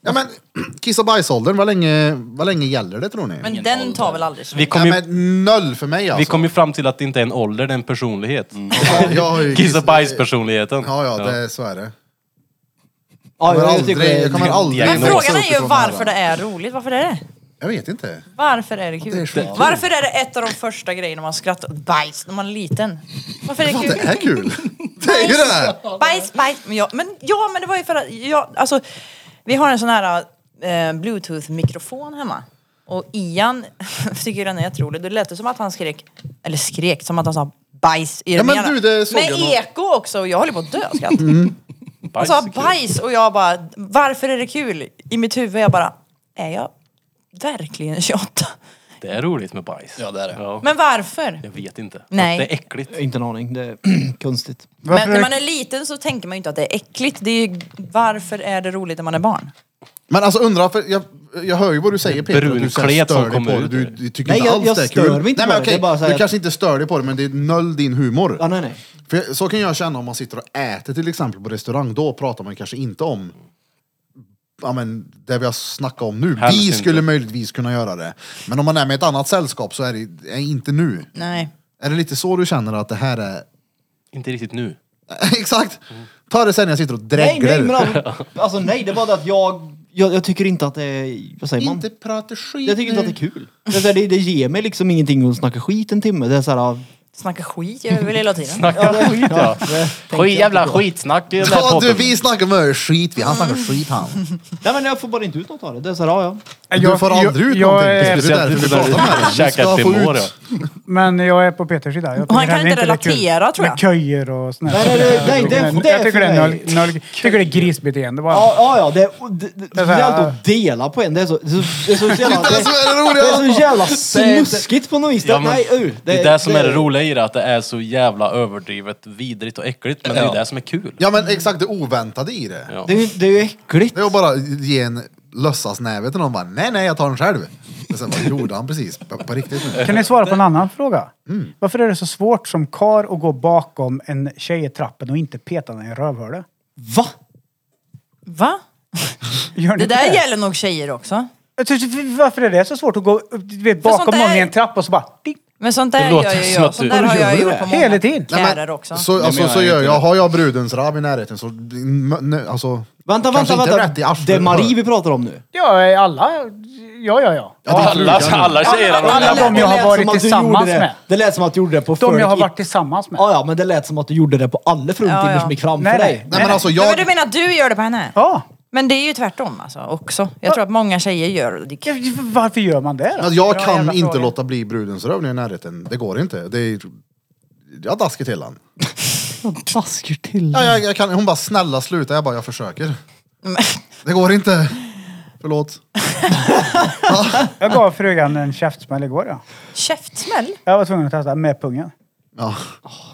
S1: Ja men kiss och bajsåldern, vad länge, vad länge gäller det tror ni?
S4: Men den tar väl aldrig slut?
S3: Vi kom,
S1: ja,
S3: ju,
S1: men noll för mig alltså.
S3: vi kom ju fram till att det inte är en ålder, det är en personlighet.
S5: Mm.
S1: Ja, jag har ju
S3: Kiss och bajs-personligheten.
S1: Ja ja, det, så är det.
S5: Ja,
S1: Jag
S5: jag
S1: kommer
S5: tycker
S1: aldrig,
S5: det-
S1: jag kommer aldrig
S4: Men
S3: Diagnos
S4: frågan
S1: växa
S4: är ju
S1: uppifrån
S4: varför
S1: här.
S4: det är roligt. Varför är det?
S1: Jag vet inte.
S4: Varför är det kul?
S1: Det är skitkul.
S4: varför är det ett av de första grejerna man skrattar åt? Bajs när man är liten. Varför är det
S1: Fan,
S4: kul?
S1: det är kul. Det är ju det här.
S4: Bajs, bajs. Men ja, men, ja, men det var ju för att jag, alltså, vi har en sån här eh, bluetooth-mikrofon hemma. Och Ian tycker den är jätterolig. Det lät det som att han skrek, eller skrek, som att han sa bajs i den
S1: men
S4: ena.
S1: du, det såg
S4: Med
S1: jag nog.
S4: eko också och jag håller på att dö av skratt. Han
S3: Bajs
S4: sa
S3: är kul.
S4: Alltså, bajs och jag bara, varför är det kul? I mitt huvud jag bara, är jag verkligen 28?
S3: Det är roligt med bajs.
S8: Ja, det är det.
S3: Ja.
S4: Men varför?
S3: Jag vet inte.
S4: Nej.
S3: Det är äckligt.
S5: Inte en aning, det är konstigt.
S2: Varför
S4: Men när
S2: är-
S4: man är liten så tänker man ju inte att det är äckligt. Det är ju, varför är det roligt när man är barn?
S1: Men alltså undra, för jag, jag hör ju vad du säger Peter, att du
S3: brun
S1: så här
S3: klet
S1: stör
S3: som
S1: dig
S3: kommer
S1: på det.
S3: ut
S1: Du,
S3: ur.
S1: du tycker
S5: Nej,
S1: inte
S5: jag-
S1: alls
S5: jag
S1: det är
S5: stör
S1: kul.
S5: mig inte
S1: nej,
S5: på
S1: men
S5: det,
S1: okej,
S5: det är bara så här
S1: du
S5: att-
S1: kanske inte stör dig på det, men det är noll din humor.
S5: Ja, nej, nej.
S1: För jag- så kan jag känna om man sitter och äter till exempel på restaurang, då pratar man kanske inte om Ja, men det vi har snackat om nu.
S3: Helst
S1: vi
S3: inte.
S1: skulle möjligtvis kunna göra det. Men om man är med ett annat sällskap så är det är inte nu.
S4: Nej.
S1: Är det lite så du känner att det här är...
S3: Inte riktigt nu.
S1: Exakt! Ta det sen när jag sitter och
S5: Nej, nej, men
S1: dreglar.
S5: alltså, alltså nej, det var det att jag, jag, jag tycker inte att det är, vad säger man?
S1: Inte prata skit
S5: Jag tycker inte
S1: nu.
S5: att det är kul. Det, är så här, det, det ger mig liksom ingenting att snacka skit en timme. Det är såhär,
S4: Snacka skit gör vi väl hela tiden?
S3: Snacka skit ja. Skit, jävla skitsnack i den där
S1: Ja, du,
S3: podden.
S1: vi snackar med skit vi. Han snackar skit han.
S5: nej men jag får bara inte ut något av det. Det är såhär, ja ja.
S1: Du får aldrig ut
S2: jag,
S1: någonting. Det
S2: är-
S1: är därför
S3: Speciellt
S1: vi
S3: du
S1: pratar med dig.
S3: började
S1: Du
S3: käka
S1: ska
S3: ett
S1: få ut...
S3: Timor ja.
S2: Men jag är på Peters sida. Jag tycker
S4: han kan
S2: den är
S4: inte
S2: det är kul.
S4: relatera, tror jag.
S2: Med köjer och sånt där.
S5: Nej, nej, nej, nej,
S2: Jag
S5: det-
S2: tycker den-
S5: det är
S2: Jag tycker det är noll-
S5: för
S2: noll- jag tycker det är grisbeteende bara.
S5: Ja, ja, ja det, är- det, det, det
S2: är så här,
S5: är alltid att dela på en. Det är så, det är så, det är så jävla...
S1: Det är det som är det
S5: det är
S1: roliga!
S5: så jävla snuskigt på något vis.
S3: Ja, men
S5: nej, uh,
S3: Det är det som är det roliga i det, att det är så jävla överdrivet vidrigt och äckligt. Men det är ju
S8: Ja.
S3: det som är kul.
S1: Ja men exakt det oväntade i det.
S3: Ja.
S5: Det är ju det är ju äckligt.
S1: Det var bara att ge en lössasnäve till någon bara, nej nej jag tar den själv. Och sen bara, gjorde han precis på, på riktigt nu.
S2: Kan ni svara på en annan fråga?
S1: Mm.
S2: Varför är det så svårt som kar att gå bakom en tjej i trappen och inte peta henne i rövhålet?
S5: Va?
S4: Va?
S2: Gör ni
S4: Det där
S2: inte
S4: gäller nog tjejer också.
S2: Jag tycker- Varför är det så svårt att gå upp, du vet,
S4: För sånt
S2: bakom någon
S4: där-
S2: i en trappa och så bara... Ding.
S4: Men sånt
S3: Det
S4: där
S3: låter
S4: gör
S3: som
S4: ju jag.
S3: att
S4: Sånt
S3: du-
S4: där har
S2: Gör
S4: jag
S2: du
S4: gjort
S2: det?
S4: på många
S2: Hela tiden.
S1: Nej, men-
S4: kärar också.
S1: Så, alltså,
S8: menar
S1: så
S8: jag
S1: gör
S8: inte.
S1: jag. Har jag brudens rab i närheten så... nö, Alltså, kanske
S5: Vänta, vänta,
S1: inte
S5: vänta.
S1: rätt i arslet.
S5: Det är Marie vi pratar om nu.
S2: Ja, eh, alla... Ja, ja, ja.
S1: Ja, det
S3: Alla,
S1: brukar
S3: alla tjejer har
S2: Alla
S5: Det lät-
S2: de jag
S5: det
S2: har
S5: lät
S2: varit
S5: som att du
S2: tillsammans
S5: gjorde det.
S2: med.
S5: Det lät som att du gjorde det på
S2: De jag har
S5: förut.
S2: varit tillsammans med.
S5: Ja, ja, men det lät som att du gjorde det på alla fruntimmer
S4: Ja, ja.
S5: som gick framför
S2: Nej, nej.
S5: dig.
S1: Nej men alltså
S4: Ja, men du
S1: jag...
S4: menar att du gör det på henne?
S2: Ja.
S4: Men det är ju tvärtom alltså också. Jag tror att många tjejer gör det. det.
S2: Ja, Varför gör man det då?
S1: Alltså, jag
S4: Bra
S1: kan
S4: jävla
S1: inte
S4: fråga.
S1: låta bli brudens röv när jag är i närheten. Det går inte. Det är... Jag daskar till han.
S5: Tasker till.
S1: Ja, jag, jag kan, hon bara, snälla sluta. Jag bara, jag försöker.
S4: Men-
S1: Det går inte. Förlåt.
S2: Jag gav frugan en käftsmäll igår ja.
S4: Käftsmäll?
S2: Jag var tvungen att testa med pungen.
S1: Ja.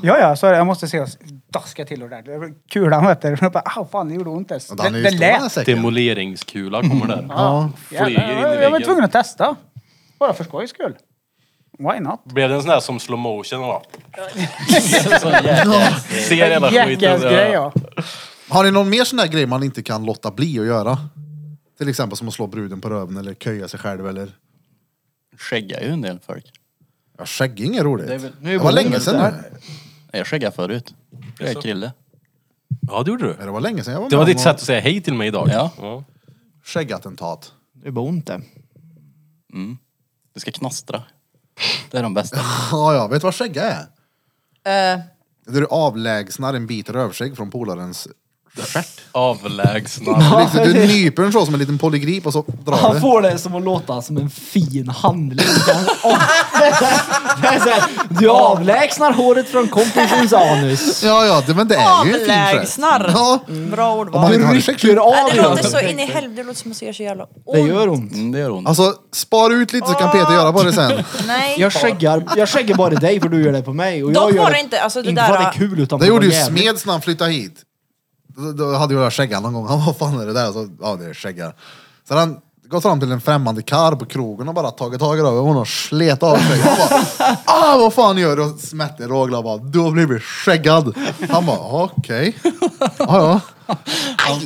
S2: Ja, ja, så är det. jag måste se oss daska till ordentligt. Kulan vet du, bara, au fan det gjorde ont ens.
S1: Den är
S2: Det,
S1: ju
S2: det
S1: stor,
S2: lät.
S1: den här säcken.
S3: Demoleringskula kommer där.
S1: Ja.
S2: Ja,
S3: Flyger in i
S2: jag, jag var
S3: väggen.
S2: tvungen att testa. Bara för skojs skull. Why not?
S3: Blev det en sån där som slow motion? Va? Ser hela skiten. så-
S2: Jackass-grej ja.
S1: Har ni någon mer sån där grej man inte kan låta bli att göra? Till exempel som att slå bruden på röven eller köja sig själv eller...
S8: Skäggar ju en del folk.
S1: Ja, skägging är roligt.
S8: Det är
S1: Det,
S8: väl- nu är
S1: var
S8: det
S1: länge
S8: väl
S1: sedan
S8: där.
S1: nu.
S8: Nej, Jag skäggade förut. Jag är krille.
S3: Ja, det gjorde du.
S1: Nej, Det var länge sedan jag var
S3: Det var
S1: med
S3: ditt
S1: om
S3: sätt att säga hej till mig idag.
S8: Ja.
S1: något Skäggattentat.
S5: Det är bara ont det.
S8: Det ska knastra. Det är de bästa.
S1: Ja, ja. Vet du vad skägga är?
S4: Eh,
S1: Det är du avlägsnar en bit rövskägg från polarens...
S3: Avlägsna.
S1: Liksom, Du nyper den så som en liten polygrip och så drar
S5: Han
S1: du.
S5: får det som att låta som en fin handling. Och- det är så här, du avlägsnar håret från kompisens anus.
S1: Ja, ja. Det, men det är ju en fin gest.
S4: Avlägsnar.
S1: Ja.
S4: Bra ordval.
S1: Om man inte har
S5: Rycker
S1: skägg.
S4: Nej,
S5: av
S4: det låter så
S5: den.
S4: in i helvete, det låter som att jag gör så jävla ont.
S5: Det gör ont.
S8: Mm, det gör ont.
S1: Alltså, spar ut lite så
S5: Ah.
S1: kan Peter göra på det sen.
S4: Nej.
S5: Jag skäggar, jag skäggar bara dig för du gör det på mig. Och
S4: Dock
S5: jag gör
S4: var det inte, alltså det
S5: inte
S4: där-
S5: för att det är kul utan
S1: Det
S5: för att
S1: gjorde ju
S5: vara jävligt.
S1: Smeds när han flyttade hit. Då, då hade ju det där skäggan någon gång. Han vad fan är det där? Så, ja, det är skäggar. Så hade han gått fram till en främmande karl på krogen och bara tagit tag i röven och slet av skägget. Han bara, ah vad fan gör du? Och smätte Rogla och bara, du har blivit skäggad. Han bara, okej. Ja, ja.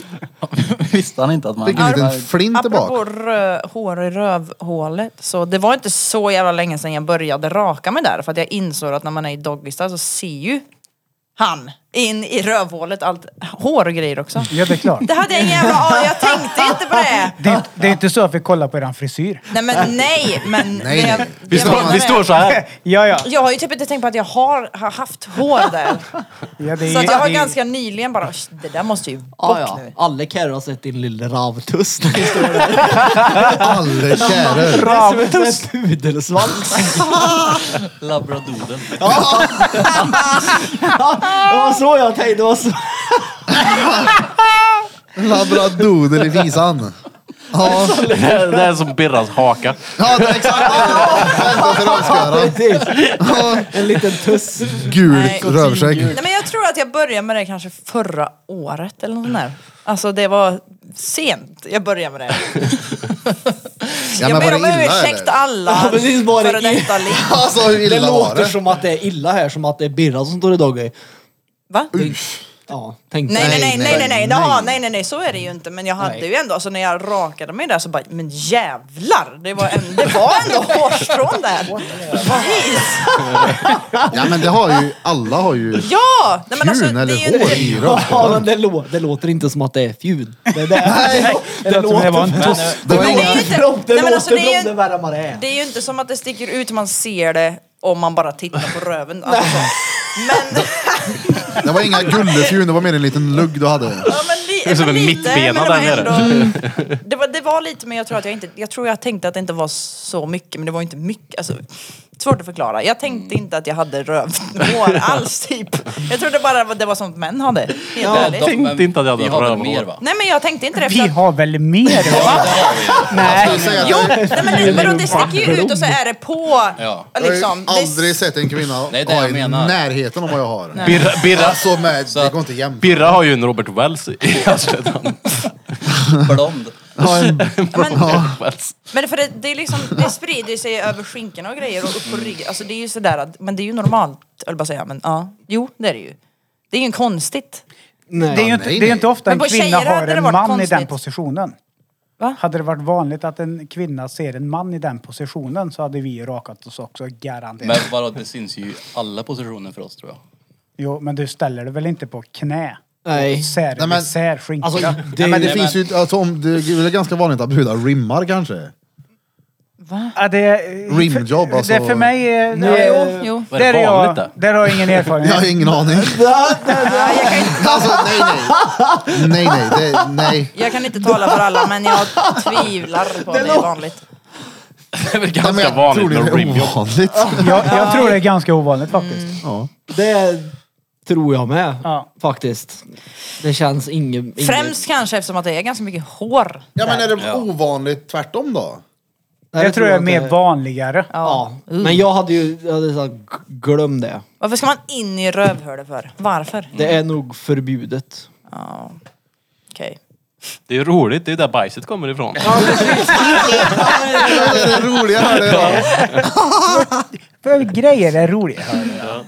S8: Visste han inte att man...
S1: Fick en liten flint
S4: Apropå
S1: tillbaka.
S4: rö- hår i rövhålet, så det var inte så jävla länge sedan jag började raka mig där för att jag insåg att när man är i doggista så ser ju han in i rövhålet allt hår och grejer också.
S2: Ja, det är klart.
S4: Det hade jag en jävla aning jag tänkte inte på det!
S2: Det, är- det är inte så att vi kollar på eran frisyr.
S4: Nej men nej, men...
S1: Nej,
S4: men jag-
S1: nej.
S4: det
S3: Vi står,
S4: menar
S3: vi
S4: jag.
S3: står så här.
S2: Ja, ja.
S4: Jag har ju typ inte tänkt på att jag har, har haft hår där.
S2: ja det är,
S4: Så att jag har
S2: det är-
S4: ganska nyligen bara, "Sh, det där måste ju bort
S5: Ja, ja.
S4: nu.
S5: Alla Carro har sett din lilla ravtuss.
S1: Alla kärer.
S5: Ravtuss? Pudelsvans.
S8: Labradoden.
S5: Det var så jag tänkte. Det var så...
S1: Labradoder i visan. Ja,
S3: Det är- det är som Birras haka.
S1: ja det är exakt. Vänta till rövskäran.
S5: Precis. En liten tuss.
S1: Gult
S4: Nej.
S1: rövskägg.
S4: Nej men jag tror att jag började med det kanske förra året eller något sånt där. Alltså det var sent jag började med det.
S1: Ja,
S4: jag
S1: men var
S4: ber om
S1: det illa
S4: ursäkt
S1: eller?
S4: alla
S5: Ja, precis, var det
S4: före detta liv.
S1: Alltså hur
S5: Det
S1: illa var
S5: låter
S1: det?
S5: som att det är illa här, som att det är Birra som står i doggy.
S4: Va? Nej
S5: Ja, tänk
S4: nej nej nej nej nej, nej.
S5: nej.
S4: Jaha, nej nej nej så är det ju inte. Men jag hade
S5: Nej.
S4: ju ändå, alltså när jag rakade mig där så bara, men jävlar! Det var, en, det var ändå hårstrån där. Jeez.
S1: Ja men det har ju, alla har ju
S4: Ja! Nej, men alltså,
S1: fjun
S4: det
S1: eller
S4: är ju
S1: hår
S4: inte,
S1: i
S5: Ja, men
S1: rövskäran.
S5: det, lå- det låter inte som att det är fjun. Det, det,
S2: låter
S5: det,
S2: som det var en tuss.
S1: Det var
S4: men det är
S1: inga-
S4: ju inte-
S5: Det låter
S4: Nej, men alltså, det är ju-
S5: blom, det värre än vad det är.
S4: det är ju inte som att det sticker ut, man ser det om man bara tittar på röven. Alltså, så. men...
S1: Det var inga gullefjun, det var mer en liten lugg du hade.
S4: Ja, men li-
S3: är som
S4: men
S3: en
S4: lite,
S3: mittbena
S4: men det var
S3: där nere.
S4: ändå- Det var, det var lite, men jag tror att jag inte... Jag tror jag tänkte att det inte var så mycket, men det var inte mycket. Alltså, svårt att förklara. Jag tänkte inte att jag hade rövhår alls, typ. Jag trodde bara att det var sånt män hade. Helt ärligt.
S3: tänkte inte att jag hade
S8: Vi har väl
S3: rövhål.
S8: mer va?
S4: Nej, men jag tänkte inte det. för
S2: Vi
S4: att-
S2: har väl mer? va?
S1: Jag
S2: nej.
S1: säger att
S4: Jo,
S1: jag-
S4: nej, men det, vadå, det sticker ju ut och så är det på.
S8: Ja.
S1: jag har ju
S4: Liksom.
S1: aldrig sett en kvinna
S8: Nej, det är
S1: ha
S8: jag
S1: i
S8: menar.
S1: närheten av vad jag har.
S3: Birra, Birra,
S1: Alltså med, det går inte jämnt.
S3: Birra har ju en Robert Wells i Alltså, arslet. Han-
S8: Blond.
S1: Ja, en-
S4: men-
S1: ja.
S3: Wells.
S4: Men för det, det, är liksom, det sprider ju sig över skinkorna och grejer och upp på ryggen. Alltså det är ju sådär att, men det är ju normalt, jag bara säga. Men ja, jo det är det ju. Det är ju konstigt.
S5: Nej.
S2: Det är ju
S1: nej,
S2: inte, det är
S1: nej.
S2: ju inte ofta en
S4: Men på
S2: kvinna
S4: tjejer
S2: har
S4: hade det
S2: en man
S4: varit
S2: i den
S4: konstigt.
S2: positionen.
S4: Va?
S2: Hade det varit vanligt att en kvinna ser en man i den positionen så hade vi ju rakat oss också, garanterat.
S8: Men vadå, det syns ju i alla positioner för oss tror jag.
S2: Jo, men du ställer dig väl inte på knä?
S5: Nej.
S2: Sär,
S1: Nej, men-
S2: sär skinka.
S5: Alltså,
S1: Nej, men det
S5: det,
S1: finns ju, alltså, om, det är väl ganska vanligt att brudar rimmar kanske?
S2: Ja, det,
S1: Rimjobb, alltså.
S2: Det för mig är...
S4: jo, jo.
S8: Vad är
S2: där,
S8: det
S2: är jag,
S8: vanligt, det?
S2: där har jag ingen erfarenhet.
S1: Jag har ingen aning. Alltså nej nej. Nej nej, det, nej.
S4: Jag kan inte tala för alla men jag tvivlar på att det är vanligt.
S3: Det är väl
S1: Nej, men
S3: ganska
S1: jag
S3: vanligt
S1: tror det
S3: med
S1: är
S3: rimjobb.
S1: ovanligt.
S2: Mm. Jag, jag tror det är ganska ovanligt faktiskt.
S5: det är Tror jag med.
S2: Ja.
S5: Faktiskt. Det känns inget... inget-
S4: Främst kanske eftersom att det är ganska mycket hår.
S1: Ja men är det ovanligt tvärtom då?
S5: Nej,
S2: jag tror jag är
S5: att
S2: mer
S5: det-
S2: vanligare.
S5: Ja. Men jag hade ju... Jag hade sagt, "G- glöm det.
S4: Varför ska man in i rövhålet för? Varför?
S5: Det är nog förbjudet.
S4: Ja. Okej.
S3: Det är ju roligt, det är ju där bajset kommer ifrån.
S1: Det är det roliga här det är då.
S2: För grejer är roliga.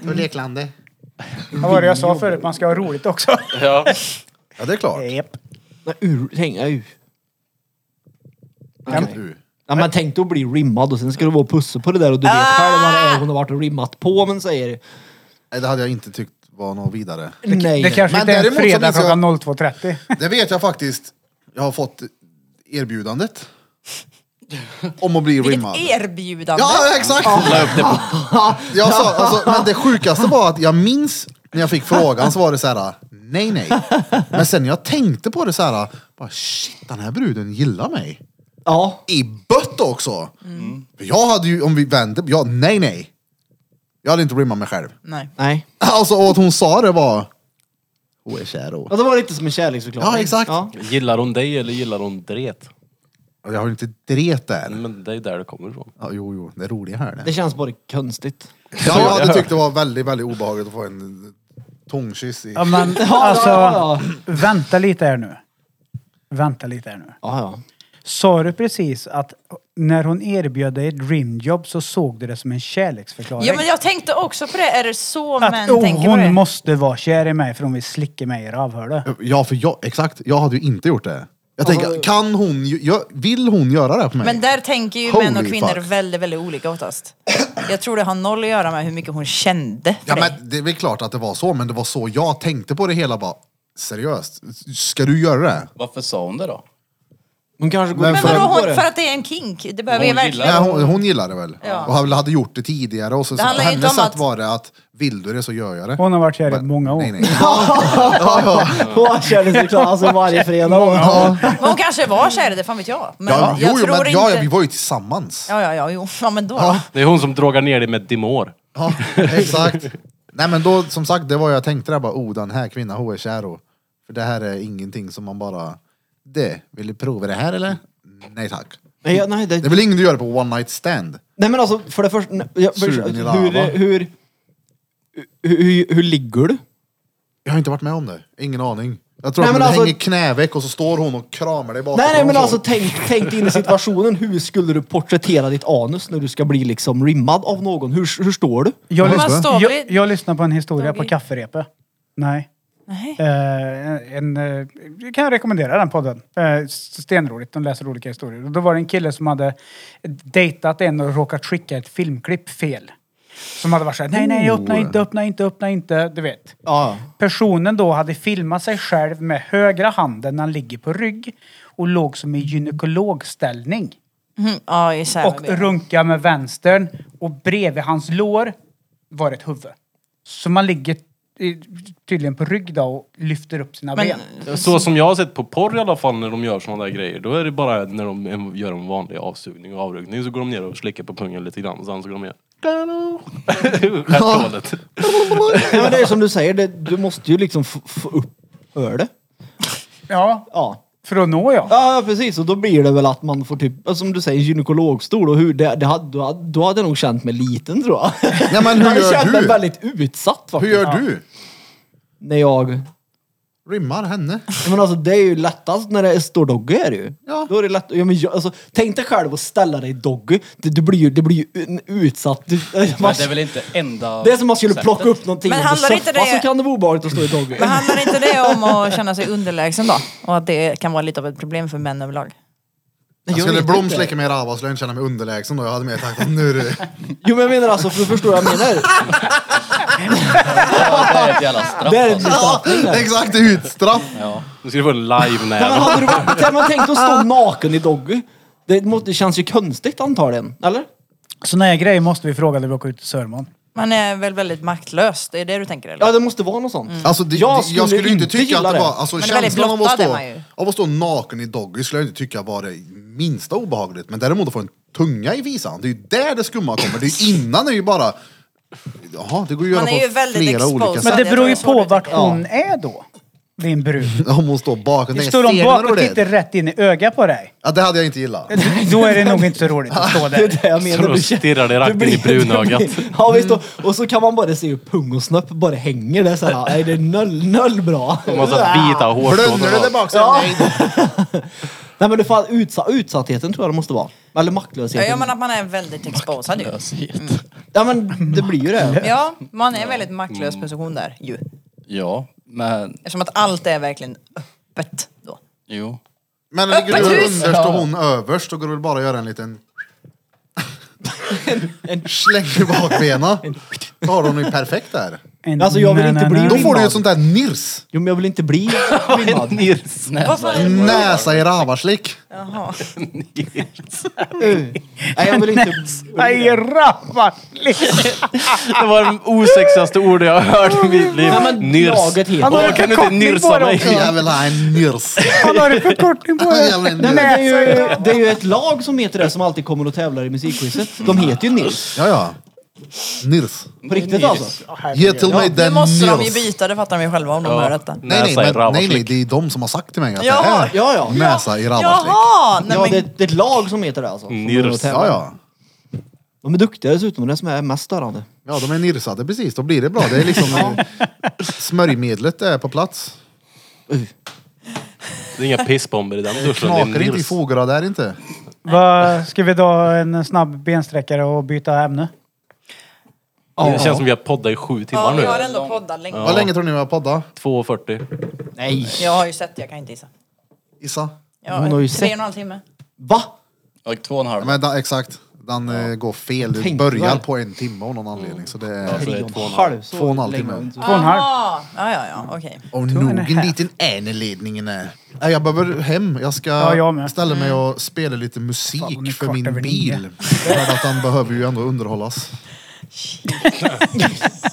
S1: På leklande.
S2: Vad var det jag sa förut? Man ska ha roligt också.
S3: Ja.
S1: Ja det är klart.
S2: Japp.
S5: Nej, ur, tänk, nej,
S1: Vilket U.
S5: ja, men tänk dig att bli rimmad och sen ska du vara och pussa på det där och du vet
S4: Ah!
S5: själv vad det är hon har varit och rimmat på men säger
S1: Nej, Det hade jag inte tyckt var något vidare.
S5: nej.
S2: Det kanske
S1: Men
S2: inte är en
S1: däremot så
S2: fredag
S1: minns jag-
S2: klockan 02.30.
S1: Det vet jag faktiskt. Jag har fått erbjudandet. Om att bli rimmad.
S4: erbjudande!
S1: Ja, exakt! Jag sa, alltså, men det sjukaste var att jag minns när jag fick frågan så var det så här, nej nej. Men sen när jag tänkte på det så här, bara, shit den här bruden gillar mig.
S5: Ja.
S1: I bött också! För Jag hade ju, om vi vände, jag, nej nej. Jag hade inte rimmat mig själv.
S4: Nej.
S5: Nej.
S1: Alltså och att hon sa det var, hon är kär och.
S5: Ja, det var lite som en kärleksförklaring.
S1: Ja, exakt.
S3: Gillar hon dig eller gillar hon dret?
S1: Jag har inte dret där.
S3: Men det är ju där det kommer ifrån.
S1: Ja, jo, jo, det är roliga här det.
S5: Det känns bara konstigt.
S1: Ja, jag hade tyckt det var väldigt, väldigt obehagligt att få en tångkyss i...
S2: Ja, men alltså,
S5: ja,
S2: vänta lite här nu. Vänta lite här nu.
S5: Ja, ja.
S2: Sa du precis att när hon erbjöd dig ett rimjobb så såg du det som en kärleksförklaring?
S4: Ja men jag tänkte också på det, är det så
S2: att
S4: män
S2: oh,
S4: tänker på
S2: hon
S4: det?
S2: måste vara kär i mig för hon vill slicka mig i rövhålet.
S1: Ja, för jag, exakt. Jag hade ju inte gjort det. Jag tänker, kan hon, ju- jag, vill hon göra det här på mig?
S4: Alltså- Men där tänker ju män och
S1: Holy
S4: kvinnor
S1: fuck.
S4: väldigt, väldigt olika oftast. Jag tror det har noll att göra med hur mycket hon kände för
S1: ja,
S4: dig.
S1: men det är väl klart att det var så, men det var så jag tänkte på det hela. Bara, seriöst, ska du göra det?
S8: Varför sa hon det då?
S5: Hon kanske går
S1: Men
S4: Men
S5: ifrån
S4: vadå,
S5: på
S4: hon,
S5: det.
S4: för att det är en kink? Det behöver
S8: Hon
S4: ju
S8: gillar
S4: verkligen...
S1: Nej, hon, hon gillade det väl?
S4: Ja.
S1: Och han hade gjort det tidigare. Och så,
S4: Det
S1: så,
S4: handlar ju inte
S1: hennes
S4: om
S1: sätt
S4: att-
S1: var det att, vill du det så gör jag det.
S2: Hon har varit kär i
S1: Men-
S2: många år.
S1: Nej, nej.
S5: Hon har kärleksförklaring alltså varje fredag.
S1: Ja,
S4: Men hon kanske var kär i det, fan vet jag. Men
S1: ja,
S4: jag
S1: jo, jo,
S4: tror
S1: men,
S4: inte...
S1: ja, ja, vi var ju tillsammans.
S4: ja, ja, ja, jo. ja men då.
S3: Det är hon som drogar ner dig med Dimor.
S1: Ja, exakt. Nej men då, som sagt, det var jag tänkte där bara, oh den här kvinnan, hon är kär och, För det här är ingenting som man bara, det, vill du prova det här eller? Nej tack.
S5: Nej, ja, nej,
S1: Det är
S5: det,
S1: väl inget du gör på one night stand?
S5: nej men alltså för det första, nej, jag,
S1: Sugen i lava.
S5: hur, hur, hur, hur ligger du?
S1: Jag har inte varit med om det, ingen aning. Jag tror
S5: Nej,
S1: att
S5: men
S1: du
S5: alltså-
S1: hänger knäveck och så står hon och kramar dig bakom.
S5: Nej, nej men
S1: och så.
S5: alltså tänk, tänk dig in i situationen. Hur skulle du porträttera ditt anus när du ska bli liksom rimmad av någon? Hur, hur står du?
S2: Jag,
S1: Ja,
S2: lyssnar,
S1: just
S4: det.
S2: jag, jag lyssnar på en historia på
S4: Doggy.
S2: kafferepet. Nej.
S4: Nej.
S2: Eh, en, eh, jag kan rekommendera den podden. Eh, stenroligt, de läser olika historier. Och då var det en kille som hade dejtat en och råkat skicka ett filmklipp fel. Som hade varit såhär, nej nej öppna inte, öppna inte, öppna inte, du vet.
S5: Ja.
S2: Personen då hade filmat sig själv med högra handen när han ligger på rygg och låg som i gynekologställning.
S4: Mm, ja, isär
S2: Och runka med vänstern och bredvid hans lår var ett huvud. Så man ligger i- tydligen på rygg då och lyfter upp sina ben.
S4: Men
S3: Så som jag har sett på porr i alla fall när de gör såna där grejer. Då är det bara när de en- gör en vanlig avsugning och avrugning så går de ner och slickar på pungen lite grann. Och sen så går de ner. Stjärthålet.
S5: Nej, men det är som du säger, det, du måste ju liksom f- få upp ölet.
S2: Ja,
S5: Ja.
S2: för att nå ja.
S5: Ja, ja, precis. Och då blir det väl att man får typ, alltså, som du säger, gynekologstol. Och hur, det, det, hade- då, hade- då hade jag nog känt mig liten tror jag.
S1: Ja, men hur
S5: jag hade
S1: gör
S5: känt mig
S1: du?
S5: väldigt utsatt
S1: Hur
S5: faktiskt.
S1: gör du?
S5: När jag...
S1: Rimmar henne?
S5: Men alltså det är ju lättast när det är- står Doggy är det ju.
S1: Ja.
S5: Då är det lätt, ja, men jag, alltså, tänk dig själv att ställa dig Doggy. Det, det, blir ju, det blir ju en utsatt... Du, man,
S8: Men det är väl inte enda...
S5: det är som om man skulle plocka upp någonting
S4: Men
S5: under
S4: handlar inte
S5: soffan
S4: det-
S5: så kan det vara obehagligt att stå i Doggy.
S4: Men handlar inte det om att känna sig underlägsen då? Och att det kan vara lite av ett problem för män överlag?
S1: Jag
S5: Jag
S1: skulle
S5: vet
S1: Blom
S5: inte.
S1: släcka mig i rava så skulle jag inte känna mig underlägsen då. Jag hade mer tanken att nu är det...
S5: Jo men jag menar alltså, för du förstår vad jag menar.
S8: Ja, det är ett jävla straff
S5: Det är
S8: alltså.
S1: Ja,
S5: utsatt.
S1: exakt, utstraff!
S3: Nu ska du få en live
S5: Nej, men
S3: nära.
S5: hade du varit, hade man tänkt att stå naken i Doggy? Det, må- det känns ju konstigt antagligen, eller?
S2: Såna här grejer måste vi fråga när vi åker ut till Sörmån.
S4: Man är väl väldigt maktlös, det är det du tänker eller?
S5: Ja det måste vara något sånt.
S1: Alltså, det,
S5: Jag
S1: jag,
S5: skulle
S1: skulle jag skulle ju inte
S5: inte
S1: tycka
S5: gilla
S1: att det
S5: det.
S1: var... Alltså,
S4: Men väldigt
S1: känslan av att,
S4: blottad är
S1: stå,
S4: man ju.
S1: av att stå naken i Doggy skulle jag inte tycka var det minsta obehagligt. Men däremot att få en tunga i visan, det är ju där det skumma kommer. Det är ju innan, det är ju bara... Jaha, det går ju att
S4: Man
S1: göra på
S4: är ju väldigt
S1: flera
S4: exposed.
S1: olika
S2: Men
S1: sätt.
S2: det
S4: Jag
S2: beror ju
S4: tror det
S2: på
S4: är svårt att
S2: vart hon är då. Din brud.
S1: Om hon står bakom och tänker,
S2: Står de
S1: "Stenar
S2: bak
S1: du
S2: och tittar
S1: det?
S2: rätt in i ögat på dig?
S1: Ja, det hade jag inte gillat.
S2: Då är det nog inte så roligt att stå
S5: Det är
S2: där.
S5: det jag menar.
S3: Så
S5: Du
S3: stirrar det rakt in i brunögat.
S5: Ja visst. Och, och så kan man bara se hur pung och snopp bara hänger där såhär. Nej det är noll, noll bra.
S3: En massa vita
S1: Blundar du där
S3: hårstrån.
S1: bak så nej.
S5: Nej men det fan, utsa, utsattheten tror jag det måste vara. Eller
S4: Ja,
S5: maktlösheten.
S4: ja, men att man är väldigt exposad ju.
S8: Mm.
S5: Ja, men det blir ju det.
S4: Ja, man är en väldigt maktlös position där ju.
S8: Ja, men
S4: Eftersom att allt är verkligen öppet då.
S8: jo.
S1: Men ligger
S4: Öppet
S1: du
S4: hus!
S1: underst och hon överst, då går det väl bara att göra en liten... Slänger bak benen. Då har hon ju perfekt där.
S5: Alltså, jag vill inte bli-
S1: Då får du ju ett sånt där nirs.
S5: Jo men jag vill inte bli filmad.
S4: Vad fan?
S1: Näsa i ravarslick.
S4: Jaha.
S5: Mm. Nej jag vill inte.
S2: Nej, rapparslick!
S3: Det var de osexigaste ord jag har hört i mitt liv.
S5: Nej men
S3: Nyrs.
S5: laget heter.
S2: Han har
S3: Åh,
S2: en
S3: kan du inte
S2: förkortning på
S3: nyrsa
S2: det
S3: mig?
S2: också.
S1: Jag vill ha en nirs.
S2: Han har en förkortning på
S1: Jag vill
S2: det.
S1: ha en
S5: Nej men det
S1: nirs.
S5: är, ju, det är ju ett lag som heter det som alltid kommer och tävlar i musikquizet. De heter ju Nils.
S1: Ja, ja. Nirs.
S5: På riktigt alltså.
S1: Ge till mig
S4: Nu
S1: den
S4: måste de ju
S1: nirs.
S4: byta, det fattar de ju själva om de hör detta.
S1: Nej, nej,
S3: Näsa i
S1: men, nej,
S3: rabarslick.
S1: nej, det är de som har sagt till mig att
S4: Jaha.
S1: det är
S5: Ja, ja.
S1: näsa i rabarslick.
S4: Jaha!
S5: Ja,
S4: Nej,
S5: det,
S4: men,
S5: det är ett lag som heter det alltså. som
S3: Nils.
S5: kommer och tävlar.
S1: Ja, ja.
S5: De är duktiga dessutom, det som är mest störande.
S1: Ja, de är nirsade precis. Då blir det bra. Det är liksom smörjmedlet är på plats.
S3: Det är inga pissbomber i den duschen. Det är
S1: Knakar inte i
S3: Nils.
S1: fogarna där inte.
S2: Vad- Ska vi ta en snabb bensträckare och byta ämne?
S3: Det känns som vi har poddat i sju
S4: ja,
S3: timmar
S4: vi har
S3: nu.
S4: ändå poddat länge.
S1: Vad länge tror ni vi har poddat?
S3: 2.40.
S5: Nej.
S4: Jag har ju sett det, jag kan inte gissa.
S1: Gissa?
S4: Ja,
S5: Hon har ju
S4: tre
S5: sett.
S4: och en halv timme.
S5: Va?
S8: Och två och en
S1: Ja,
S8: halv.
S1: men da, exakt. Den eh, går fel. Du
S5: Tänk
S1: börjar
S5: väl.
S1: på en timme av någon anledning. Så det är...
S5: Tre
S3: det är
S5: och
S3: två och
S5: en
S3: en
S5: halv. så
S1: Två och en halv
S5: länge
S1: timme.
S5: har vi inte-
S2: Två och en halv.
S4: Ah, ja, ja, ja, okej.
S1: Om nog en liten äneledning är. Nej, jag behöver hem. Jag ska
S2: Ja, jag med. Mm.
S1: ställa mig och spela lite
S2: Fan, hon är
S1: musik för
S2: kvart
S1: min
S2: över
S1: bil.
S2: nio.
S1: För att den behöver ju ändå underhållas.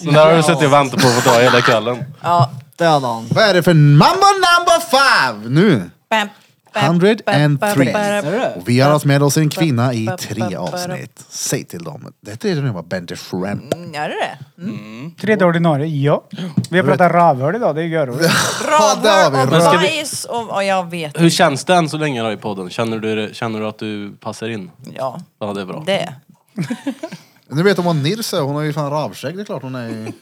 S3: Den där har du suttit och väntat på att få ta hela kvällen.
S4: Ja.
S5: Det hade han.
S1: Vad är det för mambo number five nu?
S4: Bam, bam,
S1: 103.
S5: Är det det?
S1: Och vi har haft med oss en kvinna i tre avsnitt. Säg till dem. Det är nu var Bente Shrimp.
S4: Mm, Är det det?
S2: Tredje ordinarie, ja. Vi har pratat rövhål idag, det är görroligt.
S1: Ja, där har vi
S4: Radhår och
S1: röv.
S3: Ska vi-
S4: bajs och, och jag vet
S3: Hur känns det än så länge då i podden? Känner du, känner du att du passar in?
S4: Ja,
S3: Ja, det är bra.
S4: det.
S1: Nu vet de vad Nils är. Hon har ju fan ravskägg. Det är klart hon är ju...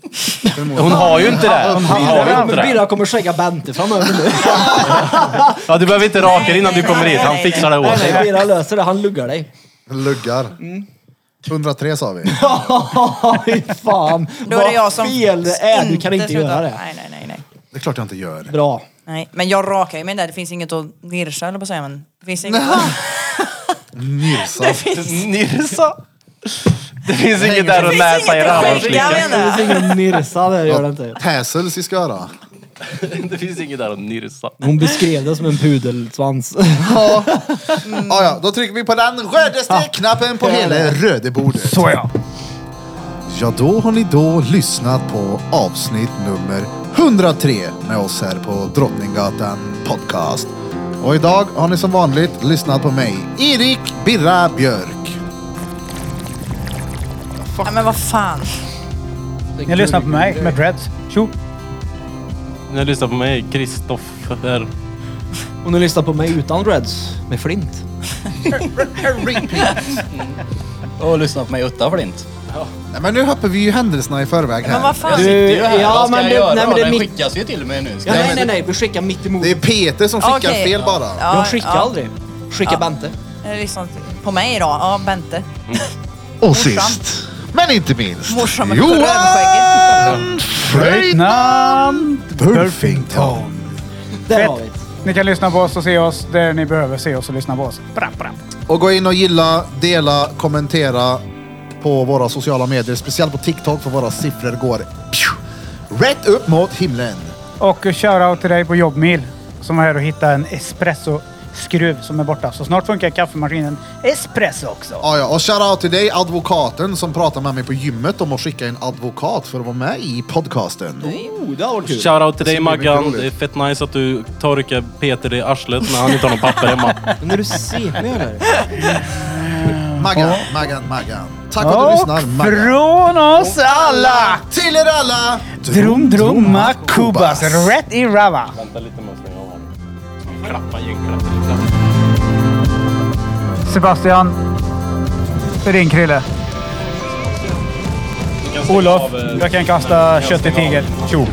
S3: Hon har ju inte det. Hon har ju
S5: Ja,
S3: inte
S5: men
S3: det.
S5: Birra kommer skägga Bente framöver nu.
S3: Ja, du behöver inte raka dig innan du kommer hit. Han fixar det åt
S5: Nej,
S3: dig.
S5: nej, Birra löser det. Han luggar dig.
S1: Luggar.
S5: Mm.
S1: 103 sa vi.
S5: Fy fan.
S4: Då är det jag som
S5: fel det är. Du kan inte
S4: slutar.
S5: göra det.
S4: Nej, nej, nej, nej.
S1: Det är klart jag inte gör.
S5: Bra.
S4: nej. Men jag rakar ju mig där. Det finns inget att nirsa eller på att säga. Men det finns inget...
S1: Nilsa.
S4: Det finns
S3: Nirsa. Det finns inget där att
S4: finns
S3: näsa i
S4: inget att skägga
S3: rabarslicken.
S5: Det
S4: menar
S5: finns
S4: jag.
S5: ingen nirsa där, gör det inte.
S1: Täsels i Skara.
S3: Det finns inget där att nirsa.
S5: Hon beskrev det som en pudelsvans.
S1: Ja. Ja, Ah, ja, då trycker vi på den rödaste knappen på hela röda bordet.
S2: Så ja.
S1: Ja, då har ni då lyssnat på avsnitt nummer 103 med oss här på Drottninggatan Podcast. Och idag har ni som vanligt lyssnat på mig, Erik Birra Björk.
S4: Ja, men vad fan.
S2: Ni lyssnar på mig med dreads. Tjo!
S3: Nu lyssnar på mig, Kristoffer.
S5: Och nu lyssnar på mig utan dreads. Med flint.
S8: Och lyssna på mig utanför inte.
S1: Nej, men nu hoppar vi ju händelserna i förväg
S4: Men
S1: här.
S4: vad fan.
S5: Du-
S8: Det är ju här.
S5: Ja,
S8: Vad ska
S5: men
S8: jag
S5: det-
S8: göra?
S5: nej, men det är
S8: Den
S5: mitt-
S8: skickas ju till mig nu. Ska
S5: Ja,
S8: jag-
S5: nej, nej, nej. Vi skickar mitt emot.
S1: Det är Peter som skickar
S4: Okej.
S1: fel bara.
S4: Ja,
S5: Jag skickar
S4: ja.
S5: aldrig. Skicka
S4: Ja.
S5: Bente.
S4: Eh, Lyssna på mig idag. Ja, Bente.
S1: Och
S4: Morsan.
S1: sist, men inte minst,
S4: Morsan med
S1: Johan Fröjdman
S2: Namn!
S1: Burfington.
S5: Där
S2: Fett.
S5: har vi det.
S2: Ni kan lyssna på oss och se oss där ni behöver se oss och lyssna på oss. Bra, bra.
S1: Och gå in och gilla, dela, kommentera på våra sociala medier, speciellt på TikTok för våra siffror går pju, rätt upp mot himlen.
S2: Och shoutout till dig på Jobbmil som var här och hittade en espresso-skruv som är borta. Så snart funkar kaffemaskinen espresso också.
S1: Ja, ja. Och shoutout till dig, advokaten som pratade med mig på gymmet om att skicka en advokat för att vara med i podcasten.
S5: Oh, det har varit kul.
S3: Shoutout till dig
S1: Det blir mycket
S3: Maggan.
S1: roligt.
S3: Det är fett nice att du torkar Peter i arslet när han inte har någon papper hemma.
S5: Men är du CP eller?
S1: Maggan, Maggan, Maggan. Tack för att du lyssnar. Maggan.
S2: från oss alla!
S1: Till er alla!
S2: Drum Drumma Kubas, rätt i Rava.
S3: Vänta lite med att slänga av honom. Klappa gängklappa lite.
S2: Sebastian. Ring Krille.
S3: Ni kan stänga
S2: Olof,
S3: av, eh,
S2: jag kan kasta kött i tiger. Tjo.